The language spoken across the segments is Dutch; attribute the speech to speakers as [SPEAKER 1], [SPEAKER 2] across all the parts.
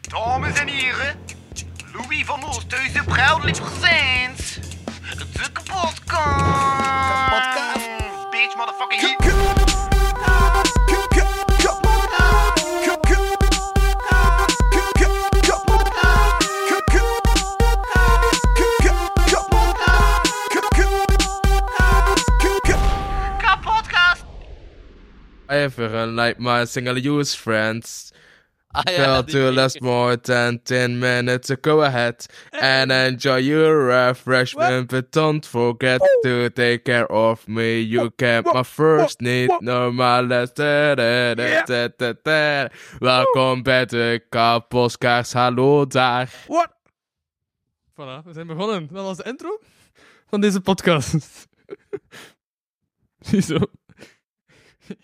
[SPEAKER 1] Dames en heren, Louis van Oosthuizen Bruidelijk Gezins. De kapotkast.
[SPEAKER 2] Kapotkast.
[SPEAKER 1] Bitch, motherfucking
[SPEAKER 2] K-
[SPEAKER 1] hit.
[SPEAKER 2] k- k- k- k- k-
[SPEAKER 1] Kapotkast.
[SPEAKER 3] Even like my single use friends.
[SPEAKER 4] Ah, ja,
[SPEAKER 3] Tell
[SPEAKER 4] die-
[SPEAKER 3] to last more than 10 minutes to go ahead and enjoy your refreshment, but don't forget to take care of me. You can my first need, no my last. Da, da, da, da, da, da. Welkom bij de Kaposkaars. Hallo daar.
[SPEAKER 5] Voilà, we zijn begonnen. Dat was de intro van deze podcast. Ziezo.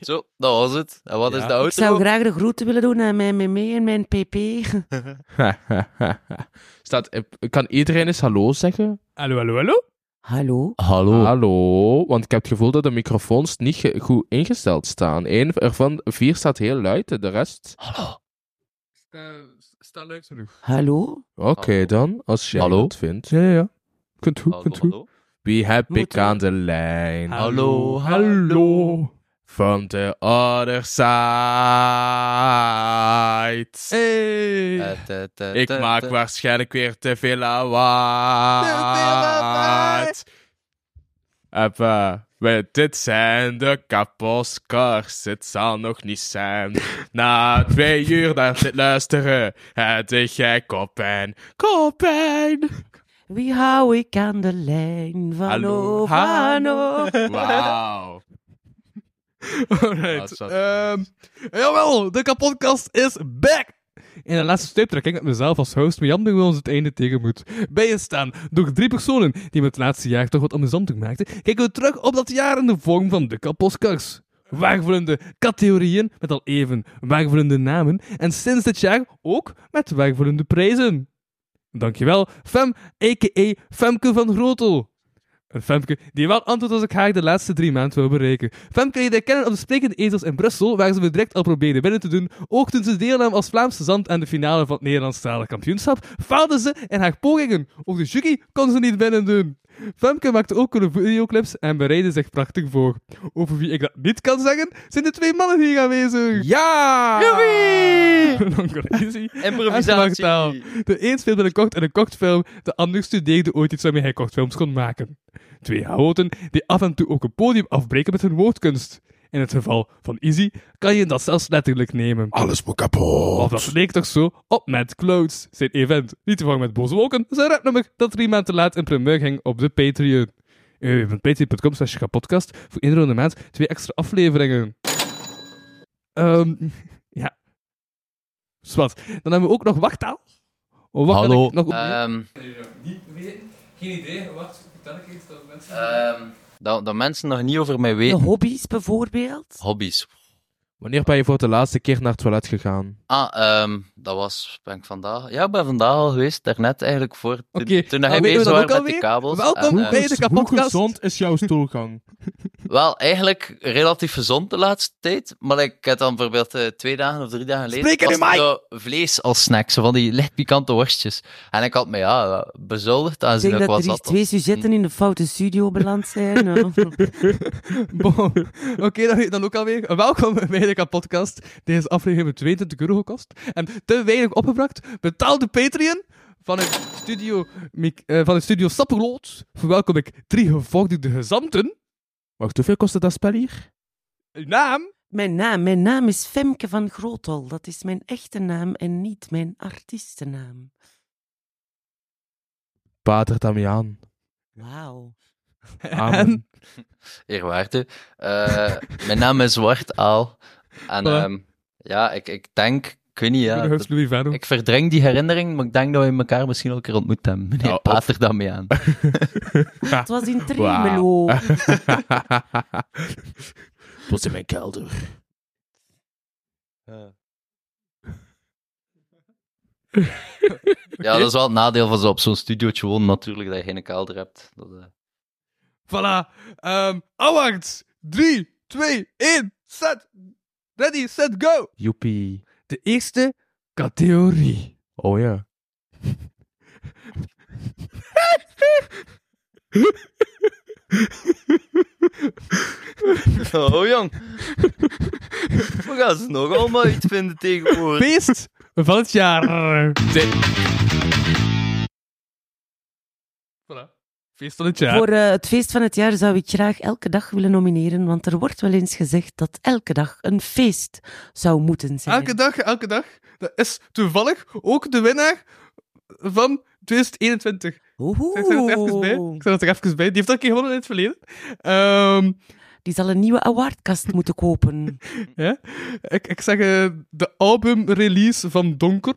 [SPEAKER 4] Zo, dat was het. En wat
[SPEAKER 3] Ja.
[SPEAKER 4] is de
[SPEAKER 6] Ik
[SPEAKER 4] auto?
[SPEAKER 6] zou graag de groeten willen doen aan mijn meme en mijn pp.
[SPEAKER 3] Staat, kan iedereen eens hallo zeggen?
[SPEAKER 5] Hallo, hallo, hallo.
[SPEAKER 6] Hallo?
[SPEAKER 4] Hallo.
[SPEAKER 3] Hallo, want ik heb het gevoel dat de microfoons niet ge- goed ingesteld staan. Eén ervan, vier staat heel luid, en de rest...
[SPEAKER 4] Eh,
[SPEAKER 5] Sta, sta leuk genoeg.
[SPEAKER 6] Hallo?
[SPEAKER 3] Oké
[SPEAKER 4] Hallo.
[SPEAKER 3] dan, als jij
[SPEAKER 4] Hallo?
[SPEAKER 3] dat vindt. Ja, ja, ja. Kunt goed,
[SPEAKER 4] Hallo,
[SPEAKER 3] kunt goed.
[SPEAKER 4] hallo.
[SPEAKER 3] Wie heb ik
[SPEAKER 6] Moeten we-
[SPEAKER 3] aan de lijn?
[SPEAKER 4] Hallo,
[SPEAKER 5] hallo.
[SPEAKER 3] From the other side.
[SPEAKER 5] Hey.
[SPEAKER 4] Eh, te, te,
[SPEAKER 3] Ik
[SPEAKER 4] te,
[SPEAKER 3] maak
[SPEAKER 4] te.
[SPEAKER 3] waarschijnlijk weer te veel lawaai. Appa, eh, we- dit zijn de kaposkars. Het zal nog niet zijn. Na twee uur naar dit luisteren, het is jij kopijn. Kopijn.
[SPEAKER 6] Wie hou ik aan de lijn? Van
[SPEAKER 3] Hallo,
[SPEAKER 6] Ovano.
[SPEAKER 3] Wauw.
[SPEAKER 5] Alright.
[SPEAKER 3] dat is
[SPEAKER 5] Ehm, jawel, de kapotkast is back! In de laatste stuiptrekking met mezelf als host, maar Jan doen we ons het einde tegenmoet. Bijgestaan door drie personen die me het laatste jaar toch wat amusant maakten, kijken we terug op dat jaar in de vorm van de kapotkast. Waagvullende categorieën met al even waagvullende namen en sinds dit jaar ook met waagvullende prijzen. Dankjewel, Fem, a.k.a. Femke van Grotel. Een Femke die wel antwoord als ik haar de laatste drie maanden wil bereiken. Femke die je kennen op de Sprekende Ezels in Brussel, waar ze me direct al probeerden binnen te doen. Ook toen ze deelnam als Vlaamse zand aan de finale van het Nederlandstalig kampioenschap, faalde ze in haar pogingen. Ook de jury kon ze niet binnen doen. Femke maakte ook coole videoclips en bereidde zich prachtig voor. Over wie ik dat niet kan zeggen, zijn de twee mannen hier aanwezig.
[SPEAKER 3] Ja!
[SPEAKER 5] Non-collisie.
[SPEAKER 4] Improvisatie.
[SPEAKER 5] Aanslag De een speelde een kocht en een kochtfilm, de ander studeerde ooit iets waarmee hij kochtfilms kon maken. Twee houten die af en toe ook een podium afbreken met hun woordkunst. In het geval van Izzy kan je dat zelfs letterlijk nemen.
[SPEAKER 2] Alles moet kapot.
[SPEAKER 5] Of dat leek toch zo op Mad Clouds, zijn event. Niet te vangen met boze wolken, zijn rapnummer dat drie maanden te laat in primeur ging op de Patreon. Eh, www.patreon.com slash kapodcast voor iedere ronde maand twee extra afleveringen. Ehm, ja. Zwat. Dan hebben we ook nog wachttaal. Oh, wacht,
[SPEAKER 4] Hallo.
[SPEAKER 5] ik nog opnieuw?
[SPEAKER 4] Ehm,
[SPEAKER 5] Geen idee, wacht. Vertel ik eens dat mensen...
[SPEAKER 4] ehm, dat, dat mensen nog niet over mij
[SPEAKER 6] De
[SPEAKER 4] weten.
[SPEAKER 6] hobby's bijvoorbeeld?
[SPEAKER 4] Hobbies.
[SPEAKER 3] Wanneer ben je voor de laatste keer naar het toilet gegaan?
[SPEAKER 4] Ah, ehm, dat was, ben ik vandaag... Ja, ik ben vandaag al geweest, daarnet eigenlijk, voor... Toen,
[SPEAKER 5] Oké,
[SPEAKER 4] toen
[SPEAKER 5] dan
[SPEAKER 4] hij
[SPEAKER 5] weten we dat
[SPEAKER 4] bezig was
[SPEAKER 5] ook
[SPEAKER 4] met
[SPEAKER 5] alweer.
[SPEAKER 4] de kabels.
[SPEAKER 5] Welkom
[SPEAKER 4] en, eh,
[SPEAKER 5] bij de kapotkast.
[SPEAKER 3] Dus is jouw stoelgang?
[SPEAKER 4] Wel, eigenlijk relatief gezond de laatste tijd. Maar ik heb dan bijvoorbeeld eh, twee dagen of drie dagen geleden...
[SPEAKER 5] Spreek in de
[SPEAKER 4] was er zo vlees als snack, zo van die licht pikante worstjes. En ik had me, ja, bezoldigd
[SPEAKER 6] Ik
[SPEAKER 4] aanzien
[SPEAKER 6] denk
[SPEAKER 4] ik
[SPEAKER 6] dat
[SPEAKER 4] was
[SPEAKER 6] er hier
[SPEAKER 4] dat.
[SPEAKER 6] twee sujetten in de foute studio beland zijn.
[SPEAKER 5] Bon. Oké, dan weet je dan ook alweer. Welkom bij de kapotkast. Deze aflevering heeft 22 euro gekost. En te weinig opgebracht. Betaal de Patreon van het studio, Mik- eh, van het studio Sapperloot. Verwelkom ik drie gevorderde gezanten.
[SPEAKER 3] Wacht, hoeveel kostte dat spel hier?
[SPEAKER 5] Uw Naam?
[SPEAKER 6] mijn, naam, mijn naam is Femke van Grotel. Dat is mijn echte naam en niet mijn artiestennaam.
[SPEAKER 3] Pater Damiaan.
[SPEAKER 6] Wauw.
[SPEAKER 3] Amen.
[SPEAKER 4] Eerwaarde. Eh, mijn naam is Zwart Aal. En
[SPEAKER 5] Voilà.
[SPEAKER 4] ehm, ja, ik, ik denk, ik weet niet, ja,
[SPEAKER 5] Mijn hoofd
[SPEAKER 4] dat-
[SPEAKER 5] is Louis Verno.
[SPEAKER 4] ik verdreng die herinnering, maar ik denk dat we elkaar misschien al een keer ontmoet hebben. Meneer
[SPEAKER 3] Ja, of-
[SPEAKER 4] Pater dan mee aan.
[SPEAKER 6] Het was in Tremelo.
[SPEAKER 3] Was in mijn kelder.
[SPEAKER 4] Ja, dat is wel het nadeel van zo op zo'n studiootje wonen natuurlijk, dat je geen kelder hebt. Dat, eh,
[SPEAKER 5] Voilà. Ehm awards. 3, 2, 1, set. Ready, set, go.
[SPEAKER 3] Joepie.
[SPEAKER 5] De eerste categorie.
[SPEAKER 3] Oh ja.
[SPEAKER 4] Oh, jong. We gaan ze nog allemaal iets vinden tegenwoordig.
[SPEAKER 5] Beest van het jaar. Voilà. Feest van het jaar.
[SPEAKER 6] Voor eh, het feest van het jaar zou ik graag elke dag willen nomineren, want er wordt wel eens gezegd dat elke dag een feest zou moeten zijn.
[SPEAKER 5] Elke dag, elke dag. Dat is toevallig ook de winnaar van 2021.
[SPEAKER 6] Oeh.
[SPEAKER 5] Ik zet het er even bij. Ik zet het er even bij. Die heeft dat een keer gewonnen in het verleden. Ehm,
[SPEAKER 6] Die zal een nieuwe awardkast moeten kopen.
[SPEAKER 5] ja. ik, ik zeg eh, de albumrelease van Donker.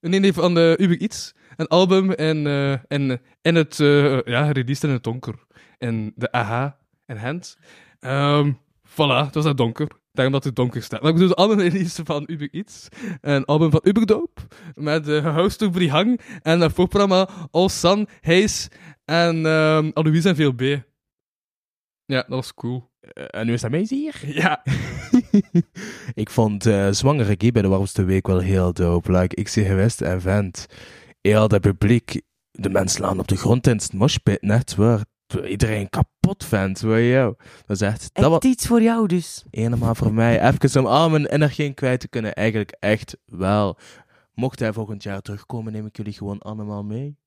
[SPEAKER 5] Nee, nee, van de Uber Iets. Een album en, eh, en, en het... eh, ja, released in het donker. En de AHA en Hand. Ehm voilà, het was dat donker. Daarom dat het donker staat. Maar ik bedoel, de andere release van Uber Eats. Een album van Uberdoop. Met uh, House to Brihang. En een voorprogramma Al San, Hayes en ehm Aloise en VLB. Ja, dat was cool.
[SPEAKER 3] Eh, en nu is dat mij hier.
[SPEAKER 5] Ja.
[SPEAKER 3] ik vond eh, Zwangere Guy bij de warmste week wel heel dope. Like, ik zie geweest en vent. Heel dat publiek. De mensen slaan op de grond in het moshpit. Net waar iedereen kapot vent. Wow, yo. Dat is echt... Dat
[SPEAKER 6] Echt
[SPEAKER 3] was
[SPEAKER 6] iets voor jou dus.
[SPEAKER 3] helemaal voor mij. Even om al mijn energie kwijt te kunnen. Eigenlijk echt wel. Mocht hij volgend jaar terugkomen, neem ik jullie gewoon allemaal mee.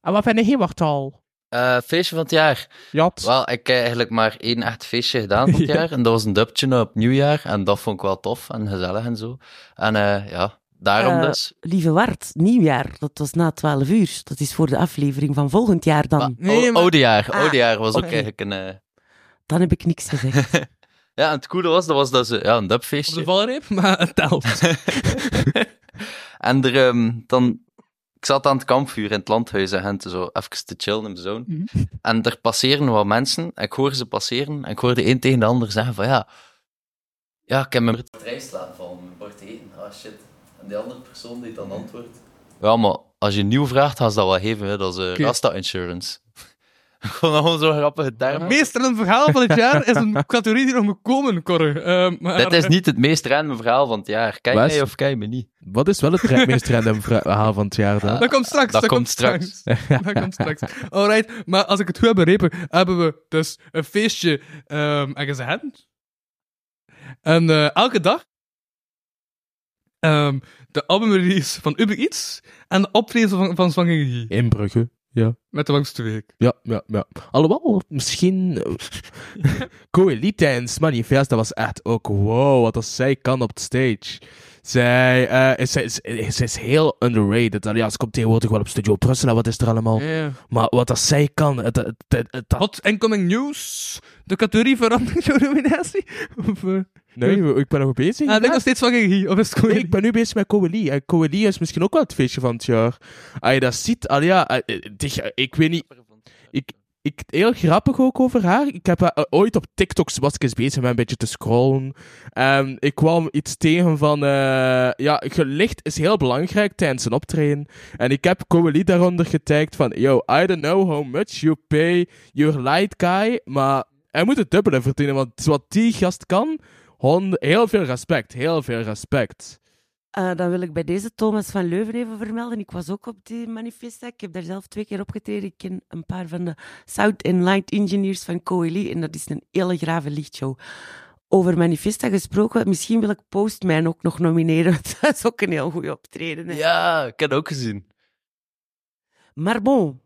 [SPEAKER 3] En wat vind je hier, Wartal?
[SPEAKER 4] Eh, feestje van het jaar.
[SPEAKER 3] Jat.
[SPEAKER 4] Wel, ik heb eigenlijk maar één echt feestje gedaan dit
[SPEAKER 5] Ja.
[SPEAKER 4] jaar. En dat was een dubtje op nieuwjaar. En dat vond ik wel tof en gezellig en zo. En eh, ja, daarom
[SPEAKER 6] Eh,
[SPEAKER 4] dus.
[SPEAKER 6] Lieve Wart, nieuwjaar, dat was na 12 uur. Dat is voor de aflevering van volgend jaar dan.
[SPEAKER 4] Maar,
[SPEAKER 5] nee,
[SPEAKER 4] o-
[SPEAKER 5] maar-
[SPEAKER 4] Oudejaar.
[SPEAKER 6] Ah,
[SPEAKER 4] oudejaar was ook
[SPEAKER 6] oké.
[SPEAKER 4] eigenlijk een... eh,
[SPEAKER 6] Dan heb ik niks gezegd.
[SPEAKER 4] ja, en het coole was, dat was dus eh, ja, een
[SPEAKER 5] Op de
[SPEAKER 4] dubfeestje.
[SPEAKER 5] valreep, maar het telt.
[SPEAKER 4] en er, ehm, dan... Ik zat aan het kampvuur in het landhuis en Gent, zo even te chillen in de zone.
[SPEAKER 5] Mhm.
[SPEAKER 4] En er passeren wat mensen. En ik hoor ze passeren. En ik hoor de een tegen de ander zeggen van ja... Ja, ik heb mijn rijst laten vallen, mijn bord eten. Ah, shit. En die andere persoon die dan antwoordt... Ja, maar als je nieuw vraagt, gaan ze dat wel geven. Hè. Dat is eh,
[SPEAKER 5] Oké.
[SPEAKER 4] Rasta Insurance. Gewoon zo'n grappige term.
[SPEAKER 5] Meester een verhaal van het jaar is een categorie die nog moet komen, Corre. Ehm, maar-
[SPEAKER 4] Dit is niet het meest random verhaal van het jaar. Kijk
[SPEAKER 3] Wat?
[SPEAKER 4] mij of kijk me niet.
[SPEAKER 3] Wat is wel het re- meest random vra- verhaal van het jaar dan?
[SPEAKER 5] Dat komt straks.
[SPEAKER 4] Dat komt straks.
[SPEAKER 5] dat komt straks. Alright, maar als ik het goed heb begrepen, hebben we dus een feestje ehm ergens in Gent. En eh, elke dag ehm, de albumrelease van Uber Eats en de optreden van, van Zwanger Guy.
[SPEAKER 3] In Brugge. Ja,
[SPEAKER 5] Met de langste week.
[SPEAKER 3] ja, ja, ja. Alhoewel, misschien... eh, Coelitijns Manifest, dat was echt ook wow, wat als zij kan op het stage. Zij, eh, is, is, is, is heel underrated. Allee, Ja, ze komt tegenwoordig wel op Studio Brussel en wat is er allemaal. Maar wat als zij kan, het, het, het, het- dat-
[SPEAKER 5] Hot incoming news. De categorie verandert jouw nominatie. Of, eh,
[SPEAKER 3] Nee, ik ben nog bezig.
[SPEAKER 5] ah, ik denk nog steeds Zwanger Guy. Of is het gewoon...
[SPEAKER 3] Nee, ik ben nu bezig met Coeli. En Coeli is misschien ook wel het feestje van het jaar. Als je dat ziet, al ja, eh, eh, dich- eh, ik weet niet. Ik, ik, heel grappig ook over haar. Ik heb haar, eh, ooit op TikTok was ik eens bezig met een beetje te scrollen. En ik kwam iets tegen van. eh, ja, gelicht is heel belangrijk tijdens een optreden. En ik heb Coeli daaronder getagd van. Yo, I don't know how much you pay your light guy. Maar hij moet het dubbele verdienen. Want wat die gast kan. hon- heel veel respect. Heel veel respect.
[SPEAKER 6] Eh, dan wil ik bij deze Thomas van Leuven even vermelden. Ik was ook op die manifesta. Ik heb daar zelf twee keer opgetreden. Ik ken een paar van de Sound and Light Engineers van Coeli. En dat is een hele grave lichtshow. Over manifesta gesproken, misschien wil ik Postman ook nog nomineren. want dat is ook een heel goede optreden. hè.
[SPEAKER 4] Ja, ik heb het ook gezien.
[SPEAKER 6] Maar bon,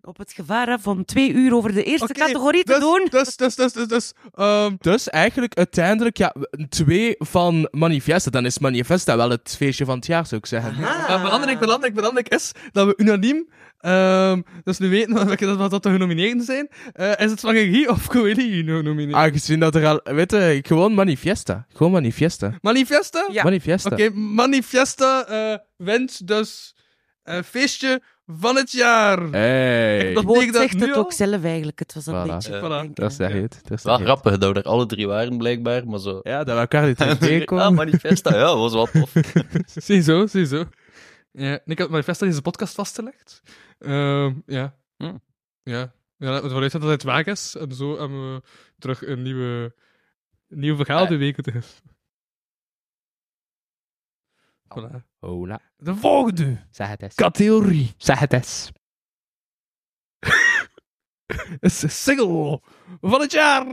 [SPEAKER 6] op het gevaar af om twee uur over de eerste
[SPEAKER 5] Oké,
[SPEAKER 6] categorie te
[SPEAKER 5] dus,
[SPEAKER 6] doen.
[SPEAKER 5] Dus, dus, dus, dus, dus. ehm,
[SPEAKER 3] Dus eigenlijk uiteindelijk, ja, twee van Manifesta. Dan is Manifesta wel het feestje van het jaar, zou ik zeggen.
[SPEAKER 6] Ah.
[SPEAKER 5] Maar belangrijk, belangrijk, belangrijk is dat we unaniem, ehm, dus nu weten wat, welke- wat dat de genomineerden zijn, Eh, is het Zwanger Guy of Coeli genomineerd?
[SPEAKER 3] Aangezien dat er al, weet je, gewoon Manifesta. Gewoon Manifesta.
[SPEAKER 5] Manifesta?
[SPEAKER 6] Ja.
[SPEAKER 3] Manifesta.
[SPEAKER 5] Oké, Manifesta eh wint dus een feestje van het jaar.
[SPEAKER 3] Hey.
[SPEAKER 5] Dat
[SPEAKER 6] Woord
[SPEAKER 5] betekent dat
[SPEAKER 6] zegt
[SPEAKER 5] nu
[SPEAKER 6] het
[SPEAKER 5] al?
[SPEAKER 6] ook zelf eigenlijk. Het was een
[SPEAKER 3] Voilà.
[SPEAKER 6] beetje...
[SPEAKER 4] Eh,
[SPEAKER 5] Voilà.
[SPEAKER 6] denken.
[SPEAKER 3] Dat zeg je het. Dat is
[SPEAKER 4] Wel
[SPEAKER 3] het.
[SPEAKER 4] grappig dat we er alle drie waren, blijkbaar. Maar zo.
[SPEAKER 3] Ja, dat we elkaar niet
[SPEAKER 4] Ah,
[SPEAKER 3] tegenkomen.
[SPEAKER 4] manifesta, ja, dat was wel tof.
[SPEAKER 5] Ziezo, ziezo. Ja, en ik had Manifesta in deze podcast vastgelegd. Ehm, ja.
[SPEAKER 4] Hm.
[SPEAKER 5] Ja. Ja, laten we ervan uitgaan dat het waar is. En zo hebben we terug een Eh. nieuwe, een nieuw verhaal
[SPEAKER 4] Ah.
[SPEAKER 5] de weken terug. Voilà.
[SPEAKER 3] Hola.
[SPEAKER 5] De volgende
[SPEAKER 3] Zeg het eens.
[SPEAKER 5] categorie
[SPEAKER 3] Zeg het eens.
[SPEAKER 5] is de single van het jaar.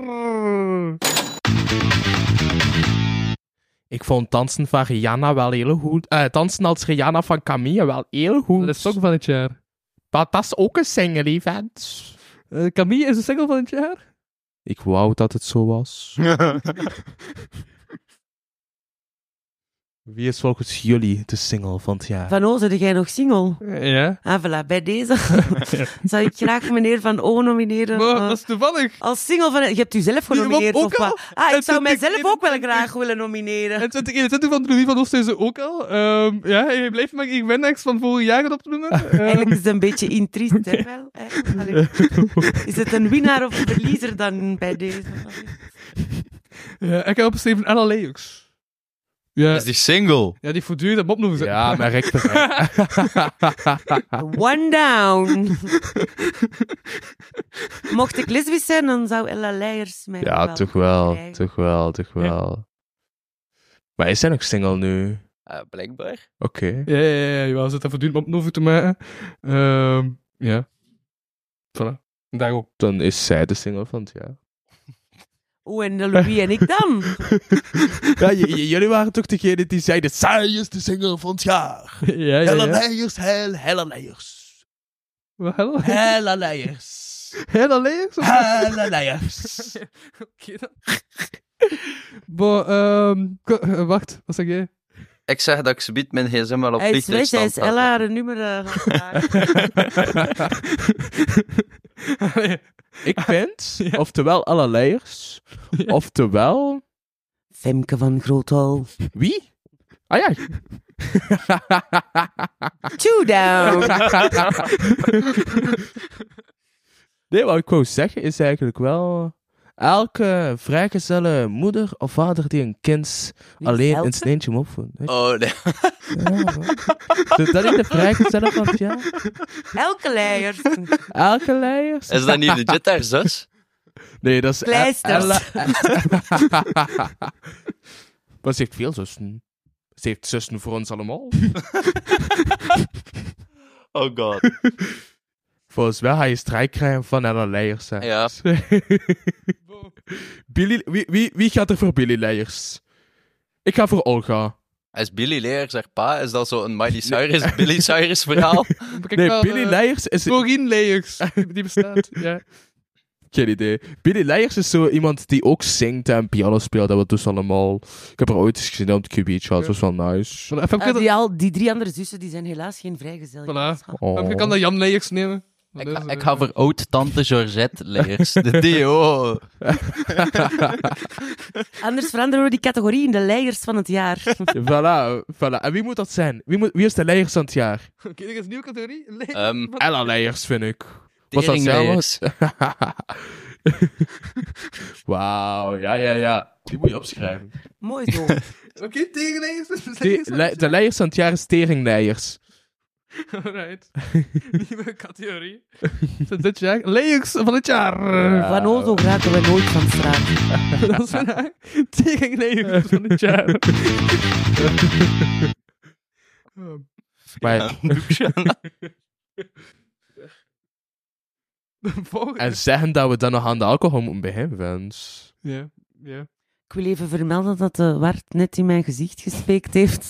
[SPEAKER 3] Ik vond dansen van Rihanna wel heel goed. Eh, dansen als Rihanna van Camille wel heel goed.
[SPEAKER 5] Dat is song van het jaar.
[SPEAKER 3] Dat dat is ook een single event.
[SPEAKER 5] Eh, Camille is de single van het jaar?
[SPEAKER 3] Ik wou dat het zo was. Wie is volgens jullie de single van het jaar?
[SPEAKER 6] Van Ozen, jij nog single?
[SPEAKER 5] Eh, ja.
[SPEAKER 6] Ah, voilà. Bij deze zou ik graag meneer Van O nomineren.
[SPEAKER 5] Maar
[SPEAKER 6] eh,
[SPEAKER 5] dat is toevallig.
[SPEAKER 6] als single van... Je hebt u zelf
[SPEAKER 5] Doe je hem
[SPEAKER 6] genomineerd,
[SPEAKER 5] ook
[SPEAKER 6] of
[SPEAKER 5] al?
[SPEAKER 6] wat? Ah,
[SPEAKER 5] En
[SPEAKER 6] ik zou
[SPEAKER 5] toen ik-
[SPEAKER 6] mijzelf ook wel graag willen nomineren.
[SPEAKER 5] En 2021 van Louis van Oosthuizen ook al. Ehm, ja, je blijft maar ik Wendex van vorig jaar op te noemen. Ehm,
[SPEAKER 6] Eigenlijk is het een beetje intriest, hè, wel? hè? Allee. Is het een winnaar of een verliezer dan bij deze?
[SPEAKER 5] ja, ik heb opgeschreven Anna Leux. Ja,
[SPEAKER 4] is die single.
[SPEAKER 5] ja, die voortdurend op opnoemen.
[SPEAKER 3] Ja, maar ik
[SPEAKER 5] Ah.
[SPEAKER 6] One down. Mocht ik lesbisch zijn, dan zou Ella Leijers mij
[SPEAKER 3] Ja,
[SPEAKER 6] wel
[SPEAKER 3] toch wel.
[SPEAKER 6] krijgen.
[SPEAKER 3] Toch wel, toch wel. Maar is zij nog single nu?
[SPEAKER 4] Eh, blijkbaar.
[SPEAKER 3] Oké.
[SPEAKER 5] Ja, ja, ja, ja, jawel, ze zit daar voortdurend op over te maken. Ehm, ja. Voilà. Daar ook.
[SPEAKER 3] Dan is zij de single van het jaar.
[SPEAKER 6] Oeh, Oh, en de Louis en ik dan?
[SPEAKER 3] Ja, j- j- jullie waren toch degene die zeiden: zij is de single van het jaar.
[SPEAKER 5] ja, ja,
[SPEAKER 3] Hella
[SPEAKER 5] ja.
[SPEAKER 3] Leijers, hel, hella Leijers.
[SPEAKER 5] Wel, Hella Leijers?
[SPEAKER 3] Hella Leijers.
[SPEAKER 5] Hella Leijers? of-
[SPEAKER 3] Hella Leijers.
[SPEAKER 5] Oké dan. Bo, ehm, ko- eh, wacht, wat zeg jij?
[SPEAKER 4] Ik zeg dat ik ze biedt mijn gsm wel op
[SPEAKER 6] Hij is weg, hij
[SPEAKER 4] vliegtuigstand
[SPEAKER 6] is Ella haar nummer eh, gaan vragen.
[SPEAKER 5] Allee,
[SPEAKER 3] Ik vind, oftewel alle layers, oftewel...
[SPEAKER 6] Femke van Groothal.
[SPEAKER 3] Wie? Ah ja.
[SPEAKER 6] Two down.
[SPEAKER 3] nee, wat ik wou zeggen is eigenlijk wel... Elke vrijgezelle moeder of vader die een kind alleen in
[SPEAKER 6] Elke?
[SPEAKER 3] zijn eentje moet opvoeden. weet je.
[SPEAKER 4] Oh, nee.
[SPEAKER 3] Ja, hoor. Dus dat is de vrijgezelle van het jaar.
[SPEAKER 6] Elke Leijers.
[SPEAKER 3] Elke layers.
[SPEAKER 4] Is dat niet legit haar zus?
[SPEAKER 3] Nee, dat is...
[SPEAKER 6] Kleisters.
[SPEAKER 3] Ella- maar ze heeft veel zussen. Ze heeft zussen voor ons allemaal.
[SPEAKER 4] Oh god.
[SPEAKER 3] Volgens mij ga je strijk krijgen van Ella Leijers. Hè.
[SPEAKER 4] Ja.
[SPEAKER 3] Billy, wie, wie, wie gaat er voor Billy Leijers? Ik ga voor Olga.
[SPEAKER 4] Is Billy Leer haar pa? Is dat zo'n Miley Cyrus, Billy Cyrus verhaal?
[SPEAKER 5] bekijk
[SPEAKER 3] nee,
[SPEAKER 5] wel,
[SPEAKER 3] Billy
[SPEAKER 5] eh,
[SPEAKER 3] Leijers is...
[SPEAKER 5] Corine Leijers, die bestaat. Ja.
[SPEAKER 3] Geen idee. Billy Leijers is zo iemand die ook zingt en piano speelt. Dat we dus allemaal... Ik heb haar ooit eens gezien op de QB Charts. Dat was wel nice.
[SPEAKER 5] Voilà, even
[SPEAKER 6] Ah,
[SPEAKER 5] kijken.
[SPEAKER 6] die, al, die drie andere zussen die zijn helaas geen vrijgezel.
[SPEAKER 5] Voilà.
[SPEAKER 3] Oh.
[SPEAKER 5] Femke kan dat Jan Leijers nemen. Dat
[SPEAKER 4] Ik,
[SPEAKER 5] is,
[SPEAKER 4] ga- ik
[SPEAKER 5] eh,
[SPEAKER 4] ga voor oud-tante Georgette Leers. De DO.
[SPEAKER 6] Anders veranderen we die categorie in de Leijers van het jaar.
[SPEAKER 3] Oh. Voilà, voilà. En wie moet dat zijn? Wie, moet, wie is de Leijers van het jaar?
[SPEAKER 5] Oké, dit is een nieuwe categorie. Leijers.
[SPEAKER 4] Ehm
[SPEAKER 3] Ella Leijers, vind ik. Was dat zelfs?
[SPEAKER 4] Teringleers.
[SPEAKER 3] Wauw, ja, ja, ja. Die moet je opschrijven.
[SPEAKER 6] Mooi zo.
[SPEAKER 5] Oké, tegen Leijers.
[SPEAKER 3] Die- le- de Leijers van het jaar is Teringleijers.
[SPEAKER 5] Alright. Nieuwe categorie. Van dit jaar. Leijers van het jaar.
[SPEAKER 6] Van Ozo raken we nooit van straat.
[SPEAKER 5] Dat is vandaag. Tegen Leijers van het jaar.
[SPEAKER 3] Maar,
[SPEAKER 5] De volgende.
[SPEAKER 3] En zeggen dat we dan nog aan de alcohol moeten beginnen, Vince.
[SPEAKER 5] Ja, ja.
[SPEAKER 6] Ik wil even vermelden dat de Wart net in mijn gezicht gespeekt heeft.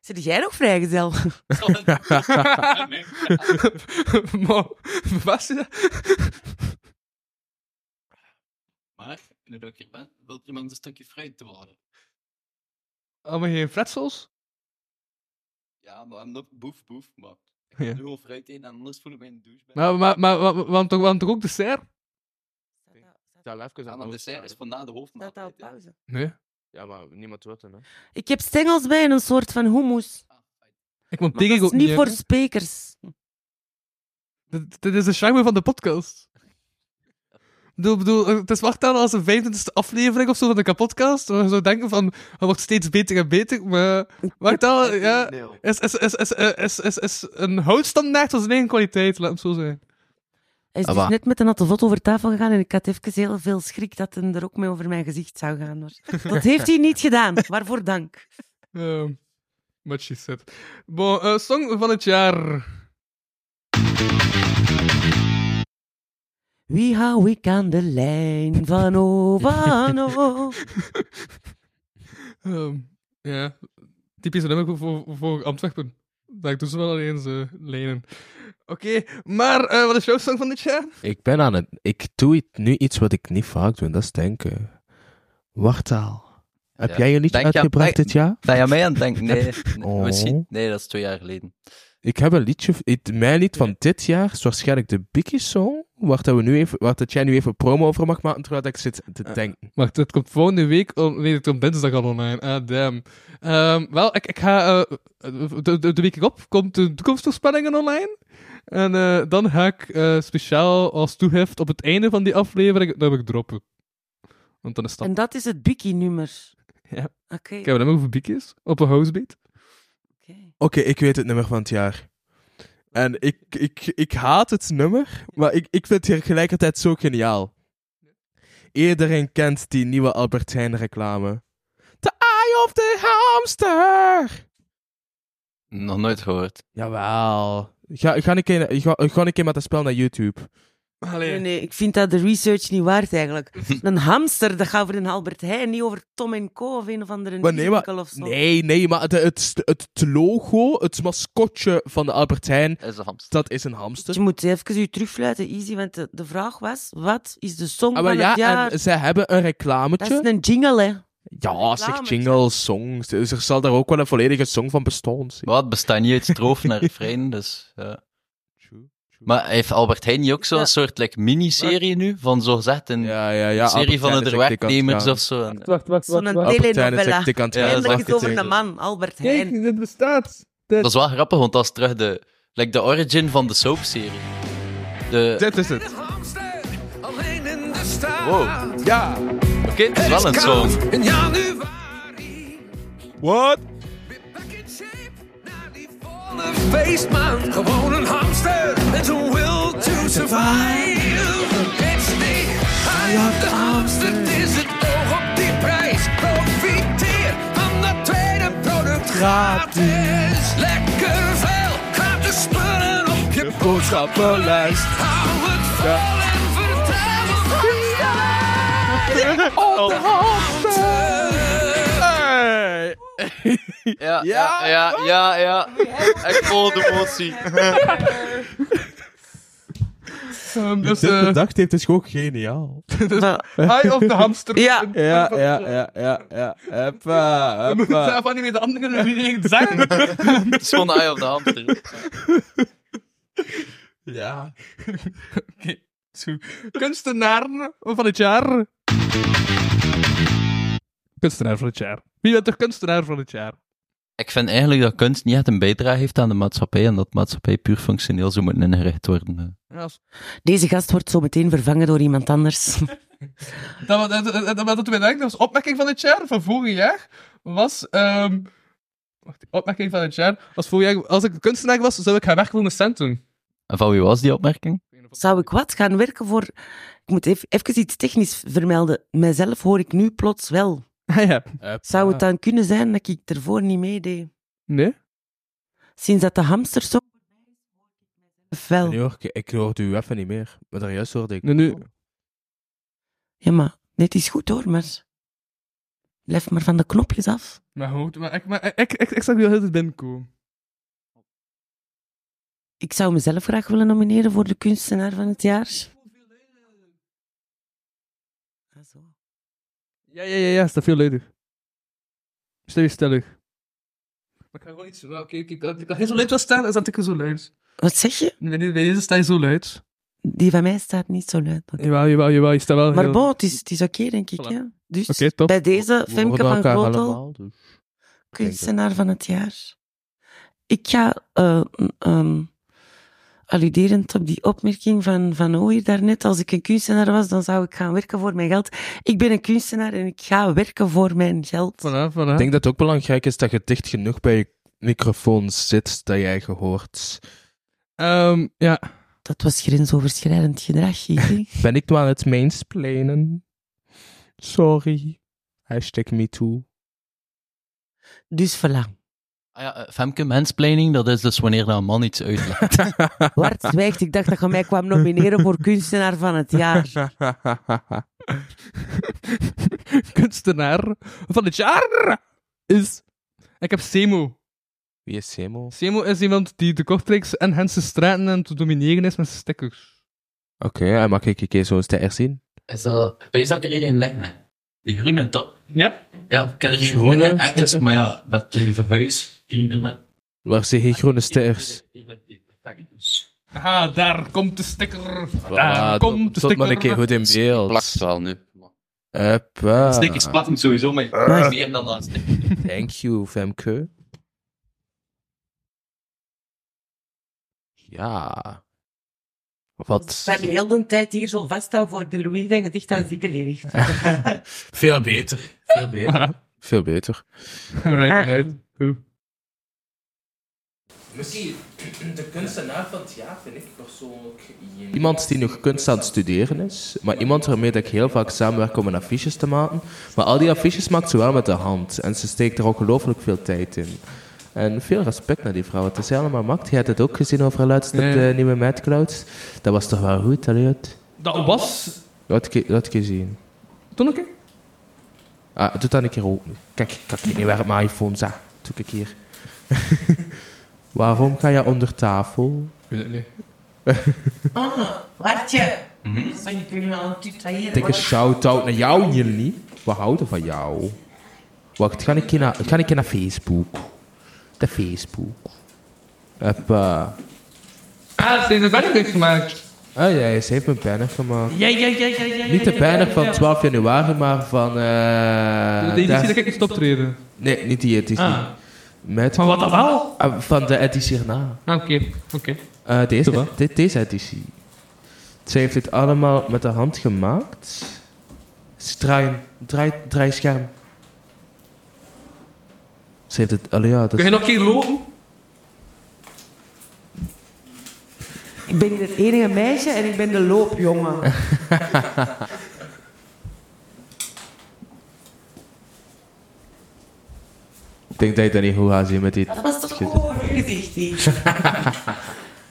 [SPEAKER 6] Zit jij nog vrijgezel?
[SPEAKER 5] maar, was je dat?
[SPEAKER 4] Maar, nu dat ik hier ben, wil iemand een stukje fruit te worden?
[SPEAKER 5] Allemaal geen pretzels?
[SPEAKER 4] Ja, maar nog boef, boef, maar... Ik
[SPEAKER 5] Ja.
[SPEAKER 4] nu al fruit in en anders voel ik mij een douche.
[SPEAKER 5] Maar, maar, maar, maar, maar, want toch, want toch ook dessert?
[SPEAKER 4] En dat dessert is vandaag de
[SPEAKER 6] Staat dat
[SPEAKER 4] hoofdmaaltijd.
[SPEAKER 6] op pauze?
[SPEAKER 5] Nee.
[SPEAKER 3] Ja, maar niemand wordt er, hè?
[SPEAKER 6] Ik heb stengels bij en een soort van hummus.
[SPEAKER 5] Ik moet
[SPEAKER 6] Maar
[SPEAKER 5] tegen
[SPEAKER 6] dat
[SPEAKER 5] ook
[SPEAKER 6] is
[SPEAKER 5] niet. hè.
[SPEAKER 6] niet voor spekers.
[SPEAKER 5] Dit, dit is de charme van de podcast. Ik bedoel, ik bedoel, eh, het is wacht aan als een 25e aflevering of zo van de kapotcast. Waar je zou denken van, het wordt steeds beter en beter. Maar wacht aan, ja, is, is, is, is, is, is, is een houtstandaard van zijn eigen kwaliteit, laat hem zo zijn.
[SPEAKER 6] Hij is
[SPEAKER 4] Ah,
[SPEAKER 6] dus
[SPEAKER 4] waar.
[SPEAKER 6] net met een attenvot over tafel gegaan en ik had even heel veel schrik dat hij er ook mee over mijn gezicht zou gaan. Maar dat heeft hij niet gedaan. Waarvoor dank.
[SPEAKER 5] Ehm, what she said. Bon, eh, song van het jaar.
[SPEAKER 6] Wie hou ik aan de lijn van Ovano?
[SPEAKER 5] Ehm, ja, typisch nummer voor, voor, voor Antwerpen. Daar doen ze wel alleen ze lenen. Oké, maar eh, wat is jouw song van dit jaar?
[SPEAKER 3] Ik ben aan het... Ik doe het nu iets wat ik niet vaak doe, en dat is denken. Wartaal. Heb
[SPEAKER 4] Ja.
[SPEAKER 3] jij een liedje
[SPEAKER 4] Denk aan-
[SPEAKER 3] uitgebracht
[SPEAKER 4] denk-
[SPEAKER 3] dit jaar?
[SPEAKER 4] Ben je aan mij aan het denken? Nee, nee,
[SPEAKER 3] Oh.
[SPEAKER 4] misschien. Nee, dat is twee jaar geleden.
[SPEAKER 3] Ik heb een liedje... het- mijn lied van dit jaar is waarschijnlijk de Biggie Song, waar, dat we nu even, waar dat jij nu even promo over mag maken, terwijl dat ik zit
[SPEAKER 4] Eh,
[SPEAKER 3] te denken.
[SPEAKER 5] Wacht, het komt volgende week. on- nee, het komt dinsdag al online. Ah, damn. Ehm, wel, ik, ik ga. eh, de, de, de week erop komt de toekomstvoorspellingen online. En eh, dan ga ik eh, speciaal als toegift op het einde van die aflevering dat ik droppen. Want dan is dat.
[SPEAKER 6] En dat is het Bikkie-nummer.
[SPEAKER 5] Ja.
[SPEAKER 6] Oké.
[SPEAKER 5] Ik heb hem over biekjes op een housebeat.
[SPEAKER 6] oké.
[SPEAKER 3] Oké, ik weet het nummer van het jaar. En ik, ik, ik haat het nummer, maar ik, ik vind het tegelijkertijd zo geniaal. Iedereen kent die nieuwe Albert Heijn reclame. The Eye of the Hamster!
[SPEAKER 4] Nog nooit gehoord.
[SPEAKER 3] Jawel. Ga, ga, een keer, ga, ga een keer met dat spel naar YouTube.
[SPEAKER 5] Allee.
[SPEAKER 6] Nee, nee, ik vind dat de research niet waard eigenlijk. Een hamster, dat gaat over een Albert Heijn, niet over Tom en Co. of een of andere
[SPEAKER 3] Maar nee, maar-
[SPEAKER 6] musical of zo.
[SPEAKER 3] Nee, nee, maar de- het, het, logo, het mascotje van de Albert Heijn,
[SPEAKER 4] Dat is een hamster.
[SPEAKER 3] dat is een
[SPEAKER 6] Dus Je
[SPEAKER 3] hamster.
[SPEAKER 6] moet even u terugfluiten, Easy, want de, de vraag was, wat is de song
[SPEAKER 3] Ah,
[SPEAKER 6] van
[SPEAKER 3] wel
[SPEAKER 6] het
[SPEAKER 3] ja,
[SPEAKER 6] jaar?
[SPEAKER 3] en zij hebben een
[SPEAKER 6] Dat
[SPEAKER 3] reclametje.
[SPEAKER 6] is een jingle, hè.
[SPEAKER 3] Ja, zeg
[SPEAKER 6] reclametje.
[SPEAKER 3] jingle, songs. Dus er zal daar ook wel een volledige song van bestaan. zeg.
[SPEAKER 4] Maar het bestaat niet uit strofen naar refrein, dus... Ja. Maar heeft Albert Heijn niet ook zo'n
[SPEAKER 6] Ja.
[SPEAKER 4] soort like, miniserie nu? Van zogezegd een
[SPEAKER 3] Ja, ja, ja.
[SPEAKER 4] serie
[SPEAKER 3] Albert
[SPEAKER 4] van
[SPEAKER 3] Heijn
[SPEAKER 4] de
[SPEAKER 3] is echt dik aan het
[SPEAKER 4] werknemers
[SPEAKER 3] gaan.
[SPEAKER 4] of zo? En-
[SPEAKER 5] Wacht, wacht,
[SPEAKER 6] Zo'n
[SPEAKER 3] Albert Heijn is
[SPEAKER 6] telenovela.
[SPEAKER 3] echt dik aan het
[SPEAKER 4] Ja,
[SPEAKER 3] gaan.
[SPEAKER 4] dat is echt
[SPEAKER 6] Eindelijk iets over
[SPEAKER 4] dik.
[SPEAKER 6] een man, Albert Heijn.
[SPEAKER 5] Kijk, dit bestaat.
[SPEAKER 4] Dat is wel grappig, want dat is terug de... Like de origin van de soapserie. De...
[SPEAKER 3] Dit is het.
[SPEAKER 4] Wow.
[SPEAKER 3] Ja.
[SPEAKER 4] Oké, het is wel een song.
[SPEAKER 3] What?
[SPEAKER 2] Gewoon een hamster met een will to survive. It's the eye of the hamster, het is het oog op die prijs. Profiteer van dat tweede product gratis. Lekker veel gratis spullen op je
[SPEAKER 3] Boodschappenlijst.
[SPEAKER 2] Hou het vol en vertel me van je Op de hamster.
[SPEAKER 3] Hey.
[SPEAKER 4] Ja, ja, ja, ja. ja. Ik voel de emotie.
[SPEAKER 5] dus,
[SPEAKER 3] Dit
[SPEAKER 5] eh
[SPEAKER 3] bedacht heeft is gewoon geniaal.
[SPEAKER 5] Eye of the Hamster.
[SPEAKER 6] Ja.
[SPEAKER 3] Ja, ja, ja, ja, ja. Heppa,
[SPEAKER 5] We moeten
[SPEAKER 3] heppa.
[SPEAKER 5] zelf niet meer de anderen dingen zeggen.
[SPEAKER 4] Het is gewoon de eye of the hamster.
[SPEAKER 5] Ja. Oké. zo. Kunstenaar van het jaar. Kunstenaar van het jaar. Wie bent toch kunstenaar van het jaar?
[SPEAKER 4] Ik vind eigenlijk dat kunst niet echt een bijdrage heeft aan de maatschappij en dat de maatschappij puur functioneel zou moeten ingericht worden.
[SPEAKER 5] Ja, als-
[SPEAKER 6] Deze gast wordt zo meteen vervangen door iemand anders.
[SPEAKER 5] dat, dat, dat, dat, dat, dat we denken, dat was opmerking van het jaar, van vorig jaar, was... ehm wacht, opmerking van het jaar was vorig jaar... Als ik kunstenaar was, zou ik gaan werken voor een cent doen.
[SPEAKER 4] En van wie was die opmerking?
[SPEAKER 6] Zou ik wat gaan werken voor... Ik moet even, even iets technisch vermelden. Mijzelf hoor ik nu plots wel.
[SPEAKER 5] Ah ja.
[SPEAKER 6] Zou het dan kunnen zijn dat ik ervoor niet meedeed?
[SPEAKER 5] Nee?
[SPEAKER 6] Sinds dat de hamster zo... Wel.
[SPEAKER 3] Nee hoor, ik- ik hoorde u even niet meer. Maar daar juist hoorde ik.
[SPEAKER 5] Nee, nu...
[SPEAKER 6] Ja, maar dit is goed hoor, maar... Blijf maar van de knopjes af.
[SPEAKER 5] Maar goed, maar ik, maar ik, ik, ik, ik zag die al heel tijd binnenkomen.
[SPEAKER 6] Ik zou mezelf graag willen nomineren voor de kunstenaar van het jaar. Ah, zo.
[SPEAKER 5] Ja, ja, ja, ja, is dat veel leuker. Stel je stellig. Maar ik ga gewoon iets... Oké, oké, ik kan- ik kan heel zo luid wel staan, dan zat ik zo luid.
[SPEAKER 6] Wat zeg je?
[SPEAKER 5] Bij bij deze sta je zo luid.
[SPEAKER 6] Die van mij staat niet zo luid. Oké.
[SPEAKER 5] Jawel, jawel, jawel, je staat wel
[SPEAKER 6] Maar
[SPEAKER 5] heel-
[SPEAKER 6] bon, het is, het is oké, denk ik.
[SPEAKER 5] Voilà.
[SPEAKER 6] Hè? Dus
[SPEAKER 5] Oké, top.
[SPEAKER 6] bij deze
[SPEAKER 3] We
[SPEAKER 6] Femke
[SPEAKER 3] hoorden
[SPEAKER 6] van
[SPEAKER 3] elkaar
[SPEAKER 6] Grotel,
[SPEAKER 3] allemaal, dus.
[SPEAKER 6] kunstenaar van het jaar. Ik ga eh, ehm, alluderend op die opmerking van Van Ooyer daarnet, als ik een kunstenaar was, dan zou ik gaan werken voor mijn geld. Ik ben een kunstenaar en ik ga werken voor mijn geld.
[SPEAKER 5] Voilà, voilà.
[SPEAKER 3] Ik denk dat het ook belangrijk is dat je dicht genoeg bij je microfoon zit dat jij gehoord.
[SPEAKER 5] Ehm, ja.
[SPEAKER 6] Dat was grensoverschrijdend gedrag, Gigi.
[SPEAKER 3] Ben ik nou aan het mansplainen? Sorry. Hashtag me too.
[SPEAKER 6] dus voilà.
[SPEAKER 4] Ah ja, eh, femke mansplaining, dat is dus wanneer dat een man iets uitlegt.
[SPEAKER 6] Bart zwijgt. Ik dacht dat je mij kwam nomineren voor kunstenaar van het jaar.
[SPEAKER 5] Kunstenaar van het jaar is... Ik heb Semo.
[SPEAKER 3] Wie is Simo? Oké.
[SPEAKER 5] Semo is iemand die de kortreeks en Hense straten en te domineren is met zijn stickers.
[SPEAKER 3] hij mag ik een keer zo'n ster zien?
[SPEAKER 7] Is dat, wees dat er één leggen? Die groene top?
[SPEAKER 5] Ja.
[SPEAKER 7] Ja, ik ken er geen
[SPEAKER 3] Groene?
[SPEAKER 7] groene enkels, maar ja, met die verhuis.
[SPEAKER 3] Waar zijn geen groene sters?
[SPEAKER 5] Aha, daar komt de sticker.
[SPEAKER 3] Ah,
[SPEAKER 5] Daar
[SPEAKER 3] tot-
[SPEAKER 5] komt de
[SPEAKER 3] tot maar
[SPEAKER 5] sticker.
[SPEAKER 3] een keer goed in
[SPEAKER 4] Plakt
[SPEAKER 3] beeld.
[SPEAKER 4] wel nu.
[SPEAKER 3] Hoppa.
[SPEAKER 7] Stickers platten sowieso, maar
[SPEAKER 6] Ah.
[SPEAKER 7] meer dan dat.
[SPEAKER 3] Thank you, Femke. Ja. Wat?
[SPEAKER 6] Ik heb heel de tijd hier zo vasthouden voor de Louis en het dicht aan zieken ligt.
[SPEAKER 3] Veel beter. Veel beter. Veel beter.
[SPEAKER 5] Right,
[SPEAKER 6] Ah.
[SPEAKER 5] right.
[SPEAKER 3] Misschien de kunstenaar van het jaar vind ik persoonlijk... Iemand die nog kunst aan het studeren is, maar iemand waarmee dat ik heel vaak samenwerk om een affiches te maken. Maar al die affiches maakt ze wel met de hand en ze steekt er ongelooflijk veel tijd in. En veel respect naar die vrouw, wat ze allemaal maakt. Je hebt het ook gezien over laatst op
[SPEAKER 5] Ja.
[SPEAKER 3] de nieuwe Mad Clouds. Dat was toch wel goed, allee? het-
[SPEAKER 5] Dat was...
[SPEAKER 3] Laat ik, laat ik je zien.
[SPEAKER 5] Toen een keer?
[SPEAKER 3] Ah, doe dat een keer open. Kijk, ik kan niet waar mijn iPhone zat. Doe ik hier. Waarom ga je onder tafel?
[SPEAKER 6] Bartje,
[SPEAKER 3] Mhm.
[SPEAKER 6] zou je kunnen wel een tutrailleren?
[SPEAKER 3] Dikke shout-out naar jou, jullie. We houden van jou. Wacht, ga ik hier naar, ga ik hier naar Facebook. De Facebook. eh, Hoppa.
[SPEAKER 5] Ah, ze heeft een werkding gemaakt.
[SPEAKER 3] Oh ja, ze heeft een banner gemaakt. Niet de banner van 12 januari, maar van... eh,
[SPEAKER 5] de editie
[SPEAKER 3] daar-
[SPEAKER 5] Ah, dat ik moest optreden.
[SPEAKER 3] Nee, niet die editie.
[SPEAKER 5] Ah.
[SPEAKER 3] Met,
[SPEAKER 5] Maar wat dan wel?
[SPEAKER 3] Ah, van de editie erna.
[SPEAKER 5] Ah, oké. Oké.
[SPEAKER 3] Eh, deze,
[SPEAKER 5] Toch,
[SPEAKER 3] dit, deze editie. Ze heeft dit allemaal met de hand gemaakt. Ze draai, hem. draai, draai scherm. Ze heeft het... Allee, ja, dat
[SPEAKER 5] Kun
[SPEAKER 3] is-
[SPEAKER 5] je nog een keer lopen?
[SPEAKER 6] Ik ben hier het enige meisje en ik ben de loopjongen.
[SPEAKER 3] Ik denk dat je dat niet goed gaat zien met dit.
[SPEAKER 6] Dat was toch gewoon gezicht hier.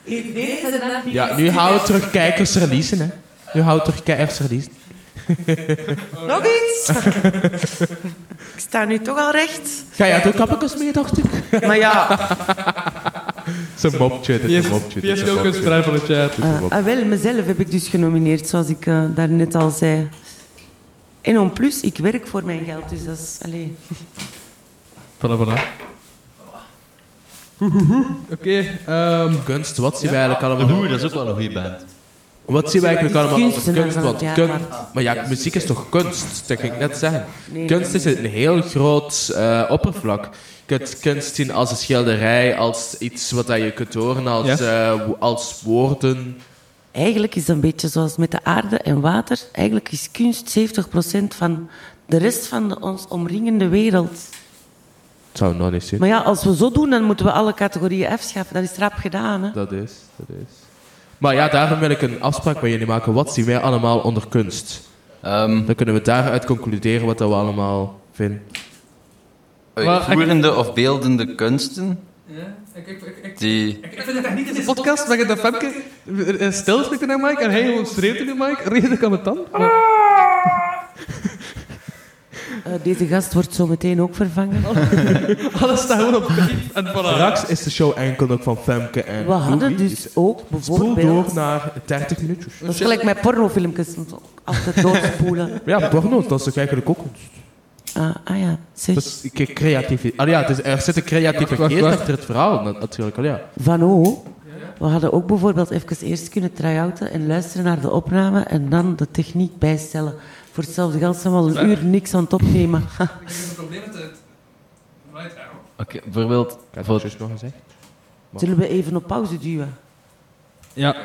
[SPEAKER 6] In deze nacht-
[SPEAKER 3] Ja, nu houden we terug kijkers verliezen, hè. Nu houden we terug kijkers verliezen.
[SPEAKER 6] Nog iets? ik sta nu toch al recht.
[SPEAKER 3] Ga jij het ook kappekers mee, dacht ik?
[SPEAKER 6] Maar ja,
[SPEAKER 3] Ze mopje, dit
[SPEAKER 5] Wie
[SPEAKER 3] is
[SPEAKER 5] heeft
[SPEAKER 3] een mopje.
[SPEAKER 5] wie
[SPEAKER 3] dit is
[SPEAKER 5] heeft
[SPEAKER 3] een
[SPEAKER 5] ook een
[SPEAKER 3] mopje.
[SPEAKER 5] spraak van het jaar?
[SPEAKER 3] Dit is een
[SPEAKER 6] eh,
[SPEAKER 3] mopje.
[SPEAKER 6] ah, wel, mezelf heb ik dus genomineerd, zoals ik daar daarnet al zei. En om plus, ik werk voor mijn geld, dus dat is... Allee.
[SPEAKER 5] Voilà, voilà. Oké, ehm
[SPEAKER 3] Kunst, wat zien wij eigenlijk allemaal?
[SPEAKER 4] Oeh, dat is ook wel een goede band.
[SPEAKER 3] Wat zien wij eigenlijk allemaal als
[SPEAKER 6] Kunstenaar
[SPEAKER 3] kunst?
[SPEAKER 6] van het
[SPEAKER 3] Want
[SPEAKER 6] jaar,
[SPEAKER 3] kun-
[SPEAKER 6] Bart.
[SPEAKER 3] maar ja, muziek is toch kunst? Dat ging ik net zeggen.
[SPEAKER 6] Nee,
[SPEAKER 3] Kunst
[SPEAKER 6] nee,
[SPEAKER 3] is een heel groot eh, oppervlak. Je kunt kunst zien als een schilderij, als iets wat dat je kunt horen, als,
[SPEAKER 5] Yes.
[SPEAKER 3] eh, wo- als woorden.
[SPEAKER 6] Eigenlijk is dat een beetje zoals met de aarde en water. Eigenlijk is kunst 70% van de rest van de ons omringende wereld.
[SPEAKER 3] Het zou nog niet zien.
[SPEAKER 6] Maar ja, als we zo doen, dan moeten we alle categorieën afschaffen. Dat is rap gedaan, hè?
[SPEAKER 3] Dat is, dat is. Maar ja, daarom wil ik een afspraak met jullie maken. Wat zien wij allemaal onder kunst?
[SPEAKER 4] Ehm
[SPEAKER 3] Dan kunnen we daaruit concluderen wat dat we allemaal vinden.
[SPEAKER 4] uitvoerende Eh, of beeldende kunsten. Die...
[SPEAKER 5] de podcast met de Femke eh, eh, stil spreekt naar Mike en hij gewoon schreeuwt in de mic. Reden kan het dan?
[SPEAKER 6] Eh, deze gast wordt zo meteen ook vervangen.
[SPEAKER 5] Alles staat gewoon op clip en voilà.
[SPEAKER 3] Straks is de show enkel nog van Femke en
[SPEAKER 6] We hadden
[SPEAKER 3] Louis.
[SPEAKER 6] dus ook
[SPEAKER 3] Spoel door
[SPEAKER 6] bijvoorbeeld...
[SPEAKER 3] naar 30 minuutjes.
[SPEAKER 6] Dat is gelijk met pornofilmpjes. moet ook Altijd doorspoelen.
[SPEAKER 3] Ja, porno, dat is toch eigenlijk ook kunst?
[SPEAKER 6] Ah, ah ja, zeg.
[SPEAKER 3] Dat is ke- creatief. Ah ja, het is, er zit een creatieve
[SPEAKER 5] Wacht, wacht,
[SPEAKER 3] geest
[SPEAKER 5] wacht.
[SPEAKER 3] achter het verhaal, na- natuurlijk. al, Ja.
[SPEAKER 6] Van O. We hadden ook bijvoorbeeld even eerst kunnen try-outen en luisteren naar de opname en dan de techniek bijstellen. Voor hetzelfde geld zijn we al een uur niks aan het opnemen.
[SPEAKER 4] Oké, bijvoorbeeld...
[SPEAKER 3] Ik had het
[SPEAKER 4] Voor,
[SPEAKER 3] juist nog gezegd.
[SPEAKER 6] Zullen we even op pauze duwen?
[SPEAKER 5] Ja.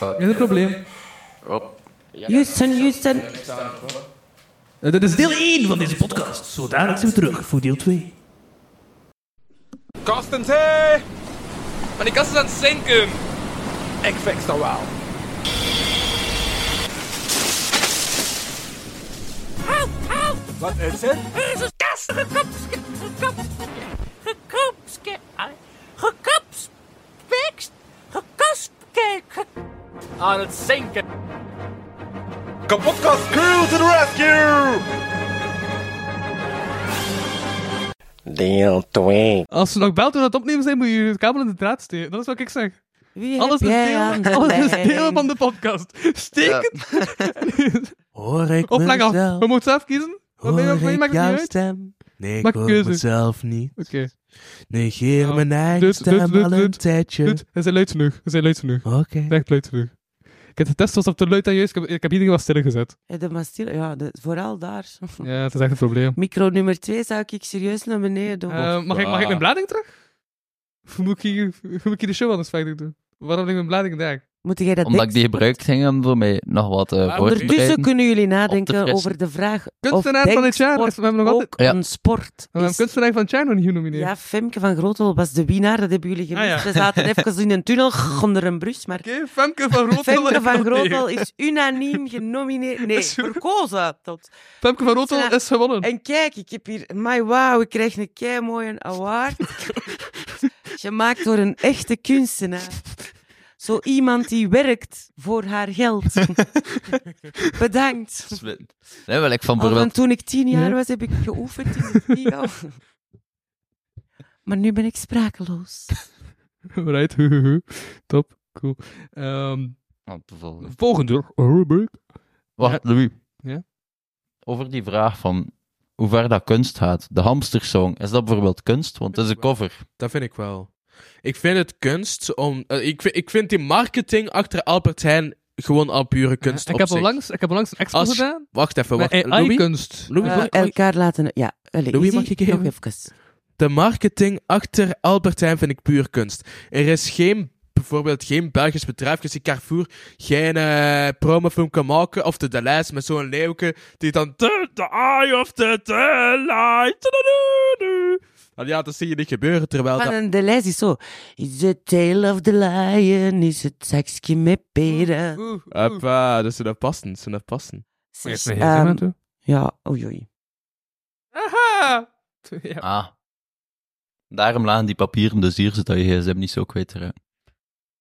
[SPEAKER 4] Eh,
[SPEAKER 5] Geen probleem.
[SPEAKER 6] Houston, Houston.
[SPEAKER 5] Eh, dit is deel 1 van
[SPEAKER 8] deze podcast. Zo dadelijk zijn we terug voor deel 2.
[SPEAKER 5] Kastentij! Maar die kast is aan het zinken.
[SPEAKER 9] Ik fix dat wel. Wat is het?
[SPEAKER 10] Er is een kast gekapske, gekapske, gekapske, gekapspekst, gekaspkeek,
[SPEAKER 9] Aan het zinken.
[SPEAKER 1] Kapotkast crew to the rescue!
[SPEAKER 11] Deel 2.
[SPEAKER 5] Als ze nog belt toen dat opnemen zijn, moet je het kabel in de draad steken. Dat is wat ik zeg.
[SPEAKER 6] Wie
[SPEAKER 5] Alles
[SPEAKER 6] heb
[SPEAKER 5] is,
[SPEAKER 6] jij
[SPEAKER 5] deel,
[SPEAKER 6] aan de
[SPEAKER 5] alles is
[SPEAKER 6] lijn?
[SPEAKER 5] deel van de podcast. Steek
[SPEAKER 4] Ja.
[SPEAKER 5] het
[SPEAKER 3] Hoor ik
[SPEAKER 5] op lang af.
[SPEAKER 3] mezelf?
[SPEAKER 5] We moeten zelf kiezen. Wat ben je-
[SPEAKER 3] Hoor
[SPEAKER 5] wat-
[SPEAKER 3] ik
[SPEAKER 5] maakt het
[SPEAKER 3] jouw
[SPEAKER 5] niet uit?
[SPEAKER 3] stem? Nee, ik
[SPEAKER 5] Maak
[SPEAKER 3] hoor
[SPEAKER 5] keuze.
[SPEAKER 3] mezelf niet.
[SPEAKER 5] Oké, Nou,
[SPEAKER 3] Negeer
[SPEAKER 5] Ja.
[SPEAKER 3] mijn eigen
[SPEAKER 5] Doet, doet,
[SPEAKER 3] stem
[SPEAKER 5] doet,
[SPEAKER 3] al een
[SPEAKER 5] doet,
[SPEAKER 3] tijdje.
[SPEAKER 5] goed. Hij zijn luid genoeg. Hij zijn luid genoeg.
[SPEAKER 3] Oké.
[SPEAKER 5] Hij is Echt luid genoeg. Ik heb de test was op de luid aan juist. Ik heb, ik heb iedereen wat stil gezet.
[SPEAKER 6] Ja, Eh, de mastiel, ja, de- vooral daar.
[SPEAKER 5] Ja, het is echt een probleem.
[SPEAKER 6] Micro nummer 2 zou ik serieus naar beneden
[SPEAKER 3] Oh,
[SPEAKER 6] doen.
[SPEAKER 5] Eh, mag, ik, mag ik mijn blading terug? Of moet ik hier, hoe moet ik hier de show anders verder doen? Waarom heb ik mijn blading daar?
[SPEAKER 6] Moet jij dat
[SPEAKER 4] Omdat ik die
[SPEAKER 6] dikst-
[SPEAKER 4] gebruikt ging hebben voor mij nog wat eh voor te
[SPEAKER 6] Ondertussen
[SPEAKER 4] bereiden.
[SPEAKER 6] kunnen jullie
[SPEAKER 4] op
[SPEAKER 6] nadenken
[SPEAKER 4] te
[SPEAKER 6] over de vraag
[SPEAKER 5] Kunstenaar
[SPEAKER 6] of
[SPEAKER 5] van het jaar.
[SPEAKER 6] denksport
[SPEAKER 5] We hebben nog altijd...
[SPEAKER 6] ook
[SPEAKER 4] Ja.
[SPEAKER 6] een sport
[SPEAKER 5] We hebben
[SPEAKER 6] is.
[SPEAKER 5] kunstenaar van het jaar nog niet genomineerd.
[SPEAKER 6] Ja, Femke van Grootel was de winnaar, dat hebben jullie gemist.
[SPEAKER 5] Ah, ja.
[SPEAKER 6] We zaten even in een tunnel onder een brus, maar
[SPEAKER 5] Oké, Femke van Rotel.
[SPEAKER 6] Femke
[SPEAKER 5] heeft
[SPEAKER 6] van
[SPEAKER 5] gewonnen.
[SPEAKER 6] Grootel is unaniem genomineerd. Nee, verkozen tot.
[SPEAKER 5] Femke van Rotel
[SPEAKER 6] Kunstenaar.
[SPEAKER 5] is gewonnen.
[SPEAKER 6] En kijk, ik heb hier... My wow, ik krijg een kei mooie award. Gemaakt door een echte kunstenaar. Zo iemand die werkt voor haar geld. Bedankt.
[SPEAKER 4] Dus Nee, wel ik van
[SPEAKER 6] Al van
[SPEAKER 4] bijvoorbeeld...
[SPEAKER 6] Oh, toen ik tien jaar
[SPEAKER 5] Ja.
[SPEAKER 6] was, heb ik geoefend in de spiegel. Maar nu ben ik sprakeloos.
[SPEAKER 5] Right, hu, hu, hu. Top, cool. Ehm,
[SPEAKER 4] Oh, te volgen.
[SPEAKER 5] volgende rubriek.
[SPEAKER 4] Wacht, Louis.
[SPEAKER 5] Ja?
[SPEAKER 4] Over die vraag van hoe ver dat kunst gaat. De hamstersong, is dat bijvoorbeeld kunst? Want dat is een cover.
[SPEAKER 3] Dat vind ik wel. Ik vind het kunst om. eh, ik, vind, ik vind die marketing achter Albert Heijn gewoon al pure kunst.
[SPEAKER 5] ik,
[SPEAKER 3] op
[SPEAKER 5] heb al
[SPEAKER 3] zich.
[SPEAKER 5] langs, ik heb al langs een expo
[SPEAKER 3] Als-
[SPEAKER 5] gedaan.
[SPEAKER 3] Wacht even, wacht.
[SPEAKER 5] Met
[SPEAKER 3] Louis,
[SPEAKER 5] AI-kunst.
[SPEAKER 3] Louis,
[SPEAKER 6] Eh,
[SPEAKER 3] mag ik-
[SPEAKER 6] elkaar laten... Ja, allee,
[SPEAKER 3] Louis,
[SPEAKER 6] Izzy,
[SPEAKER 3] mag ik even?
[SPEAKER 6] Nog even.
[SPEAKER 3] de marketing achter Albert Heijn vind ik puur kunst. Er is geen, bijvoorbeeld geen Belgisch bedrijf, dus die Carrefour geen eh, promofilm kan maken, of de Delijs met zo'n leeuwke, die dan the, the eye of the delight. Nou ja, dat zie je niet gebeuren, terwijl
[SPEAKER 6] Van
[SPEAKER 3] dat...
[SPEAKER 6] een de lijst is zo... It's the tail of the lion, is het seksje met peren.
[SPEAKER 5] Oeh, oeh.
[SPEAKER 3] Hoppa, dus ze dat passen, ze dat passen.
[SPEAKER 5] Zeg,
[SPEAKER 6] Zeg,
[SPEAKER 5] nee,
[SPEAKER 6] ehm,
[SPEAKER 5] zeg maar toe.
[SPEAKER 6] ja, oei oei.
[SPEAKER 5] Aha! Ja.
[SPEAKER 4] Ah. Daarom lagen die papieren dus hier, zodat je gsm niet zo kwijt eruit.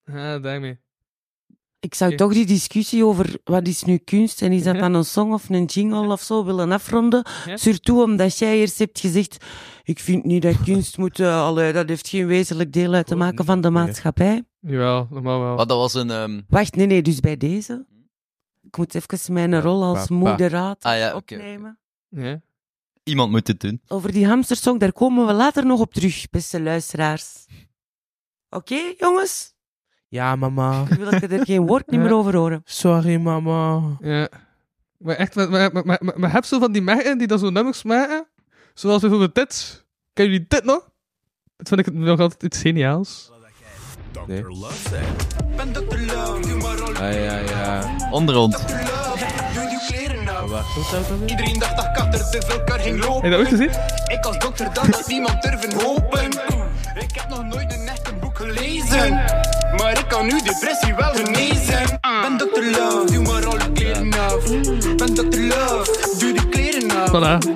[SPEAKER 5] Oh. Ah, daarmee.
[SPEAKER 6] Ik zou
[SPEAKER 5] Oké.
[SPEAKER 6] toch die discussie over wat is nu kunst en is dat
[SPEAKER 5] Ja.
[SPEAKER 6] dan een song of een jingle of zo willen afronden.
[SPEAKER 5] Ja.
[SPEAKER 6] Surtout omdat jij eerst hebt gezegd, ik vind niet dat kunst moet, eh, allee, dat heeft geen wezenlijk deel uit te
[SPEAKER 3] Goed,
[SPEAKER 6] maken van de
[SPEAKER 3] nee.
[SPEAKER 6] maatschappij.
[SPEAKER 5] Jawel, normaal wel.
[SPEAKER 4] Maar dat was een... ehm,
[SPEAKER 6] Wacht, nee, nee, dus bij deze. Ik moet even mijn rol als
[SPEAKER 3] papa.
[SPEAKER 6] moderator
[SPEAKER 4] Ah ja, oké, oké.
[SPEAKER 6] opnemen.
[SPEAKER 5] Ja.
[SPEAKER 4] iemand moet het doen.
[SPEAKER 6] Over die hamstersong, daar komen we later nog op terug, beste luisteraars. Oké, jongens?
[SPEAKER 3] Ja, mama.
[SPEAKER 6] Ik wil dat je er geen woord niet meer over horen.
[SPEAKER 3] Sorry, mama.
[SPEAKER 5] Ja. Maar echt, maar, maar, maar, maar, maar, maar heb zo van die merken die dat zo nummers maken? Zoals bijvoorbeeld dit. Ken jullie dit nog? Dat vind ik nog altijd iets geniaals.
[SPEAKER 3] Nee.
[SPEAKER 2] Ben Dr. Love, doe maar rol.
[SPEAKER 3] Ah, ja, ja.
[SPEAKER 4] Onder ons.
[SPEAKER 2] Dr. Love, doe die kleren nou.
[SPEAKER 3] Wacht, hoe zou dat weer?
[SPEAKER 2] Iedereen dacht dat ik achter de vulkar ging
[SPEAKER 5] Heb je
[SPEAKER 2] lopen.
[SPEAKER 5] dat ooit gezien?
[SPEAKER 2] Ik als dokter dat had niemand durven hopen. Ik heb nog nooit een echt een boek gelezen. Maar ik kan nu depressie wel genezen. Ben Dr. Love, doe maar alle kleren af. Ben Dr. Love, doe die kleren af.
[SPEAKER 5] Voilà.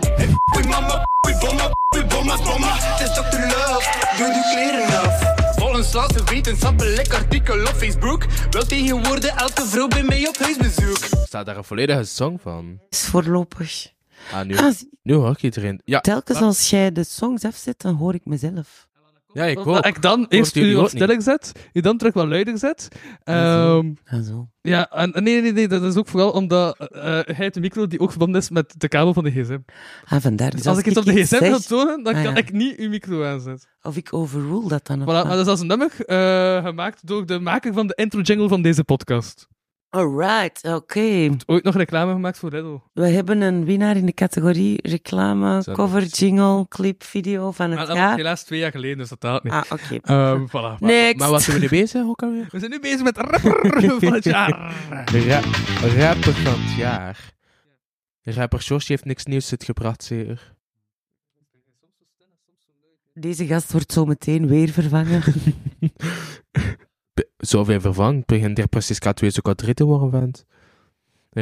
[SPEAKER 2] Oei mama, oei bomma, oei bomma, bomma. Het is Dr. Love, doe die kleren af. Volgens laatste wetenschappelijk artikel op Facebook wil tegenwoordig elke vrouw bij mij op huisbezoek.
[SPEAKER 3] Staat daar een volledige song van?
[SPEAKER 6] is voorlopig.
[SPEAKER 3] Ah, nu,
[SPEAKER 6] Ah, zie-
[SPEAKER 3] nu hoor ik iedereen. Ja,
[SPEAKER 6] telkens als jij de songs afzet, dan hoor ik mezelf.
[SPEAKER 3] ja ik
[SPEAKER 5] Dat
[SPEAKER 3] hoor.
[SPEAKER 5] Oh, ik dan eerst
[SPEAKER 3] jullie
[SPEAKER 5] u
[SPEAKER 3] ook
[SPEAKER 5] wat stil zet, u dan terug wat luider zet. Ehm,
[SPEAKER 6] Ah, zo.
[SPEAKER 5] ja, en en nee, nee, nee, dat is ook vooral omdat eh, eh, hij heeft een micro die ook verbonden is met de kabel van de gsm.
[SPEAKER 6] Ah, vandaar.
[SPEAKER 5] Dus als ik het op de
[SPEAKER 6] iets
[SPEAKER 5] gsm wil
[SPEAKER 6] zeg,
[SPEAKER 5] tonen, dan
[SPEAKER 6] Ah,
[SPEAKER 5] kan
[SPEAKER 6] ja. Ah.
[SPEAKER 5] ik niet uw micro aanzetten.
[SPEAKER 6] Of ik overrule dat dan.
[SPEAKER 5] Voilà,
[SPEAKER 6] of
[SPEAKER 5] maar
[SPEAKER 6] wat.
[SPEAKER 5] dat is als een nummer eh, gemaakt door de maker van de intro jingle van deze podcast.
[SPEAKER 6] Alright, oké.
[SPEAKER 5] Ooit nog reclame gemaakt voor Riddle.
[SPEAKER 6] We hebben een winnaar in de categorie reclame,
[SPEAKER 3] Zo,
[SPEAKER 6] cover,
[SPEAKER 3] dat is-
[SPEAKER 6] jingle, clip, video van
[SPEAKER 5] Maar
[SPEAKER 6] het
[SPEAKER 5] dat was
[SPEAKER 6] jaar.
[SPEAKER 5] helaas twee jaar geleden, dus dat daalt niet.
[SPEAKER 6] Ah, oké.
[SPEAKER 5] Ehm, voilà.
[SPEAKER 6] Next.
[SPEAKER 3] Maar wat zijn we nu bezig? Hoe kan weer?
[SPEAKER 5] We zijn nu bezig met rapper van het jaar.
[SPEAKER 3] Ra rapper van het jaar. Rapper Josh heeft niks nieuws uitgebracht, zeker.
[SPEAKER 6] Deze gast wordt zo meteen weer vervangen.
[SPEAKER 3] be- zoveel vervangt, begint er precies K2 zo K3 te worden, vent.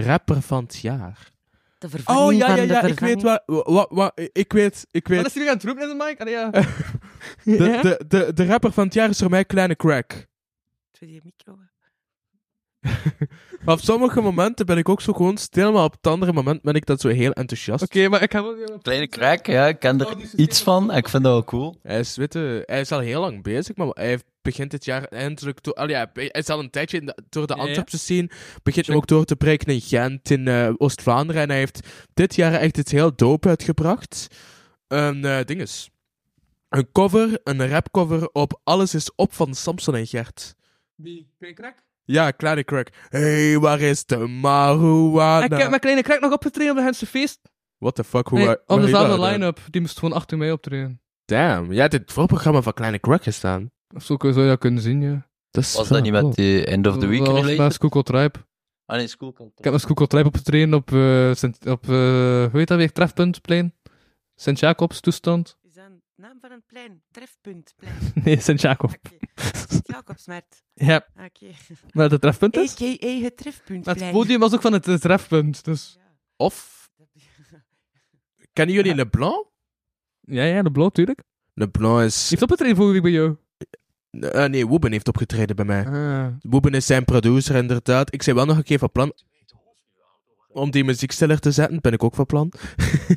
[SPEAKER 3] Rapper van het jaar.
[SPEAKER 6] De vervanging
[SPEAKER 5] Oh ja,
[SPEAKER 6] van
[SPEAKER 5] ja,
[SPEAKER 6] de
[SPEAKER 5] ja, ik
[SPEAKER 6] vervanging.
[SPEAKER 5] weet waar.
[SPEAKER 3] Wat, ik weet, ik
[SPEAKER 5] Wat
[SPEAKER 3] weet.
[SPEAKER 5] is jullie aan het roepen in de mic? Allee, ja.
[SPEAKER 3] De,
[SPEAKER 5] Ja?
[SPEAKER 3] de, de, de rapper van het jaar is voor mij Kleine Crack.
[SPEAKER 6] Doe die micro.
[SPEAKER 3] Maar op sommige momenten ben ik ook zo gewoon stil, maar op het andere moment ben ik dat zo heel enthousiast.
[SPEAKER 5] Oké, maar ik ga wel...
[SPEAKER 4] Kleine crack, ja, ik ken
[SPEAKER 5] Oh,
[SPEAKER 4] er iets van en ik vind dat wel cool.
[SPEAKER 3] Hij is, weet je, hij is al heel lang bezig, maar hij heeft- begint dit jaar eindelijk... door- al ja, hij is al een tijdje in de- door de
[SPEAKER 5] Ja, ja.
[SPEAKER 3] Antwerpse scene, begint hem ook door te breken in Gent, in eh, Oost-Vlaanderen. En hij heeft dit jaar echt iets heel dope uitgebracht. Een eh dinges. Een cover, een rapcover op Alles is op van Samson en Gert.
[SPEAKER 5] Wie? Kleine krak?
[SPEAKER 3] Ja, kleine crack. hey, waar is de marihuana?
[SPEAKER 5] ik heb mijn kleine krak nog opgetreden op de Hense Feest.
[SPEAKER 3] What the fuck? Ah, Hoe
[SPEAKER 5] Nee, oh,
[SPEAKER 3] waar-
[SPEAKER 5] op
[SPEAKER 3] waar-
[SPEAKER 5] dezelfde
[SPEAKER 3] waar-
[SPEAKER 5] line-up. Die moest gewoon achter mij optreden.
[SPEAKER 3] Damn, jij hebt het voorprogramma van Kleine Crack gestaan.
[SPEAKER 5] Of zo zou je dat kunnen zien, ja.
[SPEAKER 3] Dat is
[SPEAKER 4] Was
[SPEAKER 3] wel
[SPEAKER 4] dat niet
[SPEAKER 3] cool.
[SPEAKER 4] met die End of the Week
[SPEAKER 5] Dat was met
[SPEAKER 4] related?
[SPEAKER 5] Schuylkill Tribe.
[SPEAKER 4] Ah nee, school kan
[SPEAKER 5] Ik heb met Schuylkill Tribe opgetreden op, eh, Sint- op eh, hoe heet dat weer, Trefpuntplein? Sint-Jacobs toestand?
[SPEAKER 6] Is dat een naam van een plein? Trefpunt, plein.
[SPEAKER 5] Nee, Sint-Jacob.
[SPEAKER 6] Oké. Jacobsmarkt.
[SPEAKER 5] ja,
[SPEAKER 6] Oké.
[SPEAKER 5] maar het trefpunt is?
[SPEAKER 6] A.k.a. het
[SPEAKER 5] Maar het
[SPEAKER 6] trefpuntplein.
[SPEAKER 5] podium was ook van het eh, trefpunt, dus...
[SPEAKER 3] Of, kennen jullie Leblanc?
[SPEAKER 5] Ja, ja, de blauw, tuurlijk. Die
[SPEAKER 3] Leblanc is...
[SPEAKER 5] heeft opgetreden vorige week bij jou.
[SPEAKER 3] eh, nee, Wooben heeft opgetreden bij mij.
[SPEAKER 5] Ah.
[SPEAKER 3] Wooben is zijn producer, inderdaad. Ik ben wel nog een keer van plan... Om die muzieksteller te zetten, ben ik ook van plan.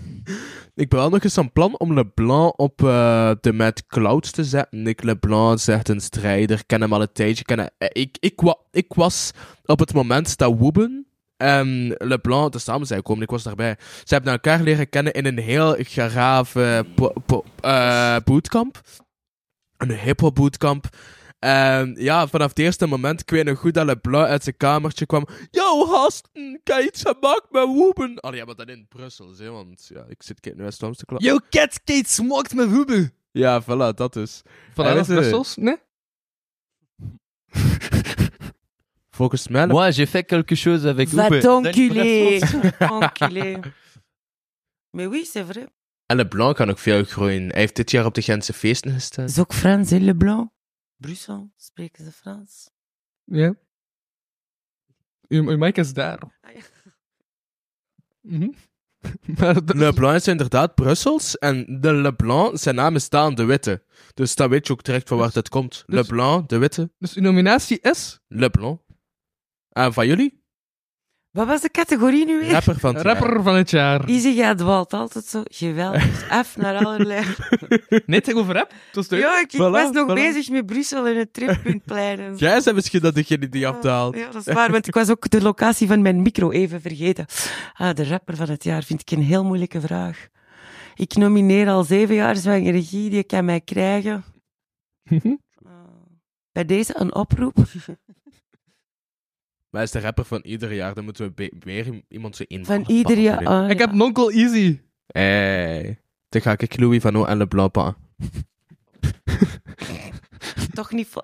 [SPEAKER 3] ik ben wel nog eens van plan om Leblanc op eh, de Mad Clouds te zetten. Nick Leblanc is echt een strijder. Ik ken hem al een tijdje. Ik Ken hem- eh, ik, ik, wa- ik was op het moment dat Wooben en Leblanc tezamen zijn gekomen. Ik was daarbij. Ze hebben elkaar leren kennen in een heel garaaf eh, po- po- eh, bootcamp. Een hip-hop bootcamp. En ja, vanaf het eerste moment, ik weet nog goed dat Leblanc uit zijn kamertje kwam. Yo, gasten, kan je iets gemaakt met Wooben? Allee, ja, maar dan in Brussel, hè, want ja, ik zit nu uit Amsterdam.
[SPEAKER 5] Yo, cat skate smoked met Ruben.
[SPEAKER 3] Ja, voilà, dat dus.
[SPEAKER 5] Van alles
[SPEAKER 3] is het.
[SPEAKER 5] Brussels, nee?
[SPEAKER 3] Volgens mij...
[SPEAKER 4] Moi, j'ai fait quelque chose avec
[SPEAKER 6] Va
[SPEAKER 4] Uber.
[SPEAKER 6] t'enculer. Enculé. Mais oui, c'est vrai.
[SPEAKER 3] En Leblanc kan ook veel groeien. Hij heeft dit jaar op de Gentse feesten gestaan.
[SPEAKER 6] Dat is ook Frans, hè, Leblanc. Brussel, spreken ze Frans?
[SPEAKER 5] Ja. Uw, uw mic is daar.
[SPEAKER 6] Ah, ja.
[SPEAKER 5] Mhm. maar dat-
[SPEAKER 3] Leblanc is inderdaad Brussels. En de Leblanc, zijn naam is staan de Witte. Dus dan weet je ook direct van waar dat komt. Leblanc, de Witte.
[SPEAKER 5] dus uw nominatie is
[SPEAKER 3] Leblanc. En van jullie?
[SPEAKER 6] Wat was de categorie nu weer?
[SPEAKER 3] Rapper van het jaar.
[SPEAKER 5] rapper van het jaar.
[SPEAKER 6] Easy gaat dwalt altijd zo geweldig af naar allerlei...
[SPEAKER 5] Nee, het ging over rap. Dat is leuk.
[SPEAKER 6] Ja, ik, ik
[SPEAKER 3] Voilà,
[SPEAKER 6] was nog
[SPEAKER 3] voilà.
[SPEAKER 6] bezig met Brussel en het trefpuntplein. en zo.
[SPEAKER 3] Jij bent misschien dat degene die afdaalt.
[SPEAKER 6] Ja, dat is waar, want ik was ook de locatie van mijn micro even vergeten. Ah, de rapper van het jaar vind ik een heel moeilijke vraag. Ik nomineer al zeven jaar zwangere regie, die kan mij krijgen. Ah, Bij deze een oproep.
[SPEAKER 3] Maar hij is de rapper van ieder jaar. Dan moeten we be- weer i- iemand zo in.
[SPEAKER 6] Van ieder jaar. ah,
[SPEAKER 5] Ik
[SPEAKER 6] ja.
[SPEAKER 5] heb Nonkel Easy.
[SPEAKER 3] Hey. Dan ga ik Louis van O en Leblanc pakken.
[SPEAKER 6] toch niet vol.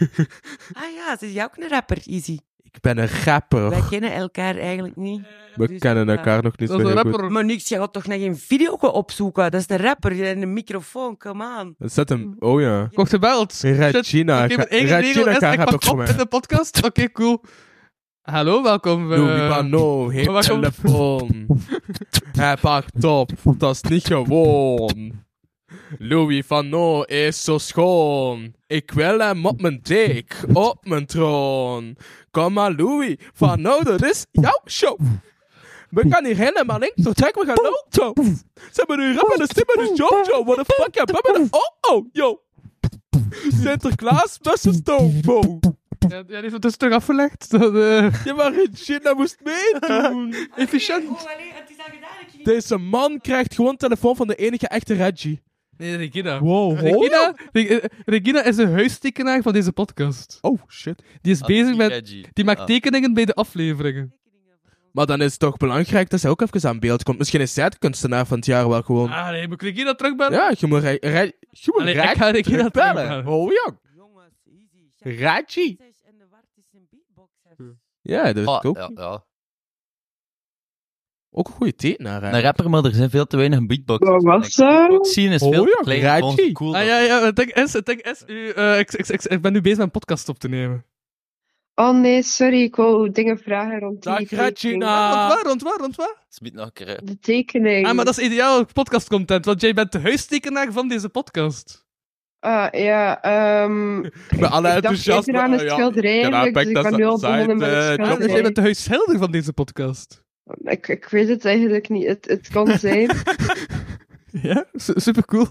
[SPEAKER 6] ah ja, ze is jou ook een rapper, Easy.
[SPEAKER 3] Ik ben een rapper.
[SPEAKER 6] Wij kennen elkaar eigenlijk niet.
[SPEAKER 3] We
[SPEAKER 6] dus- eh,
[SPEAKER 3] kennen elkaar nog niet zo
[SPEAKER 5] Dat is
[SPEAKER 3] heel
[SPEAKER 5] een
[SPEAKER 3] goed.
[SPEAKER 5] rapper.
[SPEAKER 6] Maar niks, je gaat oh, toch nog geen video gaan opzoeken? Dat is de rapper en een microfoon, come on.
[SPEAKER 3] Zet hem. Oh ja.
[SPEAKER 5] Kocht de belt.
[SPEAKER 3] Regina.
[SPEAKER 5] Oké,
[SPEAKER 3] ga-
[SPEAKER 5] mijn enige regel
[SPEAKER 3] Regina
[SPEAKER 5] is,
[SPEAKER 3] kan
[SPEAKER 5] ik
[SPEAKER 3] rapper
[SPEAKER 5] pak
[SPEAKER 3] voor
[SPEAKER 5] op in
[SPEAKER 3] mij.
[SPEAKER 5] de podcast. Oké, cool. Hallo, welkom. eh,
[SPEAKER 3] Louis van O
[SPEAKER 5] waar
[SPEAKER 3] heeft
[SPEAKER 5] komt-
[SPEAKER 3] telefoon. Hij pakt op. Dat is niet gewoon. Louis van O is zo schoon. Ik wil hem op mijn dik, op mijn troon. Kom maar Louis van O, dat is jouw show. We gaan hier helemaal links door trekken, we gaan loto. Ze hebben nu rap en de stip en de jojo. What the fuck, ja, we hebben de oh-oh, yo. Sinterklaas, best een stoomboot.
[SPEAKER 5] Ja, ja, die heeft het dus terug afgelegd. Dat, eh,
[SPEAKER 3] Ja, maar Regina moest meedoen.
[SPEAKER 5] efficiënt.
[SPEAKER 6] het is al gedaan, ik
[SPEAKER 3] Deze man krijgt gewoon telefoon van de enige echte Reggie.
[SPEAKER 5] Nee, Regina.
[SPEAKER 3] Wow,
[SPEAKER 5] Regina, Re- eh, Regina is een huistekenaar van deze podcast.
[SPEAKER 3] Oh, shit.
[SPEAKER 5] Die is bezig met... Die maakt
[SPEAKER 4] Ah.
[SPEAKER 5] tekeningen bij de afleveringen.
[SPEAKER 3] Maar dan is het toch belangrijk dat zij ook even aan beeld komt. Misschien is zij de kunstenaar van het jaar wel gewoon.
[SPEAKER 5] Ah, nee, moet ik Regina terugbellen?
[SPEAKER 3] Ja, je moet, re- re- je moet
[SPEAKER 5] Allee,
[SPEAKER 3] Reg-
[SPEAKER 5] ik ga Regina
[SPEAKER 3] terugbellen.
[SPEAKER 5] terugbellen.
[SPEAKER 3] Oh ja.
[SPEAKER 6] Jongens, easy.
[SPEAKER 3] Reggie.
[SPEAKER 6] En de Wart is een beatboxer.
[SPEAKER 3] Ja, dat is
[SPEAKER 4] Ah,
[SPEAKER 3] ook.
[SPEAKER 4] ja, ja.
[SPEAKER 3] Ook een goede tekenaar,
[SPEAKER 4] Een
[SPEAKER 3] eigenlijk.
[SPEAKER 4] rapper, maar er zijn veel te weinig beatboxers.
[SPEAKER 11] Wat was dat?
[SPEAKER 4] Zien is
[SPEAKER 3] Oh
[SPEAKER 4] veel te
[SPEAKER 3] ja,
[SPEAKER 4] klein
[SPEAKER 3] Raji.
[SPEAKER 4] voor onze cool.
[SPEAKER 5] Ah ja, ja, het ding is, het ding is, u, eh, ik, ik, ik, ik ben nu bezig met een podcast op te nemen.
[SPEAKER 11] Oh nee, sorry, ik wou dingen vragen rond die
[SPEAKER 3] Dag,
[SPEAKER 11] tekening.
[SPEAKER 5] Ah.
[SPEAKER 3] Regina.
[SPEAKER 5] Waar, rond waar, rond waar?
[SPEAKER 4] Het is niet nog een keer, hè.
[SPEAKER 11] De tekening.
[SPEAKER 5] Ah, maar dat is ideaal podcastcontent, want jij bent de huistekenaar van deze podcast.
[SPEAKER 11] Ah, ja, ehm
[SPEAKER 3] Ik ben alle
[SPEAKER 11] ik dacht
[SPEAKER 3] enthousiast.
[SPEAKER 11] eerder aan een
[SPEAKER 3] maar, Ah, ja,
[SPEAKER 11] schilderij,
[SPEAKER 3] ja,
[SPEAKER 11] eigenlijk,
[SPEAKER 3] Beck,
[SPEAKER 11] dus ik
[SPEAKER 3] dat
[SPEAKER 11] ben
[SPEAKER 3] is
[SPEAKER 11] nu al
[SPEAKER 3] een
[SPEAKER 11] begonnen met
[SPEAKER 3] site,
[SPEAKER 11] een
[SPEAKER 3] eh,
[SPEAKER 11] schilderij.
[SPEAKER 5] Dus
[SPEAKER 11] Nee.
[SPEAKER 5] jij bent de huishelder van deze podcast.
[SPEAKER 11] ik, ik weet het eigenlijk niet. Het, het kan zijn.
[SPEAKER 3] Dus
[SPEAKER 5] Ja, super cool.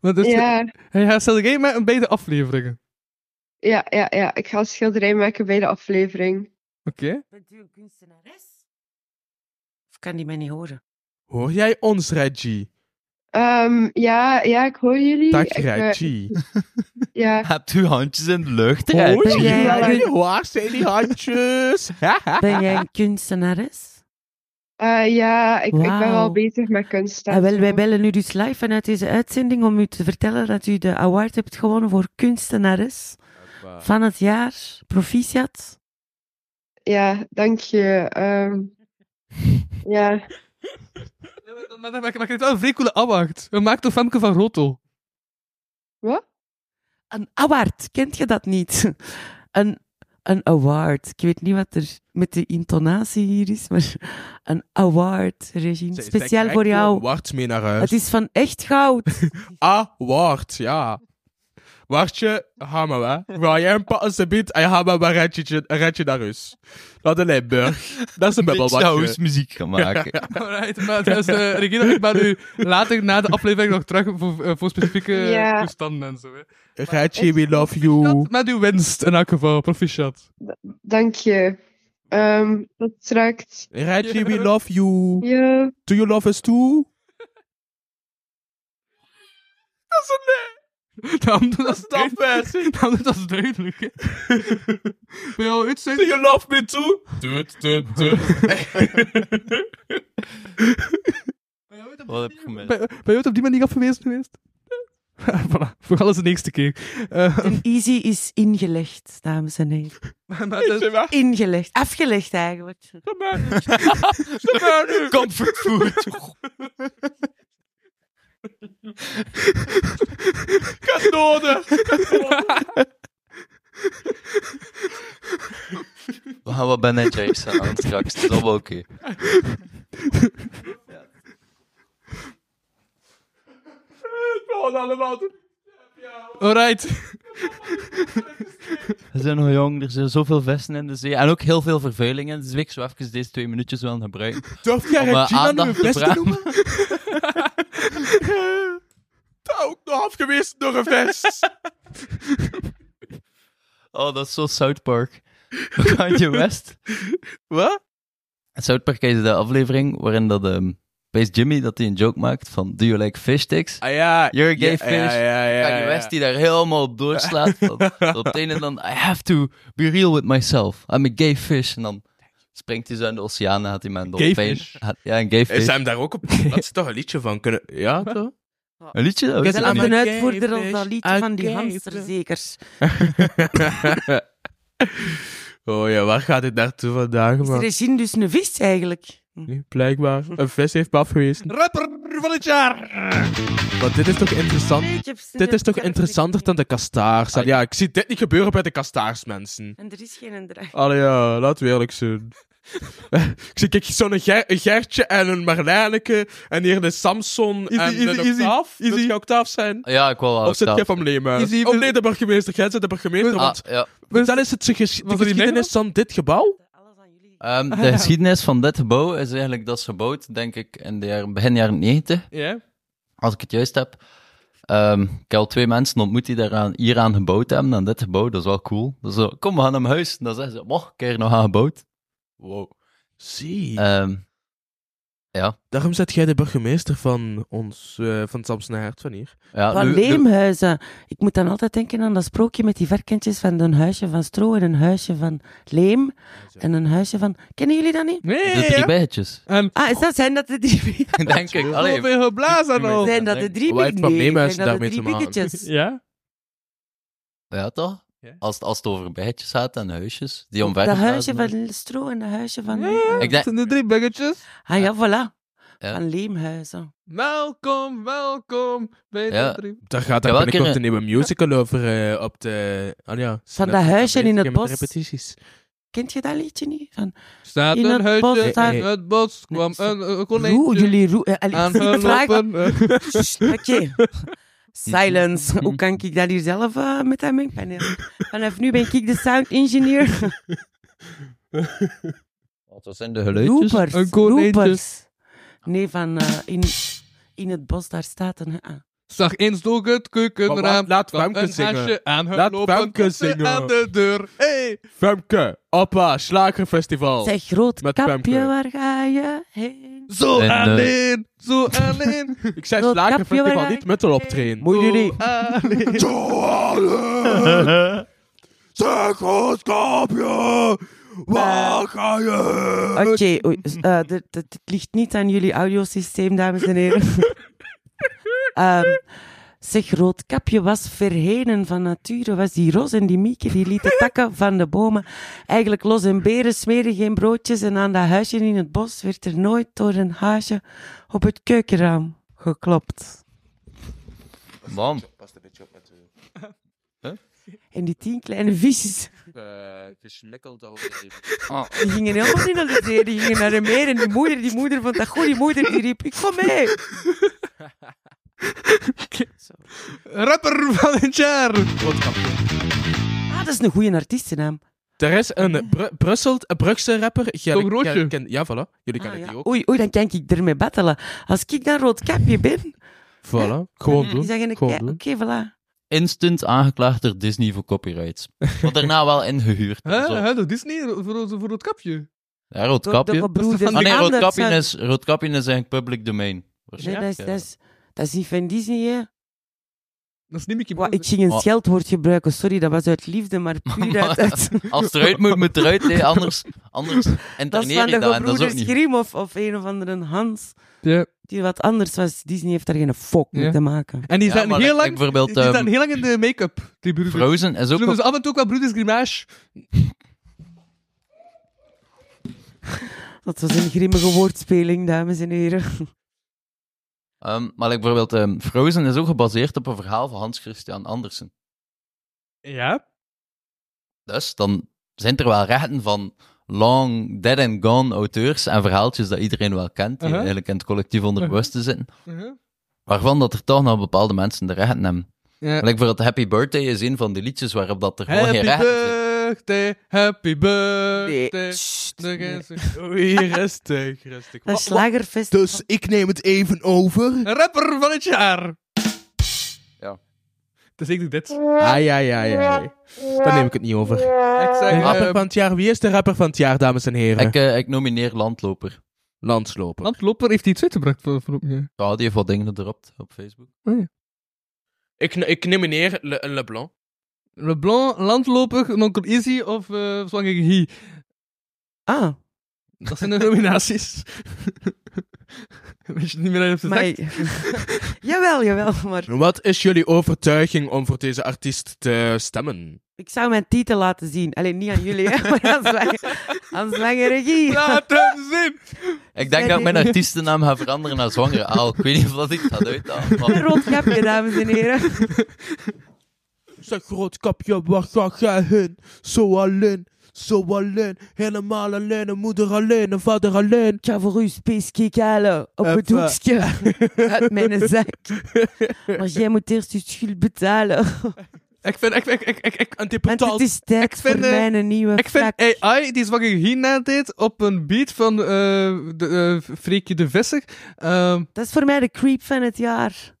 [SPEAKER 5] Maar dus,
[SPEAKER 11] ja,
[SPEAKER 5] Hij gaat schilderijen met een beide afleveringen.
[SPEAKER 11] ja, ja, ja, ik ga een schilderij maken bij de aflevering.
[SPEAKER 5] Oké.
[SPEAKER 6] Bent u een kunstenares? Of kan die mij niet horen?
[SPEAKER 3] Hoor jij ons, Reggie?
[SPEAKER 11] Ehm, ja, ja, ik hoor jullie.
[SPEAKER 3] Dag,
[SPEAKER 11] Ik, eh,
[SPEAKER 3] Reggie.
[SPEAKER 11] ja,
[SPEAKER 4] Hebt uw handjes in de lucht,
[SPEAKER 5] Oh
[SPEAKER 4] hè?
[SPEAKER 3] Hoor
[SPEAKER 6] ben jij-
[SPEAKER 3] jij? Waar zijn die handjes?
[SPEAKER 6] Ben jij een kunstenares?
[SPEAKER 11] eh, ja ik, ik ben wel
[SPEAKER 6] Wauw.
[SPEAKER 11] bezig met kunst. en
[SPEAKER 6] Ah, wel, wij
[SPEAKER 11] zo.
[SPEAKER 6] bellen u dus live vanuit deze uitzending om u te vertellen dat u de award hebt gewonnen voor kunstenares van het jaar. Proficiat.
[SPEAKER 11] Ja, dank je. ehm, ja,
[SPEAKER 5] Maar dan maak ik het wel een vrij coole award. We maken door Femke van Rotel.
[SPEAKER 11] wat?
[SPEAKER 6] Een award, kent je dat niet? Een, een award. Ik weet niet wat er met de intonatie hier is, maar een award, Regine. Speciaal voor jou.
[SPEAKER 3] Wart mee naar huis.
[SPEAKER 6] Het is van echt goud.
[SPEAKER 3] Ah, wart, ja. Wartje, hamer, hè. Waar jij een pattense biedt en je hamer maar een ratje- een ratje naar huis. Naar de Limburg. Dat is een
[SPEAKER 4] Ik zou
[SPEAKER 3] bubbelbadje.
[SPEAKER 4] muziek gaan maken.
[SPEAKER 5] Alright, maar dus, eh, Regina, ik ben u later na de aflevering nog terug voor, eh, voor specifieke
[SPEAKER 11] Ja.
[SPEAKER 5] toestanden en zo. Hè.
[SPEAKER 3] Ratje, we love you.
[SPEAKER 5] Proficiat Met uw winst, in elk geval. Proficiat.
[SPEAKER 11] Dank je. Ehm, dat trekt.
[SPEAKER 3] Ratje, we love you.
[SPEAKER 11] Ja,
[SPEAKER 3] Do you love us too?
[SPEAKER 5] Daarom doet dat
[SPEAKER 3] Dat
[SPEAKER 5] duidelijk. Daarom doet dat duidelijk, hè. Wil je al iets
[SPEAKER 3] Do
[SPEAKER 5] zeggen?
[SPEAKER 3] you love me too? Tut, tut, tut.
[SPEAKER 4] Wat heb ik gemist?
[SPEAKER 5] Ben ben je ooit op die manier afgewezen geweest? voilà, voor alles de eerste keer. Eh,
[SPEAKER 6] Een easy is ingelegd, dames en heren.
[SPEAKER 5] maar- maar dus-
[SPEAKER 6] Ingelegd. Afgelegd eigenlijk.
[SPEAKER 4] Comfort food.
[SPEAKER 3] Doden.
[SPEAKER 4] We gaan wat Ben Jerry's aan straks. Dat is allemaal oké.
[SPEAKER 5] Alright.
[SPEAKER 4] We zijn nog jong, er zijn zoveel vesten in de zee. En ook heel veel vervuiling in de zee. Ik zou even deze twee minuutjes wel gebruiken.
[SPEAKER 3] Durf jij
[SPEAKER 4] Om, eh,
[SPEAKER 3] Regina nu
[SPEAKER 4] aandacht
[SPEAKER 3] een
[SPEAKER 4] te
[SPEAKER 3] vest te
[SPEAKER 4] vragen.
[SPEAKER 3] noemen? Dat ook nog afgewezen door een vest.
[SPEAKER 4] Oh, dat is zo South Park. Kanye West.
[SPEAKER 3] Wat?
[SPEAKER 4] Het South Park is de aflevering waarin dat... ehm Wees Jimmy dat hij een joke maakt van... Do you like fish sticks?
[SPEAKER 3] Ah ja.
[SPEAKER 4] You're a gay
[SPEAKER 3] Ja,
[SPEAKER 4] fish.
[SPEAKER 3] Ja, ja, ja,
[SPEAKER 4] Kanye
[SPEAKER 3] ja.
[SPEAKER 4] West die daar helemaal op doorslaat. Tot, tot op het einde dan... I have to be real with myself. I'm a gay fish. En dan springt hij zo in de oceaan en had hij met een
[SPEAKER 5] Gay
[SPEAKER 4] dolfijn.
[SPEAKER 5] fish.
[SPEAKER 4] Had- Ja, een gay
[SPEAKER 3] Is
[SPEAKER 4] fish.
[SPEAKER 3] hem daar ook op? Dat is toch een liedje van kunnen... Ja, toch?
[SPEAKER 4] Een liedje? dat
[SPEAKER 6] Ik
[SPEAKER 4] wist ik
[SPEAKER 6] ben
[SPEAKER 4] niet.
[SPEAKER 6] een
[SPEAKER 3] niet.
[SPEAKER 6] uitvoerder
[SPEAKER 3] Oké,
[SPEAKER 6] als dat liedje
[SPEAKER 3] vis.
[SPEAKER 6] van die
[SPEAKER 3] Oké,
[SPEAKER 6] hamster,
[SPEAKER 3] vis.
[SPEAKER 6] zeker.
[SPEAKER 3] oh ja, waar gaat dit naartoe vandaag,
[SPEAKER 6] Is
[SPEAKER 3] man?
[SPEAKER 6] Regine dus een vis eigenlijk?
[SPEAKER 3] Nee, Blijkbaar. Een vis heeft me afgewezen.
[SPEAKER 5] Rapper van het jaar!
[SPEAKER 3] Want dit is toch interessant?
[SPEAKER 6] Nee, ik heb ze
[SPEAKER 3] Dit
[SPEAKER 6] net-
[SPEAKER 3] is toch
[SPEAKER 6] ik heb ze
[SPEAKER 3] interessanter dan de
[SPEAKER 6] Ah,
[SPEAKER 3] kastaars? En ja, ik zie dit niet gebeuren bij de kastaars, mensen.
[SPEAKER 6] En er is geen draai.
[SPEAKER 3] Allee, ja, laten we eerlijk zijn. ik zie kijk, zo'n Ger- een Gertje en een Marlijneke en hier een Samson en
[SPEAKER 5] easy,
[SPEAKER 3] een
[SPEAKER 5] easy,
[SPEAKER 3] Octaaf. Dat
[SPEAKER 5] easy.
[SPEAKER 3] kan Octaaf zijn.
[SPEAKER 4] Ja, ik wil wel.
[SPEAKER 3] Of zit jij
[SPEAKER 4] dat.
[SPEAKER 3] van
[SPEAKER 5] Easy,
[SPEAKER 3] Leemhuis? Of
[SPEAKER 5] we-
[SPEAKER 3] nee, de burgemeester. Jij zit de burgemeester,
[SPEAKER 4] Ah,
[SPEAKER 3] want...
[SPEAKER 4] ja.
[SPEAKER 3] Dat is het ges- de
[SPEAKER 5] niet
[SPEAKER 3] geschiedenis
[SPEAKER 5] meegemaakt?
[SPEAKER 3] van dit gebouw?
[SPEAKER 6] Alles aan jullie.
[SPEAKER 4] Ehm, de geschiedenis van dit gebouw is eigenlijk dat is gebouwd, denk ik, in de jaren, begin jaren 90,
[SPEAKER 5] Ja.
[SPEAKER 4] als ik het juist heb. Ehm, ik heb al twee mensen ontmoet die daaraan, hieraan gebouwd hebben, aan dit gebouw. Dat is wel cool. Dat is zo, kom, we gaan naar mijn huis. En dan zeggen ze, mocht ik heb hier nog aan gebouwd.
[SPEAKER 3] Wow. Zie.
[SPEAKER 4] Ehm,
[SPEAKER 3] Daarom zet jij de burgemeester van ons, eh, van Samson en Hert van hier.
[SPEAKER 4] ja,
[SPEAKER 6] Van
[SPEAKER 4] nu- nu-
[SPEAKER 6] Leemhuizen. Ik moet dan altijd denken aan dat sprookje met die verkentjes van een huisje van stro en een huisje van leem en een huisje van... Kennen jullie dat niet?
[SPEAKER 5] Nee,
[SPEAKER 4] de drie bijtjes,
[SPEAKER 5] En
[SPEAKER 6] Ah, is dat, zijn dat de drie...
[SPEAKER 4] denk ik. Allee,
[SPEAKER 5] zoveel geblazen
[SPEAKER 3] Oh,
[SPEAKER 5] al.
[SPEAKER 4] Nee.
[SPEAKER 6] Zijn dat de drie
[SPEAKER 3] Wat heeft Van
[SPEAKER 6] bikken? Nee,
[SPEAKER 3] Leemhuizen
[SPEAKER 6] zijn dat de
[SPEAKER 3] daarmee te
[SPEAKER 6] drie
[SPEAKER 3] maken?
[SPEAKER 6] bikketjes?
[SPEAKER 5] Ja?
[SPEAKER 4] ja, toch? Als, het- als het over bijtjes gaat en huisjes die omver
[SPEAKER 6] Dat huisje
[SPEAKER 4] blazen.
[SPEAKER 6] van Stro en dat huisje van...
[SPEAKER 4] Ik denk-
[SPEAKER 5] de drie buggetjes.
[SPEAKER 6] Ah ja, voilà.
[SPEAKER 4] Ja.
[SPEAKER 6] Van Leemhuizen.
[SPEAKER 5] Welkom, welkom bij
[SPEAKER 4] Ja.
[SPEAKER 5] de drie...
[SPEAKER 3] Daar gaat er
[SPEAKER 4] Ja, wel
[SPEAKER 3] binnenkort een
[SPEAKER 4] kunnen-
[SPEAKER 3] nieuwe musical over eh, op de... Ah ja. ze
[SPEAKER 6] Van
[SPEAKER 3] zijn
[SPEAKER 6] dat
[SPEAKER 3] net
[SPEAKER 6] huisje
[SPEAKER 3] bezig
[SPEAKER 6] in het
[SPEAKER 3] met de
[SPEAKER 6] bos.
[SPEAKER 3] repetities.
[SPEAKER 6] Kent je dat liedje niet? Van,
[SPEAKER 5] Staat
[SPEAKER 6] In
[SPEAKER 5] een
[SPEAKER 6] het
[SPEAKER 5] huisje
[SPEAKER 6] bos daar-
[SPEAKER 5] in het bos, kwam
[SPEAKER 6] Nee,
[SPEAKER 5] een, een
[SPEAKER 6] Roe,
[SPEAKER 5] konijntje
[SPEAKER 6] jullie roe... eh, allee, vraag-
[SPEAKER 5] aangelopen.
[SPEAKER 6] Sst, Oké. Silence. Hoe kan ik dat hier zelf eh, met dat mengpaneel? Vanaf nu ben ik de sound engineer.
[SPEAKER 4] Wat dat zijn de geluidjes?
[SPEAKER 6] Loopers.
[SPEAKER 5] een konijntje.
[SPEAKER 6] Loopers. Nee, van eh, in, in het bos, daar staat een... ah.
[SPEAKER 5] Zag eens door het keukenraam.
[SPEAKER 3] Maar laat
[SPEAKER 5] kwam
[SPEAKER 3] Femke
[SPEAKER 5] een
[SPEAKER 3] zingen.
[SPEAKER 5] haasje aan haar
[SPEAKER 3] Laat
[SPEAKER 5] lopen,
[SPEAKER 3] Femke
[SPEAKER 5] klopte
[SPEAKER 3] zingen.
[SPEAKER 5] aan de deur. Hey.
[SPEAKER 3] Femke, Appa, Slagerfestival.
[SPEAKER 6] Zeg, groot
[SPEAKER 3] Met
[SPEAKER 6] kapje,
[SPEAKER 3] Femke.
[SPEAKER 6] waar ga je heen?
[SPEAKER 5] Zo
[SPEAKER 4] En, eh,
[SPEAKER 5] alleen, zo alleen.
[SPEAKER 3] Ik zei
[SPEAKER 6] Groot kapje,
[SPEAKER 3] Slagerfestival,
[SPEAKER 6] waar
[SPEAKER 3] niet
[SPEAKER 6] hij-
[SPEAKER 3] met erop trainen.
[SPEAKER 6] Moet jullie...
[SPEAKER 5] Zo alleen.
[SPEAKER 3] Zeg, ons kapje, waar ga je?
[SPEAKER 6] Oké, oei, s- eh, dit- dit- dit ligt niet aan jullie audiosysteem, dames en heren. Ehm, zeg, Roodkapje was verhenen van nature. Was die Ros en die Mieke, die lieten takken van de bomen eigenlijk los. En beren smeren geen broodjes. En aan dat huisje in het bos werd er nooit door een haasje op het keukenraam geklopt.
[SPEAKER 4] Bam.
[SPEAKER 6] En die tien kleine visjes,
[SPEAKER 4] Gesmikkeld
[SPEAKER 6] die gingen helemaal niet naar de zee. Die gingen naar de meer. En die moeder, die moeder vond dat goed. Die moeder, die riep, ik kom mee.
[SPEAKER 5] Rapper van het jaar.
[SPEAKER 6] Ah, dat is een goede artiestennaam.
[SPEAKER 3] Er is een Bru Brusselt- een Brugse rapper. Jij-
[SPEAKER 5] Tom Roosje.
[SPEAKER 3] jij kent- ja, voilà. Jullie kennen
[SPEAKER 6] Ah, ja.
[SPEAKER 3] die ook.
[SPEAKER 6] Oei, oei, dan kan ik ermee battelen. Als ik dan roodkapje ben,
[SPEAKER 4] Hm?
[SPEAKER 3] Voilà. Gewoon
[SPEAKER 6] die
[SPEAKER 3] doen.
[SPEAKER 6] zeggen ik,
[SPEAKER 3] Gewoon
[SPEAKER 6] ja, oké,
[SPEAKER 3] doen.
[SPEAKER 6] voilà.
[SPEAKER 4] Instant aangeklaagd door Disney voor copyrights. Wat daarna wel ingehuurd. en
[SPEAKER 5] Hè,
[SPEAKER 4] zo.
[SPEAKER 5] hè, door Disney, voor, ons- voor het kapje.
[SPEAKER 4] Ja,
[SPEAKER 6] Door de
[SPEAKER 4] roodkapje.
[SPEAKER 6] gebroeders
[SPEAKER 4] Ah nee,
[SPEAKER 6] Andersen.
[SPEAKER 4] roodkapje is, roodkapje is eigenlijk public domain.
[SPEAKER 6] Nee, dat, is,
[SPEAKER 4] Waarschijnlijk,
[SPEAKER 6] dat, is, dat is niet van Disney, hè.
[SPEAKER 5] Dat is niet Mickey
[SPEAKER 6] Wa-
[SPEAKER 5] Mouse.
[SPEAKER 6] ik ging een
[SPEAKER 4] Oh.
[SPEAKER 6] scheldwoord gebruiken, sorry, dat was uit liefde, maar puur uit... uit-
[SPEAKER 4] ja. Als het eruit moet, moet het eruit. hè. Anders, anders
[SPEAKER 6] dat is van
[SPEAKER 4] interneer
[SPEAKER 6] de
[SPEAKER 4] je dat. En dat is ook
[SPEAKER 6] gebroeders
[SPEAKER 4] niet.
[SPEAKER 6] Grimm of, of een of andere Hans,
[SPEAKER 5] Ja.
[SPEAKER 6] die wat anders was. Disney heeft daar geen fok
[SPEAKER 5] Ja.
[SPEAKER 6] mee te maken.
[SPEAKER 5] En die
[SPEAKER 4] Ja,
[SPEAKER 5] zijn
[SPEAKER 4] maar
[SPEAKER 5] heel
[SPEAKER 4] ik-
[SPEAKER 5] lang...
[SPEAKER 4] ik bijvoorbeeld,
[SPEAKER 5] die zijn
[SPEAKER 4] ehm,
[SPEAKER 5] heel lang in de make-up, die broeders.
[SPEAKER 4] Frozen is ook
[SPEAKER 5] Ze noemen
[SPEAKER 4] op...
[SPEAKER 5] ze af en toe ook wel broeders Grimage.
[SPEAKER 6] Dat was een grimmige woordspeling, dames en heren.
[SPEAKER 4] ehm, maar like, bijvoorbeeld ehm, Frozen is ook gebaseerd op een verhaal van Hans Christian Andersen.
[SPEAKER 5] Ja.
[SPEAKER 4] Dus dan zijn er wel rechten van long dead and gone auteurs en verhaaltjes dat iedereen wel kent, die
[SPEAKER 5] Uh-huh.
[SPEAKER 4] eigenlijk in het collectief onderbewuste zitten,
[SPEAKER 5] Uh-huh.
[SPEAKER 4] waarvan dat er toch nog bepaalde mensen de rechten hebben.
[SPEAKER 5] Ja.
[SPEAKER 4] Like, bijvoorbeeld Happy Birthday is een van die liedjes waarop dat er gewoon
[SPEAKER 5] Happy
[SPEAKER 4] geen rechten zijn.
[SPEAKER 5] birthday, happy
[SPEAKER 6] Nee,
[SPEAKER 5] birthday.
[SPEAKER 6] sst,
[SPEAKER 5] De
[SPEAKER 6] nee.
[SPEAKER 5] gans-
[SPEAKER 3] Oei, rustig, rustig.
[SPEAKER 6] Dat is slagerfest.
[SPEAKER 3] Dus ik neem het even over.
[SPEAKER 5] Rapper van het jaar.
[SPEAKER 4] Ja.
[SPEAKER 5] Dat is ik dit.
[SPEAKER 3] Ai, ai, ai, ai. Dan neem ik het niet over.
[SPEAKER 5] Ik zeg,
[SPEAKER 3] rapper
[SPEAKER 5] eh,
[SPEAKER 3] van het jaar. Wie is de rapper van het jaar, dames en heren?
[SPEAKER 4] Ik, eh, ik nomineer Landloper.
[SPEAKER 3] Landsloper.
[SPEAKER 5] Landloper heeft iets uitgebracht voor, voor op je.
[SPEAKER 4] Ja, die heeft wat dingen gedropt op Facebook.
[SPEAKER 3] Ik, ik nomineer Le- Leblanc.
[SPEAKER 5] Leblanc, Landloper, Nonkel Izzy of eh Zwanger Guy.
[SPEAKER 6] Ah,
[SPEAKER 5] Dat zijn de nominaties. Weet je niet meer uit de
[SPEAKER 6] maar...
[SPEAKER 5] tekst?
[SPEAKER 6] jawel, jawel, maar...
[SPEAKER 3] Wat is jullie overtuiging om voor deze artiest te stemmen?
[SPEAKER 6] Ik zou mijn titel laten zien. Alleen niet aan jullie, hè, maar aan Zwanger- aan Zwanger Regie.
[SPEAKER 5] Laat hem zien!
[SPEAKER 4] Ik denk dat ik mijn artiestennaam ga veranderen naar Zwangere Aal. Ik weet niet of dat ik dat uithalen.
[SPEAKER 6] Een
[SPEAKER 4] maar-
[SPEAKER 6] rood kapje, dames en heren.
[SPEAKER 3] Zeg groot kapje, waar ga jij heen? Zo alleen, zo alleen. Helemaal alleen, een moeder alleen, een vader alleen.
[SPEAKER 6] Ik ga voor u spacecake halen op het
[SPEAKER 3] Even.
[SPEAKER 6] hoekje uit mijn zak. Maar jij moet eerst je schuld betalen.
[SPEAKER 5] Ik vind, ik, ik, ik, ik, ik,
[SPEAKER 3] En die
[SPEAKER 6] Want het
[SPEAKER 3] betaalt
[SPEAKER 6] is tijd
[SPEAKER 5] Ik vind,
[SPEAKER 6] voor
[SPEAKER 5] eh,
[SPEAKER 6] mijn nieuwe
[SPEAKER 5] ik vind
[SPEAKER 6] vak.
[SPEAKER 5] AI die Zwanger Guy nadeed op een beat van eh de, eh, Freekje de Visser. Ehm,
[SPEAKER 6] Dat is voor mij de creep van het jaar.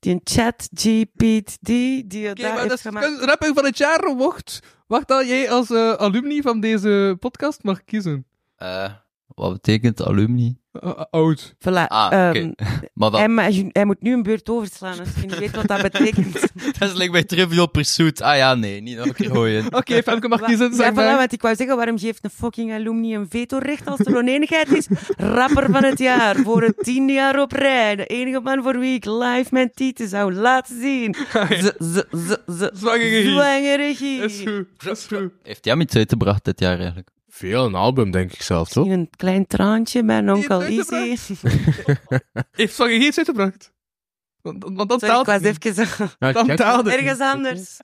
[SPEAKER 6] Die chat GPT die je
[SPEAKER 5] Oké,
[SPEAKER 6] daar
[SPEAKER 5] maar
[SPEAKER 6] hebt
[SPEAKER 5] dat is
[SPEAKER 6] gemaakt.
[SPEAKER 5] kun- rapper van het jaar wordt. Wacht dat jij als eh, alumni van deze podcast mag kiezen.
[SPEAKER 4] Eh, wat betekent alumni?
[SPEAKER 5] Eh, oud.
[SPEAKER 6] Voilà.
[SPEAKER 4] Ah, oké.
[SPEAKER 6] ehm,
[SPEAKER 4] Maar dat-
[SPEAKER 6] hij, ma- hij moet nu een beurt overslaan als je niet weet wat dat betekent.
[SPEAKER 4] Dat is like bij Trivial Pursuit. Ah ja, nee, niet nog een keer gooien.
[SPEAKER 5] Oké, Femke mag kiezen,
[SPEAKER 6] Ja,
[SPEAKER 5] zeg
[SPEAKER 6] voilà,
[SPEAKER 5] maar.
[SPEAKER 6] want ik wou zeggen, waarom geeft een fucking alumni een vetorecht als er oneenigheid is? Rapper van het jaar, voor het tiende jaar op rij. De enige man voor wie ik live mijn titel zou laten zien. Z- z- z- z-
[SPEAKER 5] Zwangere Giet.
[SPEAKER 6] Zwangere Giet.
[SPEAKER 5] Is goed, is goed.
[SPEAKER 4] Heeft hij hem iets uitgebracht dit jaar eigenlijk?
[SPEAKER 3] Veel, een album denk ik zelf, toch?
[SPEAKER 6] In een klein traantje, mijn onkel
[SPEAKER 5] heeft
[SPEAKER 6] Izzy.
[SPEAKER 5] Heeft Zwangere Giet iets uitgebracht? Want, want dat
[SPEAKER 6] Sorry, ik
[SPEAKER 5] taalt
[SPEAKER 6] was
[SPEAKER 5] niet.
[SPEAKER 6] even...
[SPEAKER 3] Ja,
[SPEAKER 5] Dan
[SPEAKER 3] check.
[SPEAKER 5] taalde het
[SPEAKER 6] Ergens
[SPEAKER 5] niet.
[SPEAKER 6] anders.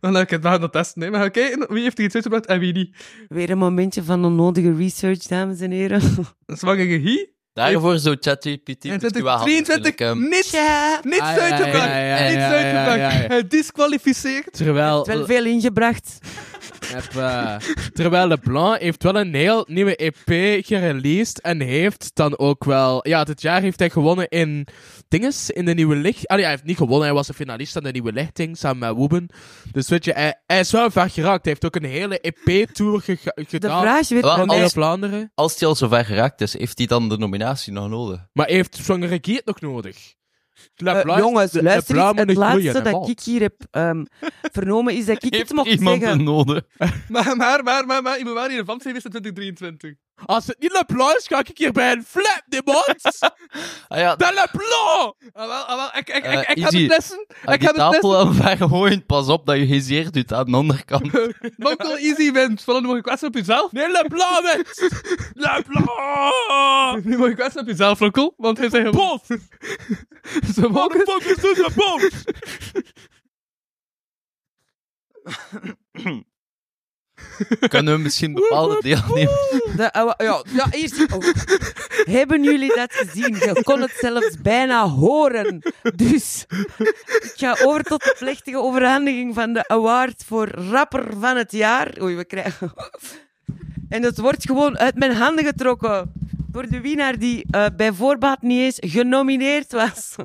[SPEAKER 5] Dan heb ik het wel dat testen. Nee, maar oké, wie heeft er iets uitgebracht en wie niet?
[SPEAKER 6] Weer een momentje van onnodige research, dames en heren.
[SPEAKER 5] Zwangere Giet?
[SPEAKER 4] Daarvoor zou ChatGPT misschien wel handig zijn.
[SPEAKER 5] 23,
[SPEAKER 4] Ik, ehm,
[SPEAKER 5] niets,
[SPEAKER 6] Ja.
[SPEAKER 5] niets
[SPEAKER 3] Ah, ja, ja,
[SPEAKER 5] uitgebracht.
[SPEAKER 3] ja, ja, ja,
[SPEAKER 5] niets
[SPEAKER 3] ja, ja,
[SPEAKER 5] uitgebracht.
[SPEAKER 3] ja, ja.
[SPEAKER 5] Hij disqualificeert.
[SPEAKER 3] Terwijl,
[SPEAKER 6] Wel veel ingebracht.
[SPEAKER 3] heb, eh, terwijl LeBlanc heeft wel een heel nieuwe EP gereleased en heeft dan ook wel... Ja, dit jaar heeft hij gewonnen in dinges, in de Nieuwe Licht. Ah, ja, hij heeft niet gewonnen, hij was de finalist aan de Nieuwe Lichting samen met Wooben. Dus weet je, hij, hij is wel ver geraakt. Hij heeft ook een hele E EP-tour
[SPEAKER 6] De
[SPEAKER 3] gedaan.
[SPEAKER 6] vraag is, weet
[SPEAKER 4] Wel,
[SPEAKER 6] je
[SPEAKER 3] Van
[SPEAKER 4] als-
[SPEAKER 3] alle
[SPEAKER 6] mij...
[SPEAKER 3] Vlaanderen.
[SPEAKER 4] ehm, Als hij al zo ver geraakt is, heeft hij dan de nominatie nog nodig?
[SPEAKER 3] Maar heeft Zwangere Giet nog nodig?
[SPEAKER 6] Eh,
[SPEAKER 3] LeBlanc-
[SPEAKER 6] jongens,
[SPEAKER 3] Le-
[SPEAKER 6] luister
[SPEAKER 3] LeBlanc
[SPEAKER 6] eens,
[SPEAKER 3] moet
[SPEAKER 6] Het
[SPEAKER 3] nog groeien,
[SPEAKER 6] laatste
[SPEAKER 3] hè,
[SPEAKER 6] dat
[SPEAKER 3] man.
[SPEAKER 6] ik hier heb ehm, vernomen is dat ik
[SPEAKER 4] heeft
[SPEAKER 6] het mocht
[SPEAKER 4] iemand
[SPEAKER 6] zeggen.
[SPEAKER 4] hem nodig?
[SPEAKER 5] Maar, maar, maar, maar, maar, je moet wel relevant zijn in 2023.
[SPEAKER 3] Als het niet LeBlanc is, ga ik hier bij een flap, demons!
[SPEAKER 4] Ah ja,
[SPEAKER 3] De LeBlanc!
[SPEAKER 5] Ah, wel, ah, wel, ik, ik,
[SPEAKER 4] Eh,
[SPEAKER 5] ik, ik ga
[SPEAKER 4] Izzy,
[SPEAKER 5] het testen.
[SPEAKER 3] Ah,
[SPEAKER 4] aan
[SPEAKER 5] Ik
[SPEAKER 4] die
[SPEAKER 5] ga het
[SPEAKER 4] tafel
[SPEAKER 5] testen.
[SPEAKER 4] wel ver gooien. Pas op dat je geen zeer doet aan de onderkant.
[SPEAKER 5] Monkel Easy wint. Voilà, nu mag je kwetsen op jezelf.
[SPEAKER 3] Nee, LeBlanc wint! LeBlanc!
[SPEAKER 5] Nu mag je kwetsen op jezelf, Ronkel, want hij zei gewoon...
[SPEAKER 3] Bof!
[SPEAKER 5] Ze mogen...
[SPEAKER 3] Fuck dus is dit een bof?
[SPEAKER 4] Kunnen we misschien bepaalde deelnemers...
[SPEAKER 6] De oude- ja, ja, hier zie- oh. Hebben jullie dat gezien? Je kon het zelfs bijna horen. Dus ik ga over tot de plechtige overhandiging van de award voor rapper van het jaar. Oei, we krijgen... En dat wordt gewoon uit mijn handen getrokken door de winnaar die eh, bij voorbaat niet eens genomineerd was.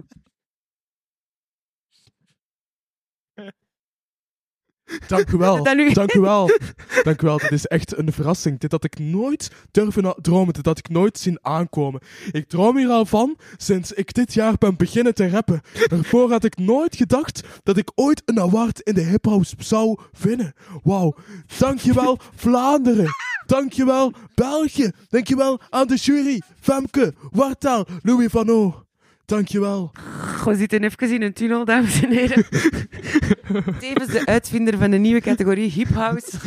[SPEAKER 3] Dank u wel,
[SPEAKER 6] Dat nu-
[SPEAKER 3] dank u wel. Dank u wel, dit is echt een verrassing. Dit had ik nooit durven na- dromen, dit had ik nooit zien aankomen. Ik droom hier al van sinds ik dit jaar ben beginnen te rappen. Daarvoor had ik nooit gedacht dat ik ooit een award in de hiphouse zou winnen. Wauw, dankjewel Vlaanderen. Dankjewel België. Dankjewel aan de jury. Femke, Wartaal, Louis van O. Dankjewel.
[SPEAKER 6] We zitten even in een tunnel, dames en heren. Tevens de uitvinder van de nieuwe categorie Hip House.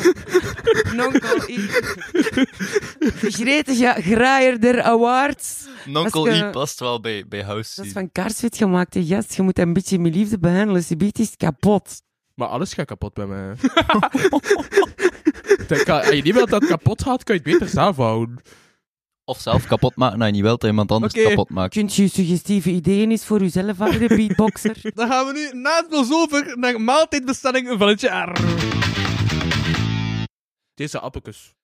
[SPEAKER 6] Nonkel I. Gretige Graaier der Awards.
[SPEAKER 4] Nonkel
[SPEAKER 6] Als ik,
[SPEAKER 4] I
[SPEAKER 6] eh,
[SPEAKER 4] past wel bij, bij House
[SPEAKER 6] Dat is
[SPEAKER 4] Scene.
[SPEAKER 6] van kaarsvet gemaakt, hè, gast. Je moet hem een beetje met liefde behandelen. Subiet is het kapot.
[SPEAKER 3] Maar alles gaat kapot bij mij. Dat kan- Als je niet wilt dat het kapot gaat, kan je het beter zelf houden.
[SPEAKER 4] Of zelf kapot maken. Nou, niet wel dat iemand anders
[SPEAKER 5] Oké.
[SPEAKER 4] kapot maakt.
[SPEAKER 6] Kunt je suggestieve ideeën eens voor uzelf houden, beatboxer?
[SPEAKER 5] Dan gaan we nu naast ons over naar maaltijdbestelling van het jaar.
[SPEAKER 3] Deze appelkus.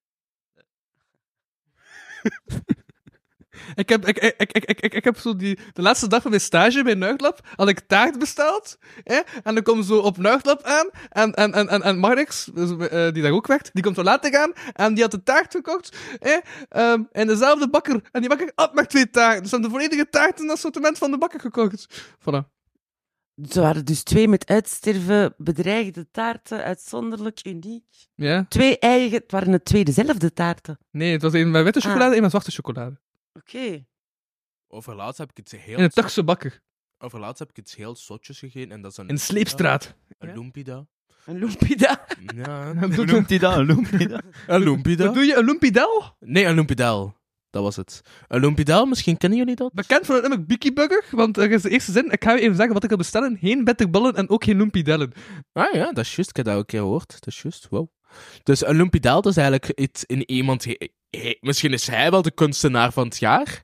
[SPEAKER 5] Ik heb, ik, ik, ik, ik, ik, ik heb zo die, de laatste dag van mijn stage bij Nuchtlab had ik taart besteld. Hè? En dan komt zo op Nuchtlab aan. En, en, en, en, en Marix, dus, eh, die daar ook werkt, die komt zo later aan. En die had de taart gekocht. Hè? ehm, en dezelfde bakker. En die bakker had maar twee taarten. Dus ze hebben de volledige taart in het assortiment van de bakker gekocht. Voilà.
[SPEAKER 6] Ze waren dus twee met uitsterven bedreigde taarten. Uitzonderlijk, uniek.
[SPEAKER 5] Ja?
[SPEAKER 6] Twee eigen... Het waren de twee dezelfde taarten.
[SPEAKER 5] Nee, het was een met witte
[SPEAKER 6] Ah.
[SPEAKER 5] chocolade en een met zwarte chocolade.
[SPEAKER 6] Oké.
[SPEAKER 3] Over laatst heb ik iets heel...
[SPEAKER 5] In een Turkse bakker.
[SPEAKER 3] Over laatst heb ik iets heel zotjes gegeten en dat is een...
[SPEAKER 5] In Sleepstraat.
[SPEAKER 3] Een lumpida.
[SPEAKER 6] Een loempida.
[SPEAKER 3] Ja.
[SPEAKER 4] Hoe noemt hij dat? Hoe noemt hij dat?
[SPEAKER 3] Een
[SPEAKER 5] Wat
[SPEAKER 3] lumpida?
[SPEAKER 5] doe je? Een lumpidel?
[SPEAKER 3] Nee, een lumpidel. Dat was het. Een lumpidel, misschien kennen jullie dat?
[SPEAKER 5] Bekend van het nummer Beaky Burger, want er is de eerste zin. Ik ga je even zeggen wat ik wil bestellen. Geen bitterballen en ook geen lumpidellen.
[SPEAKER 3] Ah ja, dat is juist. Ik heb dat ook een keer gehoord. Dat is juist. Wow. Dus een lumpidel, dat is eigenlijk iets in iemand... he- he- Misschien is hij wel de kunstenaar van het jaar.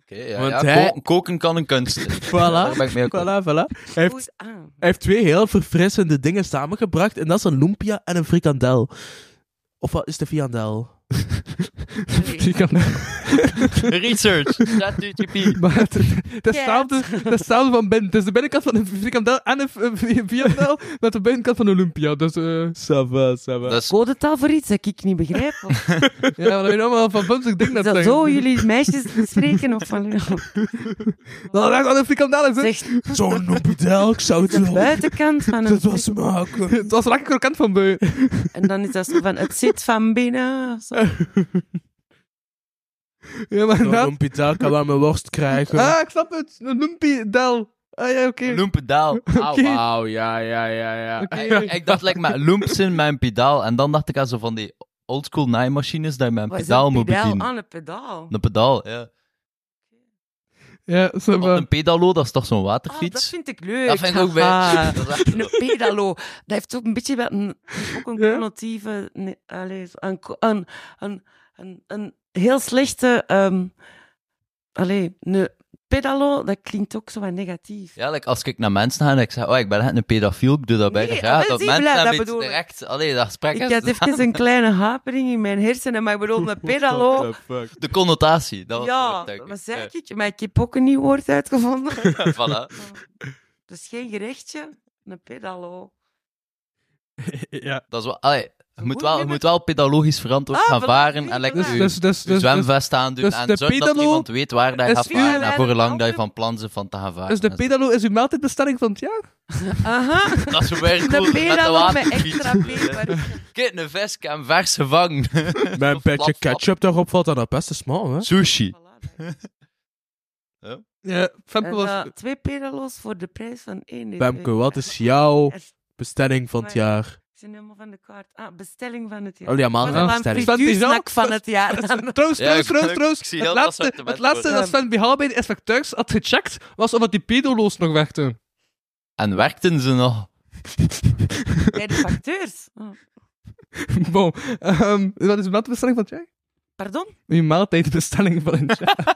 [SPEAKER 4] Oké, ja,
[SPEAKER 3] Want
[SPEAKER 4] ja,
[SPEAKER 3] hij-
[SPEAKER 4] ko- koken kan een kunst. zijn.
[SPEAKER 3] Voilà.
[SPEAKER 4] Daar ben ik mee akkoord.
[SPEAKER 3] Voilà, voilà. Hij heeft
[SPEAKER 6] Goed aan.
[SPEAKER 3] Hij heeft twee heel verfrissende dingen samengebracht. En dat is een lumpia en een frikandel. Of wat is de viandel?
[SPEAKER 6] Allee.
[SPEAKER 5] Die kan...
[SPEAKER 4] Research, ChatGPT.
[SPEAKER 5] Maar het, het is hetzelfde- het is hetzelfde van binnen. Het is de binnenkant van een frikandel en een v- een viandel met de binnenkant van Olympia. Dus, eh ça va, ça va.
[SPEAKER 4] Dat is-
[SPEAKER 6] Codetaal voor iets dat ik niet begrijp. Of
[SPEAKER 5] Ja, maar dat weet je allemaal van bums, ik denk
[SPEAKER 6] is
[SPEAKER 5] dat
[SPEAKER 6] dat
[SPEAKER 5] zijn.
[SPEAKER 6] zo jullie meisjes spreken? Of van...
[SPEAKER 5] Dat lijkt wel een frikandel. en zo-
[SPEAKER 6] Zeg,
[SPEAKER 5] Zo'n noppedel, ik zou het
[SPEAKER 6] de
[SPEAKER 5] wel...
[SPEAKER 6] buitenkant van een...
[SPEAKER 5] Het was maken. Het was lekker krokant van bui.
[SPEAKER 6] En dan is dat zo van, het zit van binnen. Zo.
[SPEAKER 5] Ja, maar
[SPEAKER 3] Zo'n
[SPEAKER 5] inderdaad.
[SPEAKER 3] Lumpitaal kan aan mijn worst krijgen.
[SPEAKER 5] Ah, ik snap het. Een noempedel. Ah ja, oké.
[SPEAKER 4] Loemp pedaal. Auw.
[SPEAKER 5] Oké.
[SPEAKER 3] Wauw, ja, ja, ja, ja.
[SPEAKER 5] Oké.
[SPEAKER 4] Ik, ik dacht, like, met loemps in mijn pedaal. En dan dacht ik aan zo van die oldschool naaimachines dat je met een
[SPEAKER 6] Wat is
[SPEAKER 4] pedaal
[SPEAKER 6] dat?
[SPEAKER 4] moet
[SPEAKER 6] Pedaal
[SPEAKER 4] bedienen.
[SPEAKER 6] aan een pedaal.
[SPEAKER 4] Een pedaal, ja.
[SPEAKER 5] Ja, ça
[SPEAKER 4] Want
[SPEAKER 5] va.
[SPEAKER 4] een pedalo, dat is toch zo'n
[SPEAKER 6] Ah, dat
[SPEAKER 4] waterfiets?
[SPEAKER 6] vind ik leuk.
[SPEAKER 4] dat vind ik ook
[SPEAKER 6] Haha.
[SPEAKER 4] bij. Dat is echt-
[SPEAKER 6] Een pedalo. Dat heeft ook een beetje wel een, ook een
[SPEAKER 5] Ja?
[SPEAKER 6] connotieve... Nee, allee, zo een, co- een, een, een, een heel slechte... ehm allee, een pedalo, dat klinkt ook zo wat negatief.
[SPEAKER 4] Ja, like, als ik naar mensen ga en ik zeg, oh, ik ben echt een pedofiel, ik doe dat bijna
[SPEAKER 6] Nee,
[SPEAKER 4] graag.
[SPEAKER 6] dat
[SPEAKER 4] Dat
[SPEAKER 6] is
[SPEAKER 4] mensen
[SPEAKER 6] niet blij,
[SPEAKER 4] hebben
[SPEAKER 6] dat
[SPEAKER 4] iets
[SPEAKER 6] bedoel ik.
[SPEAKER 4] direct... Allee, dat gesprek
[SPEAKER 6] ik
[SPEAKER 4] is-
[SPEAKER 6] had even een kleine hapering in mijn hersenen, maar ik bedoel, met pedalo...
[SPEAKER 4] De connotatie, dat was
[SPEAKER 6] ja,
[SPEAKER 4] het woord, denk ik.
[SPEAKER 6] wat zei ik? Maar ik heb ook een nieuw woord uitgevonden.
[SPEAKER 4] Ja, voilà.
[SPEAKER 6] Dus geen gerechtje, een pedalo.
[SPEAKER 5] Ja.
[SPEAKER 4] Dat is wel... Allee, je moet
[SPEAKER 6] Hoe
[SPEAKER 4] wel, je
[SPEAKER 6] noem je
[SPEAKER 4] moet wel pedalogisch verantwoord
[SPEAKER 6] Ah,
[SPEAKER 4] gaan
[SPEAKER 6] voilà,
[SPEAKER 4] varen en
[SPEAKER 6] voilà.
[SPEAKER 4] lekker
[SPEAKER 5] Dus,
[SPEAKER 4] je,
[SPEAKER 5] dus, dus,
[SPEAKER 4] je
[SPEAKER 5] dus, dus,
[SPEAKER 4] zwemvest aandoen
[SPEAKER 5] dus de
[SPEAKER 4] en zorg dat
[SPEAKER 5] pedalo
[SPEAKER 4] iemand weet waar dat je
[SPEAKER 5] is
[SPEAKER 4] gaat
[SPEAKER 5] uw-
[SPEAKER 4] varen en voor hoe lang dat je
[SPEAKER 6] andere-
[SPEAKER 4] van plan bent van te gaan varen.
[SPEAKER 5] dus de pedalo is uw maaltijdbestelling van het jaar?
[SPEAKER 6] Aha,
[SPEAKER 4] Dat is weer cool,
[SPEAKER 6] een
[SPEAKER 4] met de
[SPEAKER 6] pedalo met
[SPEAKER 4] waterfiets.
[SPEAKER 6] extra peper.
[SPEAKER 4] Kijk, een vis kan vers gevangen.
[SPEAKER 3] Mijn petje
[SPEAKER 4] Flap, flap.
[SPEAKER 3] ketchup daarop valt aan dat beste smaal, hè?
[SPEAKER 4] Sushi.
[SPEAKER 5] Ja, Femke
[SPEAKER 6] En,
[SPEAKER 5] was...
[SPEAKER 6] eh, twee pedalo's voor de prijs van één.
[SPEAKER 3] Bemke, wat is jouw
[SPEAKER 6] Ik
[SPEAKER 3] bestelling van het
[SPEAKER 6] Maar-
[SPEAKER 3] jaar?
[SPEAKER 6] zijn helemaal van de kaart. Ah, bestelling van het jaar.
[SPEAKER 3] Oh ja,
[SPEAKER 6] Maar dan een
[SPEAKER 3] maaltijdbestelling.
[SPEAKER 5] Van die
[SPEAKER 6] frituursnack
[SPEAKER 5] zelf-
[SPEAKER 6] van het jaar.
[SPEAKER 5] Trouwens,
[SPEAKER 4] Ja,
[SPEAKER 5] trouwens,
[SPEAKER 4] ik-
[SPEAKER 5] trouwens,
[SPEAKER 4] ik
[SPEAKER 5] trouwens.
[SPEAKER 4] zie
[SPEAKER 5] Het
[SPEAKER 4] heel dat
[SPEAKER 5] laatste,
[SPEAKER 4] assortiment
[SPEAKER 5] het laatste
[SPEAKER 4] voor.
[SPEAKER 5] dat Sven BH bij de inspecteurs had gecheckt, was of het die pedolo's nog werkten.
[SPEAKER 4] En werkten ze nog?
[SPEAKER 6] Bij de facteurs. Oh,
[SPEAKER 5] Bon, ehm, wat is uw maaltijdbestelling van het jaar?
[SPEAKER 6] Pardon?
[SPEAKER 5] Uw maaltijdbestelling van het jaar.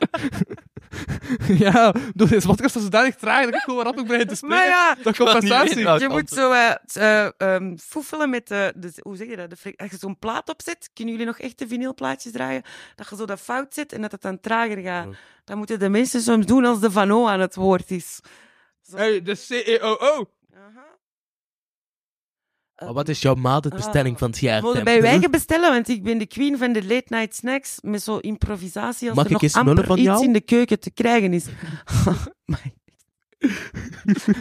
[SPEAKER 5] ja, door deze podcast is zodanig traag dat ik gewoon rap ook bij te spreken.
[SPEAKER 6] Maar ja,
[SPEAKER 5] Dat
[SPEAKER 4] wil niet
[SPEAKER 5] compensatie.
[SPEAKER 4] weten, nou.
[SPEAKER 6] je moet zo eh, t- eh, ehm, foefelen met de, de- Hoe zeg je dat? De fre- als je zo'n plaat opzet, kunnen jullie nog echte vinylplaatjes draaien? Dat je zo dat fout zet en dat het dan trager gaat.
[SPEAKER 3] Oh.
[SPEAKER 6] Dat moeten de mensen soms doen als de Van O aan het woord is.
[SPEAKER 5] Hey, de E CEO.
[SPEAKER 6] Aha.
[SPEAKER 3] Maar wat is jouw maaltijdbestelling
[SPEAKER 6] Oh, Ah.
[SPEAKER 3] van het jaar?
[SPEAKER 6] Mogen
[SPEAKER 3] Temke?
[SPEAKER 6] bij Wijgen bestellen, want ik ben de queen van de late night snacks met zo'n improvisatie als
[SPEAKER 3] Mag
[SPEAKER 6] er
[SPEAKER 3] ik
[SPEAKER 6] nog
[SPEAKER 3] eens
[SPEAKER 6] amper
[SPEAKER 3] nullen van
[SPEAKER 6] iets
[SPEAKER 3] jou?
[SPEAKER 6] in de keuken te krijgen is. Amai.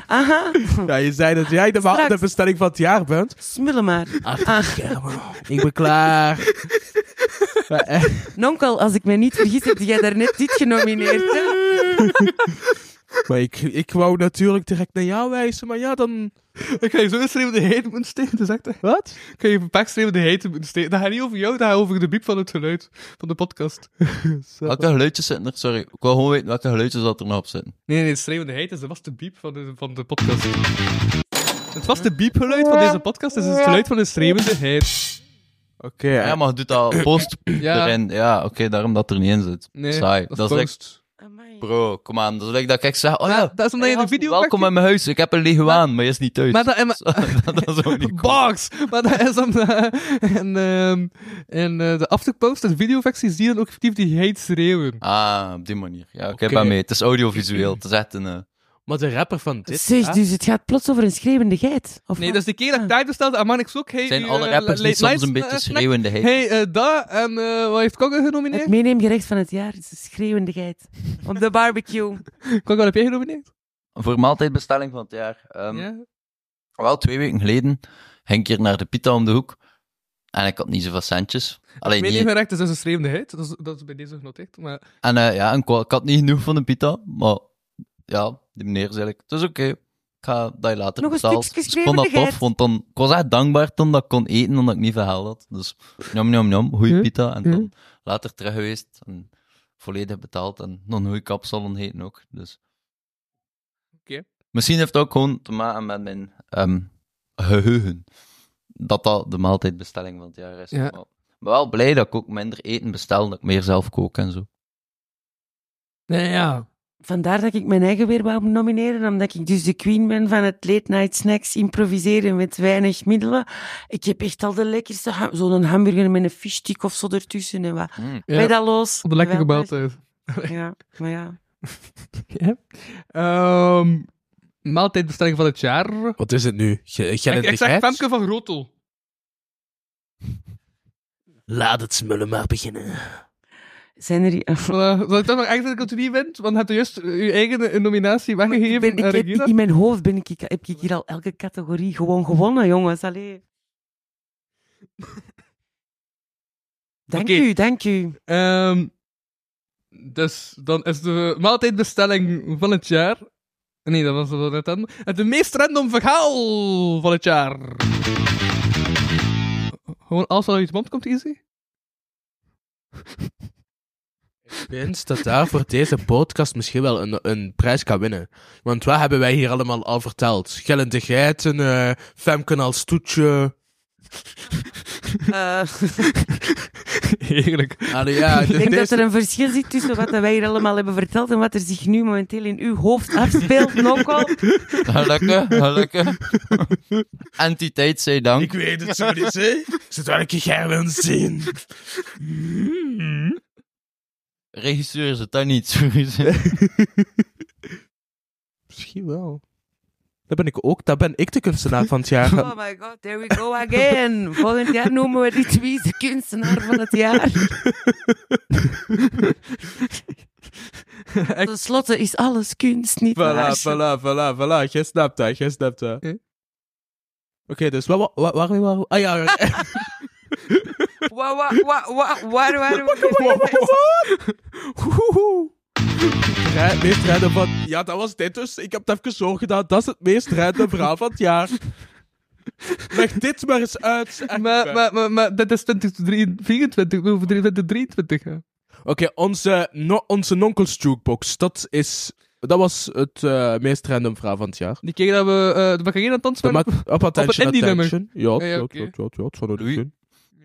[SPEAKER 6] Aha,
[SPEAKER 3] Ja, je zei dat jij de
[SPEAKER 6] Straks.
[SPEAKER 3] maaltijdbestelling van het jaar bent.
[SPEAKER 6] smullen maar. Ah,
[SPEAKER 3] Ik ben klaar. Maar echt,
[SPEAKER 6] nonkel, als ik me niet vergis, heb jij daarnet dit genomineerd. hè?
[SPEAKER 3] maar ik, ik wou natuurlijk direct naar jou wijzen, maar ja, dan...
[SPEAKER 5] Ik ga je zo schreeuwen de hete moeten steken. Dus echt, wat? Ik ga je een pak schreeuwen de hete moeten steken. Dat gaat niet over jou, dat gaat over de biep van het geluid van de podcast. Zo.
[SPEAKER 4] Welke geluidjes zitten er? Sorry, ik wil gewoon weten welke geluidjes dat er nog op zitten.
[SPEAKER 5] Nee, nee, het schreeuwen de hete is, dat was de biep van de, van de podcast. Het was de biepgeluid van deze podcast, dus het is het geluid van de schreeuwende heid.
[SPEAKER 3] Oké,
[SPEAKER 4] Ja, maar je doet dat post
[SPEAKER 5] Ja.
[SPEAKER 4] erin. Ja, oké, daarom dat er niet in zit.
[SPEAKER 5] Nee,
[SPEAKER 4] Saai.
[SPEAKER 5] dat
[SPEAKER 4] Dat,
[SPEAKER 5] is
[SPEAKER 4] is like,
[SPEAKER 5] post.
[SPEAKER 6] Amai.
[SPEAKER 4] bro, kom aan. Dat is like dat ik zeg, oh ja,
[SPEAKER 5] Dat is omdat je
[SPEAKER 4] hey,
[SPEAKER 5] een video
[SPEAKER 4] welkom in mijn huis. Ik heb een leguaan, maar je is niet thuis.
[SPEAKER 5] Maar dat, en, maar-
[SPEAKER 4] dat is ook niet cool.
[SPEAKER 5] Box! Maar dat is dan... en ehm en eh, de afterpost, de videoversie, zie je dan ook effectief die hate schreeuwen.
[SPEAKER 4] Ah, op die manier. Ja, oké,
[SPEAKER 3] Oké.
[SPEAKER 4] ben mee. Het is audiovisueel. Het is echt een... eh,
[SPEAKER 3] maar de rapper van dit
[SPEAKER 6] Zeg,
[SPEAKER 3] jaar-
[SPEAKER 6] dus het gaat plots over een schreeuwende geit. Of
[SPEAKER 5] Nee,
[SPEAKER 6] wat?
[SPEAKER 5] dat is de keer dat ik daar bestelde. Aan Manix ook. Hey,
[SPEAKER 4] zijn
[SPEAKER 5] uw,
[SPEAKER 4] alle
[SPEAKER 5] eh,
[SPEAKER 4] rappers die
[SPEAKER 5] late
[SPEAKER 4] soms
[SPEAKER 5] night,
[SPEAKER 4] een beetje
[SPEAKER 5] eh, snack?
[SPEAKER 4] schreeuwende hate?
[SPEAKER 5] Hey, eh daar en eh, wat heeft Kogge
[SPEAKER 6] Het
[SPEAKER 5] genomineerd?
[SPEAKER 6] meeneemgerecht van het jaar is een schreeuwende geit. Op de barbecue.
[SPEAKER 5] Kogge, wat heb jij genomineerd?
[SPEAKER 4] Voor maaltijdbestelling van het jaar. ehm,
[SPEAKER 5] Ja.
[SPEAKER 4] Wel, twee weken geleden ging ik hier naar de Pita om de hoek. En ik had niet zoveel centjes. Alleen
[SPEAKER 5] Mijn
[SPEAKER 4] niet.
[SPEAKER 5] enige recht is dus een schreeuwende hit. Dat is, dat is bij deze genoteerd. Maar
[SPEAKER 4] En eh, ja, en ik, wa- ik had niet genoeg van de Pita. Maar ja, die meneer zei ik, het is oké. Ik ga dat je later
[SPEAKER 6] Nog een
[SPEAKER 4] bestellen.
[SPEAKER 6] stukje
[SPEAKER 4] Dus ik vond dat tof, want
[SPEAKER 6] schreeuwendigheid.
[SPEAKER 4] dan, ik was echt dankbaar toen dat ik kon eten, omdat ik niet veel had. Dus jam, jam, jam, goeie
[SPEAKER 6] Hm?
[SPEAKER 5] Ja,
[SPEAKER 4] pita. En
[SPEAKER 5] ja.
[SPEAKER 4] dan later terug geweest en volledig betaald. En nog een goeie kapsalon heten ook. Dus.
[SPEAKER 5] Oké.
[SPEAKER 4] Misschien heeft het ook gewoon te maken met mijn ehm, geheugen. Dat dat de maaltijdbestelling van het jaar is.
[SPEAKER 5] Ja.
[SPEAKER 4] Maar, maar wel blij dat ik ook minder eten bestel, dat ik meer zelf kook en zo.
[SPEAKER 5] nee, ja.
[SPEAKER 6] Vandaar dat ik mijn eigen weer wou nomineren, omdat ik dus de queen ben van het late night snacks improviseren met weinig middelen. Ik heb echt al de lekkerste, ha- zo'n hamburger met een fishstick of zo ertussen en wat.
[SPEAKER 5] Mm. Ja.
[SPEAKER 6] Pedaloos.
[SPEAKER 5] Op de lekkere
[SPEAKER 6] geweldig.
[SPEAKER 5] maaltijd.
[SPEAKER 6] Ja, maar ja.
[SPEAKER 5] Ja. Ehm, maaltijdbestelling van het jaar.
[SPEAKER 3] Wat is het nu? Ge-
[SPEAKER 5] Ik, ik zeg
[SPEAKER 3] Gennetigheid?
[SPEAKER 5] Femke van Rotel.
[SPEAKER 12] Laat het smullen maar beginnen.
[SPEAKER 6] Zijn er...
[SPEAKER 5] Voilà. Zal ik dan nog echt dat ik het niet wint? Want je hebt juist je eigen eh, nominatie weggegeven aan
[SPEAKER 6] Ik heb,
[SPEAKER 5] Regina.
[SPEAKER 6] in mijn hoofd ben ik, heb ik hier al elke categorie gewoon gewonnen, jongens. Allee. Dank
[SPEAKER 5] Oké.
[SPEAKER 6] u, dank u.
[SPEAKER 5] Ehm, dus dan is de maaltijdbestelling van het jaar. Nee, dat was wel net dan. Het de meest random verhaal van het jaar. Gewoon alles wat uit je mond komt, easy.
[SPEAKER 3] Vindt dat daar voor deze podcast misschien wel een, een prijs kan winnen. Want wat hebben wij hier allemaal al verteld? Gillende geiten, eh Femke als toetje.
[SPEAKER 5] Heerlijk.
[SPEAKER 4] Nou,
[SPEAKER 3] Allee, ja,
[SPEAKER 6] Eh, ik
[SPEAKER 3] dus
[SPEAKER 6] denk dat
[SPEAKER 3] deze-
[SPEAKER 6] er een verschil zit tussen wat dat wij hier allemaal hebben verteld en wat er zich nu momenteel in uw hoofd afspeelt, Nokko.
[SPEAKER 4] Gelukkig, gelukkig. Entiteit, zij dank.
[SPEAKER 3] Ik weet het, zo niet, hè? Is het welke jij wil zien? Hmm.
[SPEAKER 4] Regisseur ze dat niet, sorry.
[SPEAKER 3] Misschien wel. Dat ben ik ook. Dat ben ik de kunstenaar van het jaar.
[SPEAKER 6] Oh my god, there we go again. Volgend jaar noemen we dit wie is de kunstenaar van het jaar. Ten slotte is alles kunst, niet
[SPEAKER 3] Voilà,
[SPEAKER 6] waar?
[SPEAKER 3] voilà, voilà, voilà. Jij snapt dat, jij snapt dat. Oké, dus waar, waar, waar, waar, waar- Ah ja,
[SPEAKER 6] Wa, wa, wa, wa, waar, waar, waar?
[SPEAKER 3] het meest random van... Ja, dat was dit dus. Ik heb het even zo gedaan. Dat is het meest random verhaal van het jaar. Leg dit maar eens uit.
[SPEAKER 5] Maar, maar, maar, maar dit is 2024, we hoeven 2023 gaan.
[SPEAKER 3] Oké, onze, no, onze Nonkels Jukebox. Dat, is, dat was het eh, meest random verhaal van het jaar.
[SPEAKER 5] Die keer dat we eh de Macarena dansen
[SPEAKER 3] De
[SPEAKER 5] waren,
[SPEAKER 3] Mac- op attention,
[SPEAKER 5] indie nummer.
[SPEAKER 3] attention. Ja,
[SPEAKER 5] Ja, ja,
[SPEAKER 3] ja,
[SPEAKER 5] oké.
[SPEAKER 3] ja, ja, ja, het zou
[SPEAKER 4] Doei.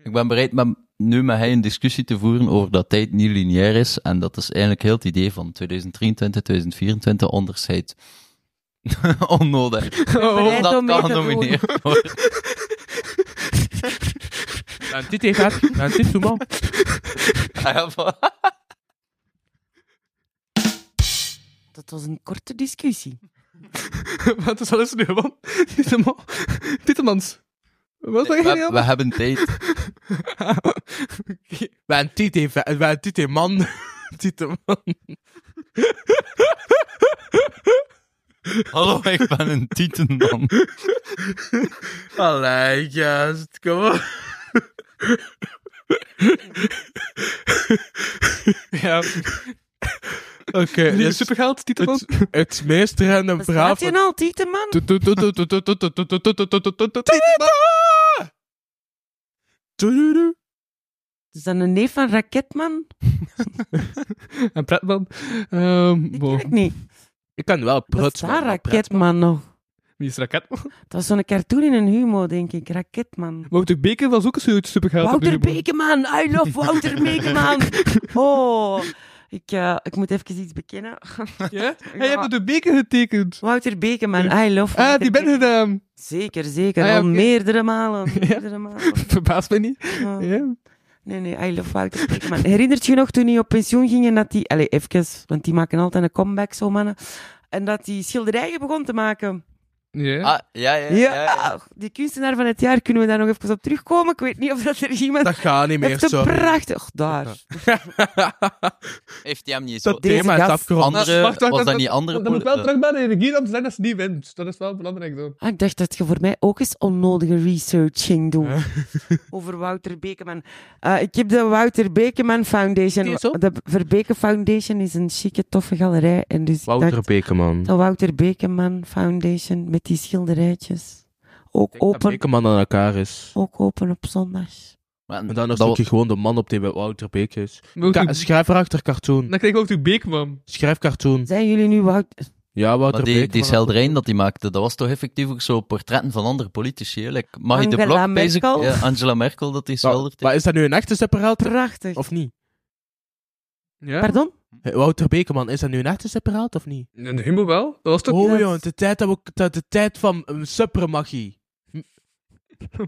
[SPEAKER 4] Ik ben bereid met, nu met hij een discussie te voeren over dat tijd niet lineair is. En dat is eigenlijk heel het idee van 2023, 2024 onderscheid. Onnodig.
[SPEAKER 3] bereid
[SPEAKER 4] dat
[SPEAKER 3] om mee te
[SPEAKER 4] kan
[SPEAKER 3] doen.
[SPEAKER 4] genomineerd worden.
[SPEAKER 3] Dan dit even gaat. Dan dit toe, man.
[SPEAKER 4] Ah, ja, voilà.
[SPEAKER 6] Dat was een korte discussie.
[SPEAKER 5] Wat is alles nu, man? Tieteman- Tietemans. Wat zeg je
[SPEAKER 3] nou?
[SPEAKER 4] we, we hebben tijd.
[SPEAKER 3] Wij een tite man. Tite man.
[SPEAKER 4] Hallo, ik ben een tietenman.
[SPEAKER 3] Allee, gast, kom op.
[SPEAKER 5] Ja.
[SPEAKER 3] Oké, dus
[SPEAKER 5] supergeld, Tieteman.
[SPEAKER 3] Het, het meest random verhaal
[SPEAKER 6] Laat je
[SPEAKER 3] van...
[SPEAKER 6] nou, Tieteman? Is dat een neef van Raketman?
[SPEAKER 5] En Pretman. Ehm
[SPEAKER 6] Die ken ik niet.
[SPEAKER 3] Ik kan wel
[SPEAKER 6] Dat is daar Raketman nog.
[SPEAKER 5] Wie is Raketman?
[SPEAKER 6] Dat was zo'n cartoon in een humo, denk ik. Raketman.
[SPEAKER 5] Wouter Beken was ook een soort supergeld. op
[SPEAKER 6] Wouter
[SPEAKER 5] de humor.
[SPEAKER 6] Bekeman, I love Wouter Bekeman. Oh, ik, eh, ik moet even iets bekennen.
[SPEAKER 5] Ja? Hij heeft Wouter Beken getekend.
[SPEAKER 6] Wouter Bekeman, I love
[SPEAKER 5] Ah,
[SPEAKER 6] Wouter
[SPEAKER 5] die ben je dan.
[SPEAKER 6] Zeker, zeker.
[SPEAKER 5] Ah, ja,
[SPEAKER 6] al
[SPEAKER 5] oké.
[SPEAKER 6] meerdere malen. Meerdere malen.
[SPEAKER 5] Verbaast mij niet.
[SPEAKER 6] Ja.
[SPEAKER 5] Ja.
[SPEAKER 6] Oh. Nee, nee, I love Wouter Bekeman. Herinnert je nog toen hij op pensioen ging en dat die... Allee, even, want die maken altijd een comeback, zo mannen. En dat die schilderijen begon te maken.
[SPEAKER 4] Ah, ja, ja, ja.
[SPEAKER 6] Ja,
[SPEAKER 4] ja.
[SPEAKER 6] die kunstenaar van het jaar, kunnen we daar nog even op terugkomen? Ik weet niet of dat er iemand...
[SPEAKER 3] Dat gaat niet meer,
[SPEAKER 6] heeft een
[SPEAKER 3] sorry.
[SPEAKER 6] prachtig... Daar.
[SPEAKER 4] Heeft hij hem niet
[SPEAKER 3] Dat
[SPEAKER 4] zo...
[SPEAKER 3] Deze thema is gast- afgerond.
[SPEAKER 4] Andere, was dat niet andere...
[SPEAKER 5] Dan moet
[SPEAKER 4] poli-
[SPEAKER 5] wel terug bij de energie om te zeggen dat ze niet wint. Dat is wel belangrijk, dan.
[SPEAKER 6] Ah, ik dacht dat je voor mij ook eens onnodige research ging doen. Over Wouter Bekeman. Eh, ik heb de Wouter Bekeman Foundation.
[SPEAKER 3] Die is op?
[SPEAKER 6] De Verbeke Foundation is een chique, toffe galerij. En dus ik
[SPEAKER 3] Wouter
[SPEAKER 6] dacht,
[SPEAKER 3] Bekeman.
[SPEAKER 6] de Wouter Bekeman Foundation met die schilderijtjes. Ook
[SPEAKER 3] Dat
[SPEAKER 6] open,
[SPEAKER 3] Bekeman aan elkaar is.
[SPEAKER 6] ook open op zondag.
[SPEAKER 3] En dan is je gewoon de man op die bij Wouter Beek is.
[SPEAKER 5] Wouter-
[SPEAKER 3] Ka- schrijf erachter cartoon.
[SPEAKER 5] Dan krijg ik ook de Beekman.
[SPEAKER 3] Schrijf cartoon.
[SPEAKER 6] Zijn jullie nu Wouter...
[SPEAKER 3] Ja, Wouter
[SPEAKER 4] Maar die,
[SPEAKER 3] Beek.
[SPEAKER 4] die schilderij dat hij maakte, dat was toch effectief ook zo portretten van andere politici. hè? Like, mag je de
[SPEAKER 6] Angela
[SPEAKER 4] blok bezig?
[SPEAKER 6] Merkel.
[SPEAKER 4] Ja, Angela Merkel dat hij schildert.
[SPEAKER 3] Maar is dat nu een echte separaat?
[SPEAKER 6] Prachtig.
[SPEAKER 3] Of niet?
[SPEAKER 5] Ja.
[SPEAKER 6] Pardon?
[SPEAKER 3] Wouter Bekerman, is dat nu een echte supperaat of niet?
[SPEAKER 5] Een humor wel? Dat was toch
[SPEAKER 3] Oh
[SPEAKER 5] niet
[SPEAKER 3] joh,
[SPEAKER 5] echt?
[SPEAKER 3] de tijd, dat we, dat de tijd van um, supermagie.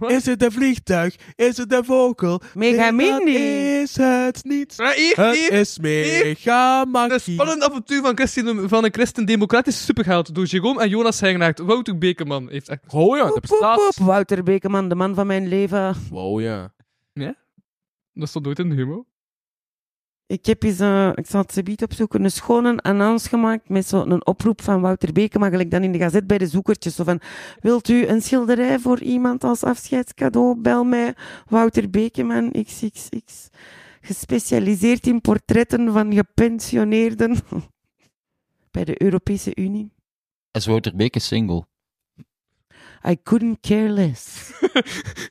[SPEAKER 3] Is het een vliegtuig? Is het een vogel?
[SPEAKER 6] Megamini.
[SPEAKER 3] Nee, dat Is het niet?
[SPEAKER 5] Maar Ah, hier,
[SPEAKER 3] het
[SPEAKER 5] hier,
[SPEAKER 3] is megamachie.
[SPEAKER 5] Een spannende avontuur van, Christen, van een christendemocratisch supergeld door Jerome en Jonas Hengenaert. Wouter Bekerman heeft echt...
[SPEAKER 3] Oh ja, dat
[SPEAKER 6] Poep, Wouter Bekeman, de man van mijn leven.
[SPEAKER 3] Wow, ja.
[SPEAKER 5] Ja? Dat stond nooit in de humor.
[SPEAKER 6] Ik heb eens, eh, ik zal het subiet opzoeken, een schone annons gemaakt met zo'n oproep van Wouter Beekema, gelijk dan in de gazet bij de zoekertjes. Zo van, wilt u een schilderij voor iemand als afscheidscadeau? Bel mij, Wouter Bekeman, xxx. Gespecialiseerd in portretten van gepensioneerden bij de Europese Unie.
[SPEAKER 4] Is Wouter Beek een single?
[SPEAKER 6] I couldn't care less.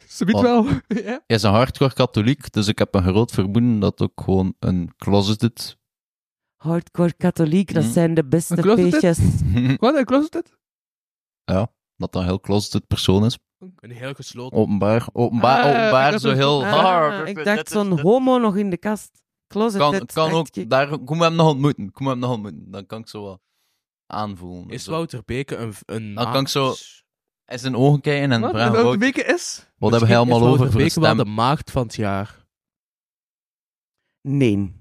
[SPEAKER 5] Subiet wel. ja.
[SPEAKER 4] Hij is een hardcore katholiek, dus ik heb een groot vermoeden dat ook gewoon een closeted...
[SPEAKER 6] Hardcore katholiek, dat
[SPEAKER 4] Hm.
[SPEAKER 6] zijn de beste
[SPEAKER 5] Een closeted?
[SPEAKER 6] peetjes.
[SPEAKER 5] Wat, een closeted?
[SPEAKER 4] ja, dat dat een heel closeted persoon is.
[SPEAKER 3] Een heel gesloten.
[SPEAKER 4] Openbaar, openbaar,
[SPEAKER 6] Ah, ik
[SPEAKER 4] openbaar,
[SPEAKER 6] dacht
[SPEAKER 4] zo
[SPEAKER 6] dat-
[SPEAKER 4] heel
[SPEAKER 6] ah,
[SPEAKER 4] hard.
[SPEAKER 6] Ik dacht zo'n homo nog in de kast. Closet.
[SPEAKER 4] Kan, kan ook, daar, kom hem nog ontmoeten, kom hem nog ontmoeten. Dan kan ik zo wat aanvoelen.
[SPEAKER 3] Is
[SPEAKER 4] Zo.
[SPEAKER 3] Wouter Beke een... een
[SPEAKER 4] Dan Nou, kan ik zo in zijn ogen kijken en
[SPEAKER 5] Wat?
[SPEAKER 4] vragen...
[SPEAKER 5] Welke
[SPEAKER 4] Wouter,
[SPEAKER 5] weken is?
[SPEAKER 4] Wat hebben we allemaal over voor
[SPEAKER 3] Beke wel
[SPEAKER 4] stem?
[SPEAKER 3] de maagd van het jaar.
[SPEAKER 6] Nee.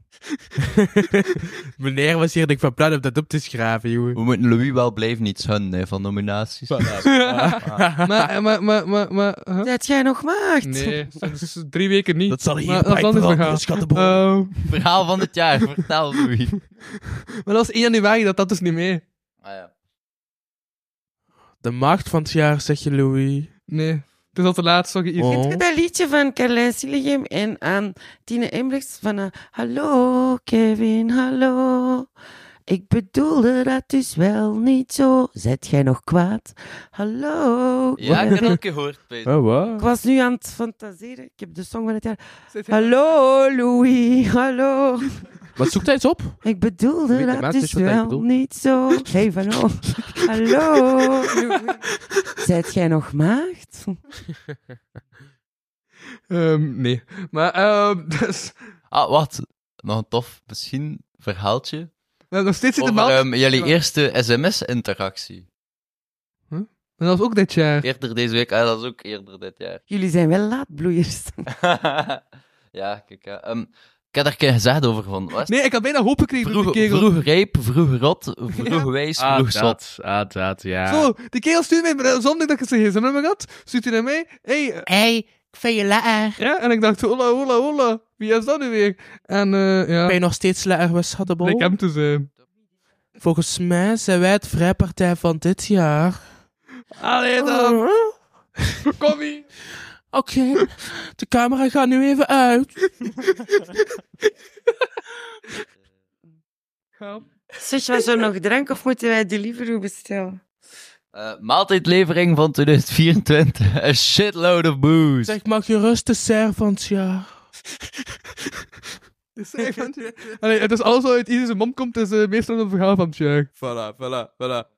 [SPEAKER 3] Meneer was hier denk ik van plan om dat op te schraven, jongen.
[SPEAKER 4] We moeten Louis wel blijven iets hun hè, van nominaties.
[SPEAKER 5] maar, eh, maar, maar, maar, maar... huh?
[SPEAKER 6] Zet jij nog maagd?
[SPEAKER 5] Nee, sinds drie weken niet.
[SPEAKER 4] Dat zal hier
[SPEAKER 5] Maar dat
[SPEAKER 4] bij
[SPEAKER 5] is een
[SPEAKER 4] branden,
[SPEAKER 5] ander
[SPEAKER 4] schattenboom.
[SPEAKER 5] verhaal. Eh,
[SPEAKER 4] Verhaal van het jaar, vertel Louis.
[SPEAKER 5] Maar dat was 1 januari, dat dat dus niet mee.
[SPEAKER 4] Ah, ja.
[SPEAKER 3] De maagd van het jaar, zeg je, Louis.
[SPEAKER 5] Nee, het is al te laat, sorry. Iris.
[SPEAKER 3] Oh.
[SPEAKER 6] Dat liedje van Carlijn Silligem en aan Tine Embrechts van eh, Hallo Kevin, hallo. Ik bedoelde dat dus wel niet zo. Zet jij nog kwaad? Hallo.
[SPEAKER 4] Ja, ik heb
[SPEAKER 6] Kevin.
[SPEAKER 4] dat ook gehoord. Peter.
[SPEAKER 6] Ik was nu aan het fantaseren. Ik heb de song van het jaar. Hallo Louis, hallo.
[SPEAKER 3] Wat zoekt hij eens op?
[SPEAKER 6] Ik bedoelde
[SPEAKER 3] Weet de
[SPEAKER 6] dat
[SPEAKER 3] mensen
[SPEAKER 6] dus
[SPEAKER 3] wat hij
[SPEAKER 6] wel
[SPEAKER 3] bedoelt?
[SPEAKER 6] niet zo. Hey van oh. hallo Louis. Zet jij nog maagd?
[SPEAKER 5] Ehm, nee, maar ehm, dus,
[SPEAKER 4] Ah, wat? Nog een tof, misschien, verhaaltje.
[SPEAKER 5] we hebben nog steeds in de
[SPEAKER 4] Over
[SPEAKER 5] maand.
[SPEAKER 4] ehm, jullie eerste sms-interactie.
[SPEAKER 5] En dat was ook dit jaar.
[SPEAKER 4] Eerder deze week, ah, dat is ook eerder dit jaar.
[SPEAKER 6] Jullie zijn wel laatbloeiers.
[SPEAKER 4] ja, kijk. ja. Ehm, ik heb daar een keer gezegd over van. Wat? is het?
[SPEAKER 5] Nee, ik had bijna hoop gekregen door
[SPEAKER 4] Vroeg,
[SPEAKER 5] die kerel.
[SPEAKER 4] vroeg rijp, vroeg rot, vroeg wijs,
[SPEAKER 2] Ah,
[SPEAKER 4] vroeg zot.
[SPEAKER 2] dat. Ah, dat, ja.
[SPEAKER 5] Zo, die kerel stuurde mij, zonder dat ik het zeg, hebben we gehad? Stuurt hij naar mij, hey, eh,
[SPEAKER 13] Hey, ik vind je lekker.
[SPEAKER 5] ja, en ik dacht, hola, hola, hola, wie is dat nu weer? En eh, ja,
[SPEAKER 3] Ben je nog steeds lekker bij Schaddenbol?
[SPEAKER 5] bleek hem te zijn.
[SPEAKER 3] Volgens mij zijn wij het vrijpartij van dit jaar.
[SPEAKER 4] Oh.
[SPEAKER 5] Allee dan, kom hier.
[SPEAKER 3] Oké, de camera gaat nu even uit.
[SPEAKER 5] Ja.
[SPEAKER 6] Zeg, was er nog drank of moeten wij Deliveroo bestellen?
[SPEAKER 4] Eh, maaltijdlevering van 2024. A shitload of booze.
[SPEAKER 3] Zeg, mag je rusten, ser van het jaar?
[SPEAKER 5] Dus ik vond- Allee, het is alles wat uit ieders mond komt, is eh, meestal een verhaal van het jaar.
[SPEAKER 3] Voilà, voilà, voilà.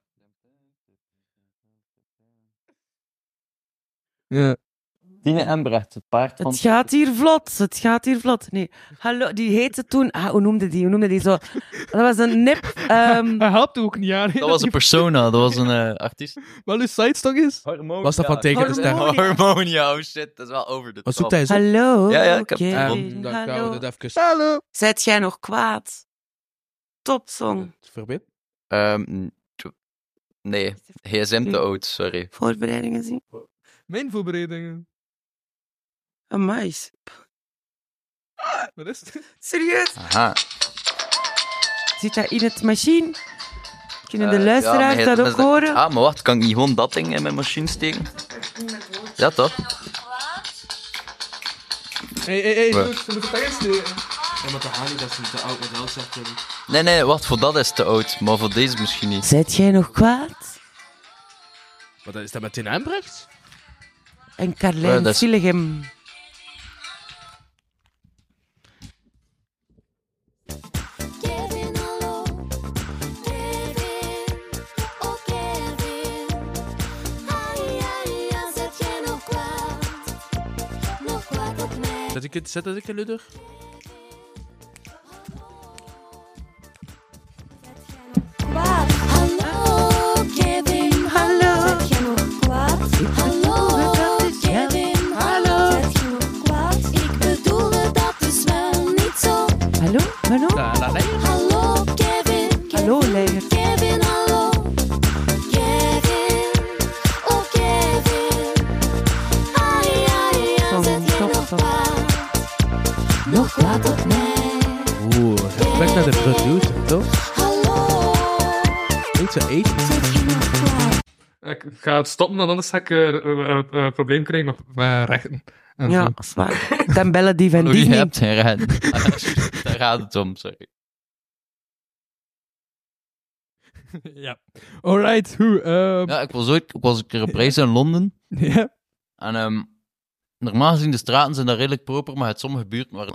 [SPEAKER 5] Ja.
[SPEAKER 4] Tine Embrecht, het paard van...
[SPEAKER 6] Het gaat hier vlot, het gaat hier vlot. Nee, hallo, die heette toen... Ah, hoe noemde die? Hoe noemde die zo? Dat was een nep... ehm,
[SPEAKER 5] Hij helpt ook niet aan. hè,
[SPEAKER 4] Dat was een
[SPEAKER 5] die-
[SPEAKER 4] persona, dat was een eh, artiest.
[SPEAKER 5] Wel uw sidestok is.
[SPEAKER 4] Harmonia.
[SPEAKER 3] Was dat van tegen de ster?
[SPEAKER 6] Harmonia.
[SPEAKER 4] Harmonia, oh shit, dat is wel over de
[SPEAKER 3] Wat zoekt
[SPEAKER 4] top.
[SPEAKER 3] hij zo?
[SPEAKER 6] hallo,
[SPEAKER 4] Ja, ja, ik heb- Ehm,
[SPEAKER 6] Kevin,
[SPEAKER 4] Ja,
[SPEAKER 3] dan gaan
[SPEAKER 6] hallo.
[SPEAKER 3] we dat even
[SPEAKER 5] Hallo.
[SPEAKER 6] Zijt jij nog kwaad? Topsong.
[SPEAKER 3] verbinden.
[SPEAKER 4] Ehm, n- tjo- nee, gsm te oud, sorry.
[SPEAKER 6] Voorbereidingen zien.
[SPEAKER 5] Mijn voorbereidingen.
[SPEAKER 6] Amai.
[SPEAKER 5] Wat is het?
[SPEAKER 6] Serieus?
[SPEAKER 4] Aha.
[SPEAKER 6] Zit dat in het machine? Kunnen de
[SPEAKER 4] Eh,
[SPEAKER 6] luisteraars
[SPEAKER 4] ja, maar
[SPEAKER 6] dat
[SPEAKER 4] hij-
[SPEAKER 6] ook horen?
[SPEAKER 4] Ah, maar wacht, kan ik niet gewoon dat ding in mijn machine steken? Ja, toch?
[SPEAKER 5] Hé, hé, hé,
[SPEAKER 4] Wat?
[SPEAKER 5] Sjoerd, je moet het erin steken.
[SPEAKER 13] Ja, maar de Harley, dat is niet te oud, maar wel zegt hij.
[SPEAKER 4] Nee, nee, wacht, voor dat is te oud, maar voor deze misschien niet.
[SPEAKER 6] Zet jij nog kwaad?
[SPEAKER 3] Wat is dat met Tina Embrechts?
[SPEAKER 6] En
[SPEAKER 4] Ja,
[SPEAKER 6] Carlijn
[SPEAKER 4] dat
[SPEAKER 6] ja,
[SPEAKER 4] is-
[SPEAKER 3] Zet ik het, zet dat ik een luider?
[SPEAKER 14] Oh,
[SPEAKER 15] iets aan eten?
[SPEAKER 5] Ik ga het stoppen, want anders ga ik eh, eh, eh, eh, probleem krijgen met met rechten. En
[SPEAKER 6] Ja,
[SPEAKER 5] zo.
[SPEAKER 6] dat is waar. Dan bellen die van
[SPEAKER 4] Je
[SPEAKER 6] Disney.
[SPEAKER 4] hebt geen rechten. Daar gaat het om, sorry.
[SPEAKER 5] ja. Alright, hoe? ehm,
[SPEAKER 4] Ja, ik was ooit ik was een keer op reis in Londen.
[SPEAKER 5] Ja.
[SPEAKER 4] En ehm, normaal gezien, de straten zijn daar redelijk proper, maar het sommige buurten waren...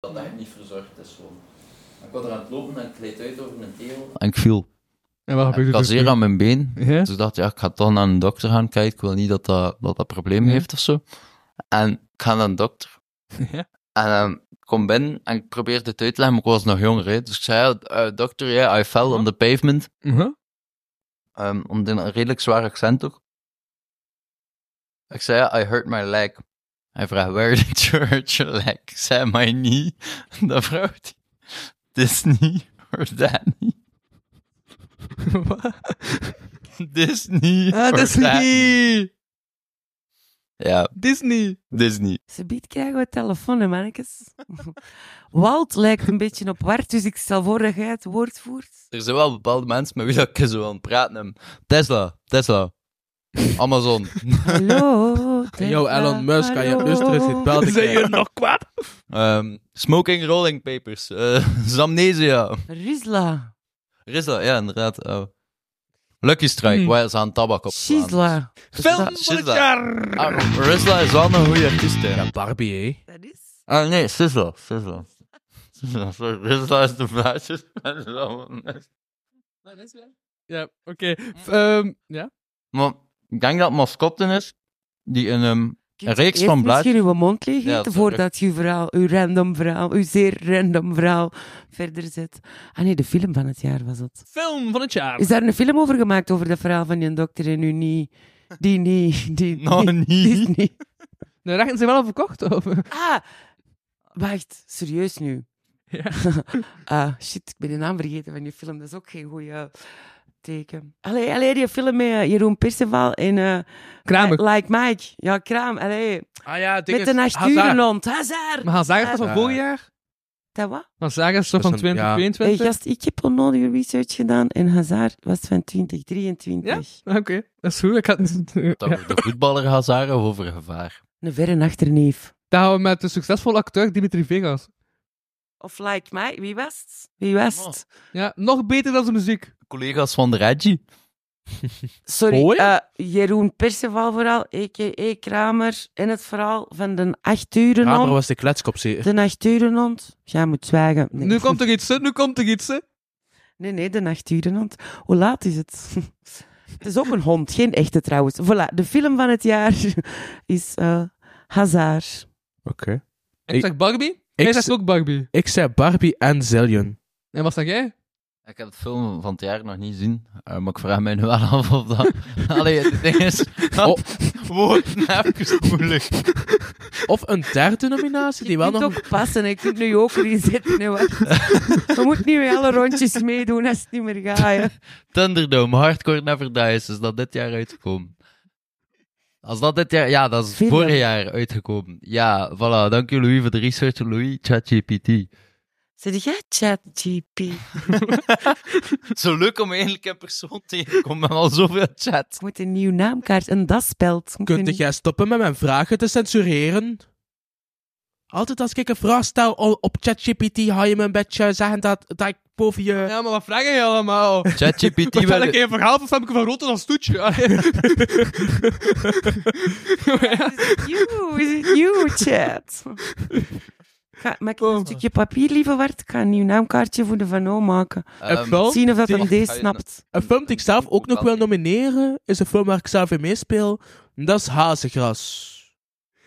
[SPEAKER 4] Dat echt niet verzorgd is, gewoon. Ik was er aan het lopen en ik gleed uit over een tegel.
[SPEAKER 5] En ik viel. En wat
[SPEAKER 4] Ik
[SPEAKER 5] gebeurde
[SPEAKER 4] had
[SPEAKER 5] er
[SPEAKER 4] zeer
[SPEAKER 5] toen?
[SPEAKER 4] aan mijn been.
[SPEAKER 5] Ja?
[SPEAKER 4] Dus ik dacht, ja, ik ga toch naar een dokter gaan kijken. Ik wil niet dat dat, dat, dat probleem
[SPEAKER 5] Ja.
[SPEAKER 4] heeft of zo. En ik ga naar een dokter.
[SPEAKER 5] Ja.
[SPEAKER 4] En ehm, ik kom binnen en ik probeerde het uit te leggen, maar ik was nog jonger. Hè. Dus ik zei, ja, eh, dokter, ja, I fell on the pavement.
[SPEAKER 5] Mhm.
[SPEAKER 4] Ehm, om een redelijk zwaar accent ook. Ik zei, ja, I hurt my leg. Hij vraagt, where did you hurt your leg? Ik zei, my knee. Dan vraagt hij, this knee or that knee? this knee
[SPEAKER 5] Ah,
[SPEAKER 4] or that
[SPEAKER 5] Disney!
[SPEAKER 4] Ja,
[SPEAKER 5] Disney!
[SPEAKER 4] Disney.
[SPEAKER 6] Ze biedt krijgen we telefoon, hè, mannetjes. Walt lijkt een beetje op Wart, dus ik stel voor dat jij het woord voert.
[SPEAKER 4] Er zijn wel bepaalde mensen met wie dat ik zo aan het praten heb. Tesla, Tesla. Amazon.
[SPEAKER 6] Hallo.
[SPEAKER 4] Yo, Elon Musk, kan je
[SPEAKER 15] dus
[SPEAKER 4] rustig eens bel
[SPEAKER 5] Zijn jullie nog kwaad?
[SPEAKER 4] Ehm, smoking rolling papers. eh Zamnesia.
[SPEAKER 6] Rizla.
[SPEAKER 4] Rizla, ja, inderdaad. oh. Lucky Strike,
[SPEAKER 5] Hm.
[SPEAKER 6] Hmm.
[SPEAKER 4] waar ze aan tabak op slaan.
[SPEAKER 6] Gisla.
[SPEAKER 4] Film van het jaar! Ah, Rizla is wel een goede artiest, hè.
[SPEAKER 15] Ja, Barbie, hè?
[SPEAKER 4] Ah, nee, Sizzla. Sizzla. Sizzla, sorry. Rizla is de blaadjes.
[SPEAKER 5] Ja, oké. F- ehm, ja?
[SPEAKER 4] maar ik denk dat Mascopten is, die een, ehm, een
[SPEAKER 6] Kunt je
[SPEAKER 4] reeks
[SPEAKER 6] eerst
[SPEAKER 4] van blaadjes...
[SPEAKER 6] misschien uw mond leeg
[SPEAKER 4] Ja,
[SPEAKER 6] eten
[SPEAKER 4] sorry.
[SPEAKER 6] voordat je uw verhaal, uw random verhaal, uw zeer random verhaal verder zet. Ah nee, de film van het jaar was het.
[SPEAKER 5] Film van het jaar.
[SPEAKER 6] Is daar een film over gemaakt over dat verhaal van je dokter en u niet? Die niet, die
[SPEAKER 4] Nou,
[SPEAKER 6] niet. die is niet.
[SPEAKER 5] De rechten zijn wel al verkocht? Of?
[SPEAKER 6] Ah, wacht, serieus nu. ah, shit, ik ben de naam vergeten van die film. Dat is ook geen goede teken. Allee, allee, die film met eh, Jeroen Perceval en... eh,
[SPEAKER 5] Kramer.
[SPEAKER 6] Like Mike. Ja, Kraam, allee.
[SPEAKER 5] Ah ja,
[SPEAKER 6] Met de Nasturenland. Hazard.
[SPEAKER 5] Maar Hazard is toch van vorig jaar?
[SPEAKER 6] Dat wat?
[SPEAKER 5] Maar Saga is toch van
[SPEAKER 3] Dat is een- ja.
[SPEAKER 5] 2022?
[SPEAKER 6] Hey, gast, ik heb onnodige research gedaan en Hazard was van 2023.
[SPEAKER 5] Ah, Oké, dat is goed. Ik had... ja.
[SPEAKER 4] Dat we de voetballer Hazard of over gevaar.
[SPEAKER 6] Een verre achterneef.
[SPEAKER 5] Daar gaan we met de succesvolle acteur Dimitri Vegas.
[SPEAKER 6] Of Like Mike, wie was het? Wie was het?
[SPEAKER 5] Ja, nog beter dan zijn muziek.
[SPEAKER 4] Collega's van de Reggie.
[SPEAKER 6] Sorry,
[SPEAKER 4] Oh
[SPEAKER 6] eh, Jeroen Perceval vooral, a.k.a. Kramer, en het verhaal van de
[SPEAKER 15] Kramer
[SPEAKER 6] Achturenhond.
[SPEAKER 15] was de kletskop, zeker?
[SPEAKER 6] De Achturenhond. Jij moet zwijgen. Nee.
[SPEAKER 5] Nu komt er iets, hè? Nu komt er iets, hè?
[SPEAKER 6] Nee, nee, de Nachturenhond. Hoe laat is het? het is ook een hond, geen echte trouwens. Voilà, de film van het jaar is eh Hazard.
[SPEAKER 15] Oké.
[SPEAKER 5] Ik zeg Barbie. Jij zegt ook Barbie.
[SPEAKER 15] Ik zei Barbie en Zillion.
[SPEAKER 5] En wat zeg jij?
[SPEAKER 4] Ik heb het film van het jaar nog niet gezien, eh, maar ik vraag mij nu wel af of dat... Allee, het ding is...
[SPEAKER 15] Oh.
[SPEAKER 4] Woorden even moeilijk.
[SPEAKER 15] Of een derde nominatie die wel
[SPEAKER 6] Het
[SPEAKER 15] nog...
[SPEAKER 6] ook passen, ik kunt nu ook erin zitten. hè, wacht. We moeten niet meer alle rondjes meedoen als het niet meer gaat. hè.
[SPEAKER 4] Thunderdome, Hardcore Never Dies, is dat dit jaar uitgekomen? Als dat dit jaar... Ja, dat is
[SPEAKER 6] Film.
[SPEAKER 4] vorig jaar uitgekomen. Ja, voilà. Dank je, Louis, voor de research. Louis, ChatGPT.
[SPEAKER 6] Zeg jij ChatGP?
[SPEAKER 4] Zo leuk om eindelijk in persoon te komen met al zoveel chat.
[SPEAKER 6] Ik moet een nieuw naamkaart, een daspeld. Moet een-
[SPEAKER 15] Kunt jij stoppen met mijn vragen te censureren? Altijd als ik een vraag stel o- op ChatGPT, ga je me een beetje zeggen dat, dat ik boven je...
[SPEAKER 5] Ja, maar wat vragen je allemaal?
[SPEAKER 4] ChatGPT
[SPEAKER 5] Wat
[SPEAKER 4] werd-
[SPEAKER 5] heb ik een verhaal van Femke van Rotten als toetje? Allee.
[SPEAKER 6] You, is it you, chat? Ga, maak
[SPEAKER 4] Oh,
[SPEAKER 6] ik een stukje papier, lieve Wart? Ik ga een nieuw naamkaartje voor de Van O maken.
[SPEAKER 4] ehm,
[SPEAKER 15] Een
[SPEAKER 4] Oh,
[SPEAKER 15] film
[SPEAKER 6] Zien of dat hem
[SPEAKER 15] die-
[SPEAKER 6] deze snapt.
[SPEAKER 15] Een film die ik zelf ook nog wil nomineren, is een film waar ik zelf in meespeel. En dat is Hazegras.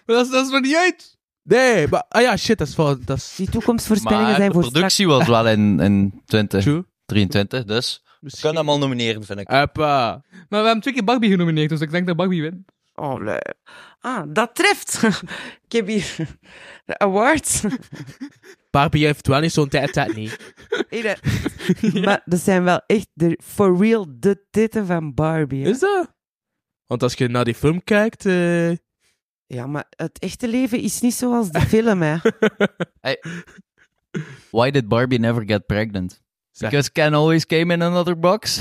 [SPEAKER 5] Maar dat, is, dat is maar niet uit.
[SPEAKER 3] Nee, maar... Ah ja, shit, dat is voor... Dat is...
[SPEAKER 6] Die toekomstvoorspellingen
[SPEAKER 4] Maar
[SPEAKER 6] zijn
[SPEAKER 4] de
[SPEAKER 6] voor
[SPEAKER 4] productie was wel in, in 2023, dus we kunnen hem al nomineren, vind ik.
[SPEAKER 3] Appa.
[SPEAKER 5] Maar we hebben twee keer Barbie genomineerd, dus ik denk dat Barbie wint.
[SPEAKER 6] Oh, nee. Ah, dat treft. ik heb hier de awards.
[SPEAKER 3] Barbie heeft wel niet zo'n tijd, tijd niet.
[SPEAKER 6] Hier, hè. Maar dat zijn wel echt de for real de titten van Barbie. hè.
[SPEAKER 3] Is dat? Want als je naar die film kijkt... eh,
[SPEAKER 6] Ja, maar het echte leven is niet zoals de film, hè.
[SPEAKER 4] Why did Barbie never get pregnant? Because Ken always came in another box.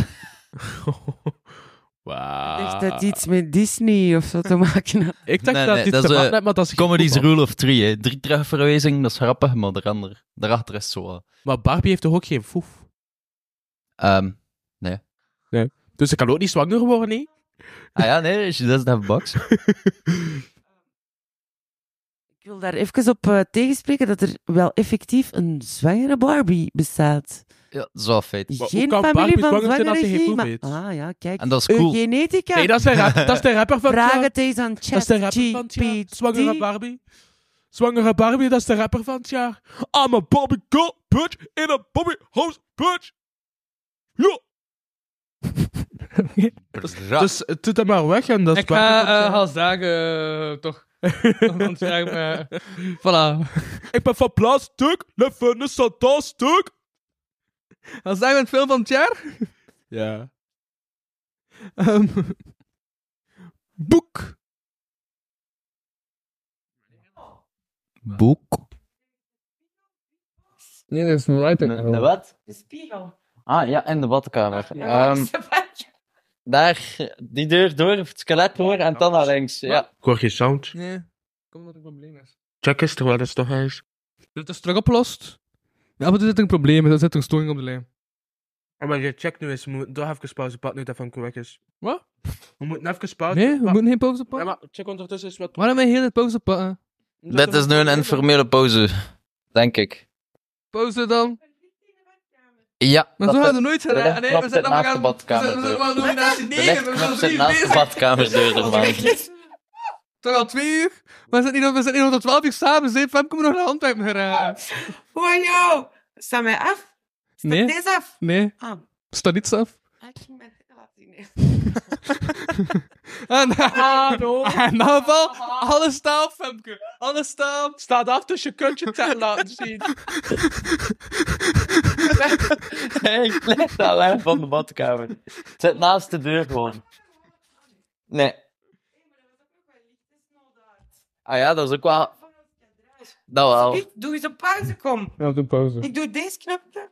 [SPEAKER 3] Wauw.
[SPEAKER 4] Ah.
[SPEAKER 6] Dat heeft iets met Disney of zo te maken had.
[SPEAKER 3] Ik dacht dat dit te
[SPEAKER 4] eh,
[SPEAKER 3] maken had, maar dat is geen
[SPEAKER 4] Comedy's
[SPEAKER 3] voetbal.
[SPEAKER 4] rule of three, hè. Drie terugverwijzingen, dat is grappig, maar daarander- daarachter is het zo... wel.
[SPEAKER 3] Maar Barbie heeft toch ook geen foef?
[SPEAKER 4] Ehm, nee.
[SPEAKER 3] Nee. Dus ze kan ook niet zwanger worden, nee?
[SPEAKER 4] Ah ja, nee, she doesn't have a box.
[SPEAKER 6] Ik wil daar even op eh, tegenspreken dat er wel effectief een zwangere Barbie bestaat.
[SPEAKER 4] Ja, dat is wel feit.
[SPEAKER 6] Geen familie van zwangere geen, maar... Ah ja, kijk.
[SPEAKER 4] En dat is cool.
[SPEAKER 6] Eugenetica.
[SPEAKER 3] Nee, dat is de, rap- dat is de rapper van... het
[SPEAKER 6] Vraag
[SPEAKER 3] jaar.
[SPEAKER 6] het eens aan
[SPEAKER 3] Dat is de rapper van het jaar.
[SPEAKER 6] ChatGPT.
[SPEAKER 3] Zwangere Barbie. Zwangere Barbie, dat is de rapper van het jaar. I'm a Bobby girl, bitch, in a Bobby house, bitch. Ja. dus, dus eh, doe dat maar weg en dat is
[SPEAKER 5] Ik
[SPEAKER 3] Barbie
[SPEAKER 5] ga
[SPEAKER 3] van het
[SPEAKER 5] eh
[SPEAKER 3] jaar.
[SPEAKER 5] al zagen, eh, toch. Want vraag me... eh, Voilà.
[SPEAKER 3] Ik ben van plastic, leven is fantastisch.
[SPEAKER 5] Als zagen we het film van het jaar?
[SPEAKER 3] Ja.
[SPEAKER 5] Ehm, boek.
[SPEAKER 4] Boek?
[SPEAKER 5] Nee, dat is een writing.
[SPEAKER 4] De wat?
[SPEAKER 6] De spiegel.
[SPEAKER 4] Ah ja, in de badkamer.
[SPEAKER 6] Ja,
[SPEAKER 4] Ehm, daar, die deur door, het skelet door en dan naar links. Ja.
[SPEAKER 3] Ik hoor geen sound.
[SPEAKER 5] Nee. Kom dat er een probleem is.
[SPEAKER 3] Check is er wel eens toch eens.
[SPEAKER 5] Dat is terug opgelost. Ja, maar er zit een probleem, er zit een storing op de lijn.
[SPEAKER 3] Oh, maar je check nu eens. We moeten toch even pauze pakken nu dat van correct is.
[SPEAKER 5] Wat?
[SPEAKER 3] We moeten even pauze
[SPEAKER 5] Nee, we
[SPEAKER 3] pakken.
[SPEAKER 5] moeten geen pauze pakken.
[SPEAKER 3] Ja, maar check ondertussen eens wat...
[SPEAKER 5] Waarom heb je heel het pauze pakken?
[SPEAKER 4] Dit is nu een informele pauze, denk ik.
[SPEAKER 5] Pauze dan.
[SPEAKER 4] Ja.
[SPEAKER 5] Maar zo hadden we nooit
[SPEAKER 4] de
[SPEAKER 5] gedaan. Nee, we
[SPEAKER 4] lichtknop
[SPEAKER 5] zijn
[SPEAKER 4] zit
[SPEAKER 5] allemaal
[SPEAKER 4] naast
[SPEAKER 5] gaan...
[SPEAKER 4] de
[SPEAKER 5] we zijn- we zijn allemaal nominatie
[SPEAKER 4] badkamerdeur. De
[SPEAKER 5] 9, we
[SPEAKER 4] lichtknop
[SPEAKER 5] zijn
[SPEAKER 4] zit
[SPEAKER 5] drie
[SPEAKER 4] naast de
[SPEAKER 5] bezig.
[SPEAKER 4] badkamerdeur, normaal.
[SPEAKER 5] Toch al twee uur? We zitten niet, we zitten niet nog tot 12 uur samen, zeep. Waarom komen we nog naar Antwerpen geraken?
[SPEAKER 6] Voor jou. Sta mij af.
[SPEAKER 5] Nee.
[SPEAKER 6] Deze af.
[SPEAKER 5] Nee.
[SPEAKER 6] Ah.
[SPEAKER 5] Staat niets af.
[SPEAKER 6] Ah, Ik ging mijn tellen laten zien.
[SPEAKER 5] En, Ah, in dat geval, alles staat op, Femke. Alles staat op.
[SPEAKER 3] Staat af, dus je kunt je tent laten zien.
[SPEAKER 4] Hey, ik leg dat lijn van de badkamer. Het zit naast de deur gewoon. Nee. Ah ja, dat is ook wel... Dat wel.
[SPEAKER 6] Ik doe eens een pauze, kom.
[SPEAKER 5] Ja, doe pauze.
[SPEAKER 6] Ik doe deze knopje.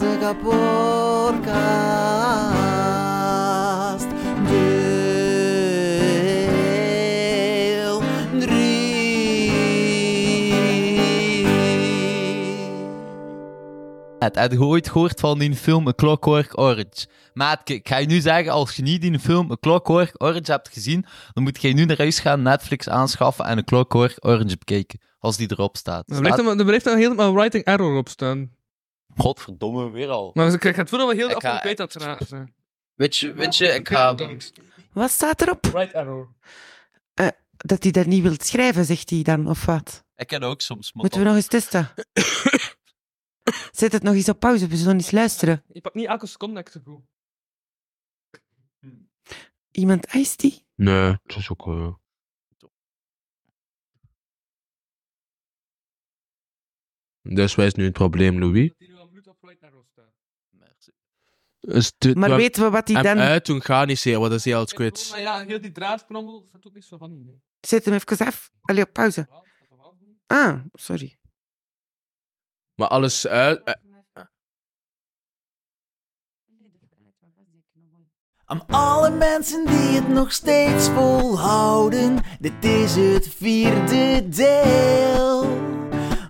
[SPEAKER 16] De kapotkast. Deel
[SPEAKER 4] Het had je ooit gehoord van die film A Clockwork Orange? Maat, ik ik ga je nu zeggen, als je niet die film A Clockwork Orange hebt gezien, dan moet je nu naar huis gaan, Netflix aanschaffen en A Clockwork Orange bekijken. Als die erop staat.
[SPEAKER 5] Er blijft
[SPEAKER 4] Staat-
[SPEAKER 5] dan- er blijft dan helemaal een writing error op staan.
[SPEAKER 4] Godverdomme, weer al.
[SPEAKER 5] Maar ze krijgen het voelen wel heel
[SPEAKER 4] Ik
[SPEAKER 5] af en
[SPEAKER 4] ga-
[SPEAKER 5] weet dat ze raar zijn.
[SPEAKER 4] Weet je, weet je, ik ga...
[SPEAKER 6] Wat staat erop?
[SPEAKER 5] Right error.
[SPEAKER 6] Eh, dat hij dat niet wilt schrijven, zegt hij dan, of wat?
[SPEAKER 4] Ik ken ook soms, maar
[SPEAKER 6] Moeten we nog eens testen? Zet het nog eens op pauze, we zullen eens luisteren.
[SPEAKER 5] Je pakt niet elke seconde echt zo goed.
[SPEAKER 6] Iemand eist die?
[SPEAKER 3] Nee, dat is ook... eh, Dus wij is nu het probleem, Louis. Dus dit-
[SPEAKER 6] Maar
[SPEAKER 3] we-
[SPEAKER 6] weten we wat die
[SPEAKER 3] hem
[SPEAKER 6] dan-
[SPEAKER 3] uit toen gaan niet zeer, wat is heel het kwits.
[SPEAKER 5] Maar ja, heel die draadknobbel, dat is ook niet zo van.
[SPEAKER 6] Zet hem even af. Allee, op pauze. Ah, sorry.
[SPEAKER 3] Maar alles uit... eh,
[SPEAKER 16] Aan alle mensen die het nog steeds volhouden, dit is het vierde deel.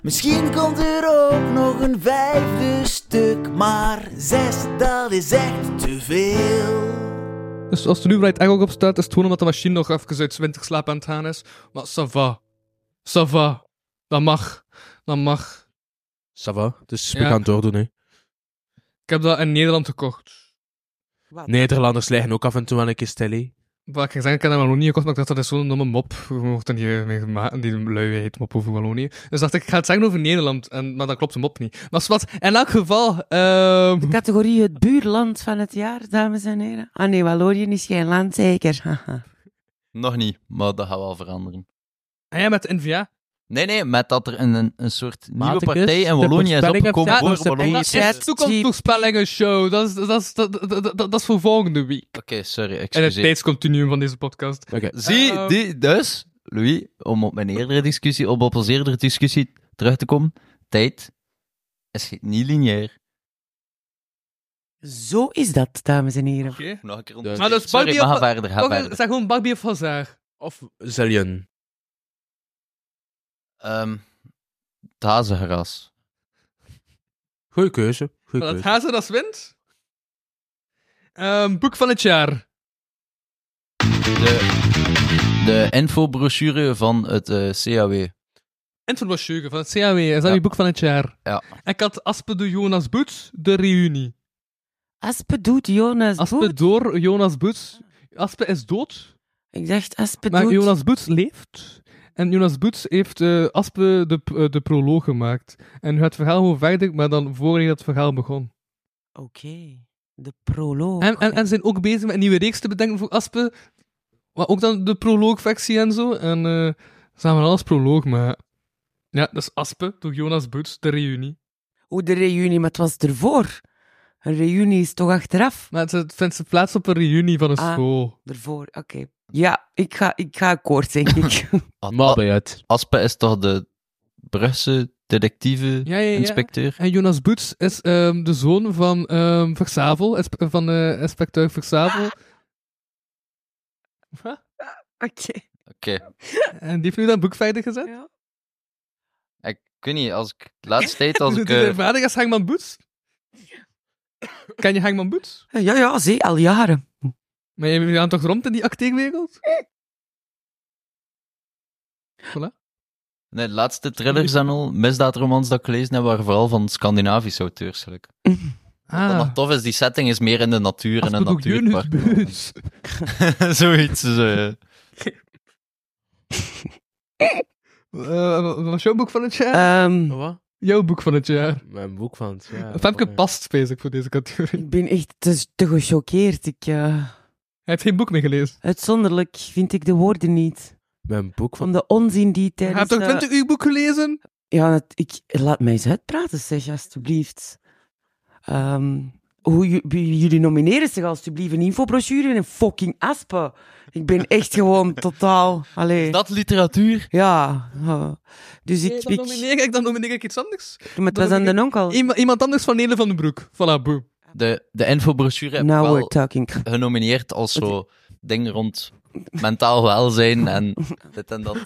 [SPEAKER 16] Misschien komt er ook nog een vijfde stuk, maar zes, dat is echt te veel.
[SPEAKER 5] Dus als er nu right error op staat, is het gewoon omdat de machine nog even uit 20 slaap aan het gaan is. Maar ça va. Ça va. Dat mag. Dat mag.
[SPEAKER 3] Ça va, dus we
[SPEAKER 5] Ja.
[SPEAKER 3] gaan het doordoen, hè.
[SPEAKER 5] Ik heb dat in Nederland gekocht.
[SPEAKER 3] Nederlanders leggen ook af en toe wel een keer stil, hè.
[SPEAKER 5] Wat ik gezegd ik heb naar Wallonië gekocht, maar ik dacht dat is zo'n domme mop. Je mocht dan die, die, ma- die lui heet mop over Wallonië. Dus dacht ik, ik ga het zeggen over Nederland, en, maar dat klopt de mop niet. Maar wat, in elk geval... ehm,
[SPEAKER 6] De categorie het buurland van het jaar, dames en heren. Ah nee, Wallonië is geen land, zeker. Haha.
[SPEAKER 4] Nog niet, maar dat gaat wel veranderen.
[SPEAKER 5] Ah ja, met de NVA?
[SPEAKER 4] Nee, nee, met dat er een, een, een soort nieuwe
[SPEAKER 5] Maticus,
[SPEAKER 4] partij in
[SPEAKER 5] de
[SPEAKER 4] Wallonië is
[SPEAKER 5] voorspellingen-
[SPEAKER 4] opgekomen
[SPEAKER 5] Ja,
[SPEAKER 4] voor
[SPEAKER 5] de
[SPEAKER 4] Wallonië.
[SPEAKER 5] voorspellingen- toekomstvoorspellingen show. Dat is, dat, is, dat, dat, dat, dat is voor volgende week.
[SPEAKER 4] Oké, sorry,
[SPEAKER 5] En het
[SPEAKER 4] excuseer.
[SPEAKER 5] tijdscontinuum van deze podcast.
[SPEAKER 4] Oké. Zie,
[SPEAKER 5] Ehm,
[SPEAKER 4] die, dus, Louis, om op mijn eerdere discussie, om op onze eerdere discussie terug te komen, tijd is niet lineair.
[SPEAKER 6] Zo is dat, dames en heren.
[SPEAKER 5] Oké.
[SPEAKER 4] Nog een keer
[SPEAKER 6] Dus-
[SPEAKER 5] Maar dat is Barbie
[SPEAKER 4] maar
[SPEAKER 5] of...
[SPEAKER 4] ga verder, ga
[SPEAKER 5] Oké,
[SPEAKER 4] verder.
[SPEAKER 5] Zeg gewoon Barbie of Hazard.
[SPEAKER 4] Of...
[SPEAKER 3] Zillion.
[SPEAKER 4] ehm het hazengras.
[SPEAKER 3] Goeie keuze.
[SPEAKER 5] Maar
[SPEAKER 4] dus.
[SPEAKER 5] Dat Hazard als wint. Ehm, boek van het jaar.
[SPEAKER 4] De, de infobrochure van het eh, CAW.
[SPEAKER 5] Enterbrochure van het CAW. Is dat je boek van het jaar?
[SPEAKER 4] Ja.
[SPEAKER 5] Ik had Aspe de Jonas Boets, de reunie.
[SPEAKER 6] Aspe doet Jonas
[SPEAKER 5] Aspe door Jonas Boets. Aspe is dood.
[SPEAKER 6] Ik dacht Aspe
[SPEAKER 5] Maar
[SPEAKER 6] doet-
[SPEAKER 5] Jonas Boets leeft. En Jonas Boets heeft eh, Aspe de, eh, de proloog gemaakt. En nu gaat het verhaal gewoon verder, maar dan voordat het verhaal begon.
[SPEAKER 6] Oké. De proloog.
[SPEAKER 5] En, en, en ze zijn ook bezig met een nieuwe reeks te bedenken voor Aspe. Maar ook dan de proloogfectie en zo. En eh ze gaan van alles proloog maken. Ja, dat is Aspe door Jonas Boets, de reunie.
[SPEAKER 6] Hoe de reunie, maar het was ervoor. Een reunie is toch achteraf?
[SPEAKER 5] Maar het vindt ze plaats op een reunie van een
[SPEAKER 6] Ah,
[SPEAKER 5] school.
[SPEAKER 6] Ervoor, oké. Ja, ik ga, ik ga akkoord, denk ik.
[SPEAKER 4] Aspe is toch de Brugse detectieve
[SPEAKER 5] Ja, ja, ja.
[SPEAKER 4] inspecteur?
[SPEAKER 5] En Jonas Boets is ehm, de zoon van ehm Versavel, inspe- van eh, inspecteur Versavel.
[SPEAKER 6] Oké.
[SPEAKER 4] Oké.
[SPEAKER 5] En die heeft nu dat boek verder gezet.
[SPEAKER 4] Ik weet niet, als ik de laatste tijd als
[SPEAKER 5] Dus
[SPEAKER 4] ik...
[SPEAKER 5] het is
[SPEAKER 4] eh,
[SPEAKER 5] een vader als Hangman Boets. Ken je Hangman Boets?
[SPEAKER 6] Ja, ja, zie, al jaren.
[SPEAKER 5] Maar je gaat toch rond in die acteerwereld? Voilà.
[SPEAKER 4] nee, de laatste thrillers en al, misdaadromans dat ik gelezen heb, waren vooral van Scandinavische auteurs, gelukkig. Wat
[SPEAKER 5] Ah,
[SPEAKER 4] nog tof is, die setting is meer in de natuur en een
[SPEAKER 5] bedoel Jonas
[SPEAKER 4] natuurpark.
[SPEAKER 5] Boets.
[SPEAKER 4] Zoiets. dus, eh,
[SPEAKER 5] Eh, wat was jouw boek van het jaar?
[SPEAKER 6] Ehm,
[SPEAKER 3] Wat?
[SPEAKER 5] Jouw boek van het jaar.
[SPEAKER 3] Mijn boek van het jaar.
[SPEAKER 5] Femke past, space ik, voor deze categorie.
[SPEAKER 6] Ik ben echt te, te gechoqueerd. Ik, eh,
[SPEAKER 5] Hij heeft geen boek meer gelezen.
[SPEAKER 6] uitzonderlijk vind ik de woorden niet.
[SPEAKER 3] Mijn boek
[SPEAKER 6] van... Om de onzin die
[SPEAKER 5] Hij
[SPEAKER 6] tijdens...
[SPEAKER 5] heeft toch
[SPEAKER 6] eh,
[SPEAKER 5] 20 uur boek gelezen?
[SPEAKER 6] Ja, het- ik, laat mij eens uitpraten, zeg, alstublieft. Ehm, hoe, ju- wie- jullie nomineren zich alstublieft een infobrochure en een fucking aspen. Ik ben echt gewoon totaal... Allee.
[SPEAKER 4] dat literatuur?
[SPEAKER 6] Ja. eh, dus ik...
[SPEAKER 5] dan,
[SPEAKER 6] ik
[SPEAKER 5] nomineer ik, dan nomineer ik iets anders.
[SPEAKER 6] maar het was aan de onkel.
[SPEAKER 5] Iemand, iemand anders van Nele van den Broek. Voilà, boe.
[SPEAKER 4] de, de infobrochure heb ik
[SPEAKER 6] Now
[SPEAKER 4] wel
[SPEAKER 6] we're talking.
[SPEAKER 4] genomineerd als zo ding rond mentaal welzijn en dit en dat.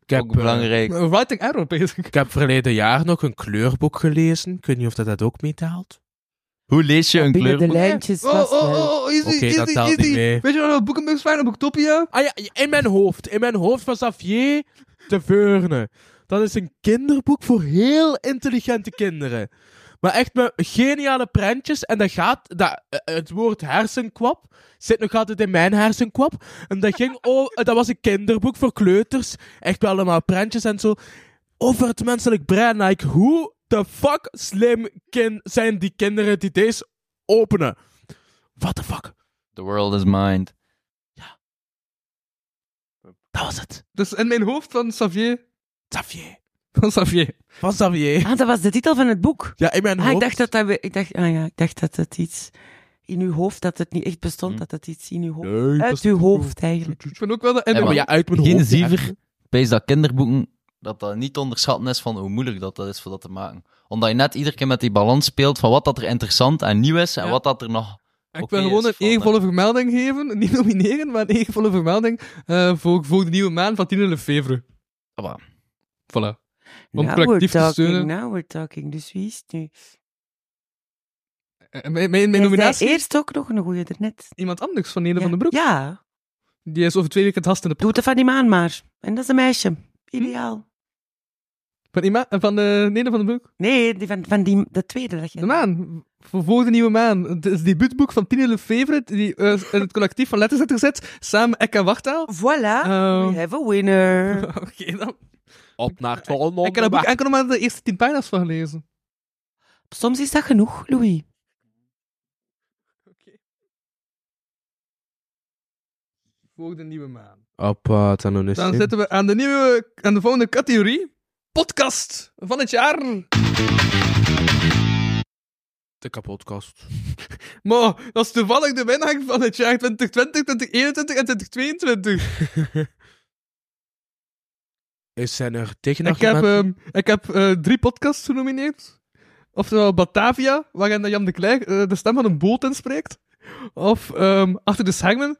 [SPEAKER 3] Ik heb,
[SPEAKER 4] Ook belangrijk.
[SPEAKER 3] eh,
[SPEAKER 5] Writing error bezig.
[SPEAKER 3] ik heb verleden jaar nog een kleurboek gelezen. Ik weet niet of dat, dat ook meetaalt.
[SPEAKER 4] Hoe lees je een
[SPEAKER 3] kleur?
[SPEAKER 6] de lijntjes
[SPEAKER 5] Oh, oh, oh, oh, easy,
[SPEAKER 3] Oké, dat
[SPEAKER 5] easy,
[SPEAKER 3] telt niet
[SPEAKER 5] easy.
[SPEAKER 3] mee.
[SPEAKER 5] Weet je nog dat boekenbeurs waren op Boektopia?
[SPEAKER 3] Ah ja, in mijn hoofd. In mijn hoofd was Xavier de Veurne. Dat is een kinderboek voor heel intelligente kinderen. Maar echt met geniale prentjes. En dat gaat... Dat, eh, het woord hersenkwap zit nog altijd in mijn hersenkwap. En dat ging... o- eh, dat was een kinderboek voor kleuters. Echt wel allemaal prentjes en zo. Over het menselijk brein. Like, hoe de fuck slim kin- zijn die kinderen die deze openen? What the fuck?
[SPEAKER 4] The world is mind.
[SPEAKER 3] Dat was het.
[SPEAKER 5] Dus in mijn hoofd van Xavier.
[SPEAKER 3] Xavier.
[SPEAKER 5] Van Xavier.
[SPEAKER 3] Van Xavier.
[SPEAKER 6] Ah, dat was de titel van het boek.
[SPEAKER 3] Ja, in mijn
[SPEAKER 6] Ah, ik
[SPEAKER 3] hoofd.
[SPEAKER 6] dacht dat dat... we- Ik dacht, ah ja, ik dacht dat het iets... In uw hoofd, dat het niet echt bestond,
[SPEAKER 5] Hm.
[SPEAKER 6] dat het iets in uw hoofd... uit uw hoofd, eigenlijk.
[SPEAKER 5] Ik vind ook wel dat... En
[SPEAKER 4] Nee, maar
[SPEAKER 5] ja,
[SPEAKER 3] uit mijn
[SPEAKER 4] Geen
[SPEAKER 3] hoofd, ja.
[SPEAKER 4] ziever. Wees dat kinderboeken, dat dat niet te onderschatten is van hoe moeilijk dat, dat is voor dat te maken. Omdat je net iedere keer met die balans speelt van wat dat er interessant en nieuw is en
[SPEAKER 5] Ja.
[SPEAKER 4] wat dat er nog...
[SPEAKER 5] ik
[SPEAKER 4] oké
[SPEAKER 5] wil gewoon
[SPEAKER 4] is
[SPEAKER 5] een
[SPEAKER 4] van, eh,
[SPEAKER 5] eervolle vermelding geven. Niet nomineren, maar een eervolle vermelding eh, voor, voor de nieuwe maan van Tine Lefevre.
[SPEAKER 4] Ah, voilà.
[SPEAKER 5] Voilà. Om
[SPEAKER 6] Now we're
[SPEAKER 5] collectief te
[SPEAKER 6] talking,
[SPEAKER 5] steunen.
[SPEAKER 6] now we're talking. Dus wie is het nu?
[SPEAKER 5] Eh, Mijn, mijn, mijn
[SPEAKER 6] Jij zei
[SPEAKER 5] nominatie?
[SPEAKER 6] eerst ook nog een goeie daarnet.
[SPEAKER 5] Iemand anders van Nele van den Broek.
[SPEAKER 6] Ja.
[SPEAKER 5] Die is over twee weken het gast in de Hm.
[SPEAKER 6] Doet het van die maan maar. En dat is een meisje. Ideaal.
[SPEAKER 5] Van Ima? eh, Van de Neder van de Broek?
[SPEAKER 6] Nee, die van, van die, de tweede. Dat
[SPEAKER 5] de Maan. Voor, voor de nieuwe Maan. Het is debuutboek van Tine Lefevre, die eh, in het collectief van Letters heeft gezet, samen Ek en Wachtaal.
[SPEAKER 6] Voilà,
[SPEAKER 5] Ehm.
[SPEAKER 6] we have a winner.
[SPEAKER 5] Oké dan.
[SPEAKER 3] Op naar het
[SPEAKER 5] Ik heb er boek enkel nog maar de eerste tien pagina's van gelezen.
[SPEAKER 6] Soms is dat genoeg, Louis.
[SPEAKER 5] Voor de nieuwe maan.
[SPEAKER 3] Appa, het is
[SPEAKER 5] Dan zitten we aan de, nieuwe, aan de volgende categorie. Podcast van het jaar.
[SPEAKER 3] De kapotkast.
[SPEAKER 5] Maar dat is toevallig de winnaar van het jaar 2020, 2021 en 2022.
[SPEAKER 3] Is zijn er tegen
[SPEAKER 5] Ik heb, ehm, ik heb eh, drie podcasts genomineerd. Oftewel Batavia, waarin Jan de Klerk eh, de stem van een boot inspreekt. Of ehm, Achter de Schermen,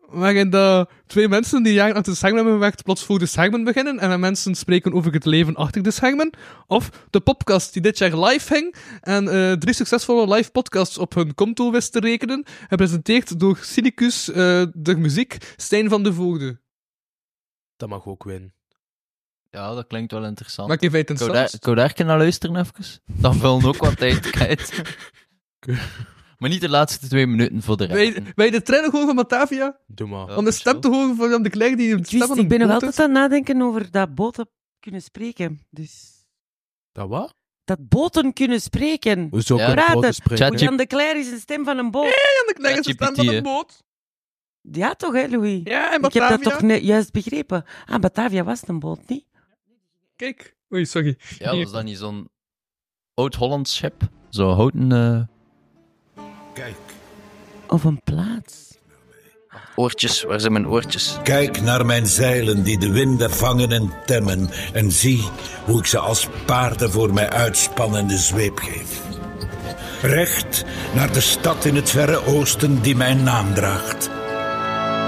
[SPEAKER 5] waarin de twee mensen die jaren achter de schermen hebben gewerkt plots voor de schermen beginnen en dan mensen spreken over het leven achter de schermen. Of de podcast die dit jaar live hing en eh, drie succesvolle live podcasts op hun konto wist te rekenen, gepresenteerd door Sinicus eh, de muziek Stijn van de Voogde.
[SPEAKER 3] Dat mag ook winnen.
[SPEAKER 4] Ja, dat klinkt wel interessant.
[SPEAKER 5] Maar ik heb het
[SPEAKER 4] Ik wou
[SPEAKER 5] interessant.
[SPEAKER 4] daar- Ik wou daar een keer naar luisteren even. Dan vullen we ook wat tijd kwijt. maar niet de laatste twee minuten voor de rest.
[SPEAKER 5] Wij, wij de trainer gewoon van Batavia?
[SPEAKER 3] Doe maar.
[SPEAKER 5] om de stem te horen van Jan de Klerk die de stem van
[SPEAKER 6] ik
[SPEAKER 5] een
[SPEAKER 6] ben nog
[SPEAKER 5] boot
[SPEAKER 6] altijd aan het nadenken over dat boten kunnen spreken. Dus...
[SPEAKER 3] Dat wat?
[SPEAKER 6] Dat boten kunnen spreken.
[SPEAKER 3] Hoezo kunnen
[SPEAKER 6] Praten.
[SPEAKER 3] boten spreken?
[SPEAKER 6] Hoe Jan de Kler is een stem van een boot. Jan
[SPEAKER 5] de Kler is een stem
[SPEAKER 3] van een
[SPEAKER 5] boot.
[SPEAKER 6] Ja, toch, hè, Louis?
[SPEAKER 5] Ja, en
[SPEAKER 6] Ik heb dat
[SPEAKER 5] Batavia?
[SPEAKER 6] toch net juist begrepen. Ah, Batavia was het een boot, niet?
[SPEAKER 5] Kijk. Oei, sorry.
[SPEAKER 4] Ja, was dat niet zo'n oud-Hollands schip? Zo'n houten eh,
[SPEAKER 6] Of een plaats.
[SPEAKER 4] oortjes. Waar zijn mijn oortjes?
[SPEAKER 16] Kijk naar mijn zeilen die de winden vangen en temmen. En zie hoe ik ze als paarden voor mij uitspan en de zweep geef. Recht naar de stad in het verre oosten die mijn naam draagt.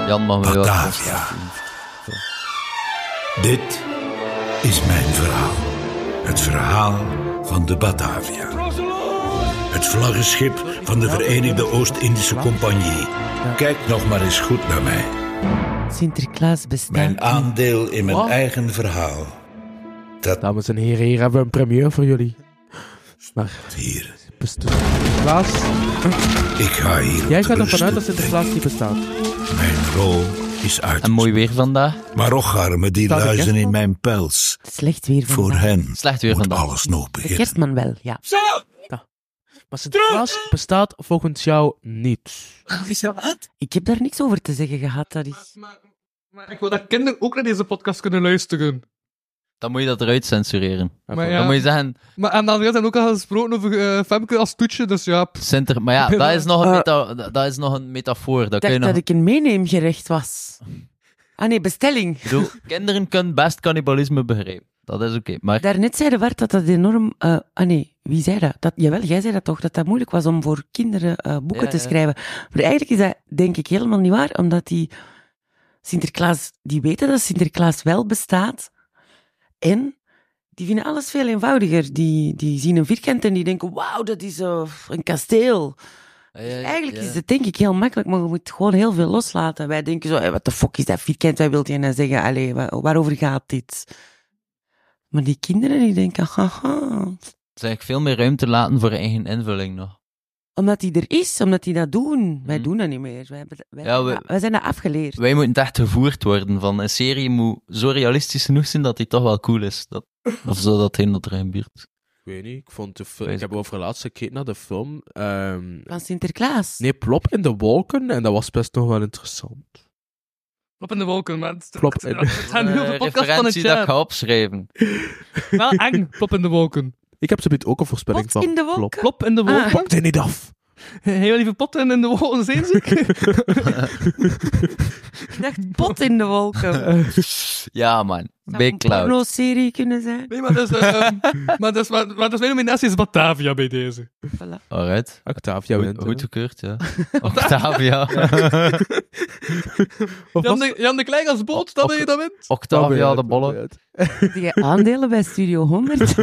[SPEAKER 4] Jan mag wel.
[SPEAKER 16] Batavia. Dit is mijn verhaal. Het verhaal van de Batavia. Het vlaggenschip van de Verenigde Oost-Indische Compagnie. Kijk nog maar eens goed naar mij.
[SPEAKER 6] Sinterklaas bestaat.
[SPEAKER 16] Mijn aandeel in mijn
[SPEAKER 3] Wat?
[SPEAKER 16] eigen verhaal.
[SPEAKER 3] Dames en heren, hier hebben we een premier voor jullie. Maar...
[SPEAKER 16] Hier.
[SPEAKER 3] Sinterklaas.
[SPEAKER 16] Ik ga hier.
[SPEAKER 3] Jij gaat ervan uit dat Sinterklaas niet bestaat.
[SPEAKER 16] Mijn rol is uit. En
[SPEAKER 4] mooi weer vandaag.
[SPEAKER 16] Maar ocharmen die
[SPEAKER 6] Staat de
[SPEAKER 16] luizen
[SPEAKER 6] kerstman?
[SPEAKER 16] in mijn pels.
[SPEAKER 6] Slecht weer
[SPEAKER 16] Voor hen
[SPEAKER 4] Slecht weer
[SPEAKER 16] moet alles nog
[SPEAKER 6] De
[SPEAKER 16] beginnen.
[SPEAKER 6] kerstman wel, ja.
[SPEAKER 3] Maar Sinterklaas bestaat volgens jou niet.
[SPEAKER 6] Ik heb daar niks over te zeggen gehad, dat is...
[SPEAKER 5] Maar ik wil dat kinderen ook naar deze podcast kunnen luisteren.
[SPEAKER 4] Dan moet je dat eruit censureren.
[SPEAKER 5] Maar ja.
[SPEAKER 4] Dan moet je zeggen,
[SPEAKER 5] Maar aan de andere kant hebben we ook al gesproken over eh, Femke als toetje, dus ja. pff.
[SPEAKER 4] Sinter... Maar ja,
[SPEAKER 5] Ja.
[SPEAKER 4] dat is nog een,
[SPEAKER 5] Eh.
[SPEAKER 4] meta- dat- dat is nog een metafoor. Dat
[SPEAKER 6] Ik
[SPEAKER 4] kun je
[SPEAKER 16] nou.
[SPEAKER 6] dacht
[SPEAKER 4] nog...
[SPEAKER 6] dat ik een meeneemgerecht was. Ah nee, bestelling.
[SPEAKER 4] Ik bedoel, kinderen kunnen best cannibalisme begrijpen. Dat is oké. Maar
[SPEAKER 6] Daarnet zei de Bart dat dat enorm... eh, ah nee, wie zei dat? dat? Jawel, jij zei dat toch, dat dat moeilijk was om voor kinderen eh, boeken
[SPEAKER 4] Ja,
[SPEAKER 6] te
[SPEAKER 4] ja.
[SPEAKER 6] schrijven. Maar eigenlijk is dat denk ik helemaal niet waar, omdat die Sinterklaas... Die weten dat Sinterklaas wel bestaat. En die vinden alles veel eenvoudiger. Die, die zien een vierkant en die denken, wauw, dat is eh, een kasteel.
[SPEAKER 4] Eh,
[SPEAKER 6] Eigenlijk is het denk ik heel makkelijk, maar je moet gewoon heel veel loslaten. Wij denken zo, hey, wat de fuck is dat vierkant? Wij wilden dan zeggen, allee, wa- waarover gaat dit? Maar die kinderen die denken, haha.
[SPEAKER 4] Het is eigenlijk veel meer ruimte laten voor eigen invulling nog.
[SPEAKER 6] Omdat die er is, omdat die dat doen. Wij doen dat niet meer. Wij, hebben- wij,
[SPEAKER 4] Mhm. Ja, we-
[SPEAKER 6] wij zijn dat afgeleerd.
[SPEAKER 4] Wij moeten echt gevoerd worden van een serie moet zo realistisch genoeg zijn dat die toch wel cool is. Dat, of zo dat heen dat erin buurt.
[SPEAKER 3] Ik weet niet, ik vond de film... Ik heb over laatst gekeken naar de film... ehm,
[SPEAKER 6] Van Sinterklaas.
[SPEAKER 3] Nee, Plop in de Wolken. En dat was best nog wel interessant.
[SPEAKER 5] Plop in de wolken, maar het,
[SPEAKER 3] Plop in-
[SPEAKER 5] het zijn heel veel
[SPEAKER 4] Eh,
[SPEAKER 5] podcasts van het
[SPEAKER 4] referentie dat ik ga
[SPEAKER 5] jaar.
[SPEAKER 4] opschrijven.
[SPEAKER 5] Wel eng, plop in de wolken.
[SPEAKER 3] Ik heb zometeen ook een voorspelling van
[SPEAKER 5] in de Ah.
[SPEAKER 3] Plop.
[SPEAKER 5] wolken? Plop in de wolken.
[SPEAKER 3] Plop dit niet af.
[SPEAKER 6] Ah.
[SPEAKER 5] Heel lieve potten in de wolken, zijn
[SPEAKER 6] Ik dacht, pot in de wolken.
[SPEAKER 4] Ja, man. Big Cloud.
[SPEAKER 6] Porno-serie kunnen zijn.
[SPEAKER 5] Nee, maar dat is, eh, ehm, maar dat is, maar, maar dat is mijn nominatie is Batavia bij deze.
[SPEAKER 4] Alright.
[SPEAKER 3] Octavia
[SPEAKER 4] Goed, goedgekeurd, ja. Octavia.
[SPEAKER 5] Jan de, Jan de Klein als boot, dat ben je dan wint.
[SPEAKER 4] Octavia de Bolle.
[SPEAKER 6] Heb jij aandelen bij Studio 100?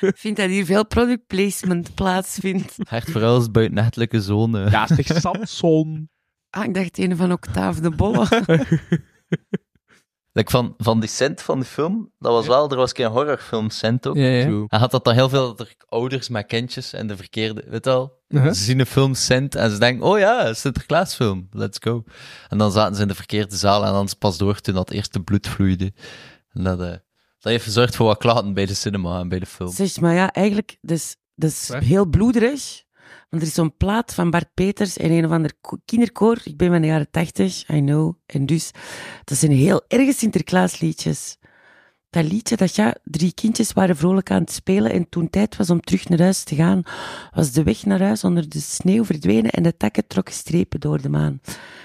[SPEAKER 6] Ik vind dat hier veel product placement plaatsvindt.
[SPEAKER 4] Hert vooral is buitenechtelijke zone. Ja,
[SPEAKER 3] zeg Samson.
[SPEAKER 6] Ah, ik dacht een van Octave de Bolle.
[SPEAKER 4] Like van, van die cent van die film, dat was wel, er was geen horrorfilm cent ook.
[SPEAKER 5] Ja, ja. True.
[SPEAKER 4] Hij had dat dan heel veel, dat er ouders met kindjes en de verkeerde, weet je wel.
[SPEAKER 5] Uh-huh.
[SPEAKER 4] Ze zien een film cent en ze denken, oh ja, Sinterklaasfilm, let's go. En dan zaten ze in de verkeerde zaal en dan is het pas door toen dat eerste bloed vloeide. En dat, eh, dat heeft gezorgd voor wat klaten bij de cinema en bij de film.
[SPEAKER 6] Zeg, maar ja, eigenlijk, dus, dus heel bloederig. Want er is zo'n plaat van Bart Peters en een of ander ko- kinderkoor. Ik ben van de jaren tachtig, I know. En dus, dat zijn heel erge Sinterklaasliedjes. Dat liedje dat ja, drie kindjes waren vrolijk aan het spelen en toen tijd was om terug naar huis te gaan, was de weg naar huis onder de sneeuw verdwenen en de takken trokken strepen door de maan.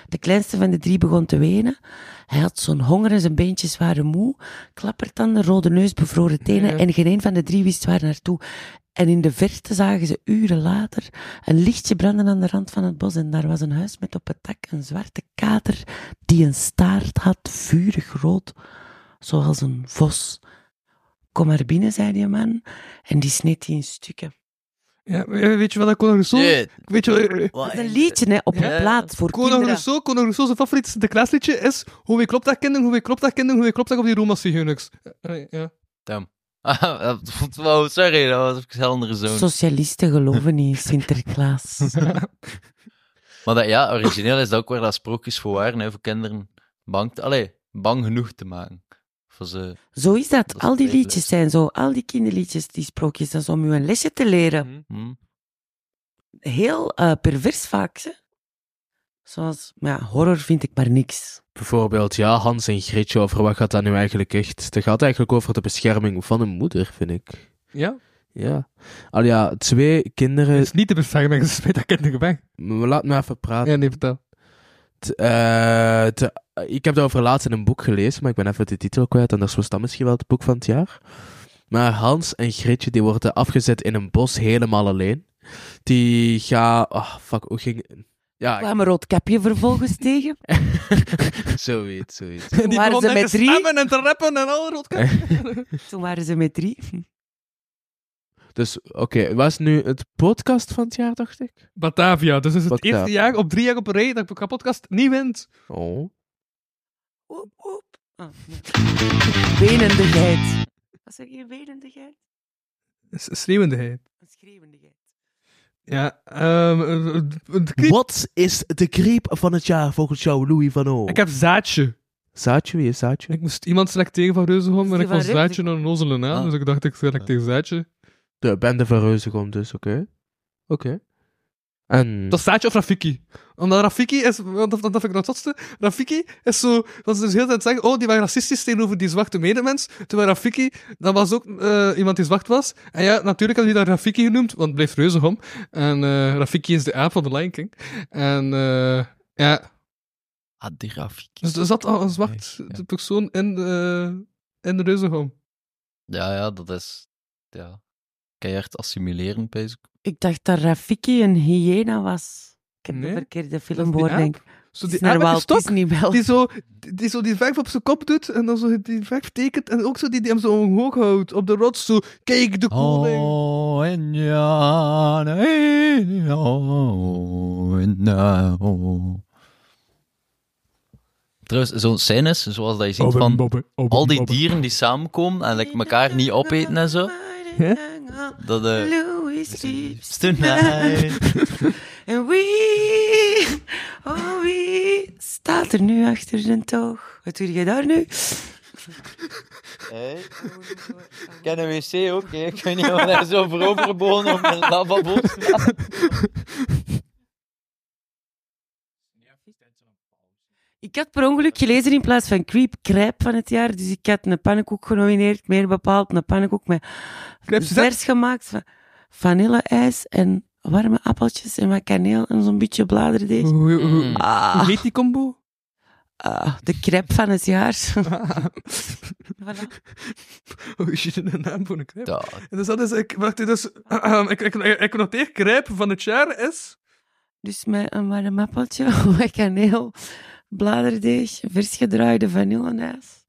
[SPEAKER 6] De kleinste van de drie begon te wenen. Hij had zo'n honger en zijn beentjes waren moe, klappertanden, rode neus, bevroren tenen
[SPEAKER 5] Ja.
[SPEAKER 6] en geen een van de drie wist waar naartoe. En in de verte zagen ze uren later een lichtje branden aan de rand van het bos en daar was een huis met op het dak een zwarte kater die een staart had, vurig rood, zoals een vos. Kom maar binnen, zei die man, en die sneed die in stukken.
[SPEAKER 5] Ja, eh, weet je wat dat Conor Rousseau... Weet je wat...
[SPEAKER 6] Dat is een liedje hè, op
[SPEAKER 5] Ja,
[SPEAKER 6] een plaat voor
[SPEAKER 5] Conor
[SPEAKER 6] kinderen.
[SPEAKER 5] Rousseau, Conor Rousseau, zijn favoriete Sinterklaasliedje is Hoe ik klopt dat kinderen, hoe ik klopt dat kinderen, hoe ik klopt dat op die Roma Zigeuners. eh, Ja.
[SPEAKER 4] Damn. Ah, wow, sorry, dat was een heel andere zoon.
[SPEAKER 6] Socialisten geloven niet in Sinterklaas.
[SPEAKER 4] Maar dat, ja, origineel is dat ook waar dat sprookjes voor waren, hè, voor kinderen bang, te- allee, bang genoeg te maken. Voor ze...
[SPEAKER 6] zo is dat.
[SPEAKER 4] is
[SPEAKER 6] al die
[SPEAKER 4] redelijk.
[SPEAKER 6] liedjes zijn zo. Al die kinderliedjes, die sprookjes, dat is om u een lesje te leren.
[SPEAKER 5] Mhm.
[SPEAKER 4] hmm.
[SPEAKER 6] Heel eh, pervers vaak, hè. Zoals, maar ja, horror vind ik maar niks.
[SPEAKER 15] Bijvoorbeeld, ja, Hans en Grietje, over wat gaat dat nu eigenlijk echt? Dat gaat eigenlijk over de bescherming van een moeder, vind ik.
[SPEAKER 5] Ja?
[SPEAKER 15] Ja. Al ja, twee kinderen...
[SPEAKER 5] is niet de bescherming, dat is met dat kinderen bang.
[SPEAKER 15] Maar Laat me even praten.
[SPEAKER 5] Ja, nee, vertel.
[SPEAKER 15] T- eh, t- ik heb daarover laatst in een boek gelezen, maar ik ben even de titel kwijt, anders was dat misschien wel het boek van het jaar. Maar Hans en Grietje, die worden afgezet in een bos helemaal alleen. Die gaan... ah fuck, hoe ging...
[SPEAKER 5] Ah,
[SPEAKER 15] Ja, ik-
[SPEAKER 6] Kwam een rood kapje vervolgens tegen.
[SPEAKER 15] zoiets, zoiets.
[SPEAKER 6] Toen waren ze met drie.
[SPEAKER 5] en te rappen en al
[SPEAKER 6] Toen waren ze met drie.
[SPEAKER 15] Dus, oké, was nu het podcast van het jaar, dacht ik?
[SPEAKER 5] Batavia, dus is het
[SPEAKER 15] Batavia.
[SPEAKER 5] eerste jaar op drie jaar op een rij dat ik een podcast niet wint.
[SPEAKER 15] Oh.
[SPEAKER 6] Ah, Wenende geit. Was er geen wenende geit?
[SPEAKER 5] S- Schreeuwende hij.
[SPEAKER 6] Een schreeuwende geit.
[SPEAKER 5] Ja, ehm, eh, eh, de kriep.
[SPEAKER 15] Wat is de creep van het jaar volgens jou, Louis van O?
[SPEAKER 5] Ik heb zaadje.
[SPEAKER 15] Zaadje, wie is Zaadje?
[SPEAKER 5] Ik moest iemand selecteren van Reuzegom en
[SPEAKER 6] die
[SPEAKER 5] ik was
[SPEAKER 6] van Reuzegom?
[SPEAKER 5] zaadje naar een onnozele naam, dus ik dacht ik selecteer zaadje.
[SPEAKER 15] De bende van Reuzegom dus, oké. Oké. En...
[SPEAKER 5] Dat is zaadje of Rafiki? Omdat Rafiki is, want dat, dat vind ik nog het zotste, Rafiki is zo, dat ze dus heel tijd zeggen, oh, die waren racistisch tegenover die zwarte medemens, terwijl Rafiki, dat was ook eh, iemand die zwart was. En ja, natuurlijk hebben die dat Rafiki genoemd, want het bleef Reuzegom. En eh, Rafiki is de aap van de Lion King. En eh, ja,
[SPEAKER 4] Ah, die grafiek.
[SPEAKER 5] Dus er zat al een zwart persoon in de, in de Reuzegom.
[SPEAKER 4] Ja, ja, dat is... Ja. Keihard assimileren, bezig.
[SPEAKER 6] Ik dacht dat Rafiki een hyena was. Ik heb
[SPEAKER 5] Nee,
[SPEAKER 6] de verkeerde
[SPEAKER 5] Dat
[SPEAKER 6] film
[SPEAKER 5] is Dus die
[SPEAKER 6] gehoord,
[SPEAKER 5] aap.
[SPEAKER 6] denk ik.
[SPEAKER 5] Zo
[SPEAKER 6] Het
[SPEAKER 5] die
[SPEAKER 6] is naar
[SPEAKER 5] aap met die
[SPEAKER 6] Walt
[SPEAKER 5] stok,
[SPEAKER 6] Disney wel.
[SPEAKER 5] Die zo, die, die zo die verf op zijn kop doet en dan zo die verf tekent en ook zo die, die hem zo omhoog houdt op de rots. Zo, kijk de koning.
[SPEAKER 4] Oh, en ja, nee, oh, en ja, oh. Trouwens, zo'n scène is, zoals dat je ziet,
[SPEAKER 5] Obben,
[SPEAKER 4] van
[SPEAKER 5] bobben, obben,
[SPEAKER 4] al die
[SPEAKER 5] bobben.
[SPEAKER 4] dieren die samenkomen en like, elkaar niet opeten en zo. Dat, eh,
[SPEAKER 6] Louis sleeps
[SPEAKER 4] tonight.
[SPEAKER 6] En wie, oh wie, staat er nu achter zijn toog? Wat doe je daar nu?
[SPEAKER 4] Hé? Ik ken een wc ook, hè. ik weet niet of hij zo vooroverbogen op mijn lavabo staat.
[SPEAKER 6] Ik had per ongeluk gelezen in plaats van Creep, Krijp van het jaar. Dus ik had een pannenkoek genomineerd, meer bepaald een pannenkoek met vers gemaakt van vanille-ijs en warme appeltjes en wat kaneel en zo'n beetje bladerdeeg.
[SPEAKER 5] Hoe, hoe- hoe-
[SPEAKER 4] Mm.
[SPEAKER 5] hoe heet die combo?
[SPEAKER 6] Ah, de crepe van het jaar.
[SPEAKER 5] Hoe is je de naam voor Oh, een crepe?
[SPEAKER 4] Ja.
[SPEAKER 5] En dus dat is, ik, wacht, dus, ik, ik, ik, ik noteer, crepe van het jaar is...
[SPEAKER 6] Dus met een warm appeltje, wat kaneel, bladerdeeg, vers gedraaide vanillenijs.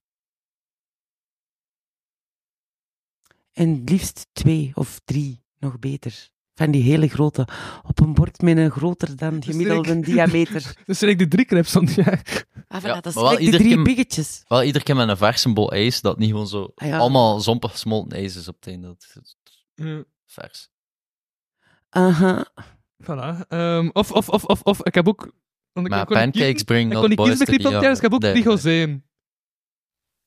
[SPEAKER 6] En het liefst twee of drie, nog beter. Van die hele grote. Op een bord met een groter dan gemiddelde diameter.
[SPEAKER 5] Dus zijn ik de drie crepes van het jaar.
[SPEAKER 6] Ah, voilà,
[SPEAKER 4] Ja, maar
[SPEAKER 6] dat
[SPEAKER 4] wel
[SPEAKER 6] zijn de
[SPEAKER 4] ieder
[SPEAKER 6] drie
[SPEAKER 4] keer-
[SPEAKER 6] biggetjes.
[SPEAKER 4] Wel, iedere keer met een verse bol ijs, dat niet gewoon zo
[SPEAKER 6] Ah, ja.
[SPEAKER 4] allemaal zompig gesmolten ijs is op het einde. Dat is
[SPEAKER 5] Eh,
[SPEAKER 4] vers.
[SPEAKER 6] Aha.
[SPEAKER 5] Voilà. Ehm, of, of, of, of, of, ik heb ook... want ik
[SPEAKER 4] Maar
[SPEAKER 5] kon niet
[SPEAKER 4] pancakes
[SPEAKER 5] kiezen-
[SPEAKER 4] bring
[SPEAKER 5] Ik
[SPEAKER 4] not
[SPEAKER 5] kon niet kiezen met
[SPEAKER 4] boys to
[SPEAKER 5] Griep
[SPEAKER 4] the
[SPEAKER 5] van het jaar, dus ik heb ook
[SPEAKER 4] yard.
[SPEAKER 5] Prigozijn.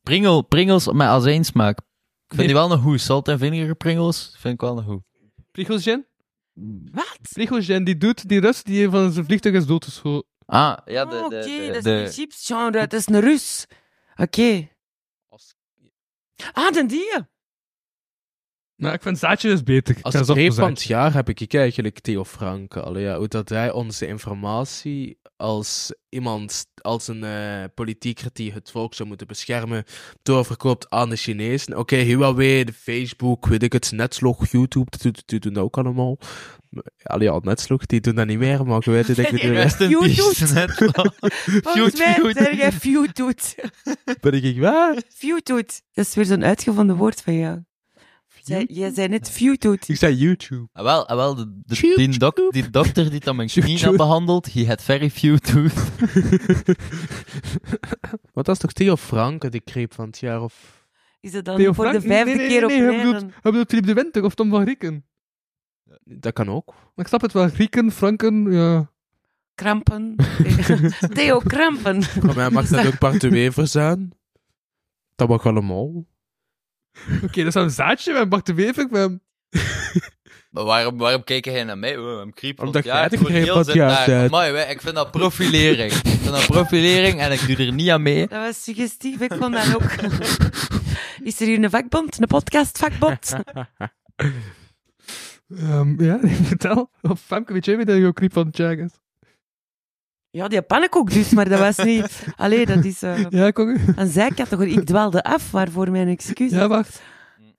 [SPEAKER 4] Pringel, Pringels met azijnsmaak. Ik vind
[SPEAKER 5] Nee.
[SPEAKER 4] die wel een hoe. Salt en vinegar Pringels vind ik wel een hoe.
[SPEAKER 5] Prigozijn?
[SPEAKER 4] Mm.
[SPEAKER 5] Wat? Prigozijn, die doet, die Rus die van zijn vliegtuig is doodgeschoten.
[SPEAKER 4] Ah, ja,
[SPEAKER 6] de, Oh, Oké, dat is
[SPEAKER 5] de-
[SPEAKER 6] een chipsgenre. Het is een Rus. Oké. Ah, dan die.
[SPEAKER 5] Nou, ik vind zaadje is beter. Ik
[SPEAKER 3] Als
[SPEAKER 5] ga
[SPEAKER 3] het
[SPEAKER 5] zo op
[SPEAKER 3] reep
[SPEAKER 5] zaadje.
[SPEAKER 3] van het jaar heb ik eigenlijk Theo Franke. Allee, ja, hoe dat hij onze informatie als iemand, als een eh politieker die het volk zou moeten beschermen, doorverkoopt aan de Chinezen. Oké, Huawei, de Facebook, weet ik het, Netslog, YouTube, die, doen- die doen dat ook allemaal. Maar- Allee, ja, Netslog, die doen dat niet meer, maar je weet het, ik bedoel...
[SPEAKER 4] Rest in peace, Netslog.
[SPEAKER 6] Volgens mij
[SPEAKER 4] Feud,
[SPEAKER 6] zeg jij Feudtoet.
[SPEAKER 3] Ben ik waar?
[SPEAKER 6] Feudtoet. Dat is weer zo'n uitgevonden woord van jou. Zij- Jij zei net Feudtoet.
[SPEAKER 3] Ik zei YouTube.
[SPEAKER 4] Ah, wel, ah, wel de, de- die, dok- die dokter die dan mijn knie had behandeld, he had very few tooth.
[SPEAKER 3] Wat was toch Theo Franke, de creep van het jaar? Of...
[SPEAKER 6] Is dat dan
[SPEAKER 5] Theo
[SPEAKER 6] voor
[SPEAKER 5] Frank?
[SPEAKER 6] de vijfde
[SPEAKER 5] Nee, nee,
[SPEAKER 6] keer op
[SPEAKER 5] nee, nee,
[SPEAKER 6] rij
[SPEAKER 5] hij bedoelt,
[SPEAKER 6] dan-
[SPEAKER 5] hij bedoelt Philippe de Winter of Tom van Grieken.
[SPEAKER 3] Dat kan ook.
[SPEAKER 5] Maar ik snap het wel. Grieken, Franken, ja.
[SPEAKER 6] Krampen. Theo Krampen.
[SPEAKER 3] Maar mij mag dat ook Bart de Wever zijn. Dat mag allemaal.
[SPEAKER 5] Oké, dat is een zaadje. We hebben Bart de Wever. We hebben...
[SPEAKER 4] Maar waarom, waarom kijken jij naar mij? Oh, hem kriep van
[SPEAKER 3] Omdat
[SPEAKER 4] het jaar.
[SPEAKER 3] jij de
[SPEAKER 4] Gewoon
[SPEAKER 3] kriep
[SPEAKER 4] heel
[SPEAKER 3] van het
[SPEAKER 4] zin
[SPEAKER 3] jaar
[SPEAKER 4] daar.
[SPEAKER 3] bent.
[SPEAKER 4] Amai, wij, ik vind dat profilering. ik vind dat profilering en ik doe er niet aan mee.
[SPEAKER 6] Dat was suggestief, ik kon dat ook. Is er hier een vakbond, een podcastvakbond?
[SPEAKER 5] Ehm, ja, vertel. Of Femke, weet jij wie dat jouw griep van het jaar is?
[SPEAKER 6] Ja, die pannenkoek dus, maar dat was niet... Allee, dat is... eh
[SPEAKER 5] Ja, kon...
[SPEAKER 6] Een zijcategorie. Ik dwaalde af, waarvoor mijn excuus.
[SPEAKER 5] Ja, wacht.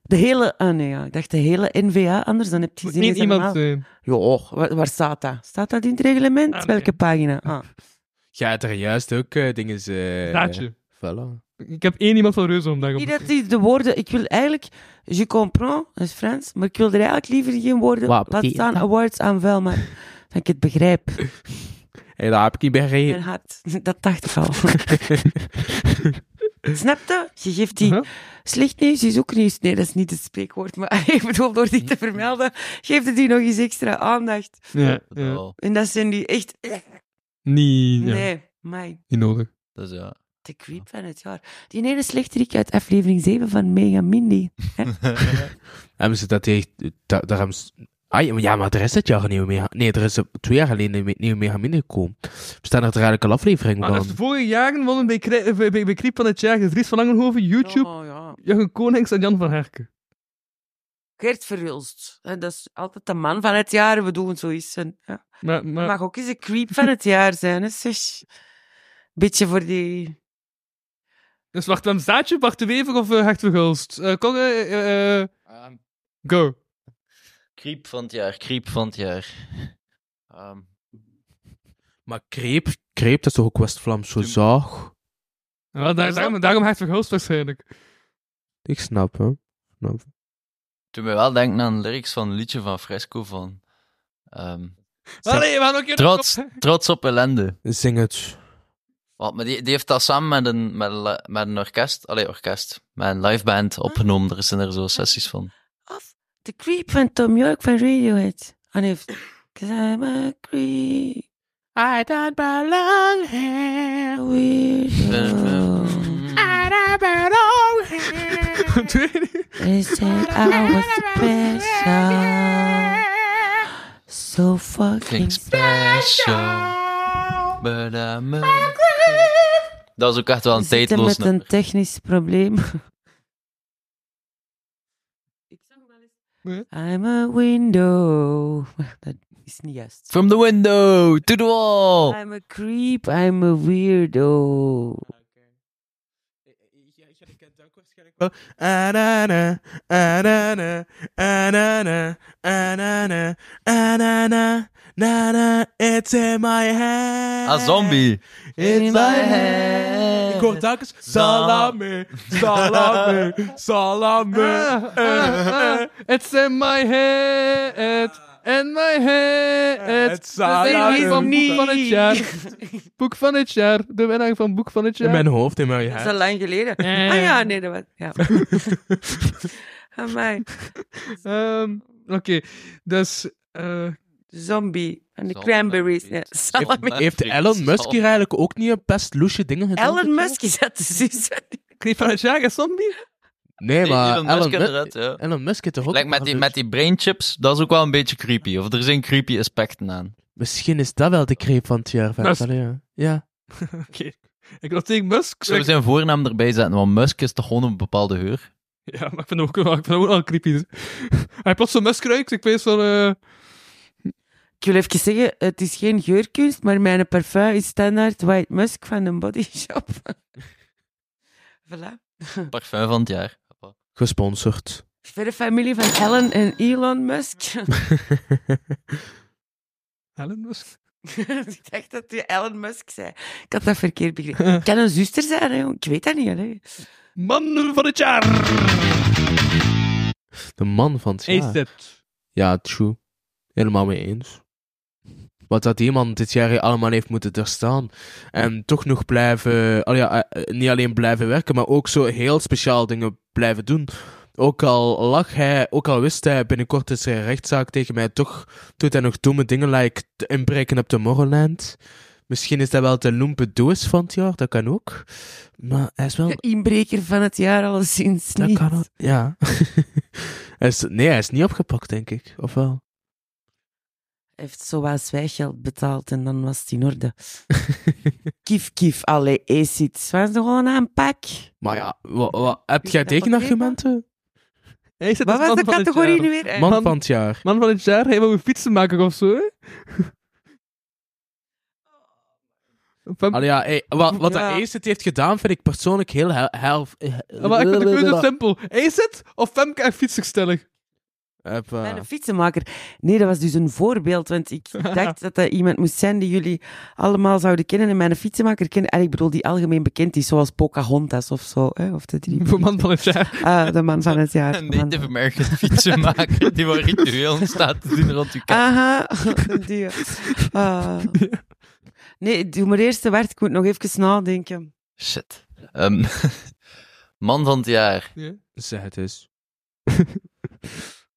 [SPEAKER 6] De hele... Ah nee, ja. ik dacht de hele NVA, anders dan heb je gezien...
[SPEAKER 5] niet
[SPEAKER 6] is dat
[SPEAKER 5] iemand eh,
[SPEAKER 6] normaal.
[SPEAKER 5] zijn.
[SPEAKER 6] Ja, waar, waar staat dat? Staat dat in het reglement? Welke pagina? Ah.
[SPEAKER 3] Jij hebt er juist ook eh, dingen... eh,
[SPEAKER 5] Raadje.
[SPEAKER 3] Voilà.
[SPEAKER 5] Ik heb één iemand van Reuzendag op.
[SPEAKER 6] Niet dat die de woorden... Ik wil eigenlijk... Je comprends, dat is Frans, maar ik wil er eigenlijk liever geen woorden...
[SPEAKER 3] Wat
[SPEAKER 6] Laat
[SPEAKER 3] betekent
[SPEAKER 6] staan
[SPEAKER 3] dat?
[SPEAKER 6] awards aan vuil, maar dat ik het begrijp.
[SPEAKER 3] En dat heb ik niet
[SPEAKER 6] Mijn
[SPEAKER 3] begrepen.
[SPEAKER 6] hart. Dat dacht ik al. Snap je? Je geeft die... Slecht nieuws is ook nieuws. Nee, dat is niet het spreekwoord. Maar ik bedoel, door dit te vermelden, geeft het die nog eens extra aandacht.
[SPEAKER 4] Eh,
[SPEAKER 5] Ja,
[SPEAKER 6] En dat zijn die echt...
[SPEAKER 5] Niet, ja.
[SPEAKER 6] Nee, mij.
[SPEAKER 5] niet nodig.
[SPEAKER 4] Dus ja.
[SPEAKER 6] De creep van het jaar. Die ene slechterik uit aflevering 7 van Mega Mindy. Hè?
[SPEAKER 3] Hebben ze dat tegen... da- daar hebben ze- Ah, ja, maar- ja, maar er is dit jaar een nieuwe Mega... Nee, er is eh, twee jaar geleden een me- nieuwe Mega Mini gekomen. Bestaan er eigenlijk al afleveringen
[SPEAKER 5] Maar
[SPEAKER 3] van?
[SPEAKER 5] als de vorige jaren wonnen bij, Kri- eh, bij, bij, bij Kriep van het jaar dus Dries van Langenhoven, YouTube,
[SPEAKER 6] Oh,
[SPEAKER 5] Jurgen Konings en Jan van Herken.
[SPEAKER 6] Gert Verhulst. Hè, Dat is altijd de man van het jaar. We doen zoiets. En, ja.
[SPEAKER 5] Maar, maar...
[SPEAKER 6] Mag ook eens een creep van het jaar zijn. Hè, zus. Beetje voor die...
[SPEAKER 5] Dus wacht, we hebben Zaadje, Bart de Wever of uh, Hert Verhulst? Eh, Conor, eh, eh, go.
[SPEAKER 4] Kriep Ehm, van het jaar, kriep van het jaar. Ehm,
[SPEAKER 3] Maar Kreep, Kreep, dat is toch ook West-Vlaamse zaag?
[SPEAKER 5] Ja, daar, daarom, daarom Hert Verhulst waarschijnlijk.
[SPEAKER 3] Ik snap, hè. Snap.
[SPEAKER 4] Toen mij wel denken aan lyrics van een liedje van Fresco van... ehm,
[SPEAKER 5] Allee, we hadden ook hier
[SPEAKER 4] trots,
[SPEAKER 5] nog op-
[SPEAKER 4] trots op ellende.
[SPEAKER 3] Zing het.
[SPEAKER 4] Wat, maar die, die heeft dat samen met een, met een, li- met een orkest, allee, orkest, met een liveband opgenomen. Er zijn er zo sessies van.
[SPEAKER 6] De creep van Tom York van Radiohead. En heeft... Cause I'm a creep.
[SPEAKER 17] I don't belong here.
[SPEAKER 6] Weirdo.
[SPEAKER 17] I don't belong here.
[SPEAKER 6] They said I was special. So fucking
[SPEAKER 4] special. But I'm a- Dat is ook echt wel een
[SPEAKER 6] Zitten
[SPEAKER 4] tijdloos
[SPEAKER 6] met
[SPEAKER 4] nummer.
[SPEAKER 6] een technisch probleem. I'm a window. Dat is niet juist.
[SPEAKER 4] From the window to the wall.
[SPEAKER 6] I'm a creep, I'm a weirdo.
[SPEAKER 3] Anana, anana, anana, anana, anana, nana, it's in my head.
[SPEAKER 4] Ah, zombie.
[SPEAKER 3] It's my head. Ik hoor telkens salame, salame, salame. eh,
[SPEAKER 5] Ah, ah, it's in my head. in my head.
[SPEAKER 18] Het
[SPEAKER 5] de winnaar van boek van het jaar. Boek van het jaar. De winnaar van boek van het jaar.
[SPEAKER 18] In mijn hoofd, in mijn
[SPEAKER 6] Dat
[SPEAKER 18] head.
[SPEAKER 6] is al lang geleden.
[SPEAKER 5] Ja, ja.
[SPEAKER 6] Ah ja, nee, dat was... Ja. Amai.
[SPEAKER 5] Ehm, Oké, dus...
[SPEAKER 6] Zombie. En de cranberries. Nee, salami.
[SPEAKER 3] Heeft Elon Musk hier eigenlijk ook niet een best loesje dingen gedaan?
[SPEAKER 6] Elon Musk is dat precies.
[SPEAKER 5] Kreeg van het jaar een zombie?
[SPEAKER 3] Nee,
[SPEAKER 4] Nee,
[SPEAKER 3] maar
[SPEAKER 4] Elon Musk
[SPEAKER 3] Elon, Mu-
[SPEAKER 4] inderdaad, ja.
[SPEAKER 3] Elon Musk heeft toch ook...
[SPEAKER 4] Like met die, met die brainchips, dat is ook wel een beetje creepy. Of er zijn creepy aspecten aan.
[SPEAKER 3] Misschien is dat wel de creep van het jaar.
[SPEAKER 4] Musk.
[SPEAKER 3] Vent. Allee, ja. Ja.
[SPEAKER 5] Oké. Ik wil tegen Musk...
[SPEAKER 4] Ik zou zijn voornaam erbij zetten, want Musk is toch gewoon een bepaalde heur.
[SPEAKER 5] Ja, maar ik vind hem ook, wel- ik vind hem ook wel creepy. dus. Hij plots zo'n Musk ruikt, ik weet van... eh,
[SPEAKER 6] Ik wil even zeggen, het is geen geurkunst, maar mijn parfum is standaard White Musk van een body shop. voilà.
[SPEAKER 4] Parfum van het jaar.
[SPEAKER 3] Gesponsord.
[SPEAKER 6] Verre familie van Ellen en Elon Musk.
[SPEAKER 5] Elon Musk?
[SPEAKER 6] ik dacht dat je Elon Musk zei. Ik had dat verkeerd begrepen. Het kan een zuster zijn, hè, jong. ik weet dat niet. Hè.
[SPEAKER 5] Man van het jaar!
[SPEAKER 3] De man van het
[SPEAKER 5] Is
[SPEAKER 3] jaar.
[SPEAKER 5] het?
[SPEAKER 3] Ja, true. Helemaal mee eens. Wat dat die man dit jaar allemaal heeft moeten doorstaan. En toch nog blijven... al ja, eh, eh, niet alleen blijven werken, maar ook zo heel speciaal dingen blijven doen. Ook al lag hij, ook al wist hij, binnenkort is er een rechtszaak tegen mij, toch doet hij nog domme dingen, like te inbreken op Tomorrowland. Misschien is dat wel de loempe doos van het jaar, dat kan ook. Maar hij is wel...
[SPEAKER 6] Inbreker van het jaar, alleszins niet. Dat kan
[SPEAKER 3] Ja. hij is, nee, hij is niet opgepakt, denk ik. Of wel?
[SPEAKER 6] Hij heeft zowel zwijggeld betaald en dan was het in orde. kief, kief, allee, acid. Was er gewoon een pak?
[SPEAKER 3] Maar ja, wa- wa- heb
[SPEAKER 6] Is
[SPEAKER 3] jij
[SPEAKER 6] dat
[SPEAKER 3] tegenargumenten?
[SPEAKER 5] Hij zit als
[SPEAKER 6] Wat was
[SPEAKER 5] man
[SPEAKER 6] de
[SPEAKER 5] van het
[SPEAKER 6] categorie
[SPEAKER 5] jaar.
[SPEAKER 6] nu weer? Eh,
[SPEAKER 3] Man van het jaar.
[SPEAKER 5] Man van het jaar, hij wil een fietsenmaker of zo, hè? Van-
[SPEAKER 3] Allee, ja, ey, wat, wat
[SPEAKER 5] Ja.
[SPEAKER 3] de Acid heeft gedaan, vind ik persoonlijk heel hel... hel eh,
[SPEAKER 5] Ja, Ah, Maar ik vind de keuze simpel. Acid of Femke en fietsensteller?
[SPEAKER 3] Eh, Ah.
[SPEAKER 6] Bij een fietsenmaker. Nee, dat was dus een voorbeeld. Want ik dacht dat dat iemand moest zijn die jullie allemaal zouden kennen. En mijn fietsenmaker kennen. En ik bedoel, die algemeen bekend is, zoals Pocahontas of zo. Hè? Of de drie.
[SPEAKER 5] De man van het jaar.
[SPEAKER 6] Ah, de man van het jaar. de man
[SPEAKER 4] Native American fietsenmaker die wat ritueel staat te doen rond uw kamer.
[SPEAKER 6] Aha, die. Ah. Nee, doe maar eerst de werd. Ik moet nog even nadenken.
[SPEAKER 4] Shit. Ehm, man van het jaar.
[SPEAKER 5] Ja.
[SPEAKER 3] Zeg het eens.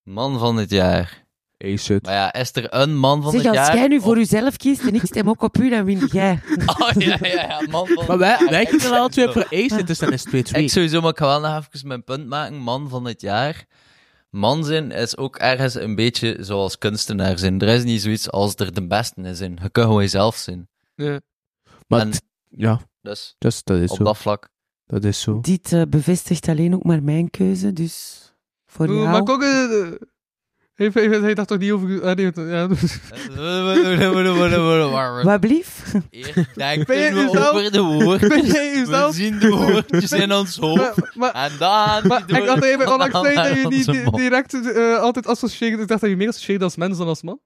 [SPEAKER 4] Man van het jaar.
[SPEAKER 3] Acid.
[SPEAKER 4] Maar ja, is er een man van
[SPEAKER 6] zeg,
[SPEAKER 4] het
[SPEAKER 6] als
[SPEAKER 4] jaar?
[SPEAKER 6] jij nu voor jezelf kiest en ik stem ook op u, dan win jij.
[SPEAKER 4] Oh ja, ja, ja, man van
[SPEAKER 3] Maar wij,
[SPEAKER 4] het
[SPEAKER 3] wij
[SPEAKER 4] jaar.
[SPEAKER 3] kiezen alle twee voor Acid, dus dan is het 2-2.
[SPEAKER 4] Ik sowieso, maar ik ga wel nog even mijn punt maken. Man van het jaar. Man zijn is ook ergens een beetje zoals kunstenaar zijn. Er is niet zoiets als er de beste in zijn. Je kunt gewoon jezelf zijn.
[SPEAKER 5] Ja.
[SPEAKER 3] Maar
[SPEAKER 4] En-
[SPEAKER 3] t- ja,
[SPEAKER 4] Dus,
[SPEAKER 3] dus dat is
[SPEAKER 4] op
[SPEAKER 3] zo.
[SPEAKER 4] dat vlak.
[SPEAKER 3] Dat is zo.
[SPEAKER 6] Dit eh, bevestigt alleen ook maar mijn keuze, dus voor
[SPEAKER 5] Oeh,
[SPEAKER 6] jou...
[SPEAKER 5] Maar ook... Hij heeft- hij dacht toch niet over... ah, nee, ja.
[SPEAKER 6] Wat blief?
[SPEAKER 5] Ben jij
[SPEAKER 4] Denken we
[SPEAKER 5] jezelf-
[SPEAKER 4] over de
[SPEAKER 5] Ben
[SPEAKER 4] woordjes.
[SPEAKER 5] jij
[SPEAKER 4] We
[SPEAKER 5] jezelf-
[SPEAKER 4] zien de woordjes in ons hoofd. en dan...
[SPEAKER 5] Maar ik dacht even onlangs zei dat je niet di-
[SPEAKER 4] direct.
[SPEAKER 5] direct eh, altijd associeert. Ik dacht dat je meer associeert als mens dan als man.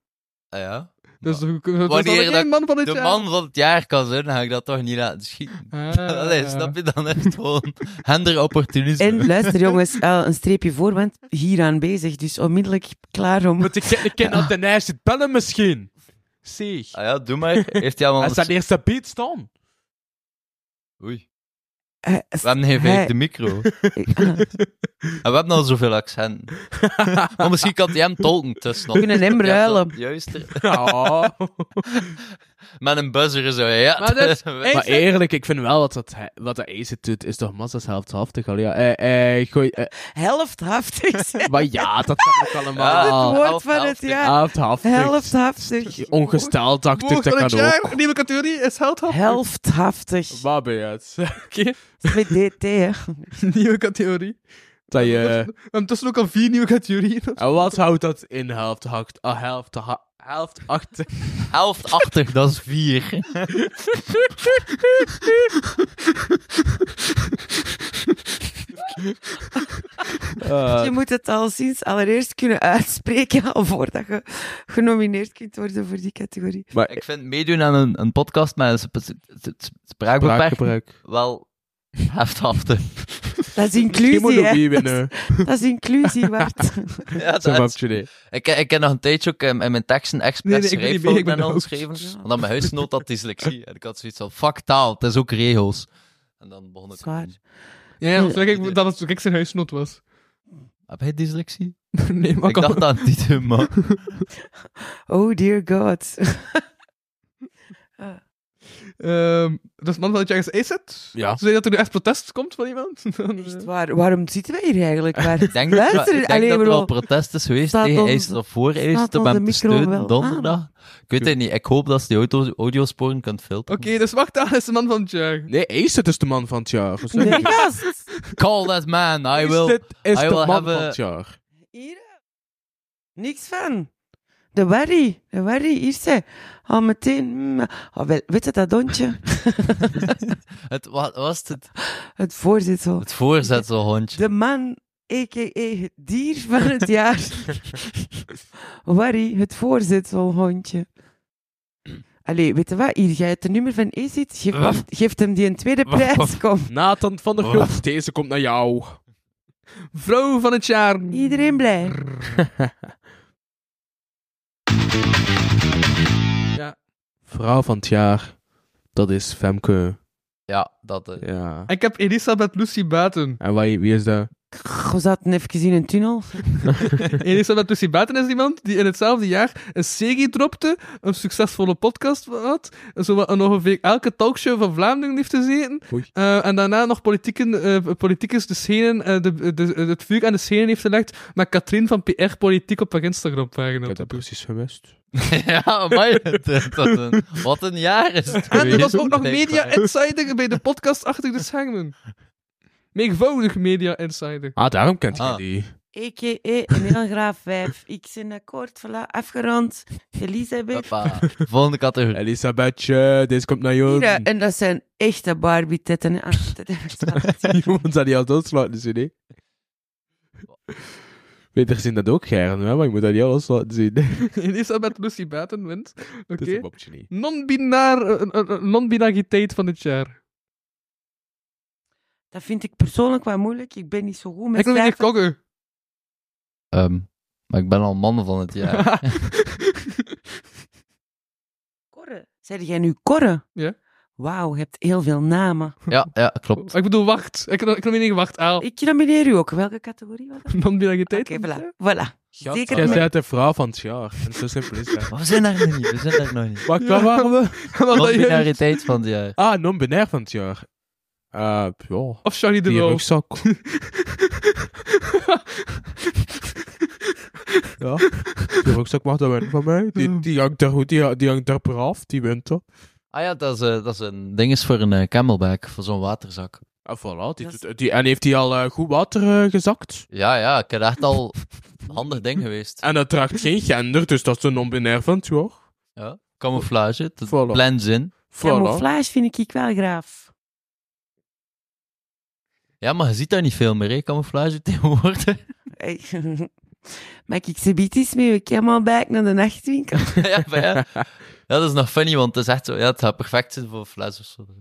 [SPEAKER 4] Ah ja.
[SPEAKER 5] Dus hoe- hoe- hoe-
[SPEAKER 4] Wanneer
[SPEAKER 5] dat is geen
[SPEAKER 4] dat
[SPEAKER 5] man van het
[SPEAKER 4] de
[SPEAKER 5] jaar.
[SPEAKER 4] man van het jaar kan zijn, dan ga ik dat toch niet laten schieten.
[SPEAKER 5] Ah.
[SPEAKER 4] Allee, snap je? Dan is het gewoon hender opportunisme.
[SPEAKER 6] En luister jongens, eh, een streepje voor, want hier aanwezig, dus onmiddellijk klaar om...
[SPEAKER 3] Moet ik ik ken dat de Acid bellen misschien? Zeg.
[SPEAKER 4] Ah ja, doe maar. Heeft hij
[SPEAKER 6] Ah,
[SPEAKER 4] allemaal...
[SPEAKER 3] Is dat de eerste beat staan?
[SPEAKER 4] Oei.
[SPEAKER 6] We
[SPEAKER 4] hebben geen
[SPEAKER 3] hij-
[SPEAKER 4] vijfde micro.
[SPEAKER 6] Ah.
[SPEAKER 4] en we hebben al zoveel accent. maar misschien kan hij hem tolken tussen
[SPEAKER 6] We kunnen hem ruilen.
[SPEAKER 4] Juist. er-
[SPEAKER 3] Ja.
[SPEAKER 4] Met een buzzer zo, ja.
[SPEAKER 3] Maar,
[SPEAKER 4] dat is-
[SPEAKER 3] maar eerlijk, ik vind wel wat, dat, hij- wat dat Acid doet, is toch massa's helft-haftig. Allee, ja, eh, eh, gooi... eh,
[SPEAKER 6] Helfthaftig.
[SPEAKER 3] maar ja, dat kan ook
[SPEAKER 6] Ah,
[SPEAKER 3] allemaal.
[SPEAKER 6] het woord van het jaar.
[SPEAKER 3] Helfthaftig.
[SPEAKER 6] Helfthaftig.
[SPEAKER 3] Ongestaaldachtig, dat kan ook.
[SPEAKER 5] nieuwe categorie is heldhaftig.
[SPEAKER 6] Helfthaftig.
[SPEAKER 3] Waar ben je uit? Oké.
[SPEAKER 6] Met DT, hè.
[SPEAKER 5] nieuwe categorie.
[SPEAKER 3] Dat
[SPEAKER 5] We
[SPEAKER 3] je...
[SPEAKER 5] hebben tussen ook al vier nieuwe categorieën.
[SPEAKER 3] En wat houdt dat in helft hakt? Ah, helft ha- helft achter.
[SPEAKER 4] Helft achter, dat is vier.
[SPEAKER 3] Eh,
[SPEAKER 6] Je moet het al sinds allereerst kunnen uitspreken, al voordat je genomineerd kunt worden voor die categorie.
[SPEAKER 3] Maar
[SPEAKER 4] ik vind meedoen aan een, een podcast met een sp- sp- sp- spraakbeperking
[SPEAKER 3] Spraakgebruik.
[SPEAKER 4] wel hefthaftig.
[SPEAKER 6] Dat is inclusie, hè. Dat is- Dat is inclusie, Bart.
[SPEAKER 4] Ja, dat is- Ik, ik heb nog een tijdje ook ehm, in mijn teksten
[SPEAKER 5] Nee, nee,
[SPEAKER 4] expres
[SPEAKER 5] ik
[SPEAKER 4] nee,
[SPEAKER 5] ben niet mee, ik ben
[SPEAKER 4] en al
[SPEAKER 5] dood.
[SPEAKER 4] geschreven. Want dan mijn huisgenoot had dyslexie. En ik had zoiets van, fuck taal, het is ook regels. En dan begon ik...
[SPEAKER 6] Zwaar.
[SPEAKER 5] Ja, ja, zeg ik Dus dat het ik zijn huisnood was.
[SPEAKER 4] Heb jij dyslexie?
[SPEAKER 5] nee, maar
[SPEAKER 4] ik dacht dat niet, man.
[SPEAKER 6] Oh dear god.
[SPEAKER 5] Ehm, dus man van het jaar is Acid.
[SPEAKER 6] Ja.
[SPEAKER 5] Ze zei dat er nu echt protest komt van iemand. Dan, eh,
[SPEAKER 6] Waar, waarom zitten wij hier eigenlijk? Waar,
[SPEAKER 4] Ik denk, dat- ik denk dat er al protest is geweest
[SPEAKER 6] staat
[SPEAKER 4] tegen
[SPEAKER 6] ons-
[SPEAKER 4] IJssel of voor IJssel
[SPEAKER 6] staat
[SPEAKER 4] om hem te
[SPEAKER 6] onze micro wel
[SPEAKER 4] steunen
[SPEAKER 6] aan?
[SPEAKER 4] donderdag. Ik weet het niet, ik hoop dat ze die auto- audiosporen kunt filteren.
[SPEAKER 5] Oké, dus wacht aan, is de man van het jaar.
[SPEAKER 3] Nee, Acid is de man van het jaar. Of zo.
[SPEAKER 4] Call that man, I will...
[SPEAKER 3] Acid is
[SPEAKER 4] I
[SPEAKER 3] de
[SPEAKER 4] will
[SPEAKER 3] man
[SPEAKER 4] have
[SPEAKER 3] van
[SPEAKER 4] a-
[SPEAKER 3] het jaar.
[SPEAKER 6] Niks van. De Warry, de Warry, hier ze. Al meteen. mm, ah, wel, weet je dat hondje?
[SPEAKER 4] Het, wat was het?
[SPEAKER 6] Het voorzitsel.
[SPEAKER 4] Het voorzetselhondje.
[SPEAKER 6] De man, a.k.a. het dier van het jaar. Warry, het voorzitselhondje. Allee, weet je wat? Hier, jij hebt het nummer van Acid. Geef,
[SPEAKER 3] Waf.
[SPEAKER 6] geef hem die een tweede prijs. Kom.
[SPEAKER 3] Nathan van der
[SPEAKER 6] Oh.
[SPEAKER 3] Gulf, deze komt naar jou.
[SPEAKER 5] Vrouw van het jaar.
[SPEAKER 6] Iedereen blij.
[SPEAKER 3] Vrouw van het jaar, dat is Femke.
[SPEAKER 4] Ja, dat... eh.
[SPEAKER 3] Ja.
[SPEAKER 5] Ik heb Elisabeth Lucy Baten.
[SPEAKER 3] En wie, wie is dat?
[SPEAKER 6] We zaten even in een tunnel.
[SPEAKER 5] Elisabeth Lucy Baten is iemand die in hetzelfde jaar een serie dropte, een succesvolle podcast had, zo wat een ongeveer elke talkshow van Vlaanderen heeft gezeten, Eh, en daarna nog politieken, eh, politicus de schenen, eh, de, de- het vuur aan de schenen heeft gelegd met Katrien van PR Politiek op haar Instagram-pagina. Ik heb dat
[SPEAKER 3] precies gemist.
[SPEAKER 4] ja, maar wat een jaar is het
[SPEAKER 5] En er was
[SPEAKER 4] geweest,
[SPEAKER 5] ook nog Media
[SPEAKER 4] blijkbaar.
[SPEAKER 5] Insider bij de podcast achter de schermen. Meegvoudig Media Insider.
[SPEAKER 3] Ah, daarom kent jij die.
[SPEAKER 6] A.k.a. een heel graaf vijf. Ik ben akkoord, voilà, afgerond. Elisabeth.
[SPEAKER 4] Volgende categorie.
[SPEAKER 3] Elisabethje, eh, deze komt naar jou.
[SPEAKER 6] Hier, en dat zijn echte Barbie-tetten. hè. Ah, dat heb ik zelf gezien.
[SPEAKER 3] Je moet dat niet al loslaten, dus nee. Peter zien dat ook, Gern, hè, maar je moet dat niet al loslaten zien.
[SPEAKER 5] Elisabeth Lucy Baten wint. Oké.
[SPEAKER 3] is een mopje niet.
[SPEAKER 5] Non-binair, eh, eh, eh, non-binariteit van dit jaar.
[SPEAKER 6] Dat vind ik persoonlijk wel moeilijk. Ik ben niet zo goed met
[SPEAKER 5] Ik wil niet
[SPEAKER 6] cijfers.
[SPEAKER 5] kokken.
[SPEAKER 4] Ehm, maar ik ben al man van het jaar.
[SPEAKER 6] Korre. Zeg jij nu Korre?
[SPEAKER 5] Ja.
[SPEAKER 6] Wauw, je hebt heel veel namen.
[SPEAKER 4] ja, ja, klopt.
[SPEAKER 5] Ik bedoel, wacht. Ik, ik nomineer wacht Aal.
[SPEAKER 6] Ik nomineer u ook. Welke categorie was dat?
[SPEAKER 5] Non-binariteit.
[SPEAKER 6] Oké, voilà. voilà. Zeker
[SPEAKER 3] Jij
[SPEAKER 6] met-
[SPEAKER 3] bent de vrouw van het jaar. En zo simpel is dat.
[SPEAKER 4] Maar we zijn daar nog niet, we zijn daar nog niet.
[SPEAKER 3] Wat waar waren we?
[SPEAKER 5] Oh,
[SPEAKER 4] Non-binariteit van het jaar.
[SPEAKER 3] Ah, non-binair van het jaar. Eh, ja.
[SPEAKER 5] Of Charlie de
[SPEAKER 3] Die
[SPEAKER 5] Roo.
[SPEAKER 3] rugzak. ja, die rugzak mag dat winnen van mij. Die, die hangt daar goed, die, die hangt daar braaf, die wint dat.
[SPEAKER 4] Ah ja, dat is, eh, dat is een ding is voor een eh, camelback, voor zo'n waterzak.
[SPEAKER 3] En Ah, voilà, die doet- die, en heeft hij al eh, goed water eh, gezakt?
[SPEAKER 4] Ja, ja, ik heb echt al een handig ding geweest.
[SPEAKER 3] En dat draagt geen gender, dus dat is een non-binair van het jaar.
[SPEAKER 4] Ja, camouflage, het
[SPEAKER 3] Voilà.
[SPEAKER 4] blends in.
[SPEAKER 6] Camouflage vind ik ik wel graaf.
[SPEAKER 4] Ja, maar je ziet daar niet veel meer, hè, camouflage tegenwoordig.
[SPEAKER 6] Hey. Maak ik ze iets mee? We komen al bij naar de nachtwinkel.
[SPEAKER 4] ja, maar ja. ja, dat is nog funny, want het is echt zo, ja, het gaat perfect zijn voor een fles of zo.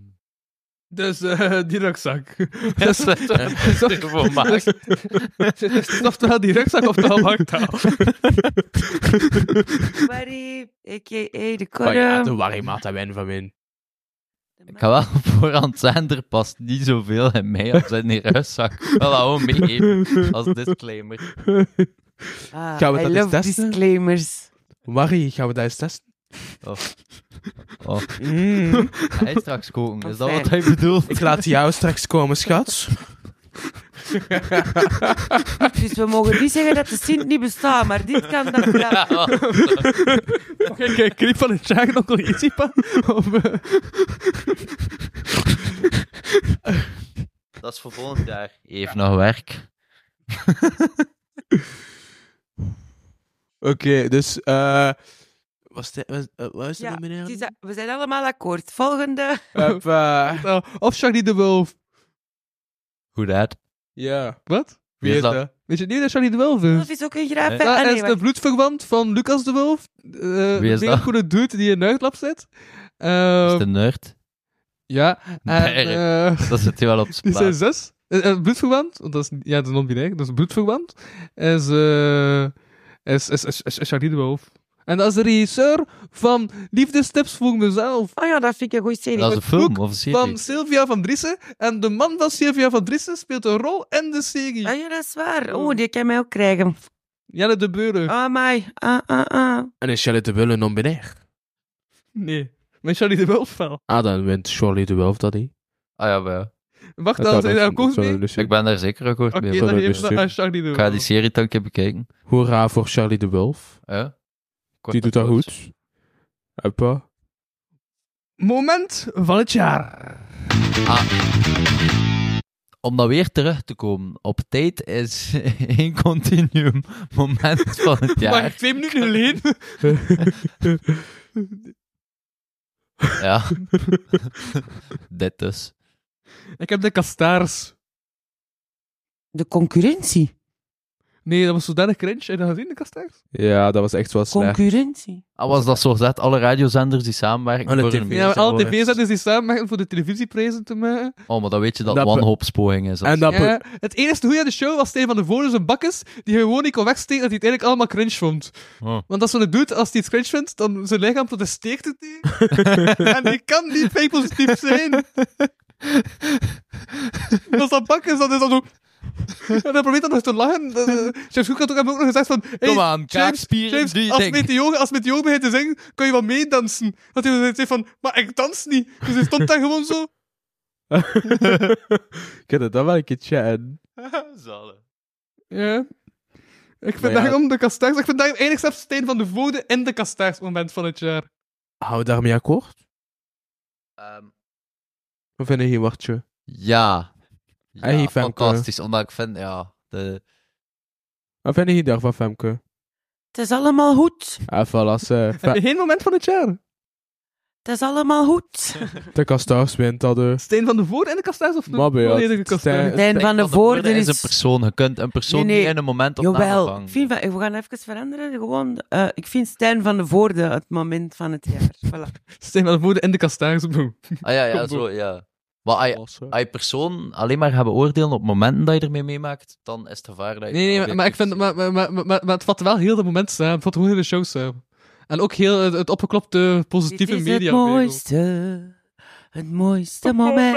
[SPEAKER 5] Dus eh, die rugzak.
[SPEAKER 4] Ja, dat is wel een voor maag.
[SPEAKER 5] Dus oftewel die rugzak, oftewel wacht Aal.
[SPEAKER 6] Barry, a.k.a. de
[SPEAKER 3] Maar ja,
[SPEAKER 6] korre.
[SPEAKER 3] de warrie maat dat winnen van win.
[SPEAKER 4] Ik ga wel voorhand zijn, er past niet zoveel in mij als in die rugzak. Wel, dat gewoon meegeven als disclaimer.
[SPEAKER 6] Ah,
[SPEAKER 3] Gaan we
[SPEAKER 6] I
[SPEAKER 3] dat eens
[SPEAKER 6] love
[SPEAKER 3] testen?
[SPEAKER 6] disclaimers.
[SPEAKER 3] Warrie, gaan we dat eens testen?
[SPEAKER 4] Oh. Oh.
[SPEAKER 3] Mm.
[SPEAKER 4] Hij is straks koken, is dat wat hij bedoelt?
[SPEAKER 3] Ik laat jou straks komen, schat.
[SPEAKER 6] Dus we mogen niet zeggen dat de Sint niet bestaat, maar dit kan dan wel.
[SPEAKER 5] Mag ik een clip van het jaar nog wel iets zien? Of, eh,
[SPEAKER 4] Dat is voor volgend jaar. Even nog werk.
[SPEAKER 3] Oké, dus... eh was dit, was, eh, wat is
[SPEAKER 6] Ja,
[SPEAKER 3] het meneer?
[SPEAKER 6] het is dat- we zijn allemaal akkoord. Volgende.
[SPEAKER 3] Hup, eh,
[SPEAKER 5] eh, of Charlie de Wolf.
[SPEAKER 4] Hoe dat?
[SPEAKER 3] Ja.
[SPEAKER 5] Wat?
[SPEAKER 3] Wie is dat?
[SPEAKER 5] Weet je niet dat Charlie de Wolf
[SPEAKER 4] Eh.
[SPEAKER 5] is?
[SPEAKER 6] Wolf is ook een graaf.
[SPEAKER 4] Nee.
[SPEAKER 6] hè?
[SPEAKER 5] Dat
[SPEAKER 6] Ah, nee,
[SPEAKER 5] is de
[SPEAKER 6] wacht.
[SPEAKER 5] bloedverwant van Lucas de Wolf. eh,
[SPEAKER 4] Wie is
[SPEAKER 5] de
[SPEAKER 4] dat? Oh.
[SPEAKER 5] goede dude die in Nuitlab zit. Eh,
[SPEAKER 4] Is de nerd?
[SPEAKER 5] Ja, en,
[SPEAKER 4] Beren.
[SPEAKER 5] eh,
[SPEAKER 4] Dat zit hier wel op zijn
[SPEAKER 5] Die zijn
[SPEAKER 4] plaats.
[SPEAKER 5] zes. Eh, eh, bloedverwant, want dat is, ja, dat is non-binair, dat is bloedverwant. Is, eh is, is, is, is, is Charlie de Wolf. En dat is de regisseur van Liefdestips voor mezelf.
[SPEAKER 6] Ah ja, dat vind ik een goede serie.
[SPEAKER 4] Dat is een
[SPEAKER 5] Het boek
[SPEAKER 4] film of een serie.
[SPEAKER 5] Van Sylvia van Driessen. En de man van Sylvia van Driessen speelt een rol in de serie.
[SPEAKER 6] Ah ja, dat is waar. Oh, die kan mij ook krijgen.
[SPEAKER 5] Jelle de
[SPEAKER 4] Eh.
[SPEAKER 5] Beuren.
[SPEAKER 6] Ah, mij. Ah, ah, ah.
[SPEAKER 3] En is Charlie de Wullen non-binair?
[SPEAKER 5] Nee, met Charlie de Wolf wel.
[SPEAKER 3] Ah, dan wint Charlie de Wolf dat, hè?
[SPEAKER 4] Ah ja, wel.
[SPEAKER 5] Wacht, dan zijn daar akkoord mee?
[SPEAKER 3] dus
[SPEAKER 4] Ik ben daar zeker akkoord
[SPEAKER 5] Oké,
[SPEAKER 4] mee.
[SPEAKER 5] dan geven we dat aan Charlie de
[SPEAKER 4] Ik ga die
[SPEAKER 5] Wolf.
[SPEAKER 4] serie dan een keer bekijken.
[SPEAKER 3] Hoera voor Charlie de Wolf.
[SPEAKER 4] Ja.
[SPEAKER 3] Die doet dat goed. Hoppa.
[SPEAKER 5] Moment van het jaar.
[SPEAKER 4] Ah. Om dan weer terug te komen op tijd is één continuum moment van het
[SPEAKER 5] Maar
[SPEAKER 4] jaar.
[SPEAKER 5] twee minuten geleden.
[SPEAKER 4] Ja. Dit dus.
[SPEAKER 5] Ik heb de kastaars.
[SPEAKER 6] De concurrentie.
[SPEAKER 5] Nee, dat was zodanig cringe. Heb je dat gezien, de kastaars?
[SPEAKER 3] Ja, dat was echt wel slecht.
[SPEAKER 6] Concurrentie.
[SPEAKER 4] Ah, was dat zo zet alle radiozenders die samenwerken
[SPEAKER 3] Alle
[SPEAKER 4] voor een-
[SPEAKER 5] Ja, maar alle tv-zenders dus die samenwerken voor de televisieprijzen te maken.
[SPEAKER 4] Oh, maar dan weet je dat,
[SPEAKER 3] Dat
[SPEAKER 4] dat
[SPEAKER 3] be-
[SPEAKER 4] wanhoopspoging is.
[SPEAKER 3] En dat be-
[SPEAKER 5] Ja, het enige goede aan de show was Stijn van de Voren zijn bakkes, die gewoon niet kon wegsteken dat hij het eigenlijk allemaal cringe vond.
[SPEAKER 4] Oh.
[SPEAKER 5] Want als zo'n doet, als hij iets cringe vindt, dan zijn lichaam protesteert het niet. en die kan niet fake positief zijn. Als dat bakkes, dan is dat zo... En dan probeert dat nog te lachen. Dat, eh, James Cook had ook, hem ook nog gezegd van... Hey,
[SPEAKER 4] Kom aan,
[SPEAKER 5] James,
[SPEAKER 4] kaakspieren,
[SPEAKER 5] James,
[SPEAKER 4] doe je
[SPEAKER 5] als
[SPEAKER 4] ding.
[SPEAKER 5] meteor, als meteor begint te zingen, kan je wel meedansen. Dat hij dan zei van, maar ik dans niet. Dus hij stond daar gewoon zo...
[SPEAKER 3] Ik heb dat dan wel een keer chatten.
[SPEAKER 4] Zalen.
[SPEAKER 5] Ja. Ik vind
[SPEAKER 3] Maar ja.
[SPEAKER 5] daarom de kastaars. Ik vind daarom eigenlijk zelfs Steen van de Voorde in de kastaarsmoment van het jaar.
[SPEAKER 3] Hou daarmee akkoord?
[SPEAKER 6] Ehm.
[SPEAKER 3] We vinden hier watje.
[SPEAKER 4] ja.
[SPEAKER 3] Hij
[SPEAKER 4] ja
[SPEAKER 3] heeft hem
[SPEAKER 4] fantastisch, omdat ik vind, ja... De...
[SPEAKER 3] Wat vinden hier daarvan, Femke?
[SPEAKER 6] Het is allemaal goed.
[SPEAKER 3] Even lassen. Fe-
[SPEAKER 5] geen moment van het jaar?
[SPEAKER 6] Het is allemaal goed.
[SPEAKER 3] De kastaars wint dat, eh.
[SPEAKER 5] Steen van de Voorde in de kastaars of de
[SPEAKER 3] Maar Beat,
[SPEAKER 5] volledige
[SPEAKER 3] Stijn-
[SPEAKER 5] kastaars?
[SPEAKER 6] Stijn van de Voorde
[SPEAKER 4] is een
[SPEAKER 6] is...
[SPEAKER 4] persoon. Je kunt een persoon
[SPEAKER 6] Nee, nee.
[SPEAKER 4] niet in een moment op
[SPEAKER 6] Jawel, ik vind, van- we gaan even veranderen. Gewoon, eh, ik vind Stijn van de Voorde het moment van het jaar. Voilà.
[SPEAKER 5] Steen van de Voorde in de kastaars. Boom.
[SPEAKER 4] Ah ja, ja, zo, ja. Maar
[SPEAKER 6] Ah,
[SPEAKER 4] als je- als je persoon alleen maar gaat beoordelen op momenten dat je ermee meemaakt, dan is het gevaar dat je...
[SPEAKER 5] Nee, nee, maar, maar ik vind, maar, maar, maar, maar, maar het vat wel heel dat moment samen. Het vat gewoon heel de show samen. En ook heel het, het opgeklopte
[SPEAKER 6] Dit
[SPEAKER 5] positieve
[SPEAKER 6] is het
[SPEAKER 5] media.
[SPEAKER 6] mooiste. Het mooiste moment.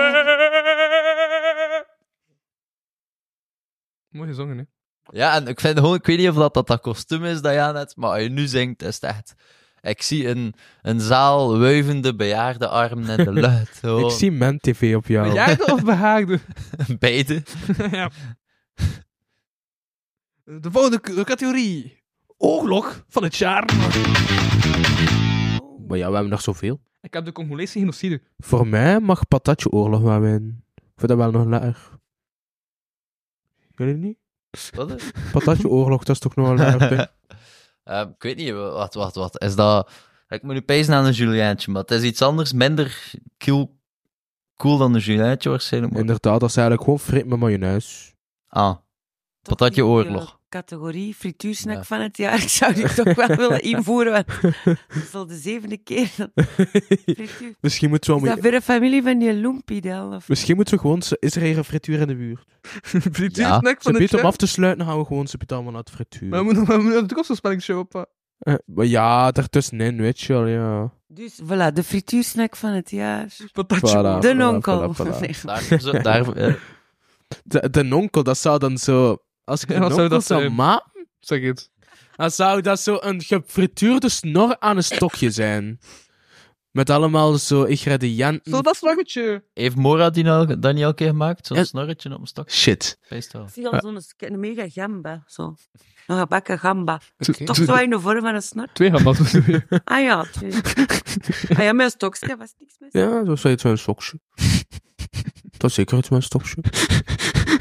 [SPEAKER 5] Mooi gezongen, hè?
[SPEAKER 4] Ja, en ik vind gewoon, ik weet niet of dat dat, dat kostuum is dat je aan hebt, maar als je nu zingt, is het echt... Ik zie een, een zaal wuivende bejaardenarmen in de lucht. Gewoon.
[SPEAKER 3] Ik zie mijn tv op jou.
[SPEAKER 5] Bejaarde of behaagde?
[SPEAKER 4] Beide.
[SPEAKER 5] ja. De volgende k- categorie. Oorlog van het jaar.
[SPEAKER 3] Oh. Maar ja, we hebben nog zoveel.
[SPEAKER 5] Ik heb de Congolese genocide.
[SPEAKER 3] Voor mij mag Patatje Oorlog wel winnen. Ik vind dat wel nog lekker. Jullie niet?
[SPEAKER 4] Wat is-
[SPEAKER 3] Patatje Oorlog, dat is toch nog wel lekker. hè?
[SPEAKER 4] Ehm, ik weet niet, wat, wat, wat. Is dat... Ik moet nu pezen aan een Juliaantje, maar het is iets anders, minder cool, cool dan een Juliaantje waarschijnlijk. maar-
[SPEAKER 3] Inderdaad, dat is eigenlijk gewoon frit met mayonaise.
[SPEAKER 4] Ah, patatje
[SPEAKER 6] Nieuwe
[SPEAKER 4] oorlog.
[SPEAKER 6] Categorie frituursnack
[SPEAKER 4] Ja.
[SPEAKER 6] van het jaar. Ik zou die toch wel willen invoeren. Want het is al de zevende keer. dat- Frituur.
[SPEAKER 3] Misschien moeten we,
[SPEAKER 6] Is
[SPEAKER 3] wel-
[SPEAKER 6] dat weer een familie van die Loempie dan? Of...
[SPEAKER 3] misschien moeten we gewoon... Is er hier een frituur in de buurt?
[SPEAKER 5] Frituursnack
[SPEAKER 3] Ze
[SPEAKER 5] van het
[SPEAKER 3] beter om
[SPEAKER 5] jaar.
[SPEAKER 3] af te sluiten, gaan we gewoon ze betaal maar naar het frituur.
[SPEAKER 5] Maar we moeten, maar we moeten de kostenspellingshow op. eh.
[SPEAKER 3] Eh, maar ja, daartussenin, weet je wel, ja.
[SPEAKER 6] Dus voilà, de frituursnack van het jaar.
[SPEAKER 5] Patatje.
[SPEAKER 3] Voilà,
[SPEAKER 6] de
[SPEAKER 3] voilà,
[SPEAKER 6] nonkel.
[SPEAKER 3] voilà, voilà.
[SPEAKER 6] Nee.
[SPEAKER 4] Daar, zo- daar, eh,
[SPEAKER 3] De, de nonkel, dat zou dan zo... Als ik
[SPEAKER 5] Ja,
[SPEAKER 3] een
[SPEAKER 5] wat zou
[SPEAKER 3] nonkel
[SPEAKER 5] dat
[SPEAKER 3] zou
[SPEAKER 5] zijn?
[SPEAKER 3] maken,
[SPEAKER 5] Zeg het.
[SPEAKER 3] dan zou dat zo een gefrituurde snor aan een stokje zijn. Met allemaal zo ingrediënten.
[SPEAKER 5] Zo dat slaggetje.
[SPEAKER 4] heeft Mora die nou, dat niet elke keer gemaakt? Zo'n
[SPEAKER 3] Ja.
[SPEAKER 4] snorretje op een stok?
[SPEAKER 3] Shit.
[SPEAKER 4] Feest wel.
[SPEAKER 6] Ik zie al zo'n sk- een mega gamba. Zo. Een gebakken gamba.
[SPEAKER 5] Oké.
[SPEAKER 6] Toch zo in de vorm van een snor.
[SPEAKER 5] Twee gambas.
[SPEAKER 6] Ah ja, twee. Ah ja, mijn stokje was niks meer.
[SPEAKER 3] Ja, dat is wel iets van een stokje. dat is zeker iets van een stokje.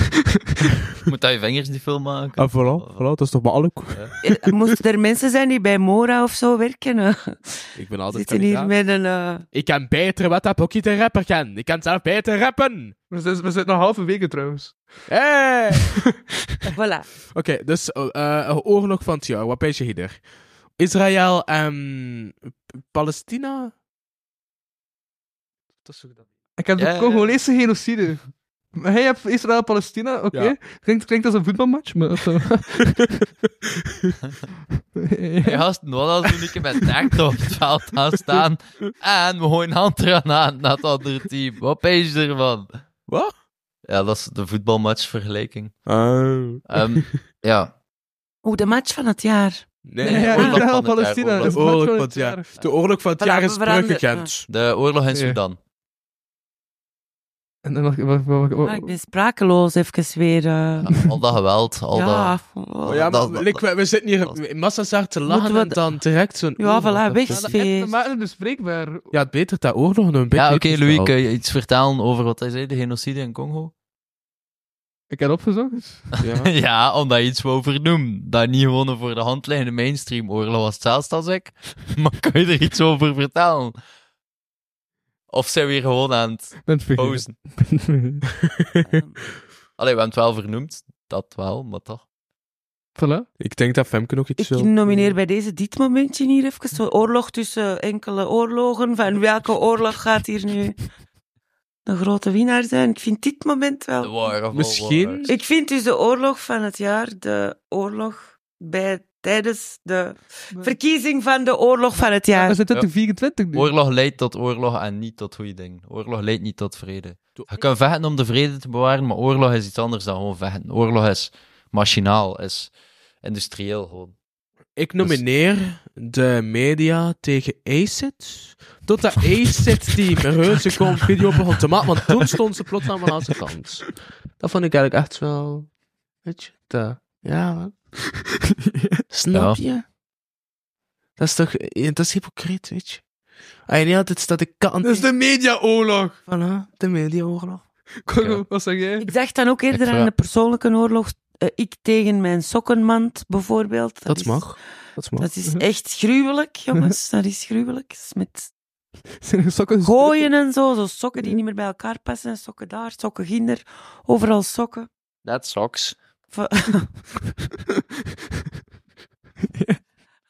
[SPEAKER 4] Moet dat je vingers niet veel maken?
[SPEAKER 5] Ah,
[SPEAKER 3] En voilà, voilà, dat is toch maar alle...
[SPEAKER 6] Eh, Moesten er mensen zijn die bij Mora of zo werken? eh?
[SPEAKER 3] Ik ben altijd
[SPEAKER 6] Zitten hier
[SPEAKER 3] kandidaat.
[SPEAKER 6] met een... eh,
[SPEAKER 3] Ik kan beter wat dat Pocky de rapper kan. Ik kan zelf beter rappen.
[SPEAKER 5] We zijn, we zijn nog halve weken trouwens.
[SPEAKER 3] Hey!
[SPEAKER 6] Voilà.
[SPEAKER 3] Oké, dus eh, eh, oorlog van het jaar. Wat pees je hier? Israël en Palestina?
[SPEAKER 5] Dat zoek ik dan. Ik heb
[SPEAKER 4] Ja,
[SPEAKER 5] de
[SPEAKER 4] ja.
[SPEAKER 5] Congolese genocide. Maar Hij hebt Israël-Palestina, oké.
[SPEAKER 4] Ja.
[SPEAKER 5] Klinkt, klinkt als een voetbalmatch, maar... of zo.
[SPEAKER 4] Ja, gasten, wat als we niet met naakt op het veld gaan staan en we gooien een hand eraan aan naar het andere team? Wat pees je ervan?
[SPEAKER 3] Wat?
[SPEAKER 4] Ja, dat is de voetbalmatchvergelijking.
[SPEAKER 3] Oh.
[SPEAKER 4] Ehm, ja.
[SPEAKER 6] Oh, de match van het jaar.
[SPEAKER 4] Nee, Nee, de oorlog Israël, van het Palestina, jaar, oorlog.
[SPEAKER 3] De oorlog van het jaar. De oorlog van het
[SPEAKER 6] Voilà,
[SPEAKER 3] jaar
[SPEAKER 6] we
[SPEAKER 3] is
[SPEAKER 6] veranderen-
[SPEAKER 3] teruggekend.
[SPEAKER 4] De oorlog in
[SPEAKER 5] Ja.
[SPEAKER 4] Sudan.
[SPEAKER 5] en dan nog... Wat, wat, wat-
[SPEAKER 6] Ah, ik ben sprakeloos, even weer. eh.
[SPEAKER 4] Al dat geweld, al
[SPEAKER 6] Ja,
[SPEAKER 4] dat...
[SPEAKER 6] oh.
[SPEAKER 3] ja, maar,
[SPEAKER 4] dat- dat-
[SPEAKER 3] like, we, we zitten hier in massa's daar te lachen
[SPEAKER 6] Moeten
[SPEAKER 3] en
[SPEAKER 6] we
[SPEAKER 3] dan direct zo'n...
[SPEAKER 6] Ja,
[SPEAKER 3] oorlog.
[SPEAKER 6] voilà, weg.
[SPEAKER 5] Ja, dat- en we maken het bespreekbaar.
[SPEAKER 3] Ja, het beter dat oorlog nog een beetje...
[SPEAKER 4] Ja, oké, Louis,
[SPEAKER 3] uitgesteld.
[SPEAKER 4] kun je iets vertellen over wat hij zei, de genocide in Congo?
[SPEAKER 5] Ik heb opgezocht.
[SPEAKER 4] Ja, omdat je iets wou vernoemen. Dat niet gewoon een voor de hand liggende mainstream oorlog was hetzelfde als ik. Maar kun je er iets over vertellen? Of zijn we hier gewoon aan het
[SPEAKER 5] Bent vergeten.
[SPEAKER 4] posen? Allee, we hebben het wel vernoemd. Dat wel, maar toch.
[SPEAKER 5] Voilà.
[SPEAKER 3] Ik denk dat Femke ook iets
[SPEAKER 6] Ik
[SPEAKER 3] wil.
[SPEAKER 6] nomineer bij deze dit momentje hier even. Zo'n oorlog tussen enkele oorlogen. Van welke oorlog gaat hier nu de grote winnaar zijn? Ik vind dit moment wel.
[SPEAKER 3] Misschien...
[SPEAKER 6] Ik vind dus de oorlog van het jaar de oorlog bij, tijdens de verkiezing van de oorlog van het jaar.
[SPEAKER 4] Ja.
[SPEAKER 5] 24
[SPEAKER 4] Oorlog leidt tot oorlog en niet tot goede dingen. Oorlog leidt niet tot vrede. Je kan vechten om de vrede te bewaren, maar oorlog is iets anders dan gewoon vechten. Oorlog is machinaal, is industrieel gewoon.
[SPEAKER 3] Ik nomineer de media tegen ACID. Tot dat ACID-team een reuze kom video begon te maken, want toen stond ze plots aan mijn laatste kans. Dat vond ik eigenlijk echt wel... Weet je, dat- ja, man. Snap
[SPEAKER 4] Ja.
[SPEAKER 3] je? Dat is toch... eh, Dat is hypocriet, weet je. Als je niet altijd staat de kant...
[SPEAKER 5] Dat is de mediaoorlog.
[SPEAKER 3] Voilà, de mediaoorlog.
[SPEAKER 5] Congo, wat zeg jij?
[SPEAKER 6] Ik dacht dan ook eerder
[SPEAKER 5] Ik
[SPEAKER 6] aan
[SPEAKER 5] vra-
[SPEAKER 6] de persoonlijke oorlog. eh, ik tegen mijn sokkenmand bijvoorbeeld. Dat, is,
[SPEAKER 3] mag. Dat mag.
[SPEAKER 6] Dat is echt gruwelijk, jongens. Dat is gruwelijk. Dat is met
[SPEAKER 3] Dus-
[SPEAKER 5] sokken
[SPEAKER 6] gooien en zo. Zo sokken die niet meer bij elkaar passen. Sokken daar, sokken ginder. Overal sokken.
[SPEAKER 4] That sucks.
[SPEAKER 6] Va-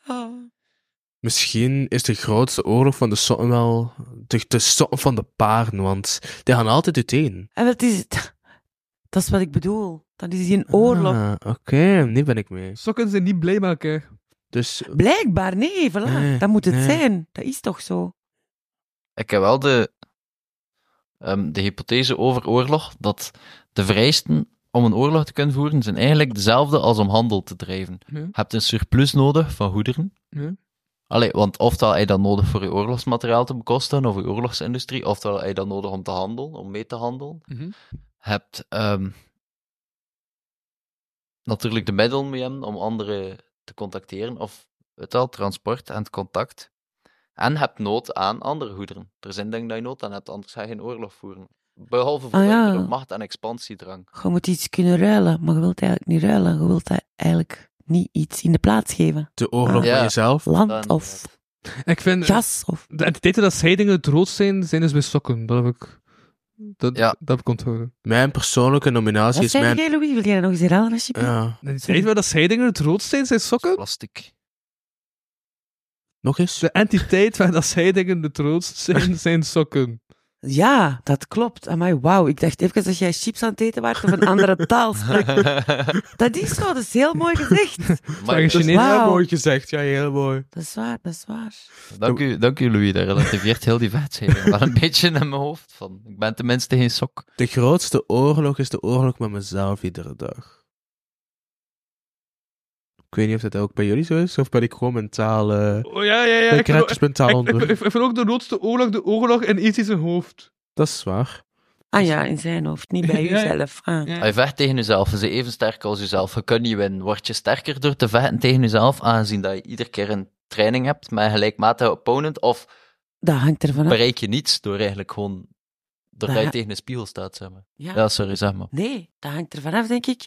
[SPEAKER 6] Oh.
[SPEAKER 3] Misschien is de grootste oorlog van de sokken wel de, de sokken van de paarden, want die gaan altijd uiteen.
[SPEAKER 6] En dat is het. Dat is wat ik bedoel. Dat is een oorlog.
[SPEAKER 3] Ah, oké, nu ben ik mee.
[SPEAKER 5] Sokken zijn niet blij maken.
[SPEAKER 3] Dus
[SPEAKER 6] Blijkbaar, nee, voilà.
[SPEAKER 4] Nee,
[SPEAKER 6] dat moet het
[SPEAKER 4] nee.
[SPEAKER 6] zijn. Dat is toch zo?
[SPEAKER 4] Ik heb wel de, ehm, de hypothese over oorlog dat de vereisten om een oorlog te kunnen voeren zijn eigenlijk dezelfde als om handel te drijven.
[SPEAKER 5] Ja.
[SPEAKER 4] Je hebt een surplus nodig van goederen.
[SPEAKER 5] Ja.
[SPEAKER 4] Allee, want oftewel heb je dat nodig voor je oorlogsmateriaal te bekosten of je oorlogsindustrie, oftewel heb je dat nodig om te handelen, om mee te handelen.
[SPEAKER 5] Mhm.
[SPEAKER 4] Je hebt ehm, natuurlijk de middelen mee hebben om anderen te contacteren, of het al, transport en het contact. En je hebt nood aan andere goederen. Er zijn dingen dat je nood aan hebt, anders ga je geen oorlog voeren. Behalve voor
[SPEAKER 6] Ah, ja.
[SPEAKER 4] door macht en expansiedrang.
[SPEAKER 6] Je moet iets kunnen ruilen, maar je wilt eigenlijk niet ruilen. Je wilt eigenlijk niet iets in de plaats geven.
[SPEAKER 3] De oorlog
[SPEAKER 6] Ja.
[SPEAKER 3] van jezelf.
[SPEAKER 6] Land of...
[SPEAKER 4] eh,
[SPEAKER 5] Ik vind...
[SPEAKER 6] Gas of...
[SPEAKER 5] De entiteiten dat scheidingen het rood zijn, zijn dus bij sokken. Dat heb ik... Dat, dat heb ik onthouden.
[SPEAKER 3] Mijn persoonlijke nominatie
[SPEAKER 6] Wat
[SPEAKER 3] is
[SPEAKER 6] zei
[SPEAKER 3] mijn...
[SPEAKER 6] jij, Louis? Wil jij dat nog eens herhalen, alsjeblieft?
[SPEAKER 3] Ja.
[SPEAKER 5] De entiteit waar dat scheidingen het rood zijn, zijn sokken?
[SPEAKER 4] Plastic.
[SPEAKER 3] Nog eens?
[SPEAKER 5] De entiteit waar dat scheidingen het rood zijn, zijn sokken.
[SPEAKER 6] Ja, dat klopt. Amai, wauw. Ik dacht even dat jij chips aan het eten was of een andere taal sprak. Dat is zo, dat is heel mooi gezegd.
[SPEAKER 4] Maar ik-
[SPEAKER 3] Chinees,
[SPEAKER 6] Wauw.
[SPEAKER 3] heel mooi gezegd. Ja, heel mooi.
[SPEAKER 6] Dat is waar, dat is waar.
[SPEAKER 4] Dank u, dank u Louis, dat relativeert heel die vetscheiding wel een beetje in mijn hoofd van. Ik ben tenminste geen sok.
[SPEAKER 3] De grootste oorlog is de oorlog met mezelf iedere dag. Ik weet niet of dat ook bij jullie zo is, of ben ik gewoon mentaal... eh,
[SPEAKER 5] Oh ja, ja, ja.
[SPEAKER 3] ben
[SPEAKER 5] Ik,
[SPEAKER 3] ik rechters mentaal
[SPEAKER 5] ik, ik,
[SPEAKER 3] onder.
[SPEAKER 5] ik vind ook de roodste oorlog de oorlog in iets in zijn hoofd.
[SPEAKER 3] Dat is waar.
[SPEAKER 6] Ah ja, in zijn hoofd, niet bij
[SPEAKER 5] Ja, ja.
[SPEAKER 6] jezelf. Ah.
[SPEAKER 4] Hij vecht tegen jezelf. Je bent even sterk als jezelf. Je kunt niet winnen. Word je sterker door te vechten tegen jezelf, aangezien dat je iedere keer een training hebt met een gelijkmatige opponent, of
[SPEAKER 6] Dat hangt ervan af.
[SPEAKER 4] bereik je niets door eigenlijk gewoon doordat
[SPEAKER 6] Dat-
[SPEAKER 4] je tegen een spiegel staat, zeg maar.
[SPEAKER 6] Ja.
[SPEAKER 4] Ja, sorry, zeg maar.
[SPEAKER 6] Nee, dat hangt ervan af, denk ik.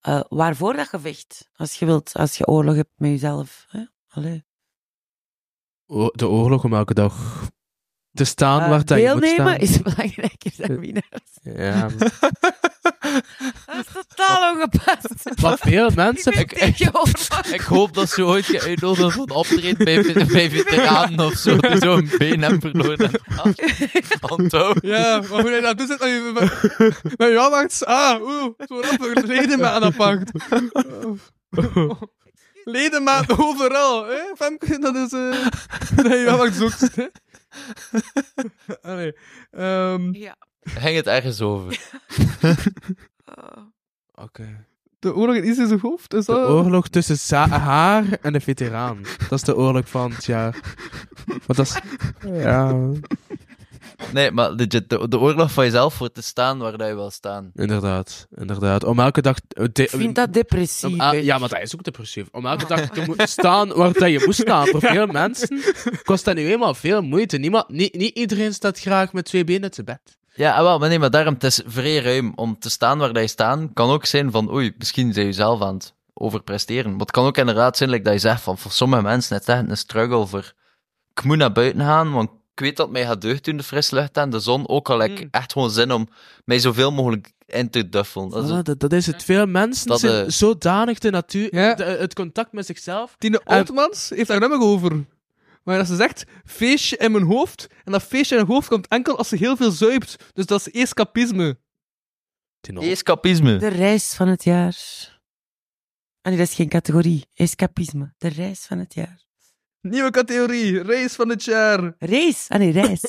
[SPEAKER 6] eh, waarvoor dat je vecht. Als je wilt, als je oorlog hebt met jezelf. Hè? Allee.
[SPEAKER 3] O- de oorlog om elke dag te staan
[SPEAKER 6] Eh,
[SPEAKER 3] waar dat je moet
[SPEAKER 6] deelnemen Eh,
[SPEAKER 3] staan. Ehm,
[SPEAKER 6] is belangrijker dan winnen.
[SPEAKER 3] Ja.
[SPEAKER 6] Dat is totaal ongepast.
[SPEAKER 3] Wat veel mensen...
[SPEAKER 6] Ik, tegenover.
[SPEAKER 4] Ik hoop dat ze ooit geüitnodigd wordt optreedt bij, bij veteranen of zo. die Zo'n been hebben verloren. Anto.
[SPEAKER 5] Ja, maar hoe hij dat doet, zit met je, met, met je aandacht. Ah, oeh, zo rap ledemaat aanpakt. Ledemaat overal, hè? Femke, dat is... eh dat je aandacht zoekt. hè. Allee. ehm
[SPEAKER 6] ja.
[SPEAKER 4] Hang het ergens over.
[SPEAKER 3] Oké.
[SPEAKER 5] De oorlog in Israël hoofd, is
[SPEAKER 3] De
[SPEAKER 5] dat...
[SPEAKER 3] oorlog tussen za- haar en de veteraan. Dat is de oorlog van het jaar. Want dat is... Ja,
[SPEAKER 4] Nee, maar legit, de, de oorlog van jezelf voor te staan waar dat je wil staan.
[SPEAKER 3] inderdaad. Inderdaad. Om elke dag... Ik
[SPEAKER 6] vind dat depressief,
[SPEAKER 3] ja, maar dat is ook depressief. Om elke dag te moeten staan waar dat je moest staan. Voor veel mensen kost dat nu eenmaal veel moeite. Niemand, niet, niet iedereen staat graag met twee benen te bed.
[SPEAKER 4] Ja, ah, wel, maar nee, maar daarom, het is vrij ruim. Om te staan waar dat je staan, kan ook zijn van, oei, misschien zijn je zelf aan het overpresteren. Maar het kan ook inderdaad zijn, like dat je zegt, van, voor sommige mensen het is echt een struggle voor, ik moet naar buiten gaan, want ik weet dat het mij gaat deugd doen, de frisse lucht en de zon. Ook al heb ik echt gewoon zin om mij zoveel mogelijk in te duffelen. Dat is
[SPEAKER 3] Voilà, Ah, dat, dat is het. Veel mensen
[SPEAKER 4] Dat,
[SPEAKER 3] zijn
[SPEAKER 4] eh,
[SPEAKER 3] zodanig de natuur... de- het contact met zichzelf...
[SPEAKER 5] Tine Oudmans heeft daar nummer over. Maar dat ze zegt, feestje in mijn hoofd. En dat feestje in haar hoofd komt enkel als ze heel veel zuipt. Dus dat is escapisme.
[SPEAKER 4] Escapisme.
[SPEAKER 6] De reis van het jaar. Ah nee, dat is geen categorie. Escapisme. De reis van het jaar.
[SPEAKER 5] Nieuwe categorie, race van het jaar.
[SPEAKER 6] Race? Ah nee, reis.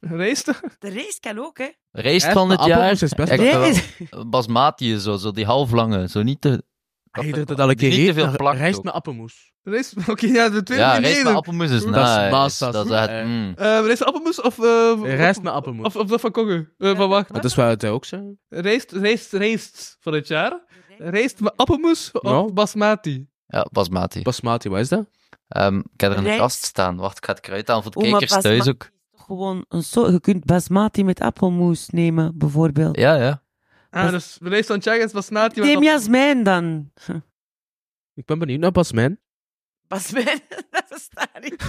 [SPEAKER 5] race toch?
[SPEAKER 6] De race kan ook, hè?
[SPEAKER 4] Rijst van het
[SPEAKER 3] Echt, maar
[SPEAKER 4] jaar.
[SPEAKER 3] appelmoes is best
[SPEAKER 4] Ik-
[SPEAKER 6] wel- Rijst.
[SPEAKER 4] eh, basmati, zo, zo die halflange. Zo niet te...
[SPEAKER 3] Hey, dat dat al een keer
[SPEAKER 4] niet te
[SPEAKER 3] heet,
[SPEAKER 4] veel
[SPEAKER 3] maar
[SPEAKER 4] plak.
[SPEAKER 3] Rijst met appelmoes.
[SPEAKER 5] Race, oké, ja, de tweede
[SPEAKER 4] Ja,
[SPEAKER 5] die
[SPEAKER 4] rijst met
[SPEAKER 5] reden.
[SPEAKER 4] appelmoes is
[SPEAKER 3] Dat
[SPEAKER 4] nice.
[SPEAKER 3] is bastas.
[SPEAKER 4] Dat is echt...
[SPEAKER 3] Eh,
[SPEAKER 4] mm.
[SPEAKER 5] Eh, race met appelmoes of... eh,
[SPEAKER 3] Rijst met appelmoes.
[SPEAKER 5] Of, of dat van Kogge. Eh, van wacht.
[SPEAKER 3] Dat is waar het ook zo.
[SPEAKER 5] Rijst, rijst, rijst van het jaar. Rijst met appelmoes of
[SPEAKER 3] Nou.
[SPEAKER 5] basmati.
[SPEAKER 4] Ja, basmati.
[SPEAKER 3] Basmati, wat is dat?
[SPEAKER 4] Ehm, ik heb er een
[SPEAKER 6] Rijst.
[SPEAKER 4] kast staan. Wacht, ik ga het kruid aan voor de
[SPEAKER 6] Oh, maar
[SPEAKER 4] kijkers thuis
[SPEAKER 6] basmati
[SPEAKER 4] ook.
[SPEAKER 6] is toch Gewoon een soort... Je kunt basmati met appelmoes nemen, bijvoorbeeld.
[SPEAKER 4] Ja, ja.
[SPEAKER 5] Ah, dus race van het jaar is basmati. maar
[SPEAKER 6] Neem
[SPEAKER 5] dat-
[SPEAKER 6] jasmijn dan.
[SPEAKER 3] Ik ben benieuwd naar Basmijn.
[SPEAKER 6] Basmijn? dat bestaat niet.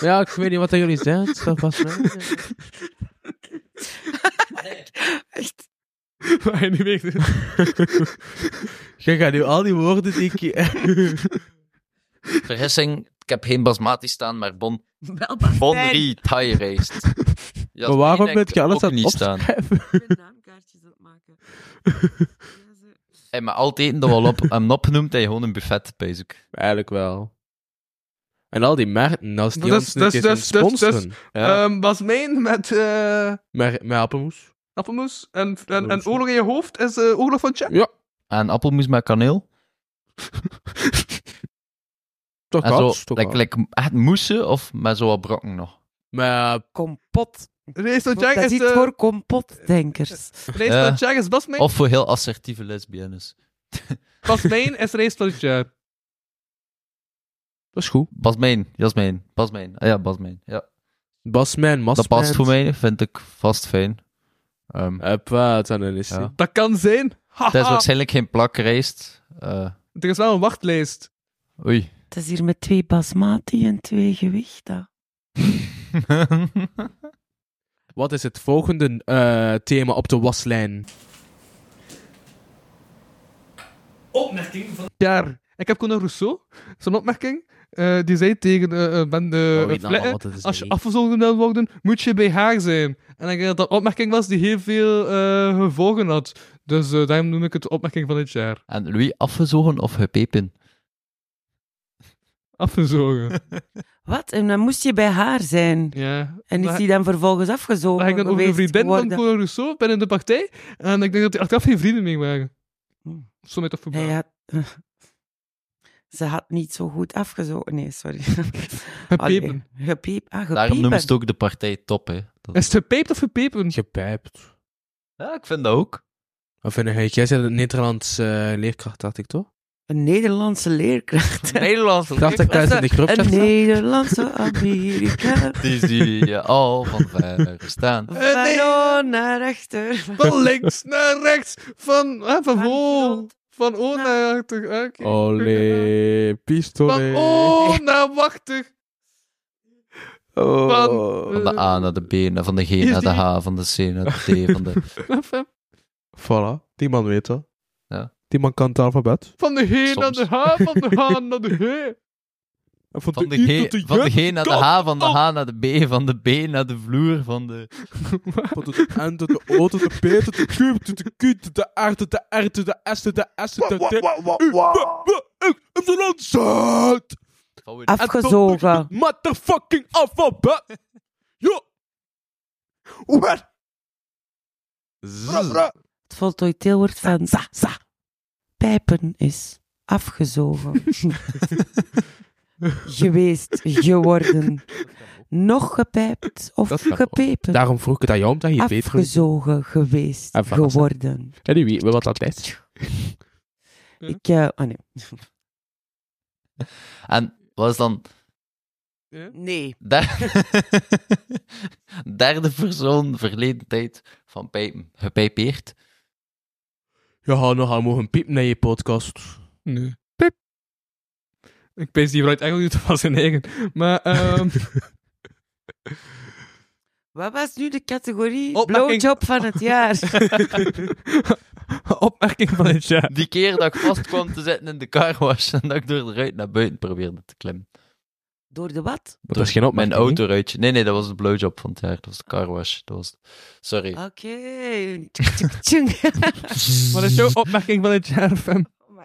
[SPEAKER 3] Ja, ik weet niet wat dat jullie zijn. Het is toch Basmijn?
[SPEAKER 6] Echt.
[SPEAKER 5] Waar je niet weet.
[SPEAKER 3] Je gaat nu al die woorden die ik...
[SPEAKER 4] Vergissing, ik heb geen basmati staan, maar bon...
[SPEAKER 6] Wel
[SPEAKER 4] Bonri Thai rijst. Ja,
[SPEAKER 3] maar waarom
[SPEAKER 4] heb
[SPEAKER 3] moet je alles aan het
[SPEAKER 4] niet staan?
[SPEAKER 3] opschrijven?
[SPEAKER 4] Hey, maar altijd dat wel op hem opgenoemd en gewoon een buffet bezig.
[SPEAKER 3] Eigenlijk wel. En al die merken, als die
[SPEAKER 5] Dat
[SPEAKER 3] ons
[SPEAKER 5] is-
[SPEAKER 3] niet
[SPEAKER 5] dat is-
[SPEAKER 3] eens
[SPEAKER 5] dat is- dat is- dat is-
[SPEAKER 3] sponsoren. Ja.
[SPEAKER 5] Ehm, basmijn met... eh,
[SPEAKER 3] Met met appelmoes.
[SPEAKER 5] Appelmoes en, en, en oorlog in je hoofd is eh, oorlog van Jack.
[SPEAKER 3] Ja.
[SPEAKER 4] En appelmoes met kaneel.
[SPEAKER 3] Toch
[SPEAKER 4] en
[SPEAKER 3] wel.
[SPEAKER 4] zo, like, like, echt moesen of met zo wat brokken nog?
[SPEAKER 3] Maar eh,
[SPEAKER 6] Kompot.
[SPEAKER 5] Race van Jack
[SPEAKER 6] Dat
[SPEAKER 5] is...
[SPEAKER 6] is
[SPEAKER 5] eh,
[SPEAKER 6] iets voor kompotdenkers.
[SPEAKER 5] Race
[SPEAKER 4] Ja.
[SPEAKER 5] van Jack is basmijn.
[SPEAKER 4] Of voor heel assertieve lesbiennes.
[SPEAKER 5] Basmijn is race van het jaar.
[SPEAKER 3] dat is goed.
[SPEAKER 4] Basmijn, Jasmijn, Basmijn. Ah ja, Basmijn. Ja.
[SPEAKER 3] Basmijn,
[SPEAKER 4] Dat
[SPEAKER 3] Masmijn.
[SPEAKER 4] past voor mij, vind ik vast fijn. Ehm,
[SPEAKER 3] Huppa, dan is
[SPEAKER 4] Ja.
[SPEAKER 3] die.
[SPEAKER 5] Dat kan zijn.
[SPEAKER 4] het is
[SPEAKER 5] Haha.
[SPEAKER 4] waarschijnlijk geen plakrijst. Eh
[SPEAKER 5] Er is wel een wachtlijst.
[SPEAKER 4] oei.
[SPEAKER 6] Het is hier met twee basmati en twee gewichten.
[SPEAKER 3] Wat is het volgende eh, thema op de waslijn?
[SPEAKER 19] Opmerking van...
[SPEAKER 5] Jaar. Ik heb Conor Rousseau, zijn opmerking, eh, die zei tegen eh, eh, Ben de
[SPEAKER 3] weet nou
[SPEAKER 5] Fletten,
[SPEAKER 3] wat het is,
[SPEAKER 5] als je
[SPEAKER 3] nee.
[SPEAKER 5] afgezonderd wil worden, moet je bij haar zijn. En ik denk dat dat een opmerking was die heel veel eh, gevolgen had. Dus eh, daarom noem ik het de opmerking van het jaar.
[SPEAKER 4] En Louis, afgezogen of gepepen?
[SPEAKER 5] Afgezogen.
[SPEAKER 6] Wat? En dan moest je bij haar zijn.
[SPEAKER 5] ja.
[SPEAKER 6] En is
[SPEAKER 5] Maar-
[SPEAKER 6] die dan vervolgens afgezogen
[SPEAKER 5] Dat ging dan over de
[SPEAKER 6] geweest
[SPEAKER 5] vriendin van
[SPEAKER 6] worden?
[SPEAKER 5] Conor Rousseau binnen de partij. En ik denk dat die achteraf geen vrienden meer waren.
[SPEAKER 6] Hmm.
[SPEAKER 5] Zo met dat voetbal.
[SPEAKER 6] Hij had... Ze had niet zo goed afgezogen. Nee, sorry. Allee, Gepiep. Ah,
[SPEAKER 4] Daarom noemen ze het
[SPEAKER 6] gepiepen.
[SPEAKER 4] ook de partij top, hè. Dat-
[SPEAKER 5] Is het gepijpt of gepepen?
[SPEAKER 3] Gepijpt.
[SPEAKER 4] Ja, ik vind dat ook.
[SPEAKER 3] Of vind jij, jij bent een Nederlands eh, leerkracht, dacht ik toch?
[SPEAKER 6] Een Nederlandse leerkracht.
[SPEAKER 4] Nederlands.
[SPEAKER 3] Dacht ik uit in de groep.
[SPEAKER 6] Een Nederlandse Amerika.
[SPEAKER 4] Die zie je al van ver staan.
[SPEAKER 6] Van oor naar achter.
[SPEAKER 5] Van links naar rechts. Van, ah, van voor. Van oor naar achter. Ah, oké.
[SPEAKER 3] Oh, Olé,
[SPEAKER 5] Van
[SPEAKER 3] pistolet.
[SPEAKER 4] oh,
[SPEAKER 5] oor naar wachtig. Van, eh,
[SPEAKER 3] Oh.
[SPEAKER 4] Van de A naar de B, naar- van de G naar de H, van de C naar de D, van de...
[SPEAKER 5] F, F.
[SPEAKER 3] Voilà, die man weet dat.
[SPEAKER 4] Ja.
[SPEAKER 3] Die man kan het alfabet.
[SPEAKER 5] Van de G naar de H, van de H naar de G.
[SPEAKER 4] Van, de
[SPEAKER 5] I tot
[SPEAKER 4] G,
[SPEAKER 5] de
[SPEAKER 4] van de
[SPEAKER 5] J,
[SPEAKER 4] G naar de H, van de H naar de B, van de B naar de vloer, van de...
[SPEAKER 3] Van de N tot de O tot de P tot de Q tot de Q tot de R tot de R tot de S tot de S tot de T. U, W, W, X, Y, Z. En tot
[SPEAKER 6] Afgezogen.
[SPEAKER 3] het Motherfucking alfabet. Ja. Wat?
[SPEAKER 6] Het voltooid deelwoord van pijpen is afgezogen. Geweest, geworden. Nog gepijpt of
[SPEAKER 3] Dat kan ook.
[SPEAKER 6] gepepen.
[SPEAKER 3] Daarom vroeg ik het aan jou, omdat je het beter Ah, wist.
[SPEAKER 6] Afgezogen, geweest,
[SPEAKER 3] En verrast.
[SPEAKER 6] geworden.
[SPEAKER 3] En nu weten we wat dat is.
[SPEAKER 4] Hm?
[SPEAKER 6] Ik, eh, oh nee.
[SPEAKER 4] En wat is dan...
[SPEAKER 6] Nee.
[SPEAKER 4] Der- Derde persoon, verleden tijd, van pijpen, gepijpeerd.
[SPEAKER 3] Ja, nou, gaan mogen piepen naar je podcast.
[SPEAKER 5] Nee. Pip. Ik pees die vooruit eigenlijk niet van zijn eigen. Maar, ehm
[SPEAKER 6] Wat was nu de categorie
[SPEAKER 5] Opmerking-
[SPEAKER 6] blowjob van het jaar?
[SPEAKER 5] opmerking van het jaar.
[SPEAKER 4] Die keer dat ik vast kwam te zitten in de car was en dat ik door de ruit naar buiten probeerde te klimmen.
[SPEAKER 6] Door de wat?
[SPEAKER 3] Dat was geen opmerking,
[SPEAKER 4] Mijn autoruitje. Nee, nee, dat was de blowjob van het jaar. Dat was de car wash. Dat was... Sorry.
[SPEAKER 6] Oké. Tjung, tjung, tjung.
[SPEAKER 5] Wat is jouw opmerking van het jaar, Fem?
[SPEAKER 6] Oh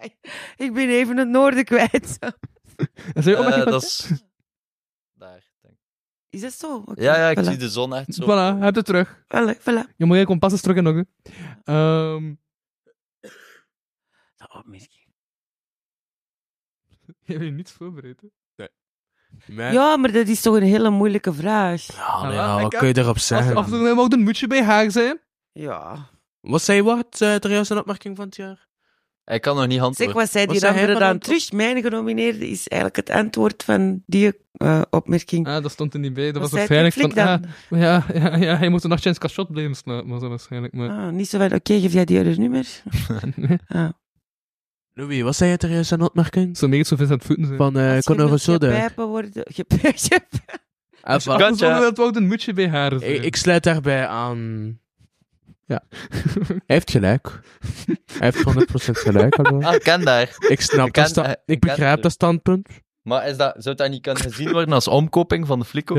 [SPEAKER 6] Ik ben even het noorden kwijt.
[SPEAKER 5] Dat is jouw
[SPEAKER 4] Eh,
[SPEAKER 5] opmerking van het
[SPEAKER 4] dat is...
[SPEAKER 5] jaar?
[SPEAKER 6] Is dat zo? Oké,
[SPEAKER 4] Ja, ja, ik
[SPEAKER 6] voilà.
[SPEAKER 4] zie de zon echt zo.
[SPEAKER 5] Voilà, heb je het terug.
[SPEAKER 6] Voilà, voilà.
[SPEAKER 5] Je moet je kompas eens terug in nog. Ehm
[SPEAKER 6] Oh, misschien.
[SPEAKER 5] je hebt je niets voorbereid. hè?
[SPEAKER 6] Ja, maar dat is toch een hele moeilijke vraag.
[SPEAKER 3] Ja, nou ja,
[SPEAKER 5] Voilà,
[SPEAKER 3] wat
[SPEAKER 5] ik
[SPEAKER 3] kun je
[SPEAKER 5] heb-
[SPEAKER 3] erop
[SPEAKER 5] Als
[SPEAKER 3] zeggen?
[SPEAKER 5] af en toe mag een moedje bij haar zijn.
[SPEAKER 6] Ja.
[SPEAKER 3] Wat zei Wart? Uh, er juist een opmerking van het jaar?
[SPEAKER 4] Hij kan nog niet
[SPEAKER 6] Zeg,
[SPEAKER 4] antwoorden.
[SPEAKER 6] wat zei die
[SPEAKER 3] hij
[SPEAKER 6] andere
[SPEAKER 3] van
[SPEAKER 6] dan
[SPEAKER 3] antwoord?
[SPEAKER 6] terug? Mijn genomineerde is eigenlijk het antwoord van die eh, opmerking.
[SPEAKER 5] Ah, dat stond er niet bij. Dat
[SPEAKER 6] Wat
[SPEAKER 5] was
[SPEAKER 6] zei
[SPEAKER 5] waarschijnlijk van...
[SPEAKER 6] Flik
[SPEAKER 5] Ah,
[SPEAKER 6] dan?
[SPEAKER 5] ja, ja, ja, hij moet een nachtje in het cachot blijven slapen, was dat waarschijnlijk. Maar...
[SPEAKER 6] Ah, niet zo van, oké, geef jij die haar nummer? ah.
[SPEAKER 3] Louis, wat zei je er juist een opmerking?
[SPEAKER 5] Zo meer zo vis aan het voeten zijn.
[SPEAKER 3] Van eh Conor Soder.
[SPEAKER 6] Pijpen worden... gepijpen.
[SPEAKER 3] Ah, voilà.
[SPEAKER 5] Gotcha. Zonder dat Wout een moedje bij haar zijn.
[SPEAKER 3] Ik, ik sluit daarbij aan. Ja. Hij heeft gelijk. Hij heeft 100% gelijk. hallo.
[SPEAKER 4] Ah, ik ken daar.
[SPEAKER 3] Ik snap
[SPEAKER 4] ken-
[SPEAKER 3] dat sta-
[SPEAKER 4] eh,
[SPEAKER 3] Ik
[SPEAKER 4] ken
[SPEAKER 3] begrijp
[SPEAKER 4] het.
[SPEAKER 3] dat standpunt.
[SPEAKER 4] Maar is dat, zou dat niet kunnen gezien worden als omkoping van de fliko?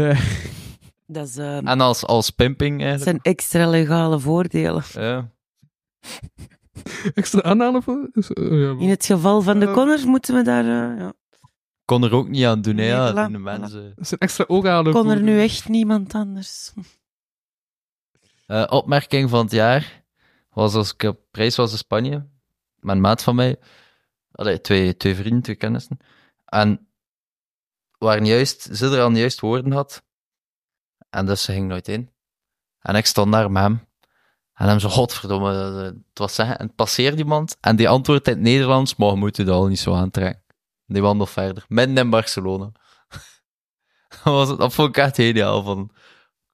[SPEAKER 6] Dat is, eh,
[SPEAKER 4] En als, als pimping
[SPEAKER 6] dat
[SPEAKER 4] eigenlijk?
[SPEAKER 6] zijn extra legale voordelen.
[SPEAKER 4] Ja.
[SPEAKER 5] Extra aanhalen van... Is- oh, ja,
[SPEAKER 6] In het geval van de Connor moeten we daar... eh, ja.
[SPEAKER 4] Kon er ook niet aan doen, hè?
[SPEAKER 6] Nee,
[SPEAKER 4] Ja,
[SPEAKER 6] voilà,
[SPEAKER 4] dat doen de
[SPEAKER 6] voilà.
[SPEAKER 4] mensen.
[SPEAKER 5] Dat zijn extra ooghalen.
[SPEAKER 6] Kon er
[SPEAKER 5] voor-
[SPEAKER 6] nu echt niemand anders.
[SPEAKER 4] Eh, opmerking van het jaar was als ik op reis was in Spanje. Mijn maat van mij. Allee, twee, twee vrienden, twee kennissen. En waren juist, ze er aan juist woorden had. En dus ze ging nooit in. En ik stond daar met hem. En hem zo, godverdomme, dat- dat- het was zeggen. En passeerde iemand. En die antwoordt in het Nederlands, maar je moet je dat al niet zo aantrekken. Die wandelt verder. Midden in Barcelona. dat, was, dat vond ik echt geniaal. Van,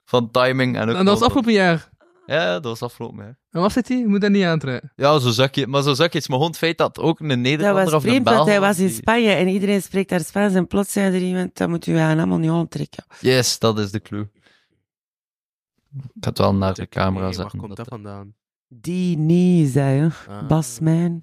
[SPEAKER 4] van timing en ook...
[SPEAKER 5] En dat was
[SPEAKER 4] van-
[SPEAKER 5] afgelopen jaar.
[SPEAKER 4] ja, dat was afgelopen, ja.
[SPEAKER 5] En was het die? Je moet dat niet aantrekken.
[SPEAKER 4] Ja, zo zag je, maar zo zag je het. Maar gewoon het feit dat ook een
[SPEAKER 6] Dat
[SPEAKER 4] Nederlander
[SPEAKER 6] was
[SPEAKER 4] of een
[SPEAKER 6] vreemd,
[SPEAKER 4] Belg...
[SPEAKER 6] want hij was in
[SPEAKER 4] die-
[SPEAKER 6] Spanje en iedereen spreekt daar Spaans. En plots zei er iemand, dat moet u aan allemaal niet aantrekken.
[SPEAKER 4] Yes, dat is de clue. Ik had wel naar de camera
[SPEAKER 3] Nee, waar
[SPEAKER 4] zetten.
[SPEAKER 3] komt dat vandaan?
[SPEAKER 6] Die niet, zei je.
[SPEAKER 3] Ah.
[SPEAKER 6] Basmijn.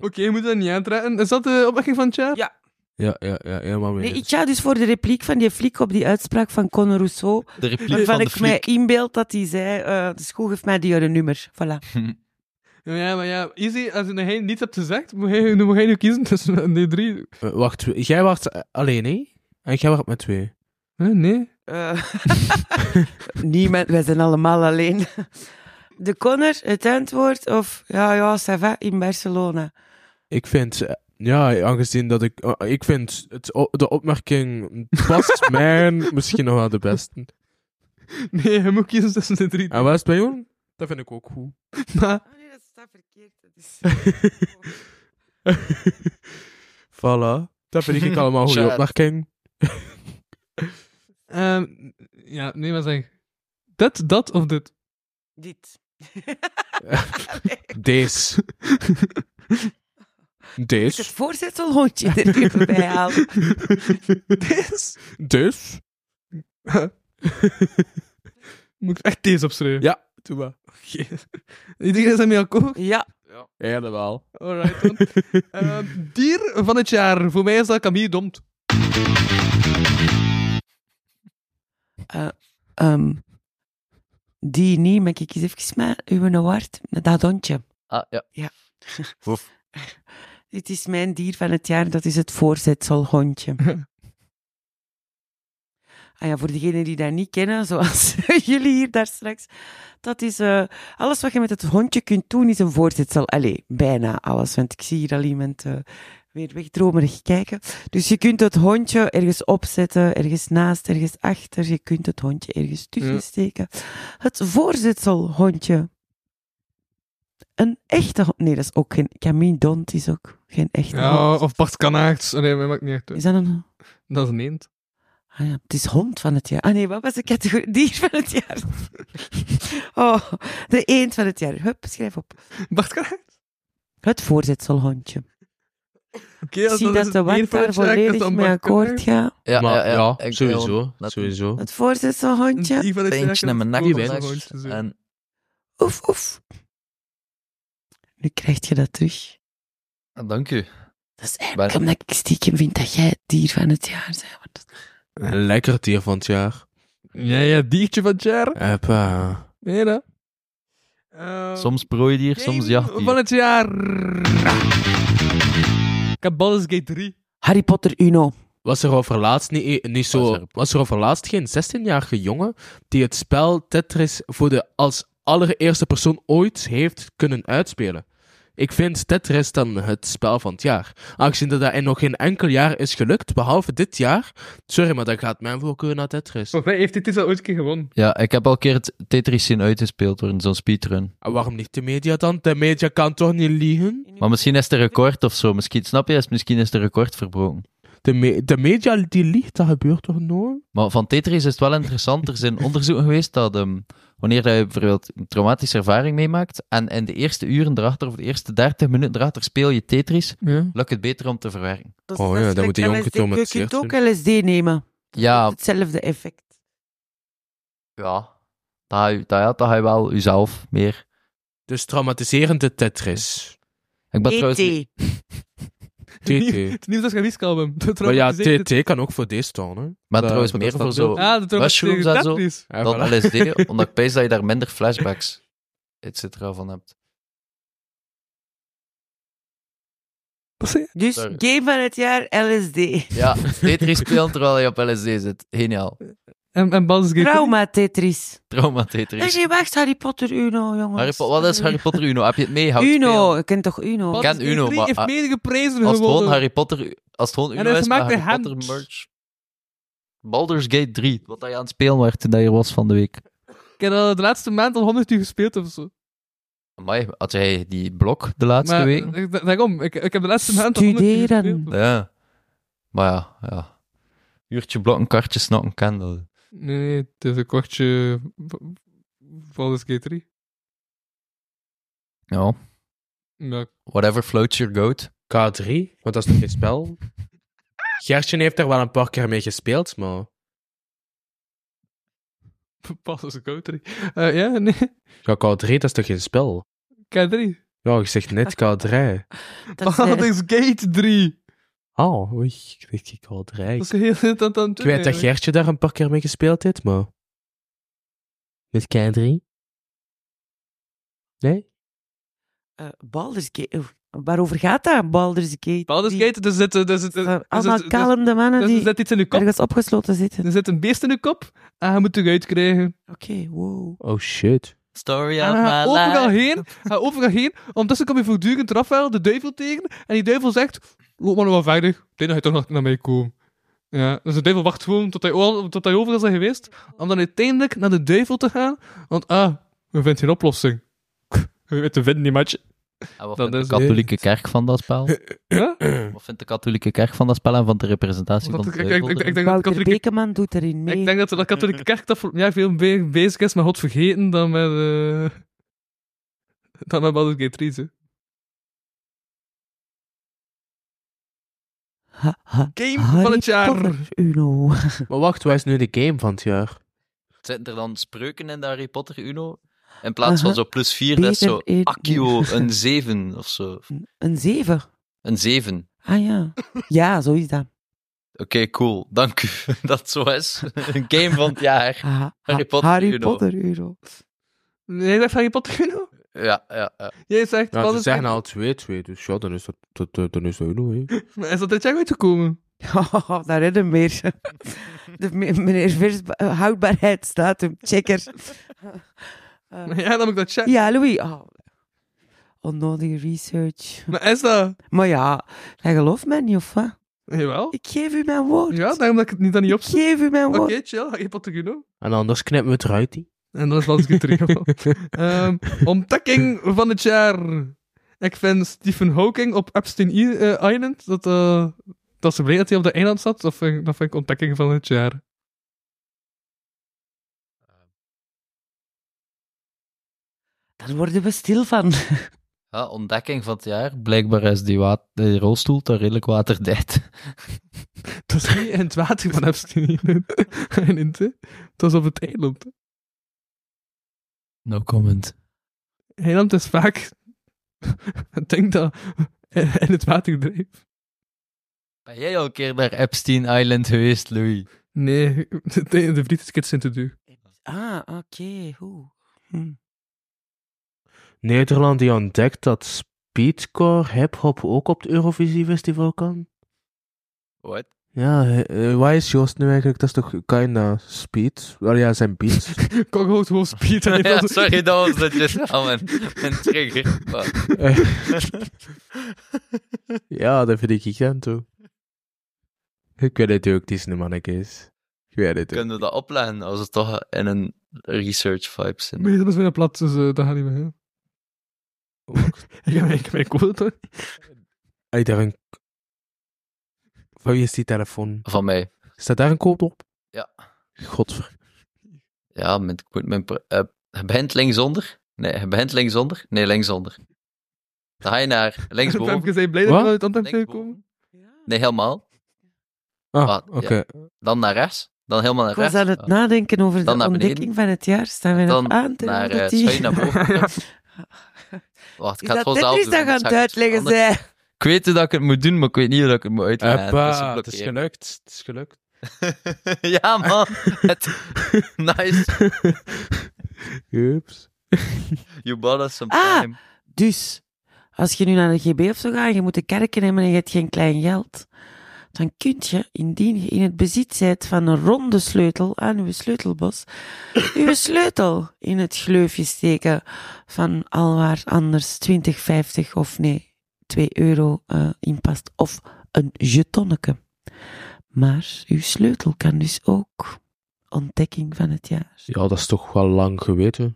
[SPEAKER 5] Oké, je moet dat niet aantrekken. Is dat de opmerking van het jaar?
[SPEAKER 6] Ja.
[SPEAKER 3] Ja, ja, ja, helemaal mee.
[SPEAKER 6] Nee, ik ga dus voor de repliek van die fliek op die uitspraak van Conor Rousseau.
[SPEAKER 4] De repliek
[SPEAKER 6] waarvan
[SPEAKER 4] van de
[SPEAKER 6] ik mij
[SPEAKER 4] fliek.
[SPEAKER 6] inbeeld dat hij zei, eh de school geeft mij die haar nummer. Voilà.
[SPEAKER 5] Ja, maar ja, easy, als je nog geen- niets hebt gezegd, moet jij, dan moet jij nu kiezen tussen die drie.
[SPEAKER 3] Eh, wacht, jij was eh, alleen, hè? En jij was met twee.
[SPEAKER 5] Huh, nee.
[SPEAKER 6] Eh, niemand, wij zijn allemaal alleen. De Connor, het antwoord, of ja, ja, ça va, in Barcelona.
[SPEAKER 3] Ik vind, eh, ja, aangezien dat ik, eh, ik vind het, o- de opmerking past mijn misschien nog wel de beste.
[SPEAKER 5] Nee, je moet kiezen tussen de drie.
[SPEAKER 3] En wat is het bij jou?
[SPEAKER 5] Dat vind ik ook goed. Maar,
[SPEAKER 6] Oh
[SPEAKER 3] Voilà. Dat vind ik allemaal een goede
[SPEAKER 5] Chat.
[SPEAKER 3] opmerking.
[SPEAKER 5] ehm, ja, nee, maar zeg. Dat, dat of dit?
[SPEAKER 6] Dit.
[SPEAKER 3] Deze.
[SPEAKER 6] Het
[SPEAKER 3] Deze.
[SPEAKER 6] voorzetselhondje er even bij halen.
[SPEAKER 5] Deze?
[SPEAKER 3] Dus.
[SPEAKER 5] Moet ik echt deze opschrijven?
[SPEAKER 3] Ja,
[SPEAKER 5] Doe maar. Iedereen is ermee akkoord?
[SPEAKER 6] Ja.
[SPEAKER 20] ja. Helemaal.
[SPEAKER 5] Alright dan. Eh, dier van het jaar. Voor mij is dat Camille Domt.
[SPEAKER 6] Eh, ehm, die niet, maar kijk eens even met uw award, met dat hondje.
[SPEAKER 4] Ah, ja.
[SPEAKER 6] Ja.
[SPEAKER 4] Woef.
[SPEAKER 6] Dit is mijn dier van het jaar, dat is het voorzetselhondje. ah ja, voor degenen die dat niet kennen, zoals jullie hier daar straks, dat is eh, alles wat je met het hondje kunt doen, is een voorzetsel. Allee, bijna alles, want ik zie hier al iemand eh, weer wegdromerig kijken. Dus je kunt het hondje ergens opzetten, ergens naast, ergens achter. Je kunt het hondje ergens tussen
[SPEAKER 5] Ja.
[SPEAKER 6] steken. Het voorzetselhondje. Een echte hond. Nee, dat is ook geen. Camille Dont is ook geen echte
[SPEAKER 5] Ja,
[SPEAKER 6] hond.
[SPEAKER 5] of Bart Kanaerts. Nee, mij maakt niet uit.
[SPEAKER 6] Is dat een...
[SPEAKER 5] Dat is een eend.
[SPEAKER 6] Ah ja, het is hond van het jaar. Ah nee, wat was de categorie? Dier van het jaar. oh, de eend van het jaar. Hup, schrijf op.
[SPEAKER 5] Bart Kanaerts?
[SPEAKER 6] Het voorzetselhondje.
[SPEAKER 5] Oké, als
[SPEAKER 6] Zie
[SPEAKER 5] dat
[SPEAKER 6] dat
[SPEAKER 5] is
[SPEAKER 6] de
[SPEAKER 5] het
[SPEAKER 6] wacht
[SPEAKER 5] dier van
[SPEAKER 6] daar
[SPEAKER 5] het jaar, is
[SPEAKER 6] volledig
[SPEAKER 5] dan
[SPEAKER 6] mee
[SPEAKER 5] Bart
[SPEAKER 6] akkoord
[SPEAKER 5] Kanaerts.
[SPEAKER 6] gaat.
[SPEAKER 4] Ja,
[SPEAKER 20] Maar,
[SPEAKER 4] ja, ja,
[SPEAKER 20] ja,
[SPEAKER 4] ik-
[SPEAKER 20] sowieso.
[SPEAKER 4] laat-
[SPEAKER 20] Sowieso.
[SPEAKER 6] Het voorzetselhondje.
[SPEAKER 5] Die van het
[SPEAKER 4] Pijntje
[SPEAKER 5] jaar Oh,
[SPEAKER 4] in
[SPEAKER 5] is
[SPEAKER 4] mijn nek
[SPEAKER 5] het
[SPEAKER 4] gelegd.
[SPEAKER 5] voorzetselhondje, zo.
[SPEAKER 4] En
[SPEAKER 6] Oef, oef. Nu krijg je dat terug.
[SPEAKER 4] Ah, dank u.
[SPEAKER 6] Dat is
[SPEAKER 4] Maar-
[SPEAKER 6] eigenlijk omdat ik stiekem vind dat jij het dier van het jaar bent. want dat-
[SPEAKER 3] Een lekker dier van het jaar.
[SPEAKER 5] Ja, ja, diertje van het jaar.
[SPEAKER 3] Hoppa.
[SPEAKER 5] Nee, dat. Eh,
[SPEAKER 4] Soms prooidier, soms jachtdier.
[SPEAKER 5] Van het jaar. Ik heb Baldur's Gate 3.
[SPEAKER 6] Harry Potter Uno.
[SPEAKER 3] Was er over laatst niet, e- niet zo, was er over laatst geen 16-jarige jongen die het spel Tetris voor de als allereerste persoon ooit heeft kunnen uitspelen? Ik vind Tetris dan het spel van het jaar. Aangezien dat dat in nog geen enkel jaar is gelukt, behalve dit jaar. Sorry, maar dan gaat mijn voorkeur naar Tetris.
[SPEAKER 5] Volgens mij heeft dit al ooit een keer gewonnen.
[SPEAKER 4] Ja, ik heb al een keer het Tetris zien uitgespeeld worden, zo'n speedrun.
[SPEAKER 3] En waarom niet de media dan? De media kan toch niet liegen?
[SPEAKER 4] Maar misschien is het een record of zo. Misschien, snap je? Misschien is het een record verbroken.
[SPEAKER 3] De, me- de media die liegt, dat gebeurt toch nooit?
[SPEAKER 4] Maar van Tetris is het wel interessant. Er zijn onderzoeken geweest dat ehm, wanneer dat je bijvoorbeeld een traumatische ervaring meemaakt en in de eerste uren erachter of de eerste 30 minuten erachter speel je Tetris,
[SPEAKER 5] Ja.
[SPEAKER 4] lukt het beter om te verwerken.
[SPEAKER 6] Dat
[SPEAKER 3] Oh ja, dan moet die jongen
[SPEAKER 6] LSD. Je
[SPEAKER 3] getraumatiseerd
[SPEAKER 6] kunt
[SPEAKER 3] zijn. Ah.
[SPEAKER 6] ook LSD nemen.
[SPEAKER 4] Ja,
[SPEAKER 6] Hetzelfde effect.
[SPEAKER 4] ja. Dat ga je, dat, ja, dat ga je wel jezelf meer.
[SPEAKER 3] Dus traumatiserende Tetris.
[SPEAKER 4] Ik ben trouwens
[SPEAKER 6] E.T.
[SPEAKER 3] TT.
[SPEAKER 5] Het nieuws dat je album.
[SPEAKER 3] Maar ja, TT kan ook voor D staan, hè.
[SPEAKER 4] Maar
[SPEAKER 3] Dat-
[SPEAKER 4] trouwens
[SPEAKER 3] dat
[SPEAKER 4] meer
[SPEAKER 3] is
[SPEAKER 4] voor
[SPEAKER 3] dat
[SPEAKER 4] zo
[SPEAKER 3] beeld.
[SPEAKER 5] Ah, de
[SPEAKER 4] mushrooms en zo
[SPEAKER 5] Tetris.
[SPEAKER 3] Ja,
[SPEAKER 4] dan
[SPEAKER 3] voilà.
[SPEAKER 4] LSD, omdat ik pees dat je daar minder flashbacks et cetera van hebt.
[SPEAKER 6] Dus
[SPEAKER 4] Sorry.
[SPEAKER 6] game van het jaar LSD.
[SPEAKER 4] Ja, Tetris spelen terwijl je op LSD zit. Geniaal.
[SPEAKER 5] En, en Baldur's Gate 3.
[SPEAKER 6] Trauma Tetris.
[SPEAKER 4] Trauma
[SPEAKER 6] Nee,
[SPEAKER 4] Tetris.
[SPEAKER 6] nee, wacht, Harry Potter Uno, jongens.
[SPEAKER 4] Harry Po- wat is Harry Potter Uno? Heb je het mee? Hou je het
[SPEAKER 6] Uno, je kent toch Uno?
[SPEAKER 4] Ik ken Uno, maar
[SPEAKER 5] heeft
[SPEAKER 4] ah,
[SPEAKER 5] mede geprezen
[SPEAKER 4] als het gewoon
[SPEAKER 5] gewonnen.
[SPEAKER 4] Harry Potter, als het gewoon
[SPEAKER 5] En
[SPEAKER 4] Uno
[SPEAKER 5] hij
[SPEAKER 4] is, maar
[SPEAKER 5] maakt
[SPEAKER 4] Harry
[SPEAKER 5] een
[SPEAKER 4] Potter
[SPEAKER 5] hand.
[SPEAKER 4] merch. Baldur's Gate 3, wat dat je aan het spelen werd toen dat je was van de week.
[SPEAKER 5] Ik heb al de laatste maand al 100 uur gespeeld of zo.
[SPEAKER 4] Amai, had jij die blok de laatste
[SPEAKER 5] maar,
[SPEAKER 4] week?
[SPEAKER 5] eh, da- Daarom, ik, ik heb de laatste maand al 100 uur
[SPEAKER 6] Studeren.
[SPEAKER 5] gespeeld.
[SPEAKER 4] Ja. Maar ja, ja. Uurtje blokken, kartje snakken, ken dat.
[SPEAKER 5] Nee, nee, het is een kortje van Baldur's Gate 3.
[SPEAKER 4] Ja,
[SPEAKER 5] Ja,
[SPEAKER 4] whatever floats your goat.
[SPEAKER 3] K3, want dat is nog geen spel. Gertje heeft er wel een paar keer mee gespeeld, maar...
[SPEAKER 5] Baldur's Gate 3. Eh, ja, nee,
[SPEAKER 3] Ja, K3, dat is toch geen spel?
[SPEAKER 5] K3.
[SPEAKER 3] Ja, ik zeg net K3.
[SPEAKER 6] Dat is, eh,
[SPEAKER 5] Baldur's Gate 3.
[SPEAKER 3] Oh, oei, ik dacht ik K3.
[SPEAKER 5] Dat is
[SPEAKER 3] Ik
[SPEAKER 5] heel net aan het
[SPEAKER 3] ik weet dat Gertje daar een paar keer mee gespeeld heeft, maar... Met K3? Nee?
[SPEAKER 6] eh, Baldur's Gate. oef, Waarover gaat dat? Baldur's Gate.
[SPEAKER 5] Baldur's
[SPEAKER 6] Die-
[SPEAKER 5] Gate, er dus zit, er zit, er
[SPEAKER 6] Eh,
[SPEAKER 5] zit, er
[SPEAKER 6] Allemaal
[SPEAKER 5] zit, er
[SPEAKER 6] kalende mannen
[SPEAKER 5] zit- er
[SPEAKER 6] die
[SPEAKER 5] zit iets in je kop.
[SPEAKER 6] ergens opgesloten zitten.
[SPEAKER 5] Er zit een beest in je kop en je moet eruit krijgen.
[SPEAKER 6] Oké, wow.
[SPEAKER 3] Oh, shit.
[SPEAKER 4] Story
[SPEAKER 5] En
[SPEAKER 4] of
[SPEAKER 5] hij gaat
[SPEAKER 4] my
[SPEAKER 5] overal
[SPEAKER 4] life.
[SPEAKER 5] heen, hij gaat overal heen. Ondertussen kom je voortdurend Rafael de duivel tegen. En die duivel zegt, loop maar nog wel verder. Ik denk dat hij toch nog naar mij komt. Ja, dus de duivel wacht gewoon tot hij, o- tot hij overal is geweest. Om dan uiteindelijk naar de duivel te gaan. Want, ah, we vinden geen oplossing. We weten vinden die match.
[SPEAKER 4] En
[SPEAKER 5] Dat
[SPEAKER 4] wat vindt de
[SPEAKER 5] is-
[SPEAKER 4] katholieke kerk van dat spel?
[SPEAKER 5] Ja?
[SPEAKER 4] Wat vindt de katholieke kerk van dat spel en van de representatie
[SPEAKER 5] Dat-
[SPEAKER 4] van de
[SPEAKER 5] ik- ik- ik-
[SPEAKER 4] duivel
[SPEAKER 5] ik- ik
[SPEAKER 4] erin?
[SPEAKER 5] denk dat de
[SPEAKER 6] Wouter
[SPEAKER 5] katholieke
[SPEAKER 6] Bekeman doet erin mee.
[SPEAKER 5] Ik denk dat de katholieke kerk dat voor- ja, veel meer bezig is met God vergeten dan met, eh dan met Baldur's Gate 3. zo.
[SPEAKER 6] Ha, ha.
[SPEAKER 5] Game
[SPEAKER 6] Ah, Harry
[SPEAKER 5] van het jaar.
[SPEAKER 6] Potter Uno.
[SPEAKER 3] Maar wacht, wat is nu de game van het jaar?
[SPEAKER 4] Zitten er dan spreuken in de Harry Potter Uno? In plaats van
[SPEAKER 6] Aha.
[SPEAKER 4] zo plus 4, dat is zo
[SPEAKER 6] Beter in-
[SPEAKER 4] Akio een 7 of zo.
[SPEAKER 6] Een zeven.
[SPEAKER 4] Een 7.
[SPEAKER 6] Ah ja. Ja, zo is dat.
[SPEAKER 4] Oké, cool. Dank u dat het zo is. Een game van het jaar. Harry Potter.
[SPEAKER 6] Harry
[SPEAKER 4] Uno.
[SPEAKER 6] Potter Euro.
[SPEAKER 5] Nee, dat Harry Potter Uno.
[SPEAKER 4] Ja, ja, ja.
[SPEAKER 5] Jij zegt,
[SPEAKER 3] Ja,
[SPEAKER 5] wat
[SPEAKER 3] ze
[SPEAKER 5] is-
[SPEAKER 3] zeggen al 2-2, dus ja, dan is dat, dat, dat- dan is dat Uno, hè.
[SPEAKER 5] Maar is dat dit jaar uitgekomen?
[SPEAKER 6] Oh, daar redden meer. De me- meneer eh, Vers, houdbaarheidsdatum, checker.
[SPEAKER 5] ja, dan moet ik dat checken.
[SPEAKER 6] Ja, Louis. Oh. Onnodige research.
[SPEAKER 5] Maar is dat...
[SPEAKER 6] Maar ja, hij gelooft mij niet, of wat?
[SPEAKER 5] Jawel.
[SPEAKER 6] Ik geef u mijn woord.
[SPEAKER 5] Ja, daarom dat ik het niet, dan niet opzoek.
[SPEAKER 6] Ik geef u mijn
[SPEAKER 5] Oké,
[SPEAKER 6] woord.
[SPEAKER 5] chill. Harry Potter Uno.
[SPEAKER 3] En anders knippen we het eruit, hè.
[SPEAKER 5] En dan is Lansky terug. Ehm ontdekking van het jaar. Ik vind Stephen Hawking op Epstein I- eh, Island. Dat, eh, dat ze blij dat hij op de eiland zat. Dat vind, ik- dat vind ik ontdekking van het jaar.
[SPEAKER 6] Daar worden we stil van.
[SPEAKER 4] Ja, ontdekking van het jaar. Blijkbaar is die, wa- die rolstoel daar redelijk waterdicht.
[SPEAKER 5] Dat is niet in het water van Epstein Island. Island, hè. Dat is op het eiland.
[SPEAKER 4] No comment.
[SPEAKER 5] Eiland is vaak... ik denk dat... In het water drijft.
[SPEAKER 4] Ben jij al een keer naar Epstein Island geweest, Louis?
[SPEAKER 5] Nee, de, de vriendskits zijn te duur.
[SPEAKER 6] Ah, oké. hoe. Hm.
[SPEAKER 3] Nederland die ontdekt dat speedcore hip-hop ook op het Eurovisie Festival kan.
[SPEAKER 4] What?
[SPEAKER 3] Ja, eh, eh, waar is Joost nu eigenlijk? Dat is toch kinda speed? Wel ja, zijn beats.
[SPEAKER 5] Kok hoort gewoon speed. en
[SPEAKER 4] Ja,
[SPEAKER 5] heeft dat-
[SPEAKER 4] sorry, dat was dat je al een, een trigger. Maar-
[SPEAKER 3] ja, dat vind ik giganto. Ik weet het ook, die is een manneke is. Ik weet het ook.
[SPEAKER 4] Kunnen we dat opleggen als het toch in een research vibe zit?
[SPEAKER 5] Nee, dat is weer plat, dus eh dat gaat niet meer. hè. ik heb mijn- ik heb mijn quote hoor.
[SPEAKER 3] Hey, daar een... Van wie is die telefoon?
[SPEAKER 4] Van mij.
[SPEAKER 3] Staat daar een code op?
[SPEAKER 4] Ja.
[SPEAKER 3] Godver...
[SPEAKER 4] Ja, mijn, ik moet mijn, pro- eh, je begint linksonder. Nee, je begint linksonder. Nee, linksonder. Dan ga je naar
[SPEAKER 5] Ik
[SPEAKER 4] linksboven.
[SPEAKER 5] ben blij dat we uit Antwerpen zijn gekomen.
[SPEAKER 4] Nee, helemaal.
[SPEAKER 3] Ah,
[SPEAKER 4] ja.
[SPEAKER 3] oké.
[SPEAKER 4] Dan naar rechts. Dan helemaal naar
[SPEAKER 6] Ik was
[SPEAKER 4] rechts. Oh.
[SPEAKER 6] aan het nadenken
[SPEAKER 4] Dan
[SPEAKER 6] over de
[SPEAKER 4] naar beneden.
[SPEAKER 6] ontdekking van het jaar. Staan we
[SPEAKER 4] Dan
[SPEAKER 6] nog aan te
[SPEAKER 4] naar,
[SPEAKER 6] raden
[SPEAKER 4] eh,
[SPEAKER 6] die-
[SPEAKER 4] schuin naar boven. Wacht, ik
[SPEAKER 6] Is
[SPEAKER 4] ga het gewoon
[SPEAKER 6] dat
[SPEAKER 4] zelf
[SPEAKER 6] Tetris
[SPEAKER 4] doen,
[SPEAKER 6] dan
[SPEAKER 4] anders
[SPEAKER 6] gaan
[SPEAKER 4] ga ik het
[SPEAKER 6] uitleggen,
[SPEAKER 4] veranderen.
[SPEAKER 6] zij?
[SPEAKER 4] Ik weet dat ik het moet doen, maar ik weet niet hoe ik het moet uitleggen.
[SPEAKER 3] Hoppa, het
[SPEAKER 4] dus
[SPEAKER 3] is
[SPEAKER 4] ik blokkeer.
[SPEAKER 3] gelukt. Het is gelukt.
[SPEAKER 4] ja, man. Het- Nice.
[SPEAKER 3] Jups.
[SPEAKER 4] You bought us some
[SPEAKER 6] Ah,
[SPEAKER 4] time.
[SPEAKER 6] dus als je nu naar de GB of zo gaat en je moet de kerken nemen en je hebt geen klein geld, dan kun je, indien je in het bezit bent van een ronde sleutel aan uw sleutelbos, uw sleutel in het gleufje steken van alwaar anders 20, 50 of nee, 2 euro eh, inpast of een jetonneke. Maar uw sleutel kan dus ook ontdekking van het jaar.
[SPEAKER 3] Ja, dat is toch wel lang geweten.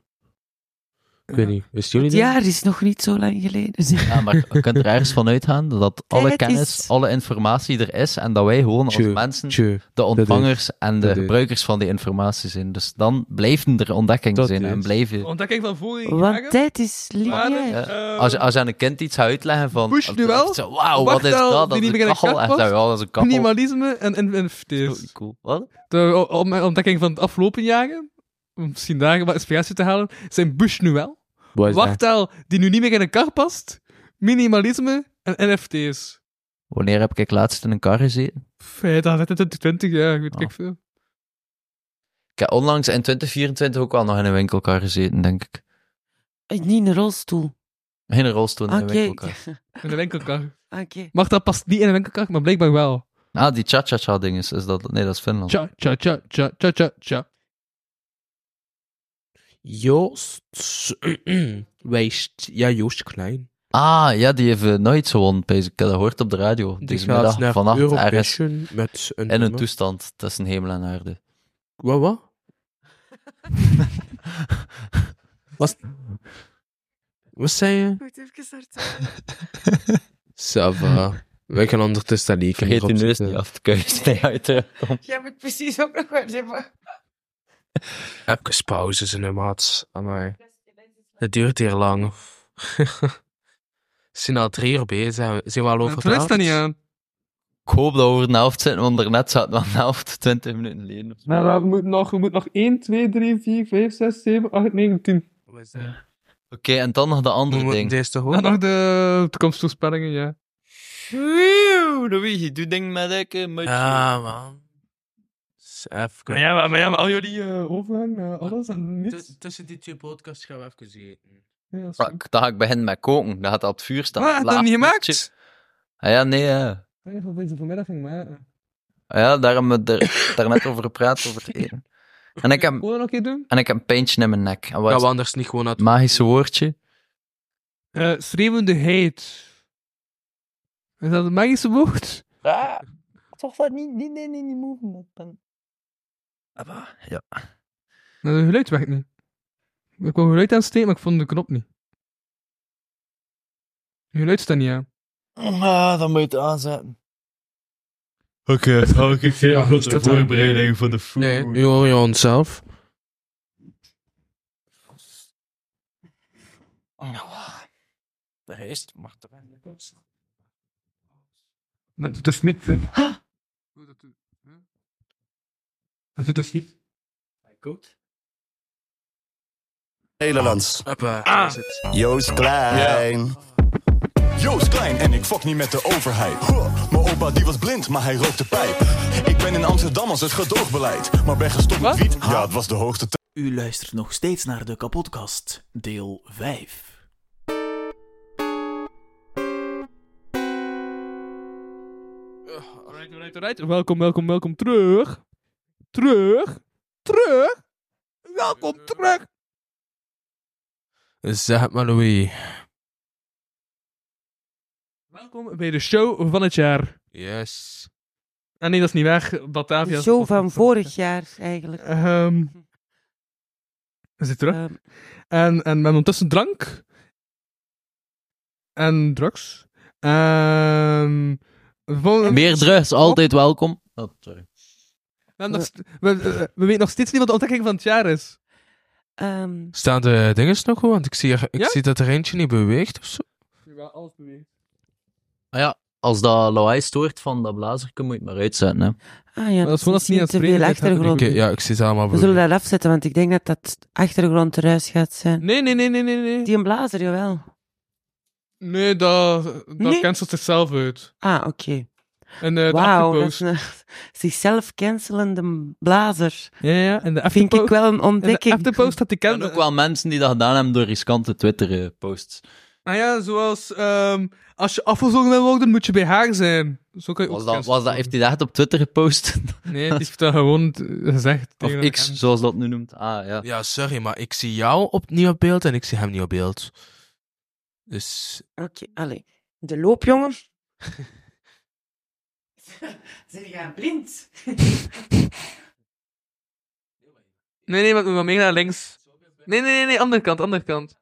[SPEAKER 3] Ik weet niet, wisten
[SPEAKER 6] Het
[SPEAKER 3] jullie dat?
[SPEAKER 6] jaar is nog niet zo lang geleden.
[SPEAKER 4] Ja, maar je kunt er ergens van uitgaan dat alle
[SPEAKER 6] Tijd is-
[SPEAKER 4] kennis, alle informatie er is en dat wij gewoon als
[SPEAKER 3] Tjö,
[SPEAKER 4] mensen
[SPEAKER 3] tjö,
[SPEAKER 4] de ontvangers
[SPEAKER 3] is-
[SPEAKER 4] en de
[SPEAKER 3] dat is.
[SPEAKER 4] gebruikers van die informatie zijn. Dus dan blijven er ontdekkingen zijn en blijven...
[SPEAKER 5] Ontdekking van vorig
[SPEAKER 6] Want tijd is
[SPEAKER 5] eh,
[SPEAKER 6] lineair.
[SPEAKER 4] Ja, als, als je aan een kind iets gaat uitleggen van...
[SPEAKER 5] Bush
[SPEAKER 4] of-
[SPEAKER 5] nu wel?
[SPEAKER 4] zo, Wauw, wat is dat? Dat is een kachel. Echt, ja, dat is een kachel.
[SPEAKER 5] Minimalisme en en NFT's.
[SPEAKER 4] Cool. Wat?
[SPEAKER 5] De o- om- eh, ontdekking van het afgelopen jaren, om misschien daar wat inspiratie te halen, zijn Bush nu wel.
[SPEAKER 3] Wat is dat?
[SPEAKER 5] Wachttaal die nu niet meer in een kar past, minimalisme en NFT's.
[SPEAKER 4] Wanneer heb ik laatst in een kar gezeten?
[SPEAKER 5] Feit, dat is 2020 jaar, ik weet ik veel.
[SPEAKER 4] Ik heb onlangs in 2024 ook wel nog in een winkelkar gezeten, denk ik.
[SPEAKER 6] Eh, Niet een rolstoel.
[SPEAKER 4] In een rolstoel in
[SPEAKER 6] Oké.
[SPEAKER 4] een winkelkar.
[SPEAKER 5] In een winkelkar.
[SPEAKER 6] Ah, Oké.
[SPEAKER 5] Mag dat past niet in een winkelkar, maar blijkbaar wel.
[SPEAKER 4] Ah, die cha-cha-cha-ding is, is dat... Nee, dat is Finland.
[SPEAKER 5] Tja, tja, tja, tja, tja, tja, tja.
[SPEAKER 3] Joost. Wijst. Ja, Joost Klein.
[SPEAKER 4] Ah, ja, die heeft eh, nooit gewonnen, pees. Ik heb dat gehoord op de radio.
[SPEAKER 3] Die
[SPEAKER 4] Deze
[SPEAKER 3] gaat
[SPEAKER 4] middag,
[SPEAKER 3] naar
[SPEAKER 4] vannacht, ergens.
[SPEAKER 3] Eurovision met een
[SPEAKER 4] in een
[SPEAKER 3] nummer.
[SPEAKER 4] toestand tussen hemel en aarde.
[SPEAKER 3] Wat, wat? Was... Wat zei je?
[SPEAKER 6] Moet even
[SPEAKER 3] Sava. Wij gaan ondertussen dat liedje
[SPEAKER 4] Vergeet die neus
[SPEAKER 3] opzetten.
[SPEAKER 4] niet af te kuisen. Nee, uit de...
[SPEAKER 6] Jij moet precies ook nog wat hebben.
[SPEAKER 3] Even pauzes in de maat. Amai. Het duurt hier lang. We zijn al drie uur bezig. Zijn we- Zijn we al over de helft?
[SPEAKER 5] aan.
[SPEAKER 4] Ik hoop dat we over de helft zitten, want daarnet zaten we aan de helft, 20 minuten geleden.
[SPEAKER 5] Nou, we moeten nog, we moeten nog 1, 2, 3, 4, 5, 6, 7, 8, 9, 10.
[SPEAKER 4] Oké, en dan nog de andere ding.
[SPEAKER 3] Deze te
[SPEAKER 5] Dan nog de toekomstvoorspellingen, ja.
[SPEAKER 4] Wauw, Luigi, doe ding met ik, met
[SPEAKER 3] Ja, man.
[SPEAKER 5] Maar ja, maar, maar ja, maar al jullie eh, overhang, eh, alles en niets.
[SPEAKER 3] Tussen die twee podcasts gaan we even eten.
[SPEAKER 5] Ja, dat is goed.
[SPEAKER 4] Fuck, dan ga ik beginnen met koken. Dan gaat dat op het vuur staan.
[SPEAKER 5] Ah, heb je dat
[SPEAKER 4] Laag
[SPEAKER 5] niet gemaakt?
[SPEAKER 4] vuurtje. Ah, ja, nee, ja.
[SPEAKER 5] Nee, voor deze vanmiddag ging maar. eh,
[SPEAKER 4] Ah, ja daarom hebben we er daarnet over gepraat, over het eten. En ik heb,
[SPEAKER 5] Wil je nog een keer doen?
[SPEAKER 4] en ik heb een pijntje in mijn nek. En wat
[SPEAKER 3] Gaan
[SPEAKER 4] is
[SPEAKER 3] we
[SPEAKER 4] het
[SPEAKER 3] anders niet gewoon uit...
[SPEAKER 4] magische woordje?
[SPEAKER 5] Eh, schreeuwende heet. Is dat het magische woord?
[SPEAKER 4] Ah, toch dat niet, niet, nee, nee, niet movement pen. Ja.
[SPEAKER 5] Nou, de geluid werkt niet. Ik wou geluid aansteken, maar ik vond de knop niet. Je geluid staat niet aan.
[SPEAKER 4] Ah, dan moet je het aanzetten.
[SPEAKER 21] Oké, oh, ik veel
[SPEAKER 3] Ja,
[SPEAKER 21] grote
[SPEAKER 3] dat dan.
[SPEAKER 21] voorbereiding van de food.
[SPEAKER 3] Nee, nu hoor je onszelf.
[SPEAKER 4] De rest mag er
[SPEAKER 5] Dat doet dus niet. Dat doet dus niet.
[SPEAKER 3] Goed.
[SPEAKER 16] Nederlands.
[SPEAKER 3] Hoppa, daar is het.
[SPEAKER 16] Joost Klein. Joost Klein en ik fok niet met de overheid. Huh, Mijn opa die was blind, maar hij rookte pijp. Ik ben in Amsterdam als het gedoogbeleid. Maar ben gestopt met wiet, ja het was de hoogste tijd.
[SPEAKER 2] U luistert nog steeds naar de kapotkast, deel 5.
[SPEAKER 5] Alright, alright, alright. Welkom, welkom, welkom terug. Terug. Terug. Welkom terug.
[SPEAKER 3] Zeg het maar, Louis.
[SPEAKER 5] Welkom bij de show van het jaar.
[SPEAKER 3] Yes.
[SPEAKER 5] Ah nee, dat is niet waar. Batavia.
[SPEAKER 6] De
[SPEAKER 5] is-
[SPEAKER 6] show van
[SPEAKER 5] eh,
[SPEAKER 6] vorig jaar, eigenlijk. Ehm,
[SPEAKER 5] Ehm, we zitten terug. en, en we hebben ondertussen drank. En drugs. Ehm, En... we volgen-
[SPEAKER 4] Meer drugs, altijd welkom. Oh, sorry.
[SPEAKER 5] We, hebben nog st- we, we- we weten nog steeds niet wat de ontdekking van het jaar is.
[SPEAKER 6] ehm,
[SPEAKER 3] Staan de dinges nog goed? Want ik zie, er- ik
[SPEAKER 5] Ja?
[SPEAKER 3] zie dat er eentje niet beweegt of zo.
[SPEAKER 5] alles beweegt.
[SPEAKER 4] Ah ja, als dat lawaai stoort van dat blazerke, moet je het maar uitzetten, hè.
[SPEAKER 6] Ah ja,
[SPEAKER 5] dat is gewoon als het niet aan het
[SPEAKER 6] te
[SPEAKER 5] spreken
[SPEAKER 6] veel
[SPEAKER 5] is, dan-
[SPEAKER 6] achtergrond.
[SPEAKER 3] Oké, ja, ik zie ze allemaal
[SPEAKER 6] We zullen dat afzetten, want ik denk dat dat achtergrondruis gaat zijn.
[SPEAKER 5] Nee, nee, nee, nee, nee. nee.
[SPEAKER 6] Die een blazer, jawel.
[SPEAKER 5] Nee, dat, dat
[SPEAKER 6] Nee.
[SPEAKER 5] cancelt zichzelf uit.
[SPEAKER 6] Ah, oké.
[SPEAKER 5] En eh, de
[SPEAKER 6] Wauw, dat is
[SPEAKER 5] afterpost.
[SPEAKER 6] een zichzelf cancelende blazer.
[SPEAKER 5] Ja, ja, en de
[SPEAKER 6] Vind ik wel een ontdekking.
[SPEAKER 5] post had ik
[SPEAKER 4] ken. ook wel mensen die dat gedaan hebben door riskante Twitter-posts.
[SPEAKER 5] Nou ja, zoals ehm, als je afgezongen wil worden, moet je bij haar zijn. Zo kan je
[SPEAKER 4] Was
[SPEAKER 5] ook
[SPEAKER 4] dat, was dat, heeft hij dat echt op Twitter gepost?
[SPEAKER 5] Nee, die heeft dat gewoon t- gezegd. tegen
[SPEAKER 4] of
[SPEAKER 5] een
[SPEAKER 4] X,
[SPEAKER 5] agent.
[SPEAKER 4] zoals dat nu noemt. Ah, ja.
[SPEAKER 3] Ja, sorry, maar ik zie jou op, niet op beeld en ik zie hem niet op beeld. Dus...
[SPEAKER 6] Oké, allee. De loopjongen. Zijn jij blind?
[SPEAKER 5] Nee, nee, wat, wat meer naar links. Nee, nee, nee, nee, andere kant, andere kant.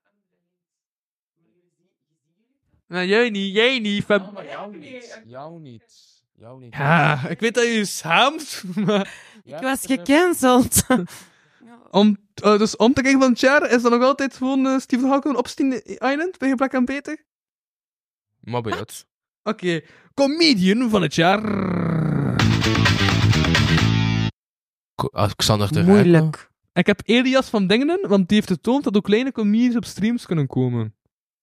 [SPEAKER 5] Nou, jij niet, jij niet, Fab.
[SPEAKER 3] jou niet. Jou niet. Jou niet.
[SPEAKER 5] Ja, ik weet dat je je schaamt, maar...
[SPEAKER 6] Ik was gecanceld.
[SPEAKER 5] Om, eh, dus om te kijken van het jaar is dat nog altijd gewoon eh, Stephen Hawking op Steam Island bij gebrek aan beter?
[SPEAKER 3] Maar beeld.
[SPEAKER 5] Oké, comedian van het jaar.
[SPEAKER 3] Ko- Alexander de
[SPEAKER 5] Moeilijk. Ik heb Elias van Dingenen, want die heeft getoond dat ook kleine comedians op streams kunnen komen.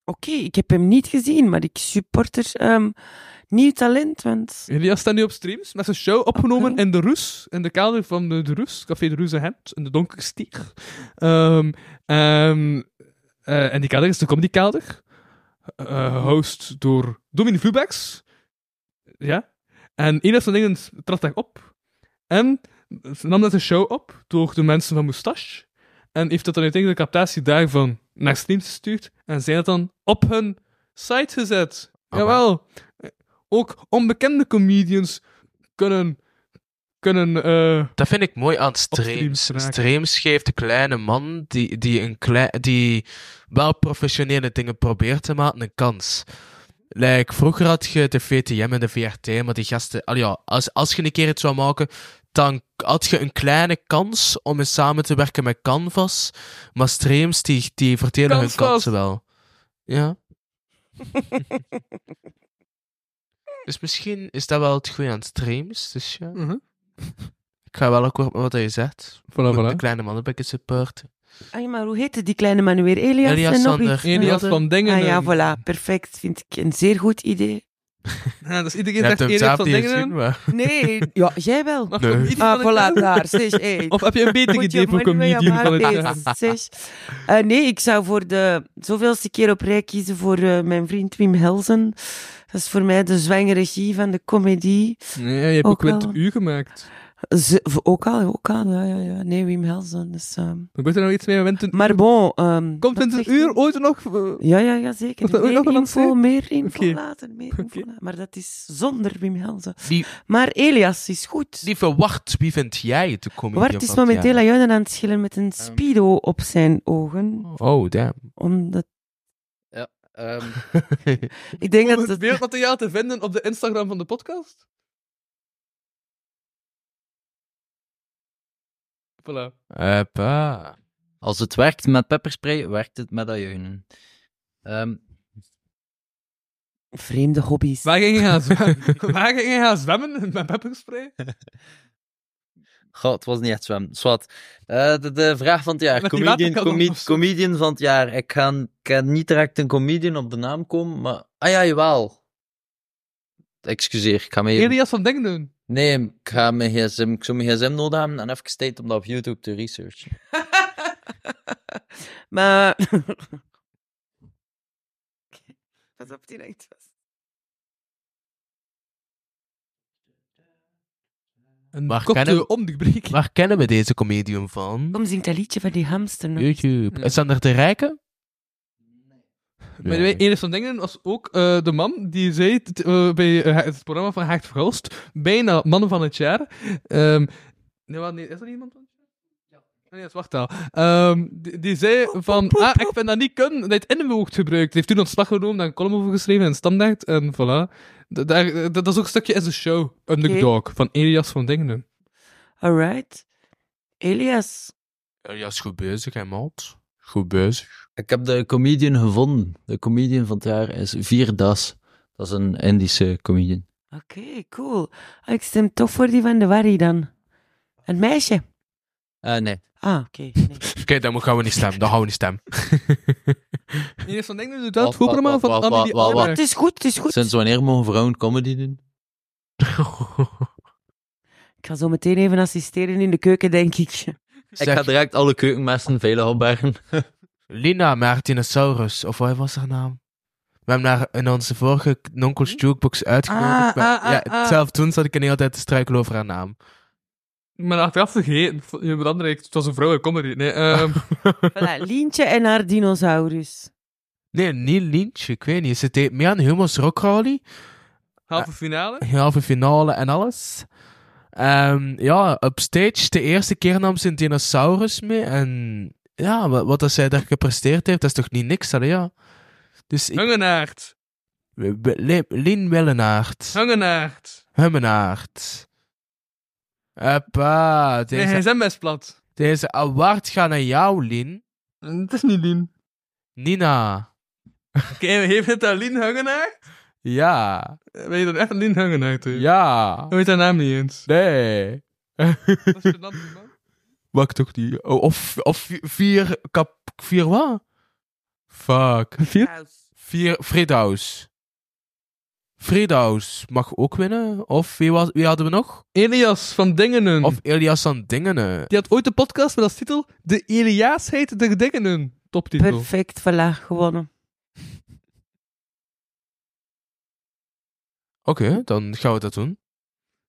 [SPEAKER 6] Oké, ik heb hem niet gezien, maar ik support er ehm, nieuw talent, want...
[SPEAKER 5] Elias staat nu op streams met zijn show opgenomen in de Roes, in de kader van de, de Roes, Café de Roes en Hemd, in de Donkere Stier. Ehm, ehm, eh, en die kader is de Comedy Kader, eh, host door Dominic Vloebeks. Ja. En Elias van Dingen trad daar op. En ze nam dat een show op door de mensen van Moustache. En heeft dat dan uiteindelijk de captatie daarvan naar streams gestuurd. En zijn dat dan op hun site gezet. Jawel. Ook onbekende comedians kunnen... kunnen eh,
[SPEAKER 3] Dat vind ik mooi aan
[SPEAKER 5] streams
[SPEAKER 3] streams.
[SPEAKER 5] raken.
[SPEAKER 3] Streams geeft de kleine man die, die, een klei, die wel professionele dingen probeert te maken een kans. Like, vroeger had je de VTM en de VRT, maar die gasten... Al ja, als, als je een keer het zou maken, dan had je een kleine kans om eens samen te werken met Canvas. Maar streams, die, die verdelen hun
[SPEAKER 5] Canvas!
[SPEAKER 3] kansen wel. Ja. dus misschien is dat wel het goede aan streams. Dus ja.
[SPEAKER 5] Mhm.
[SPEAKER 3] Ik ga wel akkoord met wat je zegt.
[SPEAKER 5] Voilà,
[SPEAKER 3] Moet
[SPEAKER 5] voilà.
[SPEAKER 3] Ah, De kleine man een beetje supporten.
[SPEAKER 6] Ah, ja, maar hoe heette die kleine man nu weer? Elias,
[SPEAKER 3] Elias
[SPEAKER 6] en nog
[SPEAKER 3] Sander.
[SPEAKER 6] iets?
[SPEAKER 3] Elias van
[SPEAKER 6] Ah
[SPEAKER 3] Dingenen.
[SPEAKER 5] eh.
[SPEAKER 6] ja, voilà. Perfect. Vind ik een zeer goed idee.
[SPEAKER 5] Ja, dus
[SPEAKER 3] Je
[SPEAKER 5] iedereen
[SPEAKER 3] hebt
[SPEAKER 5] zegt
[SPEAKER 3] hem
[SPEAKER 5] Erik
[SPEAKER 3] zelf
[SPEAKER 5] van
[SPEAKER 3] niet
[SPEAKER 5] Dingenen.
[SPEAKER 3] gezien, maar...
[SPEAKER 6] Nee, ja, jij wel.
[SPEAKER 3] Nee.
[SPEAKER 5] komt iets
[SPEAKER 6] Ah,
[SPEAKER 5] van
[SPEAKER 6] voilà,
[SPEAKER 5] elkaar.
[SPEAKER 6] daar. Zeg, hey.
[SPEAKER 5] Of heb je een beter
[SPEAKER 6] Put
[SPEAKER 5] idee
[SPEAKER 6] your
[SPEAKER 5] voor
[SPEAKER 6] money where
[SPEAKER 5] comedian van
[SPEAKER 6] your
[SPEAKER 5] het
[SPEAKER 6] mouth
[SPEAKER 5] jaar?
[SPEAKER 6] is, zeg. Eh, nee, ik zou voor de zoveelste keer op rij kiezen voor eh, mijn vriend Wim Helsen. Dat is voor mij de zwangeregie van de comedie.
[SPEAKER 5] Nee, je hebt ook,
[SPEAKER 6] wel-
[SPEAKER 5] 20 uur gemaakt.
[SPEAKER 6] Ze- v- ook al, ook al, ja, ja, ja. Nee, Wim Helsen. Dus,
[SPEAKER 5] Gebeurt er nog iets mee? Met
[SPEAKER 6] maar bon... ehm,
[SPEAKER 5] Komt
[SPEAKER 6] wat
[SPEAKER 5] in
[SPEAKER 6] zegt
[SPEAKER 5] een uur ooit nog? eh,
[SPEAKER 6] Ja, ja, ja, zeker.
[SPEAKER 5] Wordt er ooit
[SPEAKER 6] Meer
[SPEAKER 5] nog een
[SPEAKER 6] info,
[SPEAKER 5] lancering?
[SPEAKER 6] meer info
[SPEAKER 5] Oké.
[SPEAKER 6] later, meer info later. Maar dat is zonder Wim Helsen.
[SPEAKER 3] Die-
[SPEAKER 6] Maar Elias is goed.
[SPEAKER 3] Die verwacht, wie vind jij de comedian
[SPEAKER 6] Bart is
[SPEAKER 3] van het
[SPEAKER 6] momenteel
[SPEAKER 3] jaar?
[SPEAKER 6] aan Juinen aan het schillen met
[SPEAKER 5] Ehm.
[SPEAKER 6] een speedo op zijn ogen.
[SPEAKER 3] Oh, damn.
[SPEAKER 6] Omdat...
[SPEAKER 5] Ja, ehm.
[SPEAKER 6] Ik denk dat
[SPEAKER 5] het beeldmateriaal te vinden op de Instagram van de podcast? Voilà.
[SPEAKER 3] Hoppa.
[SPEAKER 4] Als het werkt met pepperspray, werkt het met ajuinen. Ehm
[SPEAKER 6] Vreemde hobby's.
[SPEAKER 5] Waar ging je gaan zwemmen? Waar ging je gaan zwemmen met pepperspray?
[SPEAKER 4] goh, het was niet echt zwemmen. Zwat. Eh, de, de vraag van het jaar.
[SPEAKER 5] Met die
[SPEAKER 4] Comedian,
[SPEAKER 5] waterkanon
[SPEAKER 4] comed-
[SPEAKER 5] of zo.
[SPEAKER 4] comedian van het jaar. Ik kan, ik kan niet direct een comedian op de naam komen, maar... Ah ja, jawel. Excuseer, ik ga me even...
[SPEAKER 5] Elias van Dingenen.
[SPEAKER 4] Nee, ik, ga mijn gsm, ik zou mijn gsm nodig hebben en even tijd om dat op YouTube te researchen.
[SPEAKER 6] Maar... Pas op, die denkt vast.
[SPEAKER 5] Een
[SPEAKER 3] Waar
[SPEAKER 5] kopje
[SPEAKER 3] kennen,
[SPEAKER 5] om de briek.
[SPEAKER 3] waar kennen we deze comedian van?
[SPEAKER 6] Kom, zing dat liedje van die hamster nog.
[SPEAKER 3] YouTube. Is dat er te rijken?
[SPEAKER 5] By the way, Elias van Dingenen was ook eh, de man die zei t- eh, bij eh, het programma van Haakt Verhulst, bijna mannen van het jaar. Ehm, nee, wat, nee, is er iemand van het jaar? Ja. Ah, Nee, dat is Wachtaal. Ehm, die, die zei van, ah, ik vind dat niet kunnen, dat je het inwoord gebruikt. Heeft toen ontslag genomen, daar een column over geschreven in Standaard, en voilà. Da- daar- dat, dat is ook een stukje in de show, Underdog, van Elias van Dingenen.
[SPEAKER 6] Alright. Elias.
[SPEAKER 3] Ja, is goed bezig, hè, maat. Goed bezig.
[SPEAKER 4] Ik heb de comedian gevonden. De comedian van het jaar is Vierdas. Dat is een Indische comedian.
[SPEAKER 6] Oké, cool. Ah, ik stem toch voor die van de Wari dan. Een meisje.
[SPEAKER 4] Eh, nee.
[SPEAKER 6] Ah, oké. nee.
[SPEAKER 3] Oké, dan gaan we niet stemmen. Dan gaan we niet stemmen.
[SPEAKER 5] Elias van Dingenen doet wel het voorprogramma van Annelie Albrecht.
[SPEAKER 4] Sinds wanneer mogen vrouwen comedy doen?
[SPEAKER 6] Ik ga zo meteen even assisteren in de keuken, denk ik.
[SPEAKER 4] Ik ga direct alle keukenmessen veilig opbergen.
[SPEAKER 3] Lina Martinosaurus, of wat was haar naam? We hebben haar in onze vorige Nonkels Jukebox uitgenodigd.
[SPEAKER 5] Hm? Ah,
[SPEAKER 3] maar-
[SPEAKER 5] ah, ah,
[SPEAKER 3] ja,
[SPEAKER 5] ah.
[SPEAKER 3] Zelf toen zat ik een hele tijd te struikelen over haar naam.
[SPEAKER 5] Maar achteraf vergeten, je andere, het was een vrouwelijke comedy. Nee, ehm,
[SPEAKER 6] Voilà, Lientje en haar dinosaurus.
[SPEAKER 3] Nee, niet Lientje, ik weet niet. Ze deed mee aan Humo's Rock Rally.
[SPEAKER 5] halve finale.
[SPEAKER 3] halve finale en alles. Ehm, ja, op stage, de eerste keer nam ze een dinosaurus mee. En ja, wat, wat dat zij daar gepresteerd heeft, dat is toch niet niks, allee, ja. Dus ik...
[SPEAKER 5] Hungenaard.
[SPEAKER 3] Lien Wellenaert.
[SPEAKER 5] Hungenaard.
[SPEAKER 3] Hummenaert. Hoppa,
[SPEAKER 5] Nee, hij
[SPEAKER 3] deze,
[SPEAKER 5] zijn best plat.
[SPEAKER 3] deze award gaat naar jou, Lien.
[SPEAKER 5] Het is niet Lien.
[SPEAKER 3] Nina.
[SPEAKER 5] Oké, heeft het aan Lien Hungenaard?
[SPEAKER 3] Ja.
[SPEAKER 5] Ben je dan echt Lien Hungenaard? hè?
[SPEAKER 3] Ja.
[SPEAKER 5] Ik weet haar naam niet eens.
[SPEAKER 3] Nee. Wacht toch die. Oh, of, of vier kap. Vier wat? Fuck.
[SPEAKER 5] Vier?
[SPEAKER 3] Vier. Fredaus. Fredaus mag ook winnen. Of wie, was, wie hadden we nog?
[SPEAKER 5] Elias van Dingenen.
[SPEAKER 3] Of Elias van Dingenen.
[SPEAKER 5] Die had ooit een podcast met als titel De Eliaasheid der Dingenen. Toptitel.
[SPEAKER 6] Perfect, voilà, gewonnen.
[SPEAKER 3] Oké, dan gaan we dat doen.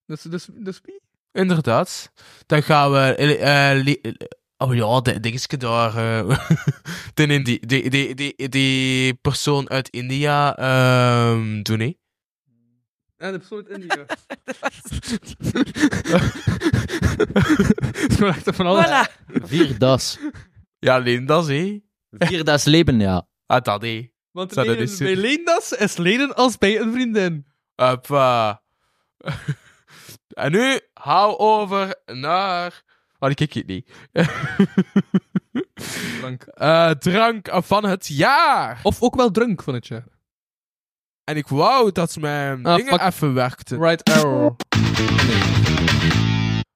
[SPEAKER 5] Dus, dus, dus wie?
[SPEAKER 3] Inderdaad. Dan gaan we. eh, eh, li- oh ja, dat dingetje daar. eh, die, die, die, die, die, die persoon uit India ehm doen, hè?
[SPEAKER 5] Ja, de persoon uit India. Het is gewoon echt van alles.
[SPEAKER 4] Vierdas.
[SPEAKER 3] Ja, Lindas, hé.
[SPEAKER 4] Vierdas leven, ja.
[SPEAKER 3] Ah, dat, hé.
[SPEAKER 5] Want
[SPEAKER 3] Zou dat
[SPEAKER 5] lenen
[SPEAKER 3] eens-
[SPEAKER 5] bij Leendas is lenen als bij een vriendin.
[SPEAKER 3] Hoppa. en nu, hou over naar... Oh, die kijk je het niet. Eh,
[SPEAKER 5] drank.
[SPEAKER 3] drank van het jaar.
[SPEAKER 5] Of ook wel drunk van het jaar.
[SPEAKER 3] En ik wou dat mijn
[SPEAKER 5] Ah,
[SPEAKER 3] dingen
[SPEAKER 5] fuck.
[SPEAKER 3] even werkten.
[SPEAKER 5] Right error.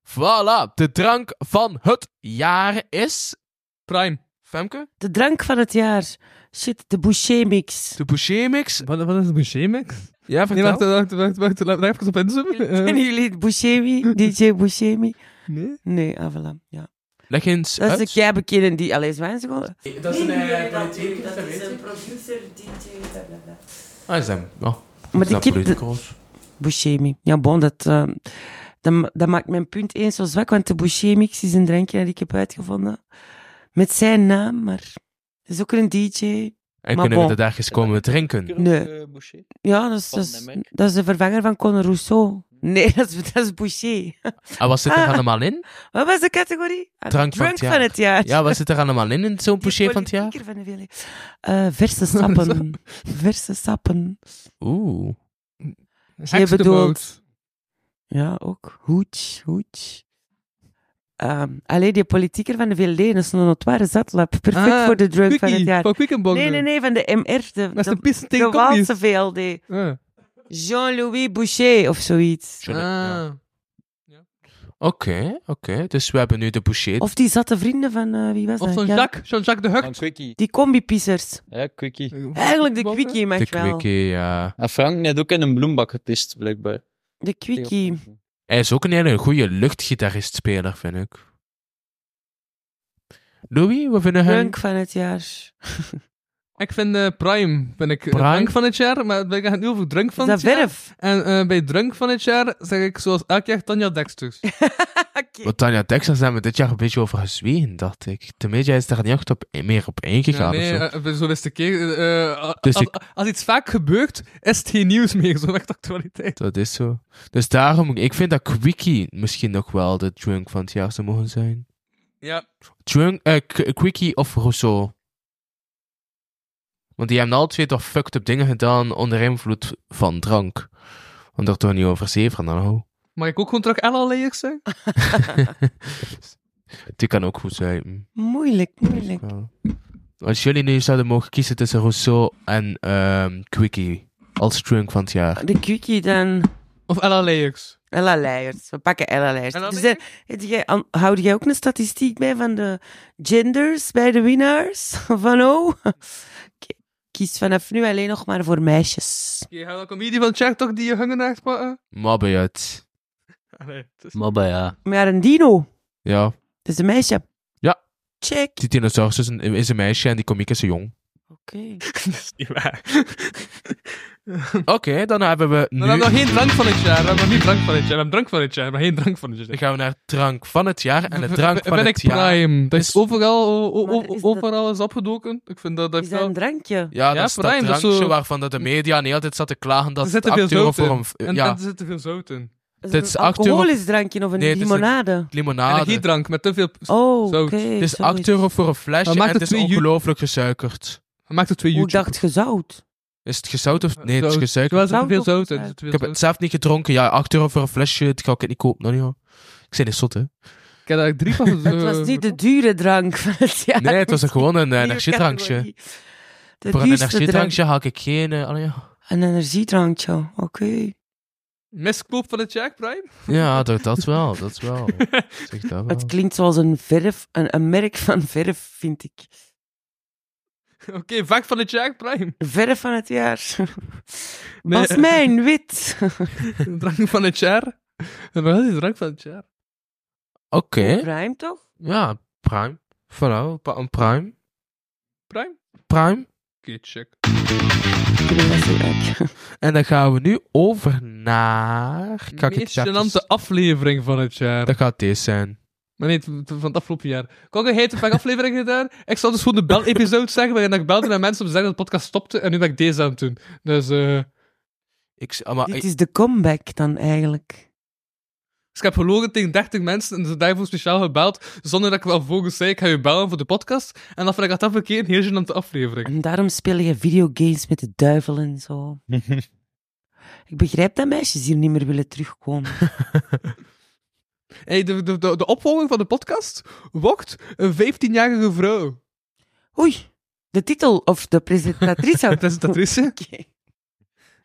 [SPEAKER 3] Voilà, de drank van het jaar is
[SPEAKER 5] Prime. Femke?
[SPEAKER 6] De drank van het jaar. Shit, de Boucher-mix.
[SPEAKER 3] De Boucher-mix?
[SPEAKER 5] Wat, wat is de Boucher-mix?
[SPEAKER 3] Ja,
[SPEAKER 5] Nee, wacht, wacht, wacht, wacht, laat laat even op inzoomen. Eh,
[SPEAKER 6] Kennen jullie het Buscemi? DJ Buscemi?
[SPEAKER 5] Nee?
[SPEAKER 6] Nee, ah, voilà, ja.
[SPEAKER 3] Leg eens
[SPEAKER 6] Dat is
[SPEAKER 3] uit.
[SPEAKER 6] de kei bekende die... Allee, zwijnen ze gewoon?
[SPEAKER 12] Dat is een eh, politieke
[SPEAKER 6] producer, DJ, bla bla bla.
[SPEAKER 3] Ah, is hem. Oh.
[SPEAKER 6] Maar die
[SPEAKER 3] Dat
[SPEAKER 6] kip...
[SPEAKER 3] politiek
[SPEAKER 6] de- Buscemi. Ja, bon, dat, eh, dat, ma- dat maakt mijn punt eens zo zwak, want de Buscemi-mix is een drankje dat ik heb uitgevonden. Met zijn naam, maar... Het is ook een DJ.
[SPEAKER 3] En
[SPEAKER 6] maar
[SPEAKER 3] kunnen
[SPEAKER 6] bon.
[SPEAKER 3] we dat ergens komen drinken?
[SPEAKER 6] Nee. Ja, dat is, dat, is, dat is de vervanger van Conor Rousseau. Nee, dat is, dat is Boucher.
[SPEAKER 3] Ah, wat zit er allemaal in?
[SPEAKER 6] Wat was de categorie? Ah,
[SPEAKER 3] Drank van het jaar.
[SPEAKER 6] van het jaar.
[SPEAKER 3] Ja, wat zit er allemaal in, in zo'n poché van het jaar?
[SPEAKER 6] Politieker van de VLE. Eh, verse sappen. verse sappen.
[SPEAKER 3] Oeh.
[SPEAKER 6] Je bedoelt... Ja, ook. Hoed, hoed. Ehm allee, die politieker van de VLD, dat is een notoire zatlap. Perfect
[SPEAKER 5] Ah,
[SPEAKER 6] voor de drug van
[SPEAKER 5] Quickie,
[SPEAKER 6] het jaar.
[SPEAKER 5] van Quickenborne.
[SPEAKER 6] Nee, nee, nee, van de MR. De,
[SPEAKER 5] Dat is de piste tegen
[SPEAKER 6] de
[SPEAKER 5] kopjes.
[SPEAKER 6] Waalse VLD.
[SPEAKER 5] Ah.
[SPEAKER 6] Jean-Louis Boucher of zoiets.
[SPEAKER 3] Ah. Oké, oké. Dus we hebben nu de poché.
[SPEAKER 6] Of die zatte vrienden van, eh, wie was
[SPEAKER 5] Of
[SPEAKER 6] dat?
[SPEAKER 5] zo'n
[SPEAKER 6] Ja,
[SPEAKER 5] Jacques, zo'n Jacques de Hucht.
[SPEAKER 6] Die combi-pissers.
[SPEAKER 22] Ja, quickie.
[SPEAKER 6] Eigenlijk de quickie mag
[SPEAKER 3] de
[SPEAKER 6] wel.
[SPEAKER 3] quickie, ja.
[SPEAKER 22] En Frank net ook in een bloembak gepist, blijkbaar.
[SPEAKER 6] De quickie.
[SPEAKER 3] Hij is ook een hele goede luchtgitaristspeler, vind ik. Louis, wat vinden hij?
[SPEAKER 6] Drunk van het jaar.
[SPEAKER 5] Ik vind eh, Prime ben ik
[SPEAKER 3] Prime?
[SPEAKER 5] drank van het jaar, maar ik ga nu over drunk van
[SPEAKER 6] dat
[SPEAKER 5] het jaar.
[SPEAKER 6] verf?
[SPEAKER 5] En eh, bij drunk van het jaar zeg ik zoals elk jaar Tanja Dexters.
[SPEAKER 3] Want Tanja Texas hebben we dit jaar een beetje over gezwegen, dacht ik. Tenminste, jij is daar niet echt op, meer op
[SPEAKER 5] Ja,
[SPEAKER 3] ingegaan
[SPEAKER 5] nee,
[SPEAKER 3] of zo.
[SPEAKER 5] eh, zo is de keer. eh, eh,
[SPEAKER 3] Dus
[SPEAKER 5] als,
[SPEAKER 3] ik-
[SPEAKER 5] als iets vaak gebeurt, is het geen nieuws meer, zo echt actualiteit.
[SPEAKER 3] Dat is zo. Dus daarom, ik vind dat Quickie misschien nog wel de drunk van het jaar zou mogen zijn.
[SPEAKER 5] Ja.
[SPEAKER 3] Drunk, eh, Qu- Quickie of Rousseau. Want die hebben alle twee toch fucked up dingen gedaan onder invloed van drank. Om er toch niet over zeven nou.
[SPEAKER 5] Mag ik ook gewoon terug Ella Layers zeggen?
[SPEAKER 3] Die kan ook goed zijn. Hm.
[SPEAKER 6] Moeilijk, moeilijk.
[SPEAKER 3] Als jullie nu zouden mogen kiezen tussen Rousseau en ehm, Quickie als drunk van het jaar.
[SPEAKER 6] De quickie dan.
[SPEAKER 5] Of Ella Leijers.
[SPEAKER 6] Ella Leijers. We pakken Ella Leijers. Dus dan- heb jij- an- Houd jij ook een statistiek bij van de genders bij de winnaars? Van oh. Oké, Kies vanaf nu alleen nog maar voor meisjes.
[SPEAKER 5] Je gaat een comedie van Jack toch die je hangen naast pakken?
[SPEAKER 3] Mabbe uit.
[SPEAKER 5] Allee, het is-
[SPEAKER 3] Mabbe, ja.
[SPEAKER 6] Maar een dino.
[SPEAKER 3] Ja.
[SPEAKER 6] Het is een meisje.
[SPEAKER 3] Ja.
[SPEAKER 6] Check.
[SPEAKER 3] Die dinosaurus is een, is een meisje en die komiek is een jong.
[SPEAKER 6] Oké.
[SPEAKER 3] Oké, dan hebben we nu...
[SPEAKER 5] Maar we hebben nog geen drank van het jaar. We hebben nog niet drank van het jaar. We hebben drank van het jaar, maar geen drank van het jaar.
[SPEAKER 3] Dan gaan we naar drank van het jaar en de
[SPEAKER 5] Ben-
[SPEAKER 3] drank
[SPEAKER 5] ben-
[SPEAKER 3] van
[SPEAKER 5] ben
[SPEAKER 3] het
[SPEAKER 5] ik
[SPEAKER 3] jaar.
[SPEAKER 5] prime. Dat is overal, o- o-
[SPEAKER 6] Maar is dat-
[SPEAKER 5] overal is opgedoken. Ik vind dat, dat
[SPEAKER 6] Is dat een drankje?
[SPEAKER 3] Ja, dat is
[SPEAKER 5] prime,
[SPEAKER 3] dat
[SPEAKER 5] dat is
[SPEAKER 3] drankje
[SPEAKER 5] zo-
[SPEAKER 3] waarvan dat de media niet altijd zat te klagen dat
[SPEAKER 5] er
[SPEAKER 3] het
[SPEAKER 5] zit te veel
[SPEAKER 3] 8 euro
[SPEAKER 5] zout
[SPEAKER 3] voor
[SPEAKER 5] in.
[SPEAKER 3] een...
[SPEAKER 5] En,
[SPEAKER 3] ja.
[SPEAKER 5] en er zit te veel zout in.
[SPEAKER 6] Is
[SPEAKER 3] Dit
[SPEAKER 6] het
[SPEAKER 3] is
[SPEAKER 6] een
[SPEAKER 3] 8 euro-
[SPEAKER 6] alcoholisch drankje of een
[SPEAKER 3] Nee, het is een
[SPEAKER 6] limonade?
[SPEAKER 3] limonade.
[SPEAKER 5] Energiedrank met te veel p-
[SPEAKER 6] Oh,
[SPEAKER 5] zout.
[SPEAKER 6] oké, Het
[SPEAKER 3] is 8 euro voor een flesje
[SPEAKER 5] Maar
[SPEAKER 3] en
[SPEAKER 5] maakt
[SPEAKER 3] het
[SPEAKER 5] het
[SPEAKER 3] is
[SPEAKER 5] twee ju-
[SPEAKER 3] ongelooflijk gesuikerd.
[SPEAKER 5] Maakt het twee
[SPEAKER 6] Hoe ik dacht gezout.
[SPEAKER 3] Is het gezout of... Nee, het is
[SPEAKER 5] Zout.
[SPEAKER 3] gesuikerd.
[SPEAKER 5] Terwijl er te veel zout in.
[SPEAKER 3] Ik heb het zelf niet gedronken. Ja, 8 euro voor een flesje, dat ga ik het niet kopen. Nou, ja. Ik zei dit zot, hè.
[SPEAKER 5] Ik heb daar drie van
[SPEAKER 6] Het was niet de dure drank van het jaar.
[SPEAKER 3] Eh, Nee, het was een- gewoon een eh, energiedrankje.
[SPEAKER 6] categorie. De
[SPEAKER 3] Voor een
[SPEAKER 6] duurste
[SPEAKER 3] energiedrankje had ik geen... eh, allee, ja.
[SPEAKER 6] Een energiedrankje, oké.
[SPEAKER 5] Miskoop van het jaar, prime.
[SPEAKER 3] Ja, dat, dat wel, dat wel. Zeg dat wel.
[SPEAKER 6] Het klinkt zoals een verf, een, een merk van verf, vind ik.
[SPEAKER 5] Oké, vak van het jaar, prime.
[SPEAKER 6] Verf van het jaar.
[SPEAKER 5] Nee.
[SPEAKER 6] Was mijn wit.
[SPEAKER 5] drank van het jaar. Wat is de drank van het jaar?
[SPEAKER 3] Oké.
[SPEAKER 6] Prime toch?
[SPEAKER 3] Ja, prime. Voilà, pa- een prime.
[SPEAKER 5] Prime?
[SPEAKER 3] Prime.
[SPEAKER 5] Oké, check.
[SPEAKER 3] En dan gaan we nu over naar... Kan ik het
[SPEAKER 5] Meest
[SPEAKER 3] chat eens-
[SPEAKER 5] gênante aflevering van het jaar.
[SPEAKER 3] Dat gaat deze zijn.
[SPEAKER 5] Maar nee, het- het- van het afgelopen jaar. Kokke heeft een paar afleveringen gedaan. Ik zal dus gewoon de bel-episode zeggen, waarin ik belde naar mensen om te zeggen dat de podcast stopte. En nu ben ik deze aan het doen. Dus, eh...
[SPEAKER 3] Ik, maar,
[SPEAKER 6] Dit is Ah, de comeback dan eigenlijk.
[SPEAKER 5] Dus ik heb gelogen tegen 30 mensen en ze daarvoor speciaal gebeld, zonder dat ik wel volgens zei, ik ga je bellen voor de podcast. En dan vond ik dat dat verkeerd een heel gênante aflevering.
[SPEAKER 6] En daarom speel je videogames met de duivel en zo. ik begrijp dat meisjes hier niet meer willen terugkomen.
[SPEAKER 5] Hey, de, de, de, de opvolger van de podcast wordt een 15-jarige vrouw.
[SPEAKER 6] Oei, de titel of de presentatrice.
[SPEAKER 5] presentatrice.
[SPEAKER 6] Oké.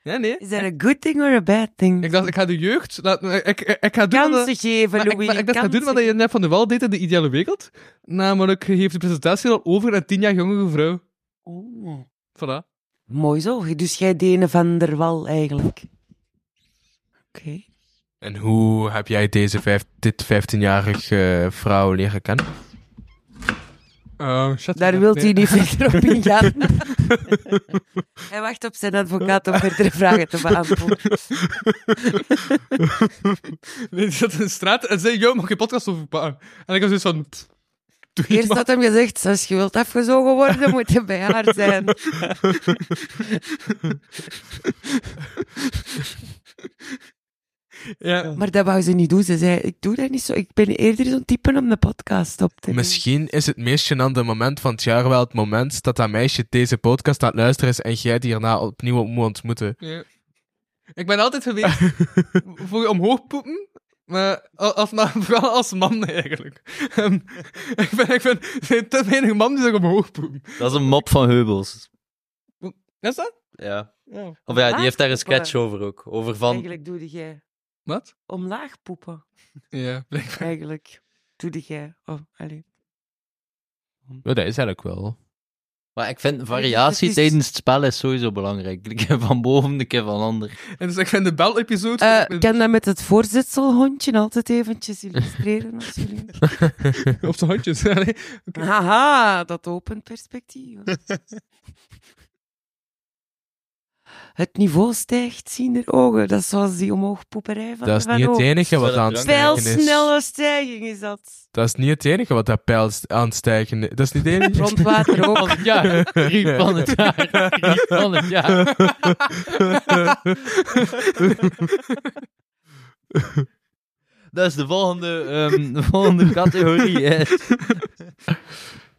[SPEAKER 5] Nee, nee.
[SPEAKER 6] Is that a good thing or a bad thing?
[SPEAKER 5] Ik dacht, ik ga de jeugd... laat- ik, ik, ik ga doen wat-
[SPEAKER 6] Kansen geven,
[SPEAKER 5] maar ik-
[SPEAKER 6] Louis,
[SPEAKER 5] maar Ik, dacht, ik ga doen
[SPEAKER 6] kansen
[SPEAKER 5] wat je net van de wal deed in de ideale wereld. Namelijk, je geeft de presentatie al over aan een tien jaar jongere vrouw.
[SPEAKER 6] Oh.
[SPEAKER 5] Voilà.
[SPEAKER 6] Mooi zo. Dus jij deed een van der Wal eigenlijk. Oké.
[SPEAKER 3] En hoe heb jij deze vijf, dit 15-jarige vrouw leren kennen?
[SPEAKER 5] Oh, shut
[SPEAKER 6] Daar wil hij niet verder op ingaan. hij wacht op zijn advocaat om verdere vragen te beantwoorden.
[SPEAKER 5] nee, die zat in de straat en zei, yo, mag je podcast over pa? En ik was dus van... pff, doe niet,
[SPEAKER 6] Eerst
[SPEAKER 5] man.
[SPEAKER 6] had hem gezegd, als je wilt afgezogen worden, moet je bij haar zijn.
[SPEAKER 5] Ja.
[SPEAKER 6] Maar dat wou ze niet doen. Ze zei, ik doe dat niet zo. Ik ben eerder zo'n type om de podcast op te
[SPEAKER 3] Misschien is het meest gênante moment van het jaar wel het moment dat dat meisje deze podcast aan het luisteren is en jij die hierna opnieuw moet ontmoeten.
[SPEAKER 5] Ja. Ik ben altijd geweest voor omhoog poepen, maar, al- als, maar vooral als man eigenlijk. Ehm, ik ben, ik ben, er zijn te weinig mannen die zich omhoog poepen.
[SPEAKER 4] Dat is een mop van Heubels.
[SPEAKER 5] Is dat?
[SPEAKER 4] Ja.
[SPEAKER 6] Ja.
[SPEAKER 4] Of ja, die
[SPEAKER 6] Laag
[SPEAKER 4] heeft daar een
[SPEAKER 6] poepen.
[SPEAKER 4] sketch over ook. Over van...
[SPEAKER 6] eh, Eigenlijk doe jij...
[SPEAKER 5] Wat?
[SPEAKER 6] Omlaag poepen.
[SPEAKER 5] Ja, blijkbaar.
[SPEAKER 6] Eigenlijk doe jij... Oh, allee.
[SPEAKER 3] Ja, dat is eigenlijk wel.
[SPEAKER 4] Maar ik vind variatie
[SPEAKER 6] dus Het is-
[SPEAKER 4] tijdens het spel is sowieso belangrijk. Een keer van boven, een keer van ander.
[SPEAKER 5] En dus ik vind de bel-episode...
[SPEAKER 6] Eh, Ik kan dat met het voorzetselhondje altijd eventjes illustreren, als jullie...
[SPEAKER 5] Op zijn handjes. allee.
[SPEAKER 6] Haha, dat opent perspectief. het niveau stijgt, zien er ogen. Dat is zoals die omhoogpoeperij van
[SPEAKER 3] Dat is
[SPEAKER 6] Van
[SPEAKER 3] niet het
[SPEAKER 6] Oog.
[SPEAKER 3] enige wat aan het
[SPEAKER 6] Veel
[SPEAKER 3] stijgen is.
[SPEAKER 6] snelle stijging is dat.
[SPEAKER 3] Dat is niet het enige wat dat pijl st- aan het stijgen is. Dat is niet het enige.
[SPEAKER 6] Rondwater ook. Van het
[SPEAKER 4] jaar. Griep van het jaar. Griep van het jaar. Dat is de volgende, ehm, de volgende categorie. yes.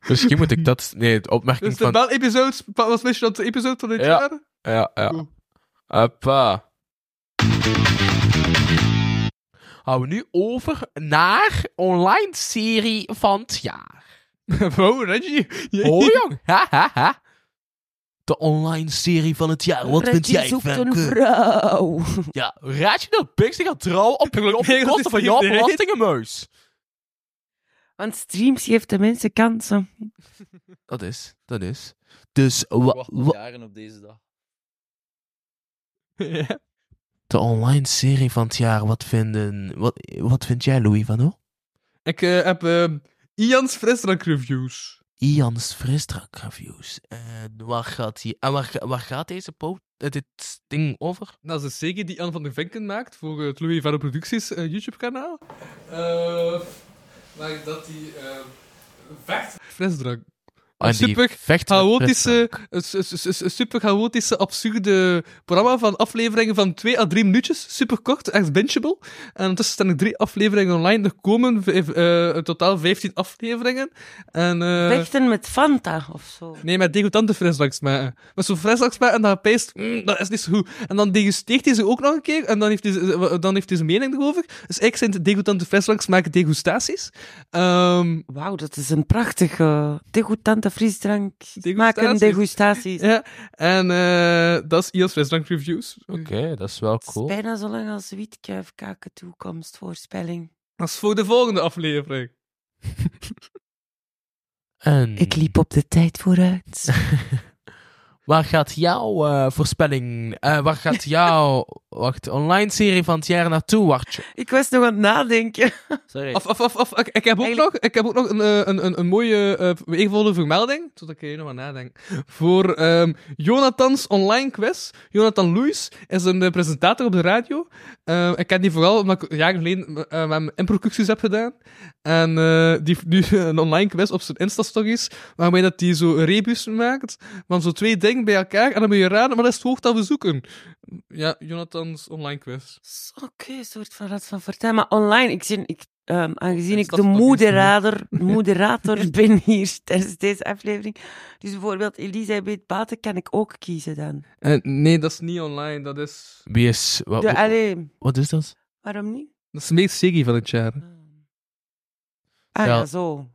[SPEAKER 3] Misschien moet ik dat... Nee, de opmerking
[SPEAKER 5] Dus de
[SPEAKER 3] van...
[SPEAKER 5] bel-episode pa- was misschien dat de episode van dit
[SPEAKER 3] Ja.
[SPEAKER 5] jaar?
[SPEAKER 3] Ja, ja. Appa. Houden we nu over naar online serie van het jaar.
[SPEAKER 5] wow, Reggie.
[SPEAKER 3] Oh, jong. Ha, ha, ha. De online serie van het jaar. Wat vind
[SPEAKER 6] Reggie
[SPEAKER 3] jij
[SPEAKER 6] zoekt
[SPEAKER 3] Femke?
[SPEAKER 6] een vrouw.
[SPEAKER 3] Ja, raad je dat Pixie gaat trouwen op, op de
[SPEAKER 5] dat
[SPEAKER 3] kosten
[SPEAKER 5] is
[SPEAKER 3] van
[SPEAKER 5] niet
[SPEAKER 3] jouw
[SPEAKER 5] de reden.
[SPEAKER 3] belastingenmuis?
[SPEAKER 6] Want streams geeft de mensen kansen.
[SPEAKER 3] Dat is, dat is. Dus wa- wa-
[SPEAKER 4] Jaren op deze dag.
[SPEAKER 3] de online serie van het jaar, wat, vinden, wat, wat vind jij Louis van O?
[SPEAKER 5] Ik eh, heb ehm, Ian's frisdrank reviews.
[SPEAKER 3] Ian's frisdrank reviews. waar gaat die, en waar, ga- waar gaat deze po eh, dit ding over?
[SPEAKER 5] Dat is een CG die Anne van der Vinken maakt voor het Louis Verre Producties eh, YouTube-kanaal. maar dat die vecht... Frisdrank.
[SPEAKER 3] Ah,
[SPEAKER 5] Een
[SPEAKER 3] die
[SPEAKER 5] super
[SPEAKER 3] vecht met
[SPEAKER 5] chaotische, een su- su- su- su- super chaotische, absurde programma van afleveringen van 2 à 3 minuutjes. Super kort, echt bingeable. En ondertussen staan er drie afleveringen online. Er komen vijf- eh, in totaal 15 afleveringen. En, eh,
[SPEAKER 6] Vechten met Fanta of zo.
[SPEAKER 5] Nee, met degoutante frisdranks maken. Met zo'n frisdranks maken en dan pijst, "Mm, dat is niet zo goed. En dan degusteert hij ze ook nog een keer en dan heeft hij, ze- eh, dan heeft hij zijn mening erover. Dus ik zijn de degoutante frisdranks maken degustaties. Ehm
[SPEAKER 6] Wauw, dat is een prachtige, degoutante frisdrank. Maken degustaties.
[SPEAKER 5] Ja, en eh, dat is Iels frisdrank reviews.
[SPEAKER 3] Oké, dat is wel cool.
[SPEAKER 6] Bijna zo lang als Wietkuif kaken toekomstvoorspelling.
[SPEAKER 5] Dat is voor de volgende aflevering.
[SPEAKER 3] En
[SPEAKER 6] Ik liep op de tijd vooruit.
[SPEAKER 3] waar gaat jouw eh, voorspelling, eh, waar gaat jouw wacht, online serie van het jaar naartoe, Wartje?
[SPEAKER 6] Ik was nog aan het nadenken.
[SPEAKER 4] Sorry.
[SPEAKER 5] Of, of, of, of ik, ik heb ook nog, ik heb ook nog een, eh, een, een, een mooie, eh eervolle vermelding, tot ik er nog aan nadenk, voor ehm Jonathan's online quiz. Jonathan Louis is een eh, presentator op de radio. Ehm, ik ken die vooral omdat ik jaren geleden eh, met hem improcucties heb gedaan. En eh, die heeft nu een online quiz op zijn Insta-stories, waarmee dat hij zo rebusen maakt van zo twee dingen bij elkaar, en dan moet je raden wat is het woord dat we zoeken. Ja, Jonathan's online quiz.
[SPEAKER 6] Oké, een soort van Rad van Fortuin. Maar online, ik zin, ik, ehm, aangezien ik de moderator, moderator ben hier tijdens deze aflevering. Dus bijvoorbeeld Elisabeth Baten kan ik ook kiezen dan.
[SPEAKER 5] Eh, nee, dat is niet online, dat is...
[SPEAKER 3] Wie is, wa-
[SPEAKER 6] De,
[SPEAKER 3] wa-
[SPEAKER 6] allee,
[SPEAKER 3] wat is dat?
[SPEAKER 6] waarom niet?
[SPEAKER 5] Dat is de meest Siggy van het jaar.
[SPEAKER 6] Ah ja,
[SPEAKER 3] Ja.
[SPEAKER 6] zo.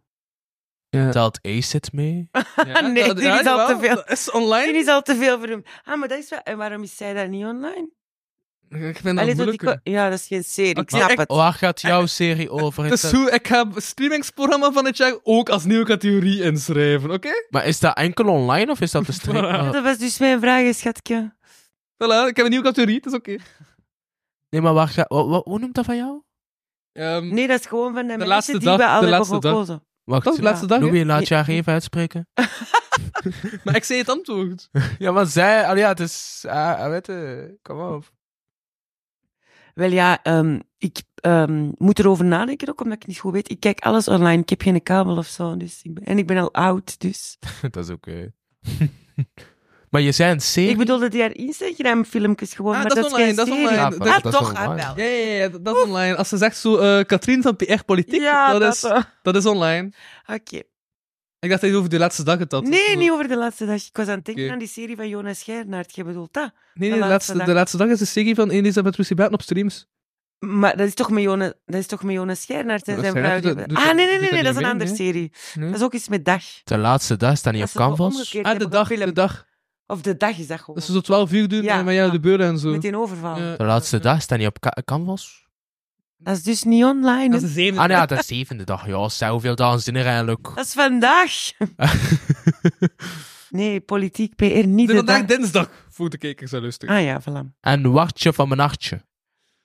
[SPEAKER 3] Ja. Telt ACID mee?
[SPEAKER 6] nee,
[SPEAKER 5] dat-
[SPEAKER 6] dit
[SPEAKER 5] ja,
[SPEAKER 6] is al te
[SPEAKER 5] jawel,
[SPEAKER 6] veel.
[SPEAKER 5] dat is online?
[SPEAKER 6] Dit is al te veel voor hem. Ah, maar dat is wel... En waarom is zij dat niet online?
[SPEAKER 5] Ik vind dat
[SPEAKER 6] Allee, zo die
[SPEAKER 5] moeilijker.
[SPEAKER 6] ko- Ja, dat is geen serie. Ik
[SPEAKER 5] Oké,
[SPEAKER 6] snap
[SPEAKER 5] ik-
[SPEAKER 6] het.
[SPEAKER 3] Waar gaat jouw serie over? eh,
[SPEAKER 5] Dus hoe, ik ga het streamingsprogramma van het jaar ook als nieuwe categorie inschrijven, oké?
[SPEAKER 3] Maar is dat enkel online of is dat Oh,
[SPEAKER 6] Ja,
[SPEAKER 3] bestreekbaar?
[SPEAKER 6] Dat was dus mijn vraag, schatje.
[SPEAKER 5] Voilà, ik heb een nieuwe categorie, dat is oké.
[SPEAKER 3] nee, maar waar gaat... Wat, wat- hoe noemt dat van jou?
[SPEAKER 5] Ehm,
[SPEAKER 6] nee, dat is gewoon van de,
[SPEAKER 5] de
[SPEAKER 6] mensen
[SPEAKER 5] laatste
[SPEAKER 6] die
[SPEAKER 5] dag,
[SPEAKER 6] we al
[SPEAKER 5] de
[SPEAKER 6] hebben
[SPEAKER 5] laatste dag.
[SPEAKER 6] gekozen.
[SPEAKER 3] Wacht,
[SPEAKER 5] Dat is de laatste dag, hè?
[SPEAKER 3] Louis, laat je haar even uitspreken.
[SPEAKER 5] Maar ik zei het antwoord.
[SPEAKER 3] ja, maar zij... Al ja, het is... Ah, weet je, kom op.
[SPEAKER 6] Wel ja, ehm, ik ehm, moet erover nadenken ook, omdat ik niet goed weet. Ik kijk alles online. Ik heb geen kabel of zo. Dus ik ben, en ik ben al oud, dus...
[SPEAKER 3] dat is oké. maar je zei een serie...
[SPEAKER 6] Ik bedoelde die haar Instagram-filmpjes gewoon,
[SPEAKER 5] Ah,
[SPEAKER 6] maar
[SPEAKER 5] dat is online,
[SPEAKER 6] geen
[SPEAKER 5] dat is
[SPEAKER 6] serie.
[SPEAKER 5] online.
[SPEAKER 6] Ah,
[SPEAKER 5] Dat- dat is
[SPEAKER 6] toch,
[SPEAKER 5] online.
[SPEAKER 6] ah, wel.
[SPEAKER 5] Ja, ja, ja, dat, dat is online. Als ze zegt zo, eh Katrien van PR Politiek,
[SPEAKER 6] Ja,
[SPEAKER 5] dat,
[SPEAKER 6] dat,
[SPEAKER 5] is,
[SPEAKER 6] eh.
[SPEAKER 5] dat is online.
[SPEAKER 6] Oké.
[SPEAKER 5] Ik dacht dat je over de laatste dag het had.
[SPEAKER 6] Nee, niet over de laatste dag. Ik was aan het denken
[SPEAKER 5] Oké.
[SPEAKER 6] aan die serie van Jonas Gernaert. Je bedoelt dat?
[SPEAKER 5] Nee, nee, de, laatste, de laatste dag is de serie van Elisabeth Russibaten op streams.
[SPEAKER 6] Maar dat is toch met Jonas, dat is toch met Jonas Gernaert en
[SPEAKER 5] Jonas
[SPEAKER 6] zijn vrouw?
[SPEAKER 5] Gernaert
[SPEAKER 6] die-
[SPEAKER 5] doet- doet
[SPEAKER 6] Ah,
[SPEAKER 5] dat-
[SPEAKER 6] nee, nee,
[SPEAKER 5] doet
[SPEAKER 6] nee,
[SPEAKER 5] dat
[SPEAKER 6] nee, dat
[SPEAKER 5] niet
[SPEAKER 6] is
[SPEAKER 5] mee, Hm?
[SPEAKER 6] een andere
[SPEAKER 5] nee.
[SPEAKER 6] serie. Dat is ook iets met dag.
[SPEAKER 3] De laatste dag staat niet op
[SPEAKER 6] Dat ze zo
[SPEAKER 3] Canvas.
[SPEAKER 6] omgekeerd
[SPEAKER 5] Ah, de
[SPEAKER 6] hebben
[SPEAKER 5] dag, de dag.
[SPEAKER 6] Of de dag is dat gewoon.
[SPEAKER 5] Dat ze zo 12 uur doen en met jou de beuren en zo.
[SPEAKER 6] Met die overval.
[SPEAKER 3] De laatste dag staat niet op Ca- Canvas.
[SPEAKER 6] Dat is dus niet online. hè?
[SPEAKER 3] Ah, nee, ja, dat is de zevende dag. Ja, zeg, hoeveel dagen zijn er eigenlijk?
[SPEAKER 6] Dat is vandaag. nee, politiek PR niet.
[SPEAKER 5] De
[SPEAKER 6] De
[SPEAKER 5] vandaag
[SPEAKER 6] dag.
[SPEAKER 5] dinsdag, voor de kijkers en luisteren.
[SPEAKER 6] Ah ja, voilà.
[SPEAKER 3] Een wartje van mijn nachtje.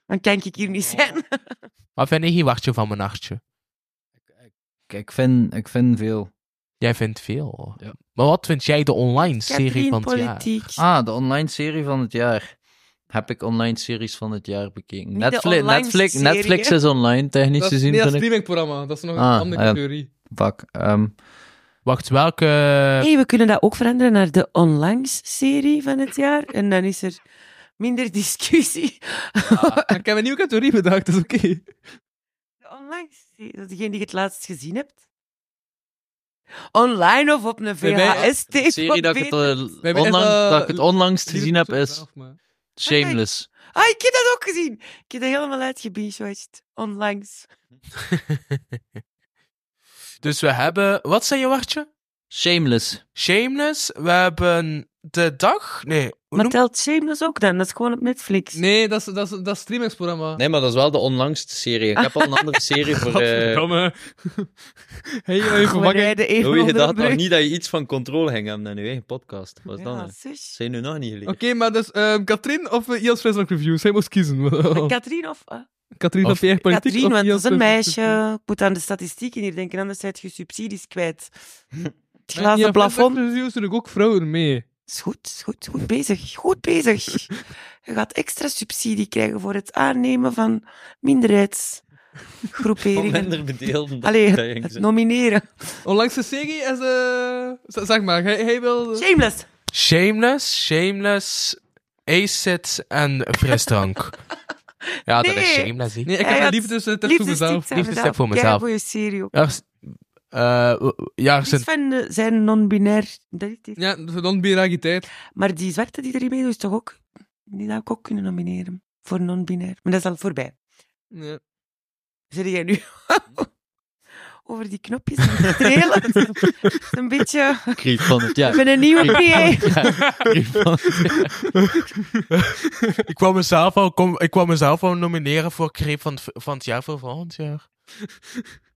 [SPEAKER 6] Dan kan ik hier niet zijn.
[SPEAKER 3] Wat vind je geen wartje van mijn nachtje?
[SPEAKER 4] Kijk, ik vind, ik vind veel.
[SPEAKER 3] Jij vindt veel. Maar wat vind jij de online serie van het jaar?
[SPEAKER 4] jaar. Ah, de online serie van het jaar. Heb ik online series van het jaar bekeken.
[SPEAKER 5] de
[SPEAKER 4] Netflix,
[SPEAKER 5] online
[SPEAKER 4] Netflix,
[SPEAKER 5] serie,
[SPEAKER 4] Netflix
[SPEAKER 5] hè?
[SPEAKER 4] is online, technisch
[SPEAKER 5] Dat is
[SPEAKER 4] gezien.
[SPEAKER 5] niet dat
[SPEAKER 4] vind ik.
[SPEAKER 5] streamingprogramma, dat is nog
[SPEAKER 4] Ah,
[SPEAKER 5] een andere
[SPEAKER 4] ah, ja.
[SPEAKER 5] categorie.
[SPEAKER 4] Fuck. ehm,
[SPEAKER 3] Wacht, welke...
[SPEAKER 6] Hé, we kunnen dat ook veranderen naar de onlangs-serie van het jaar. En dan is er minder discussie.
[SPEAKER 5] Ah, Ik heb een nieuwe categorie bedacht, dat is oké.
[SPEAKER 6] De onlangs-serie, dat is degene die je het laatst gezien hebt. Online of op een
[SPEAKER 4] Bij mij-
[SPEAKER 6] VHS-tape.
[SPEAKER 4] de serie dat ik, het, eh,
[SPEAKER 5] Bij mij is
[SPEAKER 4] onlangs,
[SPEAKER 5] dat-
[SPEAKER 4] dat ik het onlangs gezien heb is Shameless.
[SPEAKER 6] Ah, ik heb dat ook gezien. Ik heb dat helemaal uitgebingewatcht. Onlangs.
[SPEAKER 3] Dus we hebben... Wat zei je wartje?
[SPEAKER 4] Shameless.
[SPEAKER 3] Shameless. We hebben de dag... Nee.
[SPEAKER 6] Maar telt Shameless ook dan? Dat is gewoon op Netflix.
[SPEAKER 5] Nee, dat is, dat is, dat is streamingsprogramma.
[SPEAKER 4] Nee, maar dat is wel de onlangste serie. Ik heb al een andere serie voor... eh
[SPEAKER 5] Godverdomme. Hey, even verwakken.
[SPEAKER 4] Louis, Oh, je dacht nog niet dat je iets van controle ging hebben in je eigen podcast. Wat is dat
[SPEAKER 5] Ja,
[SPEAKER 4] nou? Zijn nu nog niet
[SPEAKER 5] Oké,
[SPEAKER 4] geleerd.
[SPEAKER 5] maar dus ehm Katrien of uh, Iels Frisland Reviews? Hij moest kiezen.
[SPEAKER 4] Oh.
[SPEAKER 6] Katrien of... eh,
[SPEAKER 5] Katrien van
[SPEAKER 6] Of-
[SPEAKER 5] PR Politiek
[SPEAKER 6] Katrien,
[SPEAKER 5] of
[SPEAKER 6] want dat
[SPEAKER 5] Iels
[SPEAKER 6] is een
[SPEAKER 5] Frisland
[SPEAKER 6] meisje. Ik moet aan de statistieken hier denken, anders zijn je subsidies kwijt. Het
[SPEAKER 5] Reviews.
[SPEAKER 6] glazen plafond.
[SPEAKER 5] Reviews doen ik ook vrouwen mee.
[SPEAKER 6] Is goed, is goed, goed bezig. Goed bezig. Je gaat extra subsidie krijgen voor het aannemen van minderheidsgroeperingen.
[SPEAKER 4] Van minder bedeelden.
[SPEAKER 6] Allee,
[SPEAKER 4] Dat
[SPEAKER 6] het,
[SPEAKER 4] ging
[SPEAKER 6] het
[SPEAKER 4] zo.
[SPEAKER 6] nomineren.
[SPEAKER 5] Onlangs de serie is... eh, z- zeg maar, hij, hij wil...
[SPEAKER 6] Shameless.
[SPEAKER 3] Shameless, Shameless, Acid en frisdrank. ja, dat is
[SPEAKER 6] Nee.
[SPEAKER 3] Shameless, hè?
[SPEAKER 5] Nee, ik heb
[SPEAKER 6] Hij
[SPEAKER 5] een
[SPEAKER 6] had
[SPEAKER 5] liefdestek voor mezelf.
[SPEAKER 6] liefdestikt aan
[SPEAKER 3] Liefdestikt voor mezelf.
[SPEAKER 6] mezelf. Keigoeie serie ook.
[SPEAKER 3] Ja, s- eh, w- ja,
[SPEAKER 6] Die
[SPEAKER 3] zijn...
[SPEAKER 6] is van eh, zijn non-binair. Dat is die.
[SPEAKER 5] Ja, de non-binariteit.
[SPEAKER 6] Maar die zwarte die erin meedoet, is toch ook... Die zou ik ook kunnen nomineren. Voor non-binair. Maar dat is al voorbij.
[SPEAKER 5] Ja.
[SPEAKER 6] Zit jij nu over die knopjes aan het strelen? een beetje...
[SPEAKER 4] Griep van het jaar.
[SPEAKER 6] Ik ben een nieuwe
[SPEAKER 4] Griep
[SPEAKER 6] PA.
[SPEAKER 4] van het jaar. Griep van het jaar.
[SPEAKER 3] ik, kwam mezelf al, kom, ik kwam mezelf al nomineren voor Creep van, het v- van het jaar voor volgend jaar.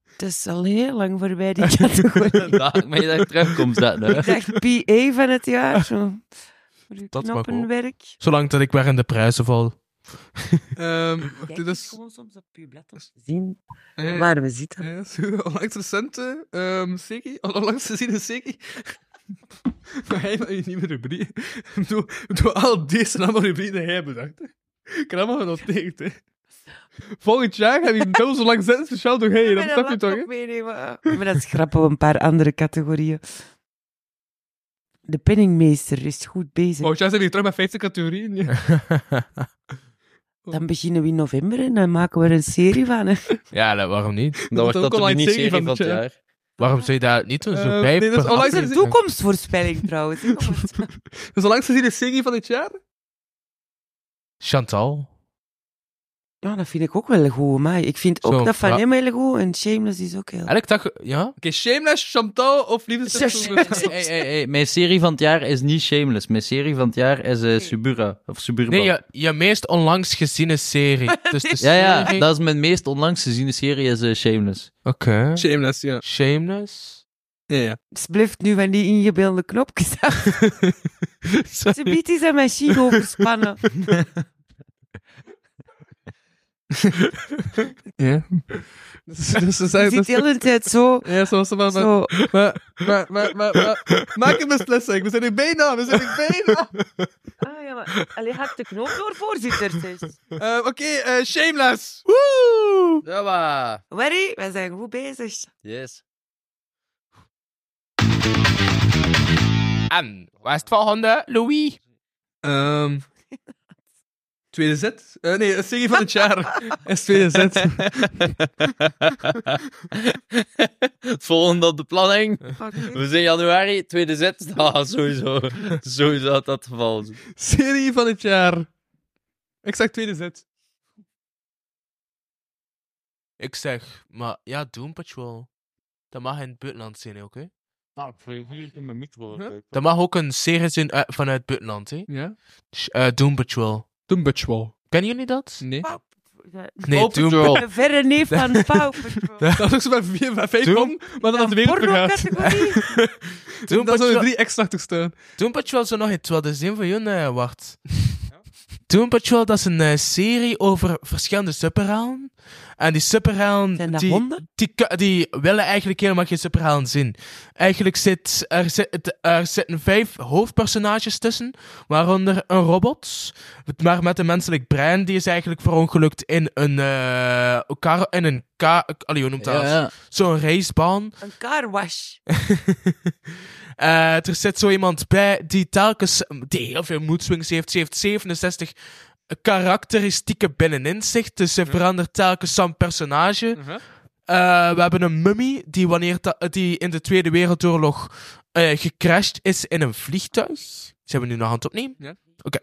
[SPEAKER 6] Het is al heel lang voorbij, die categorie.
[SPEAKER 4] Dag, maar je dacht terugkomt dat nou.
[SPEAKER 6] Ik dacht PA van het jaar. Zo.
[SPEAKER 3] Dat mag ook.
[SPEAKER 6] Knoppenwerk.
[SPEAKER 3] Zolang dat ik weer in de prijzen val.
[SPEAKER 5] Ehm,
[SPEAKER 6] Kijk
[SPEAKER 5] dit
[SPEAKER 6] eens
[SPEAKER 5] is...
[SPEAKER 6] gewoon soms op je blad om te zien
[SPEAKER 5] Eh,
[SPEAKER 6] waar we zitten.
[SPEAKER 5] Ja, zo, onlangs recente ehm serie, al- onlangs geziene serie. maar hij maakt je nieuwe rubriek. Doe, doe al deze allemaal rubrieken die hij bedacht. hè. Ik heb allemaal genoteerd, hè. Volgend jaar heb je wel zo lang zitten, speciaal door hij. Dat
[SPEAKER 6] Ik ben
[SPEAKER 5] snap je
[SPEAKER 6] een
[SPEAKER 5] toch,
[SPEAKER 6] laptop
[SPEAKER 5] hè?
[SPEAKER 6] meenemen. Ah. Maar dat is grappig op een paar andere categorieën. De penningmeester is goed bezig.
[SPEAKER 5] Volgend jaar zijn we hier terug met 50 categorieën. Ja.
[SPEAKER 6] Dan beginnen we in november en dan maken we er een serie van.
[SPEAKER 5] Oh,
[SPEAKER 6] hè.
[SPEAKER 3] Ja, dat- waarom niet?
[SPEAKER 4] Dan wordt
[SPEAKER 5] ook
[SPEAKER 4] dat de
[SPEAKER 5] online
[SPEAKER 4] miniserie
[SPEAKER 5] serie
[SPEAKER 4] van
[SPEAKER 5] van
[SPEAKER 4] het
[SPEAKER 5] het
[SPEAKER 4] jaar.
[SPEAKER 3] Waarom zou je dat niet doen? Zo
[SPEAKER 5] Eh,
[SPEAKER 3] bij
[SPEAKER 5] nee, dat is
[SPEAKER 3] per
[SPEAKER 5] onlangs
[SPEAKER 3] aflevering.
[SPEAKER 6] Een toekomstvoorspelling trouwens. hè, jongens.
[SPEAKER 5] Dus Dat is onlangs geziene serie van het jaar.
[SPEAKER 3] Chantal.
[SPEAKER 6] Ja, dat vind ik ook wel goed. Maar ik vind ook
[SPEAKER 23] Zo,
[SPEAKER 6] dat van
[SPEAKER 23] ja.
[SPEAKER 6] hem heel goed. En Shameless is ook heel
[SPEAKER 23] Eigenlijk dacht ja?
[SPEAKER 5] Oké, Shameless, Chantal of Liefdes...
[SPEAKER 4] Hey, hey, hey, mijn serie van het jaar is niet Shameless. Mijn serie van het jaar is eh, Subura. Of Suburban.
[SPEAKER 23] Nee, je, je meest onlangs geziene serie. Dus de
[SPEAKER 4] ja, ja,
[SPEAKER 23] serie-
[SPEAKER 4] dat is mijn meest onlangs geziene serie is eh, Shameless.
[SPEAKER 23] Oké.
[SPEAKER 5] Shameless, ja.
[SPEAKER 23] Shameless?
[SPEAKER 5] Ja, ja.
[SPEAKER 6] Het blijft nu van die ingebeelde knopjes af. Ze biedt is aan mijn chic overspannen.
[SPEAKER 5] Ja. Dus, dus ze zijn,
[SPEAKER 6] Je zit de hele tijd zo...
[SPEAKER 5] Ja, zo, zo, maar, maar-
[SPEAKER 6] Zo.
[SPEAKER 5] Maar, maar, maar, maar, maar- maak een beslissing. We zijn er bijna, we zijn er bijna.
[SPEAKER 6] Ah, ja, maar... Allee, hak de knoop door, voorzitter. zeg.
[SPEAKER 5] Eh, Oké, eh, Shameless.
[SPEAKER 23] Woe! Ja, maar.
[SPEAKER 6] Werry, wij zijn goed bezig.
[SPEAKER 4] Yes.
[SPEAKER 23] En, waar is het volgende, Louis?
[SPEAKER 5] Ehm, tweede zet? Eh, nee, een serie van het jaar. Is tweede zet.
[SPEAKER 4] Het volgende op de planning. We zijn januari, tweede zet. Ah, sowieso. Sowieso had dat het geval. zijn.
[SPEAKER 5] Serie van het jaar. Ik zeg tweede zet.
[SPEAKER 3] Ik zeg, maar ja, Doom Patrol. Dat mag in het buitenland zijn, hè, oké?
[SPEAKER 24] Nou, ik vind het in mijn micro.
[SPEAKER 3] Dat mag ook een serie zijn uit- vanuit het buitenland, hè?
[SPEAKER 5] Ja.
[SPEAKER 3] Sh- eh, Doom Patrol.
[SPEAKER 5] Doom Patrol.
[SPEAKER 3] Kennen jullie dat?
[SPEAKER 5] Nee.
[SPEAKER 3] Nee,
[SPEAKER 5] Paw
[SPEAKER 3] Doom
[SPEAKER 5] Patrol.
[SPEAKER 3] Patrol.
[SPEAKER 6] Een verre neef van Pauw.
[SPEAKER 5] Dat is ook zo bij vier- bij vijf kom, maar dan is de wereld vergaat.
[SPEAKER 3] Doom
[SPEAKER 5] Dat zijn er
[SPEAKER 3] Patrol.
[SPEAKER 5] drie extra te staan.
[SPEAKER 3] Doom Patrol zou nog in het tweede zin van jullie eh, wacht. Doom Patrol, dat is een eh, serie over verschillende superhelden. En die superhelden... Die,
[SPEAKER 6] honden?
[SPEAKER 3] Die, ku- die willen eigenlijk helemaal geen superhelden zien. Eigenlijk zit, er, zit, er zitten vijf hoofdpersonages tussen, waaronder een robot, maar met een menselijk brein. Die is eigenlijk verongelukt in een... eh kar, in een ka, allee, hoe noemt dat?
[SPEAKER 6] Ja, ja.
[SPEAKER 3] Zo'n racebaan.
[SPEAKER 6] Een carwash.
[SPEAKER 3] Eh, er zit zo iemand bij die telkens die heel veel moedswings heeft. Ze heeft 67 karakteristieken binnenin zich. Dus ze verandert telkens zijn personage. Eh, we hebben een mummy die, wanneer ta- die in de Tweede Wereldoorlog eh, gecrashed is in een vliegtuig. Zijn we nu nog aan het opnemen?
[SPEAKER 5] Ja.
[SPEAKER 3] Oké.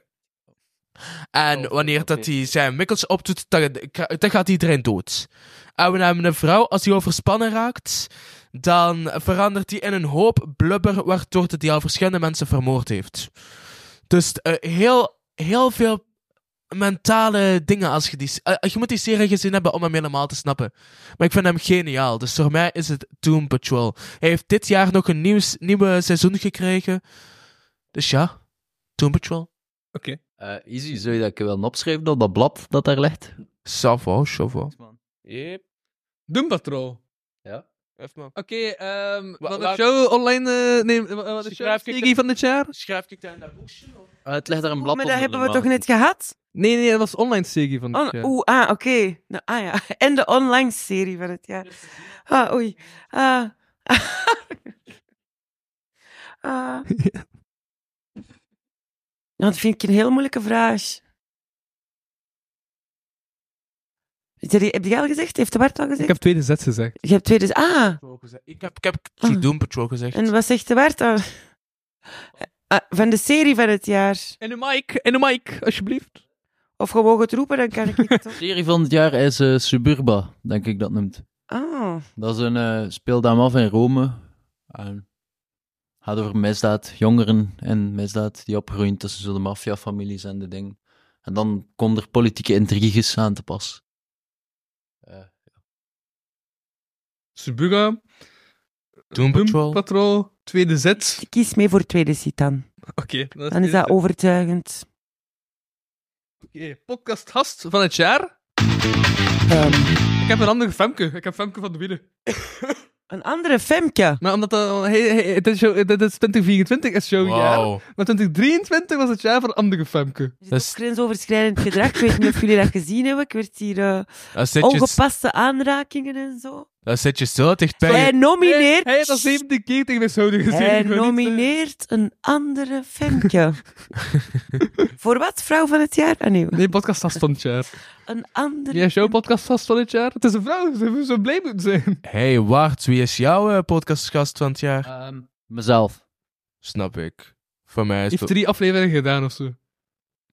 [SPEAKER 3] En wanneer dat hij zijn wikkels opdoet, dan, dan gaat iedereen dood. En we hebben een vrouw, als die overspannen raakt, dan verandert die in een hoop blubber, waardoor dat die al verschillende mensen vermoord heeft. Dus eh, heel, heel veel mentale dingen als je die... eh, je moet die serie gezien hebben om hem helemaal te snappen. Maar ik vind hem geniaal, dus voor mij is het Doom Patrol. Hij heeft dit jaar nog een nieuw, s- nieuwe seizoen gekregen. Dus ja, Doom Patrol.
[SPEAKER 5] Oké.
[SPEAKER 4] Eh, easy, zou je dat willen opschrijven op dat blad dat daar ligt?
[SPEAKER 3] Savo, savo.
[SPEAKER 4] Yep.
[SPEAKER 5] Doom Patrol.
[SPEAKER 4] Ja.
[SPEAKER 5] Oké, ehm, wat
[SPEAKER 3] wa-
[SPEAKER 5] is jouw online... eh, nee, eh, wat is jouw
[SPEAKER 3] Schrijf ik
[SPEAKER 5] serie van het jaar?
[SPEAKER 3] Schrijf ik daar in dat boekje?
[SPEAKER 4] Ah, het ligt daar een blad
[SPEAKER 6] Oh, Maar
[SPEAKER 4] onder,
[SPEAKER 6] dat hebben we
[SPEAKER 4] maar-
[SPEAKER 6] toch net gehad?
[SPEAKER 5] Nee, nee, dat was online serie van het
[SPEAKER 3] Oh,
[SPEAKER 6] On-
[SPEAKER 5] jaar.
[SPEAKER 6] Oeh, ah, oké. Nou, ah ja. En de online serie van het jaar. Ah, oei. Ah. ah. Ja, dat vind ik een heel moeilijke vraag. Is er- Heb jij al gezegd? Heeft de Bart al gezegd?
[SPEAKER 5] Ik heb tweede zet gezegd.
[SPEAKER 6] Je hebt twee dus... Ah,
[SPEAKER 3] Ik heb, ik heb True Doom Patrol gezegd.
[SPEAKER 6] en wat zegt de Bart dan? Ah, van de serie van het jaar.
[SPEAKER 5] En de mic, en de mic, alsjeblieft.
[SPEAKER 6] Of gewoon het roepen, dan kan ik het toch...
[SPEAKER 4] serie van het jaar is eh, Suburba, denk ik dat noemt.
[SPEAKER 6] Ah.
[SPEAKER 4] Dat is een eh speelt hem af in Rome. En gaat over misdaad, jongeren en misdaad die opgroeien tussen zo de maffiafamilies en de ding. En dan komen er politieke intriges aan te pas.
[SPEAKER 5] Subuga.
[SPEAKER 3] Doom Patrol.
[SPEAKER 5] Patrol. Tweede zet.
[SPEAKER 6] Ik kies mee voor tweede zit dan.
[SPEAKER 5] Oké, dan is
[SPEAKER 6] Dan is
[SPEAKER 5] tweede
[SPEAKER 6] dat
[SPEAKER 5] zet.
[SPEAKER 6] overtuigend.
[SPEAKER 5] Oké, podcasthast van het jaar. Ik heb een andere Femke. Ik heb Femke van de Wielen.
[SPEAKER 6] Een andere Femke?
[SPEAKER 5] Maar omdat dat, hey, hey, dit, is jou- dit is 2024 is jouw
[SPEAKER 3] Wauw.
[SPEAKER 5] jaar. Maar 2023 was het jaar van andere Femke.
[SPEAKER 6] Dat is grensoverschrijdend gedrag. Ik weet niet of jullie dat gezien hebben. Ik werd hier eh,
[SPEAKER 3] Dat zit je-
[SPEAKER 6] ongepaste aanrakingen en zo.
[SPEAKER 3] Dan zit je zo dichtbij.
[SPEAKER 6] Hij nomineert.
[SPEAKER 5] Hij heeft al 17 keer tegen mijn schouder gezien.
[SPEAKER 6] Hij
[SPEAKER 5] Ik wil niet-
[SPEAKER 6] nomineert een andere Femke. Voor wat, vrouw van het jaar? Ah, nee.
[SPEAKER 5] Nee, podcasthast van het jaar.
[SPEAKER 6] Een andere.
[SPEAKER 5] Jij is jouw podcasthast van het jaar. Het is een vrouw, ze moeten zo blij moeten zijn.
[SPEAKER 3] Hey, Wart, wie is jouw eh, podcastgast van het jaar?
[SPEAKER 4] mezelf.
[SPEAKER 3] Snap ik. Voor mij is
[SPEAKER 5] Hij heeft
[SPEAKER 3] het...
[SPEAKER 5] drie afleveringen gedaan of zo.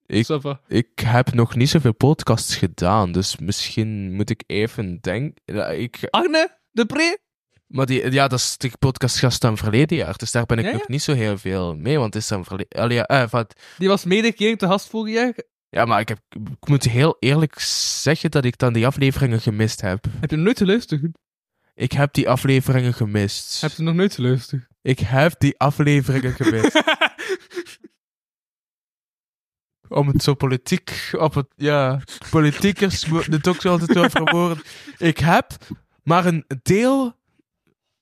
[SPEAKER 3] Ik,
[SPEAKER 5] Ça va.
[SPEAKER 3] ik heb nog niet zoveel podcasts gedaan, dus misschien moet ik even denken. Ik...
[SPEAKER 5] Arne, de pre?
[SPEAKER 3] Maar die, ja, dat is de podcastgast van verleden jaar, dus daar ben ik
[SPEAKER 5] Ja, ja.
[SPEAKER 3] nog niet zo heel veel mee, want het is dan verleden... Allee, ja, eh, van-
[SPEAKER 5] Die was mede een keer te gast vorig jaar.
[SPEAKER 3] ja, maar ik, heb, ik moet heel eerlijk zeggen dat ik dan die afleveringen gemist heb.
[SPEAKER 5] Heb je nooit geluisterd?
[SPEAKER 3] Ik heb die afleveringen gemist.
[SPEAKER 5] Heb je nog nooit geluisterd?
[SPEAKER 3] Ik heb die afleveringen gemist. Om het zo politiek op het... Ja, politiekers moeten het ook zo altijd over worden. Ik heb maar een deel...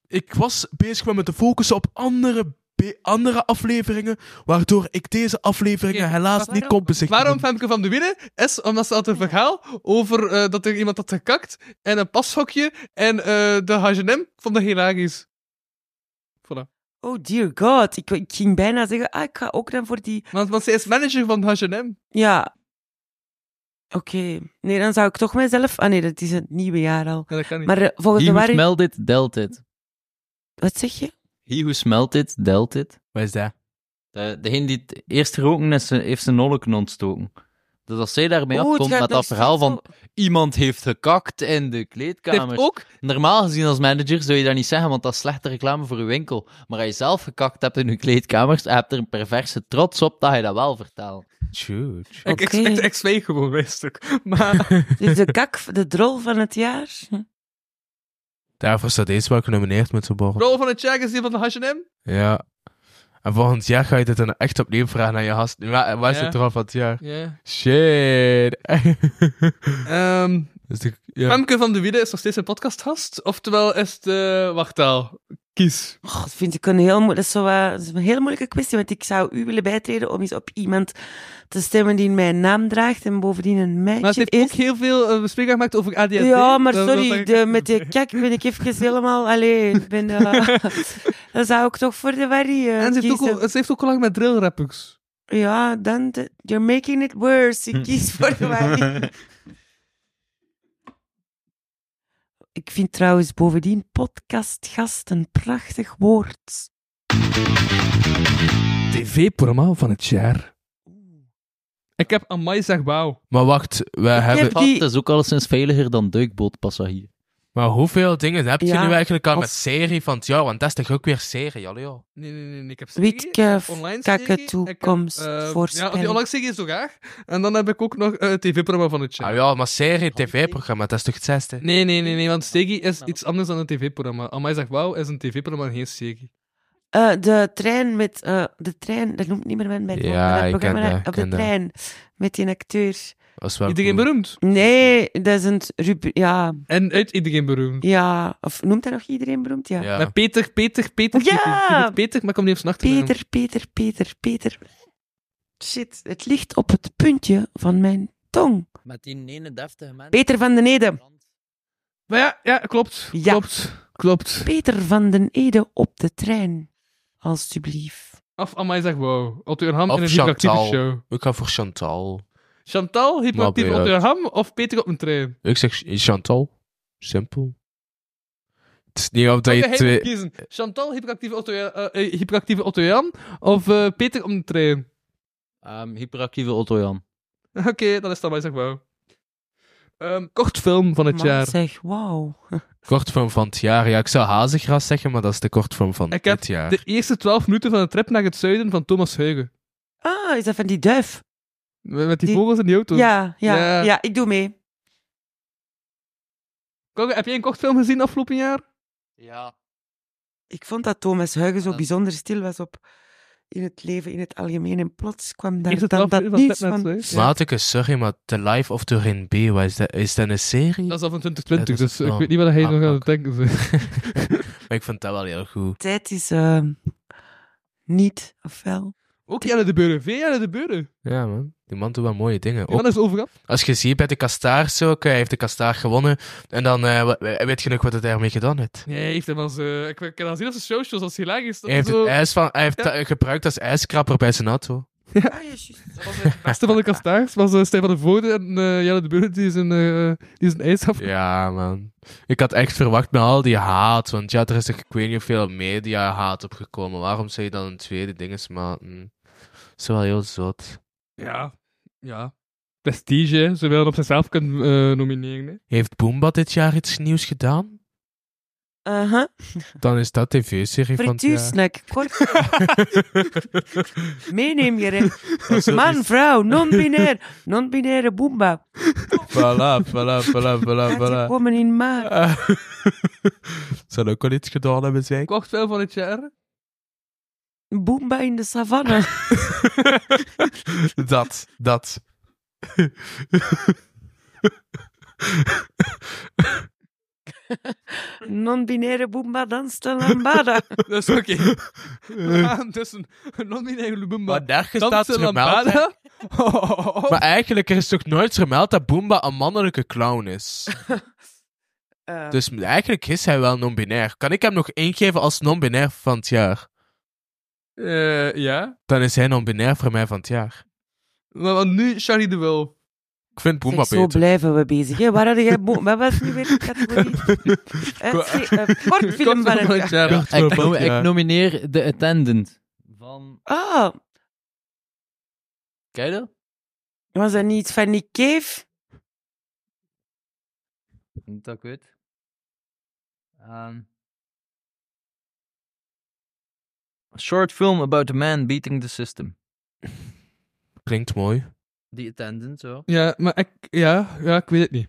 [SPEAKER 3] Ik was bezig met me te focussen op andere, be- andere afleveringen, waardoor ik deze afleveringen helaas niet kon bezichtigen.
[SPEAKER 5] Waarom Femke van de Winnen? Is omdat ze had een verhaal over eh, dat er iemand had gekakt en een pashokje en eh, de H&M. Ik vond dat hilarisch. Voilà.
[SPEAKER 6] Oh dear god, ik, ik ging bijna zeggen, ah, ik ga ook dan voor die...
[SPEAKER 5] Want, want zij is manager van H&M.
[SPEAKER 6] Ja. Oké. Nee, dan zou ik toch mezelf... Ah nee, dat is het nieuwe jaar al.
[SPEAKER 5] dat kan niet.
[SPEAKER 6] Maar eh, volgens
[SPEAKER 4] He
[SPEAKER 6] de
[SPEAKER 4] who
[SPEAKER 6] waar...
[SPEAKER 4] smelled it, dealt it.
[SPEAKER 6] Wat zeg je?
[SPEAKER 4] He who smelt it, dealt it.
[SPEAKER 3] Wat is dat?
[SPEAKER 4] De, degene die het eerst roken is, eh, heeft zijn nolken ontstoken. Dus als zij daarmee
[SPEAKER 5] Oh, het
[SPEAKER 4] afkomt
[SPEAKER 5] gaat
[SPEAKER 4] met
[SPEAKER 5] nog
[SPEAKER 4] dat verhaal
[SPEAKER 5] steeds
[SPEAKER 4] van iemand heeft gekakt in de kleedkamer.
[SPEAKER 5] Het heeft ook-
[SPEAKER 4] Normaal gezien als manager zou je dat niet zeggen, want dat is slechte reclame voor je winkel. Maar als je zelf gekakt hebt in je kleedkamers, en je hebt er een perverse trots op dat je dat wel vertelt.
[SPEAKER 3] Tjoe.
[SPEAKER 5] Ik, ik, ik, ik zweeg gewoon bij een stuk. Maar...
[SPEAKER 6] Dus de kak, de drol van het jaar?
[SPEAKER 5] Hm.
[SPEAKER 3] Daarvoor staat deze wel genomineerd met z'n borrel.
[SPEAKER 5] Rol van het jaar is die van de H&M.
[SPEAKER 3] Ja. En volgend jaar ga je dit dan echt opnieuw vragen aan je gast. Waar, waar is
[SPEAKER 5] Ja.
[SPEAKER 3] het eraf van het jaar?
[SPEAKER 5] Ja.
[SPEAKER 3] Shit.
[SPEAKER 5] Ehm,
[SPEAKER 3] Dus de- ja.
[SPEAKER 5] Femke van de Wielen is nog steeds een podcastgast. Oftewel is de wachttaal. Kies.
[SPEAKER 6] Oh, dat vind ik een heel, mo- dat is zo, eh, dat is een heel moeilijke kwestie, want ik zou u willen bijtreden om eens op iemand te stemmen die mijn naam draagt en bovendien een meisje
[SPEAKER 5] Maar ze heeft
[SPEAKER 6] is.
[SPEAKER 5] ook heel veel eh, bespreekbaar gemaakt over ADHD.
[SPEAKER 6] Ja, maar
[SPEAKER 5] Dat- dat-
[SPEAKER 6] sorry,
[SPEAKER 5] dat-
[SPEAKER 6] de, met de kijk ben ik even helemaal alleen. Ik ben, eh, dan zou ik toch voor de Wari eh,
[SPEAKER 5] En ze heeft, ook,
[SPEAKER 6] kiezen.
[SPEAKER 5] al- ze heeft ook al lang met drillrappers.
[SPEAKER 6] Ja, dan, de- you're making it worse. Ik kies voor de Wari. ik vind trouwens bovendien podcastgast een prachtig woord.
[SPEAKER 5] TV-programma van het jaar. Ik heb Amai zeg wauw.
[SPEAKER 3] Maar wacht, we hebben...
[SPEAKER 4] Het is ook alleszins veiliger dan duikbootpassagier.
[SPEAKER 3] Maar hoeveel dingen heb je
[SPEAKER 4] Ja,
[SPEAKER 3] nu eigenlijk aan
[SPEAKER 4] of-
[SPEAKER 3] met serie van het jaar? Want dat is toch ook weer serie, allee joh.
[SPEAKER 5] Nee, nee, nee, nee, ik heb serie,
[SPEAKER 6] Wietke
[SPEAKER 5] ik heb online serie,
[SPEAKER 6] kakken
[SPEAKER 5] ik
[SPEAKER 6] eh, toekomst
[SPEAKER 5] heb, eh, Ja,
[SPEAKER 6] voorspelling.
[SPEAKER 5] die online serie is toch graag. En dan heb ik ook nog eh, het tv-programma van het jaar.
[SPEAKER 3] Ah ja, maar serie, tv-programma, dat is toch het zesde?
[SPEAKER 5] Nee, nee, nee, nee, want Stegie is iets anders dan een tv-programma. Amai zegt wauw is een tv-programma en geen Stegie.
[SPEAKER 6] Eh, de trein met... eh, de trein, dat noemt niet meer men bij het
[SPEAKER 3] Ja,
[SPEAKER 6] woord, maar dat
[SPEAKER 3] ik ken
[SPEAKER 6] programma
[SPEAKER 3] dat, ik
[SPEAKER 6] op
[SPEAKER 3] ken
[SPEAKER 6] de
[SPEAKER 3] dat.
[SPEAKER 6] trein. Met die acteur.
[SPEAKER 3] Dat is wel
[SPEAKER 5] Iedereen beroemd?
[SPEAKER 6] Nee, dat is een... rubu- Ja,
[SPEAKER 5] En uit iedereen beroemd.
[SPEAKER 6] ja. Of noemt hij nog iedereen beroemd? Ja.
[SPEAKER 5] Met Peter, Peter, Peter.
[SPEAKER 6] Ja!
[SPEAKER 5] Peter, Peter, Peter, maar ik kom niet op zijn achternaam.
[SPEAKER 6] Peter, Peter, Peter, Peter. Shit, het ligt op het puntje van mijn tong.
[SPEAKER 4] Met die ene deftige man.
[SPEAKER 6] Peter van den Ede.
[SPEAKER 5] Maar ja, ja klopt. Klopt. Klopt.
[SPEAKER 6] Peter van den Ede op de trein. Alsjeblieft.
[SPEAKER 5] Of Amai zegt wauw. Otto Ham in
[SPEAKER 3] Of
[SPEAKER 5] een hyperactieve show.
[SPEAKER 3] Chantal. Ik ga voor Chantal.
[SPEAKER 5] Chantal, hyperactief
[SPEAKER 3] Maar bij-
[SPEAKER 5] Otto Ham of Peter op een trein?
[SPEAKER 3] Ik zeg Chantal. Simpel. Het is niet of dat
[SPEAKER 5] Oké,
[SPEAKER 3] je
[SPEAKER 5] hij
[SPEAKER 3] twee...
[SPEAKER 5] moet kiezen. Chantal, hyperactieve Otto, eh, eh, hyperactieve Otto Jan of eh, Peter om de trein?
[SPEAKER 4] Ehm, hyperactieve Otto Jan.
[SPEAKER 5] Oké, dat is dan mij, zeg wauw. Ehm, kort film van het
[SPEAKER 6] Man,
[SPEAKER 5] jaar.
[SPEAKER 6] zeg, wauw.
[SPEAKER 3] Kortvorm van het jaar. Ja, ik zou hazegras zeggen, maar dat is de kortvorm van
[SPEAKER 5] Ik heb
[SPEAKER 3] dit jaar.
[SPEAKER 5] de eerste 12 minuten van de trip naar het zuiden van Thomas Huigen.
[SPEAKER 6] Ah, is dat van die duif?
[SPEAKER 5] Met met die, vogels in die auto.
[SPEAKER 6] Ja, ja, ja. ik doe mee.
[SPEAKER 5] Kogge, heb jij een kort film gezien afgelopen jaar?
[SPEAKER 4] Ja.
[SPEAKER 6] Ik vond dat Thomas Huygens zo bijzonder stil was op in het leven in het algemeen. En plots kwam
[SPEAKER 5] Is
[SPEAKER 6] daar
[SPEAKER 5] het
[SPEAKER 6] dan
[SPEAKER 5] af-
[SPEAKER 6] dat
[SPEAKER 5] is dat net
[SPEAKER 6] nieuws
[SPEAKER 5] net
[SPEAKER 6] van...
[SPEAKER 5] zo, hè? Ja.
[SPEAKER 3] Maateke, sorry, maar The Life of Turin B, wat is dat, is dat een serie?
[SPEAKER 5] Dat is al van 2020,
[SPEAKER 3] Dat is
[SPEAKER 5] dus
[SPEAKER 3] het
[SPEAKER 5] ik
[SPEAKER 3] wel.
[SPEAKER 5] weet niet wat hij nog aan het denken is.
[SPEAKER 3] Maar ik vond dat wel heel goed.
[SPEAKER 6] Tijd is eh, niet, of wel?
[SPEAKER 5] Ook Jelle de Beuren. Veel Jelle de Beuren.
[SPEAKER 3] Ja, man. Die man doet wel mooie dingen.
[SPEAKER 5] Die man
[SPEAKER 3] Ook-
[SPEAKER 5] is overal.
[SPEAKER 3] Als je ziet bij de Kastaar zo, oké, hij heeft de Kastaar gewonnen. En dan eh, wa- weet je nog wat hij daarmee gedaan heeft.
[SPEAKER 5] Nee, hij heeft hem als... eh, ik ik kan al zien op zijn socials, als hij laag is. dat
[SPEAKER 3] Hij heeft,
[SPEAKER 5] zo-
[SPEAKER 3] het ijs van, hij heeft
[SPEAKER 5] Ja.
[SPEAKER 3] dat gebruikt als ijskrapper bij zijn auto.
[SPEAKER 6] Ah,
[SPEAKER 5] beste van de kastaars was eh, Stijn van de Voorde en eh, Jelle de Beuren die zijn, eh die zijn ijs af.
[SPEAKER 3] Ja, man. Ik had echt verwacht met al die haat. Want ja, er is er, ik weet niet hoeveel media-haat opgekomen. Waarom zou je dan een tweede ding eens maken? Dat is wel heel zot.
[SPEAKER 5] Ja. Ja. Prestige, ze willen op zichzelf kunnen eh, nomineren. Hè.
[SPEAKER 3] Heeft Boomba dit jaar iets nieuws gedaan?
[SPEAKER 6] Uh-huh.
[SPEAKER 3] Dan is dat tv-serie van het jaar.
[SPEAKER 6] Frituursnack, kort. Meeneem je
[SPEAKER 3] Dat
[SPEAKER 6] recht.
[SPEAKER 3] is-
[SPEAKER 6] Man, vrouw, non-binair, non-binaire boomba.
[SPEAKER 3] Voilà, voilà, voilà, voilà, voilà.
[SPEAKER 6] Woman in ma.
[SPEAKER 3] Ah. Zou dat ook al iets gedaan hebben, zei ik?
[SPEAKER 5] Kocht veel van het jaar.
[SPEAKER 6] Boomba in de savanne.
[SPEAKER 3] Dat, dat.
[SPEAKER 6] Non-binaire boomba danst een lambada.
[SPEAKER 5] Dat is oké. We gaan tussen een non-binaire Lubumba.
[SPEAKER 3] Maar nergens
[SPEAKER 5] dansen
[SPEAKER 3] staat vermeld,
[SPEAKER 5] lambada.
[SPEAKER 3] Maar eigenlijk er is toch nooit vermeld dat Boomba een mannelijke clown is?
[SPEAKER 6] Eh,
[SPEAKER 3] Dus eigenlijk is hij wel non-binair. Kan ik hem nog ingeven als non-binair van het jaar?
[SPEAKER 5] Eh, ja.
[SPEAKER 3] Dan is hij non-binair voor mij van het jaar.
[SPEAKER 5] Maar, maar nu Charlie de Wolf.
[SPEAKER 3] Ik vind Boomba
[SPEAKER 6] Zeg, zo
[SPEAKER 3] beter.
[SPEAKER 6] blijven we bezig. Hè? Waar had jij bo- Wat was nu weer de categorie? Eh, eh, kortfilm van het jaar.
[SPEAKER 3] Kortfilm
[SPEAKER 4] Ik,
[SPEAKER 3] van het
[SPEAKER 4] ik
[SPEAKER 3] jaar.
[SPEAKER 4] nomineer The Attendant.
[SPEAKER 6] Ah,
[SPEAKER 4] Kijk dat?
[SPEAKER 6] was dat niet iets van Nick Cave?
[SPEAKER 4] Niet dat ik weet. Ehm. a short film about a man beating the system.
[SPEAKER 3] Klinkt mooi.
[SPEAKER 4] The Attendant, zo.
[SPEAKER 5] Ja, maar ik, ja, ja, ik weet het niet.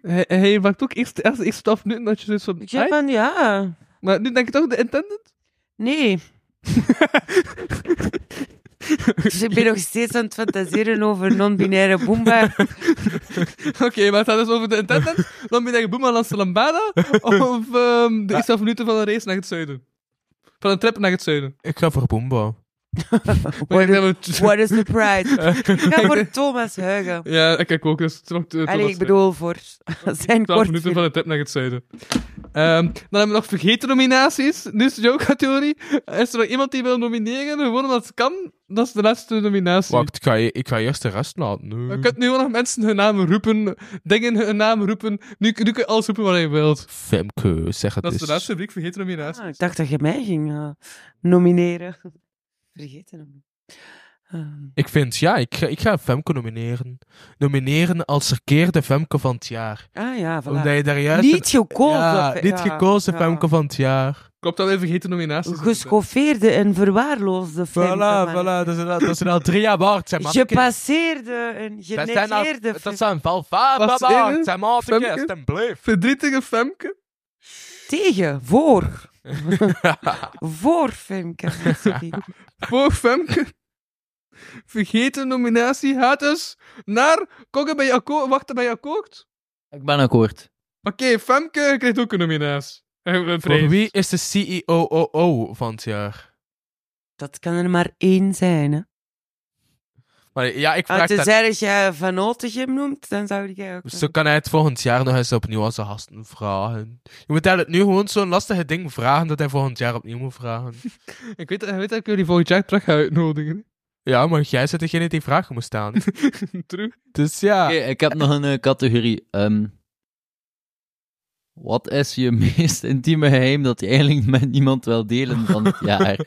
[SPEAKER 5] Hij, hij maakt ook eerst, eerst, eerst af nu dat je zoiets van...
[SPEAKER 6] Ja,
[SPEAKER 5] "Ai?"
[SPEAKER 6] van ja.
[SPEAKER 5] Maar nu denk ik toch de intendant?
[SPEAKER 6] Nee. Dus ik ben nog steeds aan het fantaseren over non-binaire boomba.
[SPEAKER 5] Oké, maar het gaat dus over de intendant, dan ben je Boemalans de Lambada, of ehm
[SPEAKER 6] Ah.
[SPEAKER 5] de eerste half minuten van een race naar het zuiden. Van een trip naar het zuiden.
[SPEAKER 3] Ik ga voor Boomba.
[SPEAKER 5] What is,
[SPEAKER 6] What is the prize? Ja, voor Thomas Huigen.
[SPEAKER 5] Ja, ik kijk ook. Dus het is nog, eh,
[SPEAKER 6] Allee,
[SPEAKER 5] Thomas
[SPEAKER 6] ik bedoel voor zijn
[SPEAKER 5] 12
[SPEAKER 6] kort.
[SPEAKER 5] minuten van de trip naar het zuiden. Ehm, dan hebben we nog vergeten nominaties. Nu is de Joka-theorie. Is er nog iemand die wil nomineren? Gewoon omdat het kan. Dat is de laatste nominatie.
[SPEAKER 3] Wacht, ik ga, je- ik ga eerst de rest laten.
[SPEAKER 5] Je
[SPEAKER 3] Nee.
[SPEAKER 5] kunt nu gewoon nog mensen hun namen roepen. Dingen hun naam roepen. Nu, nu kun je alles roepen wat je wilt.
[SPEAKER 3] Femke, zeg het
[SPEAKER 5] Dat is
[SPEAKER 3] eens.
[SPEAKER 5] de laatste rubriek. Vergeten nominaties.
[SPEAKER 6] Ah, ik dacht dat je mij ging eh, nomineren. Vergeten hem. Ehm,
[SPEAKER 3] Ik vind, ja, ik ga, ik ga Femke nomineren. Nomineren als verkeerde Femke van het jaar.
[SPEAKER 6] ah ja, voilà.
[SPEAKER 3] Omdat je daar juist...
[SPEAKER 6] Niet gekozen.
[SPEAKER 3] Ja,
[SPEAKER 6] Fe-
[SPEAKER 3] niet
[SPEAKER 6] ja,
[SPEAKER 3] gekozen
[SPEAKER 6] ja.
[SPEAKER 3] Femke van het jaar.
[SPEAKER 5] Klopt dat we vergeten nominaties?
[SPEAKER 6] Geschoffeerde en verwaarloosde Femke.
[SPEAKER 3] Voilà,
[SPEAKER 6] man.
[SPEAKER 3] voilà. Dat zijn al, dat zijn al drie award, hè, manneke.
[SPEAKER 6] Gepasseerde en
[SPEAKER 3] Dat zijn al-
[SPEAKER 6] genegeerde
[SPEAKER 3] Dat
[SPEAKER 6] Femke.
[SPEAKER 3] zijn valfaba
[SPEAKER 5] Wat is er?
[SPEAKER 3] awards, hè, manneke.
[SPEAKER 5] Femke?
[SPEAKER 3] Alsjeblieft.
[SPEAKER 5] Verdrietige Femke.
[SPEAKER 6] Tegen, voor. voor Femke.
[SPEAKER 5] Voor Femke. Vergeten nominatie gaat dus naar... Kogge, ben je akkoord? Wacht, ben je akkoord?
[SPEAKER 4] Ik ben akkoord.
[SPEAKER 5] Oké, Femke krijgt ook een nominatie. Eh, een prijs.
[SPEAKER 3] Voor wie is de E CEO van het jaar?
[SPEAKER 6] Dat kan er maar één zijn, hè.
[SPEAKER 3] Maar ja, ik vraag
[SPEAKER 6] Als je
[SPEAKER 3] dat-
[SPEAKER 6] zei dat jij Van Ottegem noemt, dan zou jij ook...
[SPEAKER 3] Dus dan kan hij het volgend jaar nog eens opnieuw aan zijn gasten vragen. Je moet eigenlijk nu gewoon zo'n lastige ding vragen dat hij volgend jaar opnieuw moet vragen.
[SPEAKER 5] Ik weet, ik weet dat ik jullie volgend jaar terug ga uitnodigen.
[SPEAKER 3] Ja, maar jij bent degene die vragen moet staan.
[SPEAKER 5] True.
[SPEAKER 3] Dus
[SPEAKER 14] Ah.
[SPEAKER 3] ja.
[SPEAKER 4] Oké, ik heb nog een eh, categorie. Ehm, wat is je meest intieme geheim dat je eigenlijk met niemand wil delen van het jaar?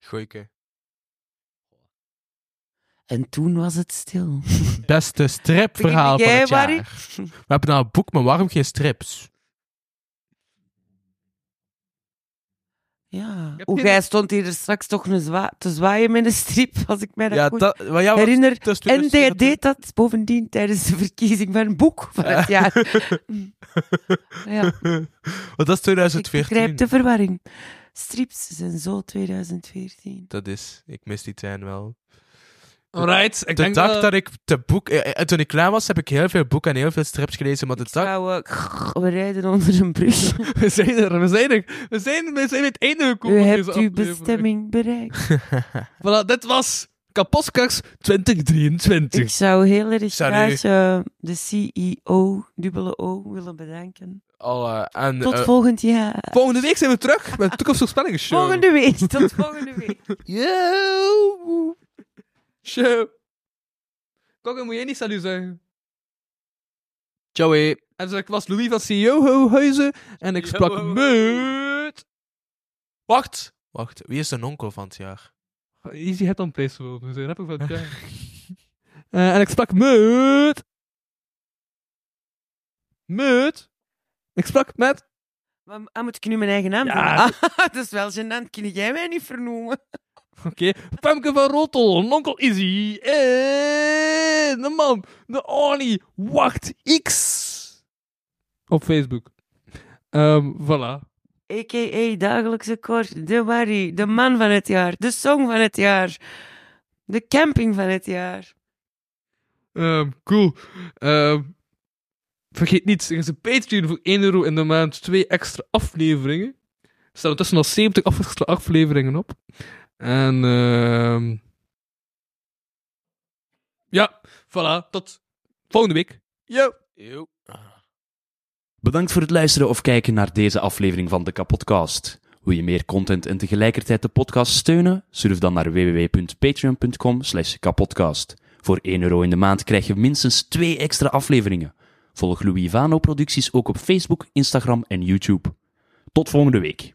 [SPEAKER 3] Goeie.
[SPEAKER 6] En toen was het stil.
[SPEAKER 3] Beste stripverhaal van
[SPEAKER 6] Begin
[SPEAKER 3] het
[SPEAKER 6] jij,
[SPEAKER 3] jaar.
[SPEAKER 6] Barry?
[SPEAKER 3] We hebben nou een boek, maar waarom geen strips?
[SPEAKER 6] Ja.
[SPEAKER 3] heb
[SPEAKER 6] Hoe
[SPEAKER 3] geen-
[SPEAKER 6] jij stond hier er straks toch een zwa- te zwaaien met een strip, als ik mij dat
[SPEAKER 3] Ja,
[SPEAKER 6] goed
[SPEAKER 3] dat- maar ja, wat-
[SPEAKER 6] herinner.
[SPEAKER 3] dat is
[SPEAKER 6] En
[SPEAKER 3] 2024.
[SPEAKER 6] jij deed dat bovendien tijdens de verkiezing van een boek van het
[SPEAKER 3] Ja.
[SPEAKER 6] jaar. ja.
[SPEAKER 3] Want dat is
[SPEAKER 6] Ik
[SPEAKER 3] 2014.
[SPEAKER 6] begrijp de verwarring. Strips zijn zo 2014.
[SPEAKER 3] Dat is, ik mis die tijd wel.
[SPEAKER 5] Alright, ik
[SPEAKER 3] de
[SPEAKER 5] denk
[SPEAKER 3] dag
[SPEAKER 5] wel-
[SPEAKER 3] dat ik te boek... eh, eh, toen ik klein was, heb ik heel veel boeken en heel veel strips gelezen, maar de dag...
[SPEAKER 6] We rijden onder een brug.
[SPEAKER 5] We zijn er, we zijn er. We zijn, we zijn bij het einde
[SPEAKER 6] U
[SPEAKER 5] gekomen. van
[SPEAKER 6] hebt
[SPEAKER 5] deze
[SPEAKER 6] uw
[SPEAKER 5] aflevering.
[SPEAKER 6] bestemming bereikt.
[SPEAKER 5] Voilà, dit was Kapotkaks 2023.
[SPEAKER 6] Ik zou heel erg
[SPEAKER 5] Zou
[SPEAKER 6] graag
[SPEAKER 5] nu-
[SPEAKER 6] eh, de CEO, dubbele O, willen bedanken.
[SPEAKER 3] Al, eh, en,
[SPEAKER 6] Tot
[SPEAKER 3] eh,
[SPEAKER 6] volgend jaar.
[SPEAKER 5] Volgende week zijn we terug met Toekomstvoorspellingen Show.
[SPEAKER 6] Volgende week. Tot volgende week.
[SPEAKER 5] Yo! Show. Kokken, moet jij niet salut zeggen?
[SPEAKER 4] Ciao. hè.
[SPEAKER 5] En dus ik was Louis van CEO Huizen en ik sprak met...
[SPEAKER 3] Wacht! Wacht, wie is de onkel van het jaar?
[SPEAKER 5] Easy had dan place gewoon, dus daar heb ik van. Ja. Eh, en ik sprak met. Met. Ik sprak met.
[SPEAKER 6] Maar, ah, moet ik nu mijn eigen naam
[SPEAKER 5] Ja.
[SPEAKER 6] noemen? Ah, dat is wel gênant. Kun jij mij niet vernoemen?
[SPEAKER 5] Oké, Femke van Rotel, Onkel Izzy, en de man, de Arnie, Wacht X. Op Facebook. Ehm voilà.
[SPEAKER 6] A.k.a. Dagelijkse Kort, de Marie, de man van het jaar, de song van het jaar, de camping van het jaar.
[SPEAKER 5] Ehm, cool. Ehm, vergeet niet, er is een Patreon voor 1 euro in de maand, twee extra afleveringen. Er staan intussen al 70 af- extra afleveringen op. En ehm ja, voilà, tot volgende week. Yo! Yo.
[SPEAKER 14] Bedankt voor het luisteren of kijken naar deze aflevering van de Kapodcast. Wil je meer content en tegelijkertijd de podcast steunen? Surf dan naar www.patreon.com slash kapodcast. Voor 1 euro in de maand krijg je minstens 2 extra afleveringen. Volg Louis Vano producties ook op Facebook, Instagram en YouTube. Tot volgende week.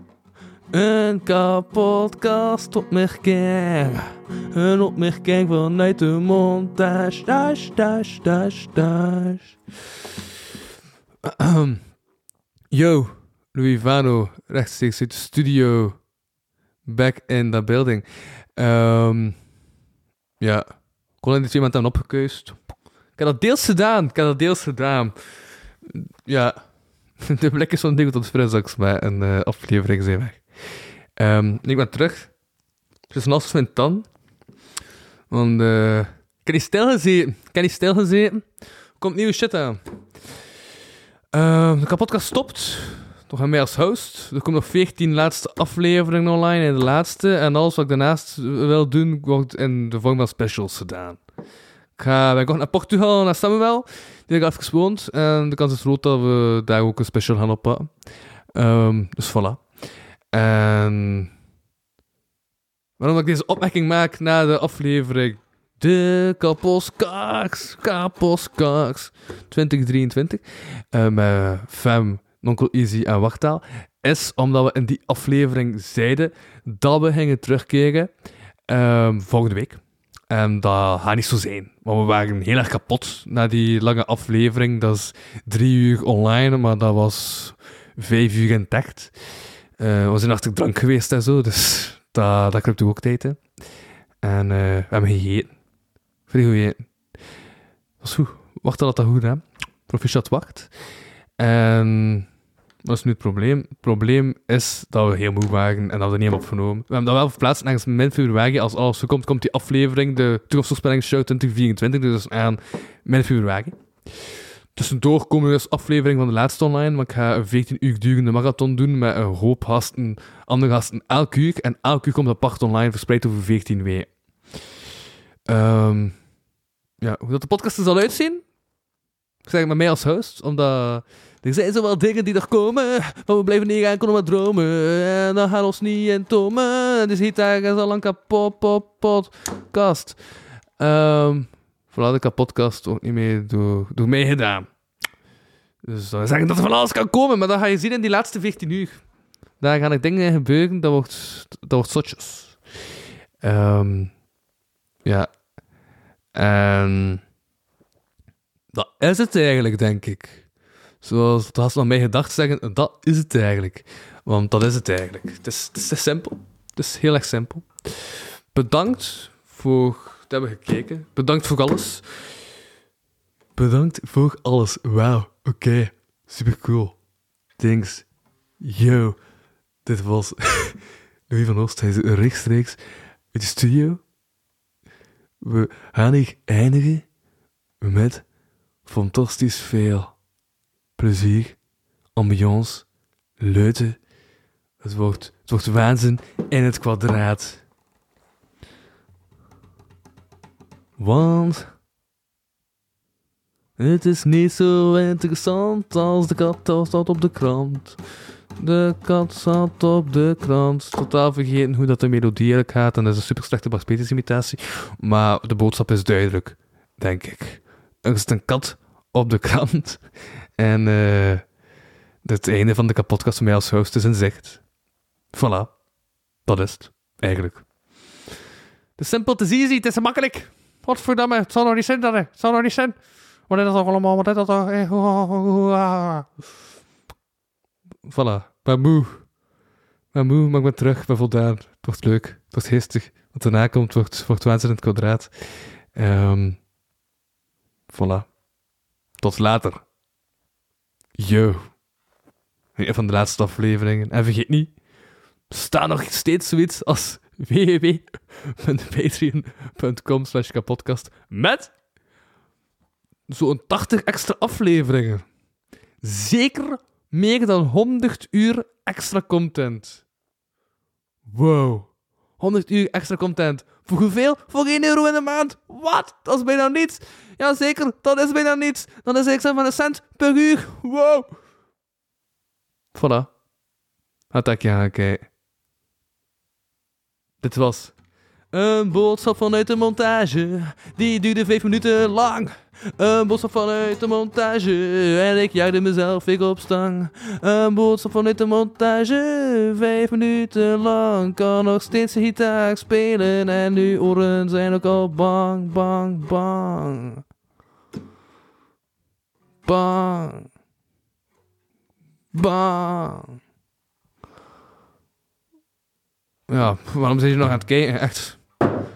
[SPEAKER 5] Een kapotkast opmerking. Een opmerking vanuit de montage. Dash, dash, dash, dash. Ahem. Yo, Louis Vano, rechtstreeks uit de studio. Back in the building. Ehm, ja, Colin heeft iemand aan opgekeust. Ik heb dat deels gedaan, ik heb dat deels gedaan. Ja, de blik is zo'n ding tot frisdaks, maar een eh, aflevering zijn weg. Ehm, ik ben terug. Het is een als van tan. Want eh, ik heb niet stilgezeten. Ik heb niet stilgezeten. Er komt nieuwe shit aan. Ehm, de kapotkast stopt. Toch aan mij als host. Er komt nog 14 laatste afleveringen online in de laatste. En alles wat ik daarnaast wil doen, wordt in de vorm van specials gedaan. Ik ga ben ik ook naar Portugal, naar Samuel. Die heb ik even gewoond. En de kans is groot dat we daar ook een special gaan oppakken. Ehm, dus voilà. En waarom Ehm, ik deze opmerking maak na de aflevering. De Kaposkaks, Kaposkaks 2023. eh, Met Fem, Nonkel Easy en Wachtaal. Is omdat we in die aflevering zeiden dat we gingen terugkeren ehm, volgende week. En dat gaat niet zo zijn. Want we waren heel erg kapot na die lange aflevering. Dat is drie uur online, maar dat was vijf uur intact. Eh we zijn achter drank geweest en zo, dus dat, dat kruipt ook tijd in. En eh, we hebben gegeten. Vrij goed gegeten. Dat was goed. Wacht dat dat goed, hè. Proficiat wacht. En dat is nu het probleem. Het probleem is dat we heel moe waren en dat we er niet hebben opgenomen. We hebben dat wel verplaatst naar min februari. Als alles goed komt, komt die aflevering, de Toekomstvoorspelling Show 2024, dus aan min februari. Tussendoor komen we dus aflevering van de laatste online, want ik ga een 14 uur durende marathon doen met een hoop gasten, andere gasten elk uur. En elk uur komt apart online, verspreid over 14 weken. Ehm, ja, hoe dat de podcast er zal uitzien? Ik zeg het met mij als host, omdat er zijn zowel dingen die er komen, maar we blijven niet aankomen met dromen. En dan gaan we ons niet in tomen. Dus hier daar is al een kapot pop, podcast. Ehm vooral de kapotkast ook niet meer door, door mij gedaan. Dus dat wil zeggen dat er van alles kan komen, maar dat ga je zien in die laatste 14 uur. Daar gaan er dingen gebeuren, dat wordt, dat wordt zotjes. Ehm, ja. En dat is het eigenlijk, denk ik. Zoals dat had ze aan mij gedacht zeggen, dat is het eigenlijk. Want dat is het eigenlijk. Het is, het is te simpel. Het is heel erg simpel. Bedankt voor het hebben gekeken. Bedankt voor alles. Bedankt voor alles. Wauw, oké. Super cool. Thanks. Yo. Dit was Louis van Oost. Hij is rechtstreeks uit de studio. We gaan hier eindigen met fantastisch veel plezier, ambiance, leuten. Het wordt, het wordt waanzin in het kwadraat. Want het is niet zo interessant als de kat al staat op de krant. De kat staat op de krant. Totaal vergeten hoe dat de melodie eigenlijk gaat. En dat is een super slechte Bas Peters imitatie. Maar de boodschap is duidelijk, denk ik. Er zit een kat op de krant. En eh, het einde van de kapotkast van mij als host is in zicht. Voilà. Dat is het, eigenlijk. Het is simpel, het is easy, het is makkelijk. Godverdamme, het zal nog niet zijn dat hè. het zal nog niet zijn. Wat is dat toch allemaal, wat is dat toch? eh, hoe- hoe- hoe- hoe- ah. Voilà, ik ben moe. Ik ben moe, maar ik ben terug, ik ben voldaan. Het wordt leuk, het wordt geestig. Wat daarna komt, wordt, wordt waanzin in het kwadraat. Ehm voilà. Tot later. Yo. Een van de laatste afleveringen. En vergeet niet, er staat nog steeds zoiets als www.patreon.com slash kapotkast met zo'n 80 extra afleveringen. Zeker meer dan 100 uur extra content. Wow. 100 uur extra content. Voor hoeveel? Voor 1 euro in de maand. Wat? Dat is bijna niets. Jazeker, dat is bijna niets. Dat is extra van een cent per uur. Wow. Voilà. Had ik ja, oké. Dit was een boodschap vanuit de montage. Die duurde vijf minuten lang. Een boodschap vanuit de montage. En ik jaagde mezelf ik op stang. Een boodschap vanuit de montage. Vijf minuten lang. Kan nog steeds de gitaar spelen. En nu oren zijn ook al bang, bang, bang. Bang. Bang. Ja, waarom zijn je nog aan het kijken? Echt.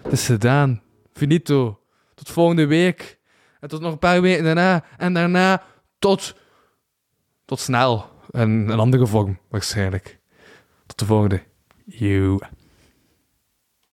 [SPEAKER 5] Het is gedaan. Finito. Tot volgende week. En tot nog een paar weken daarna. En daarna tot. Tot snel. En een andere vorm, waarschijnlijk. Tot de volgende. You.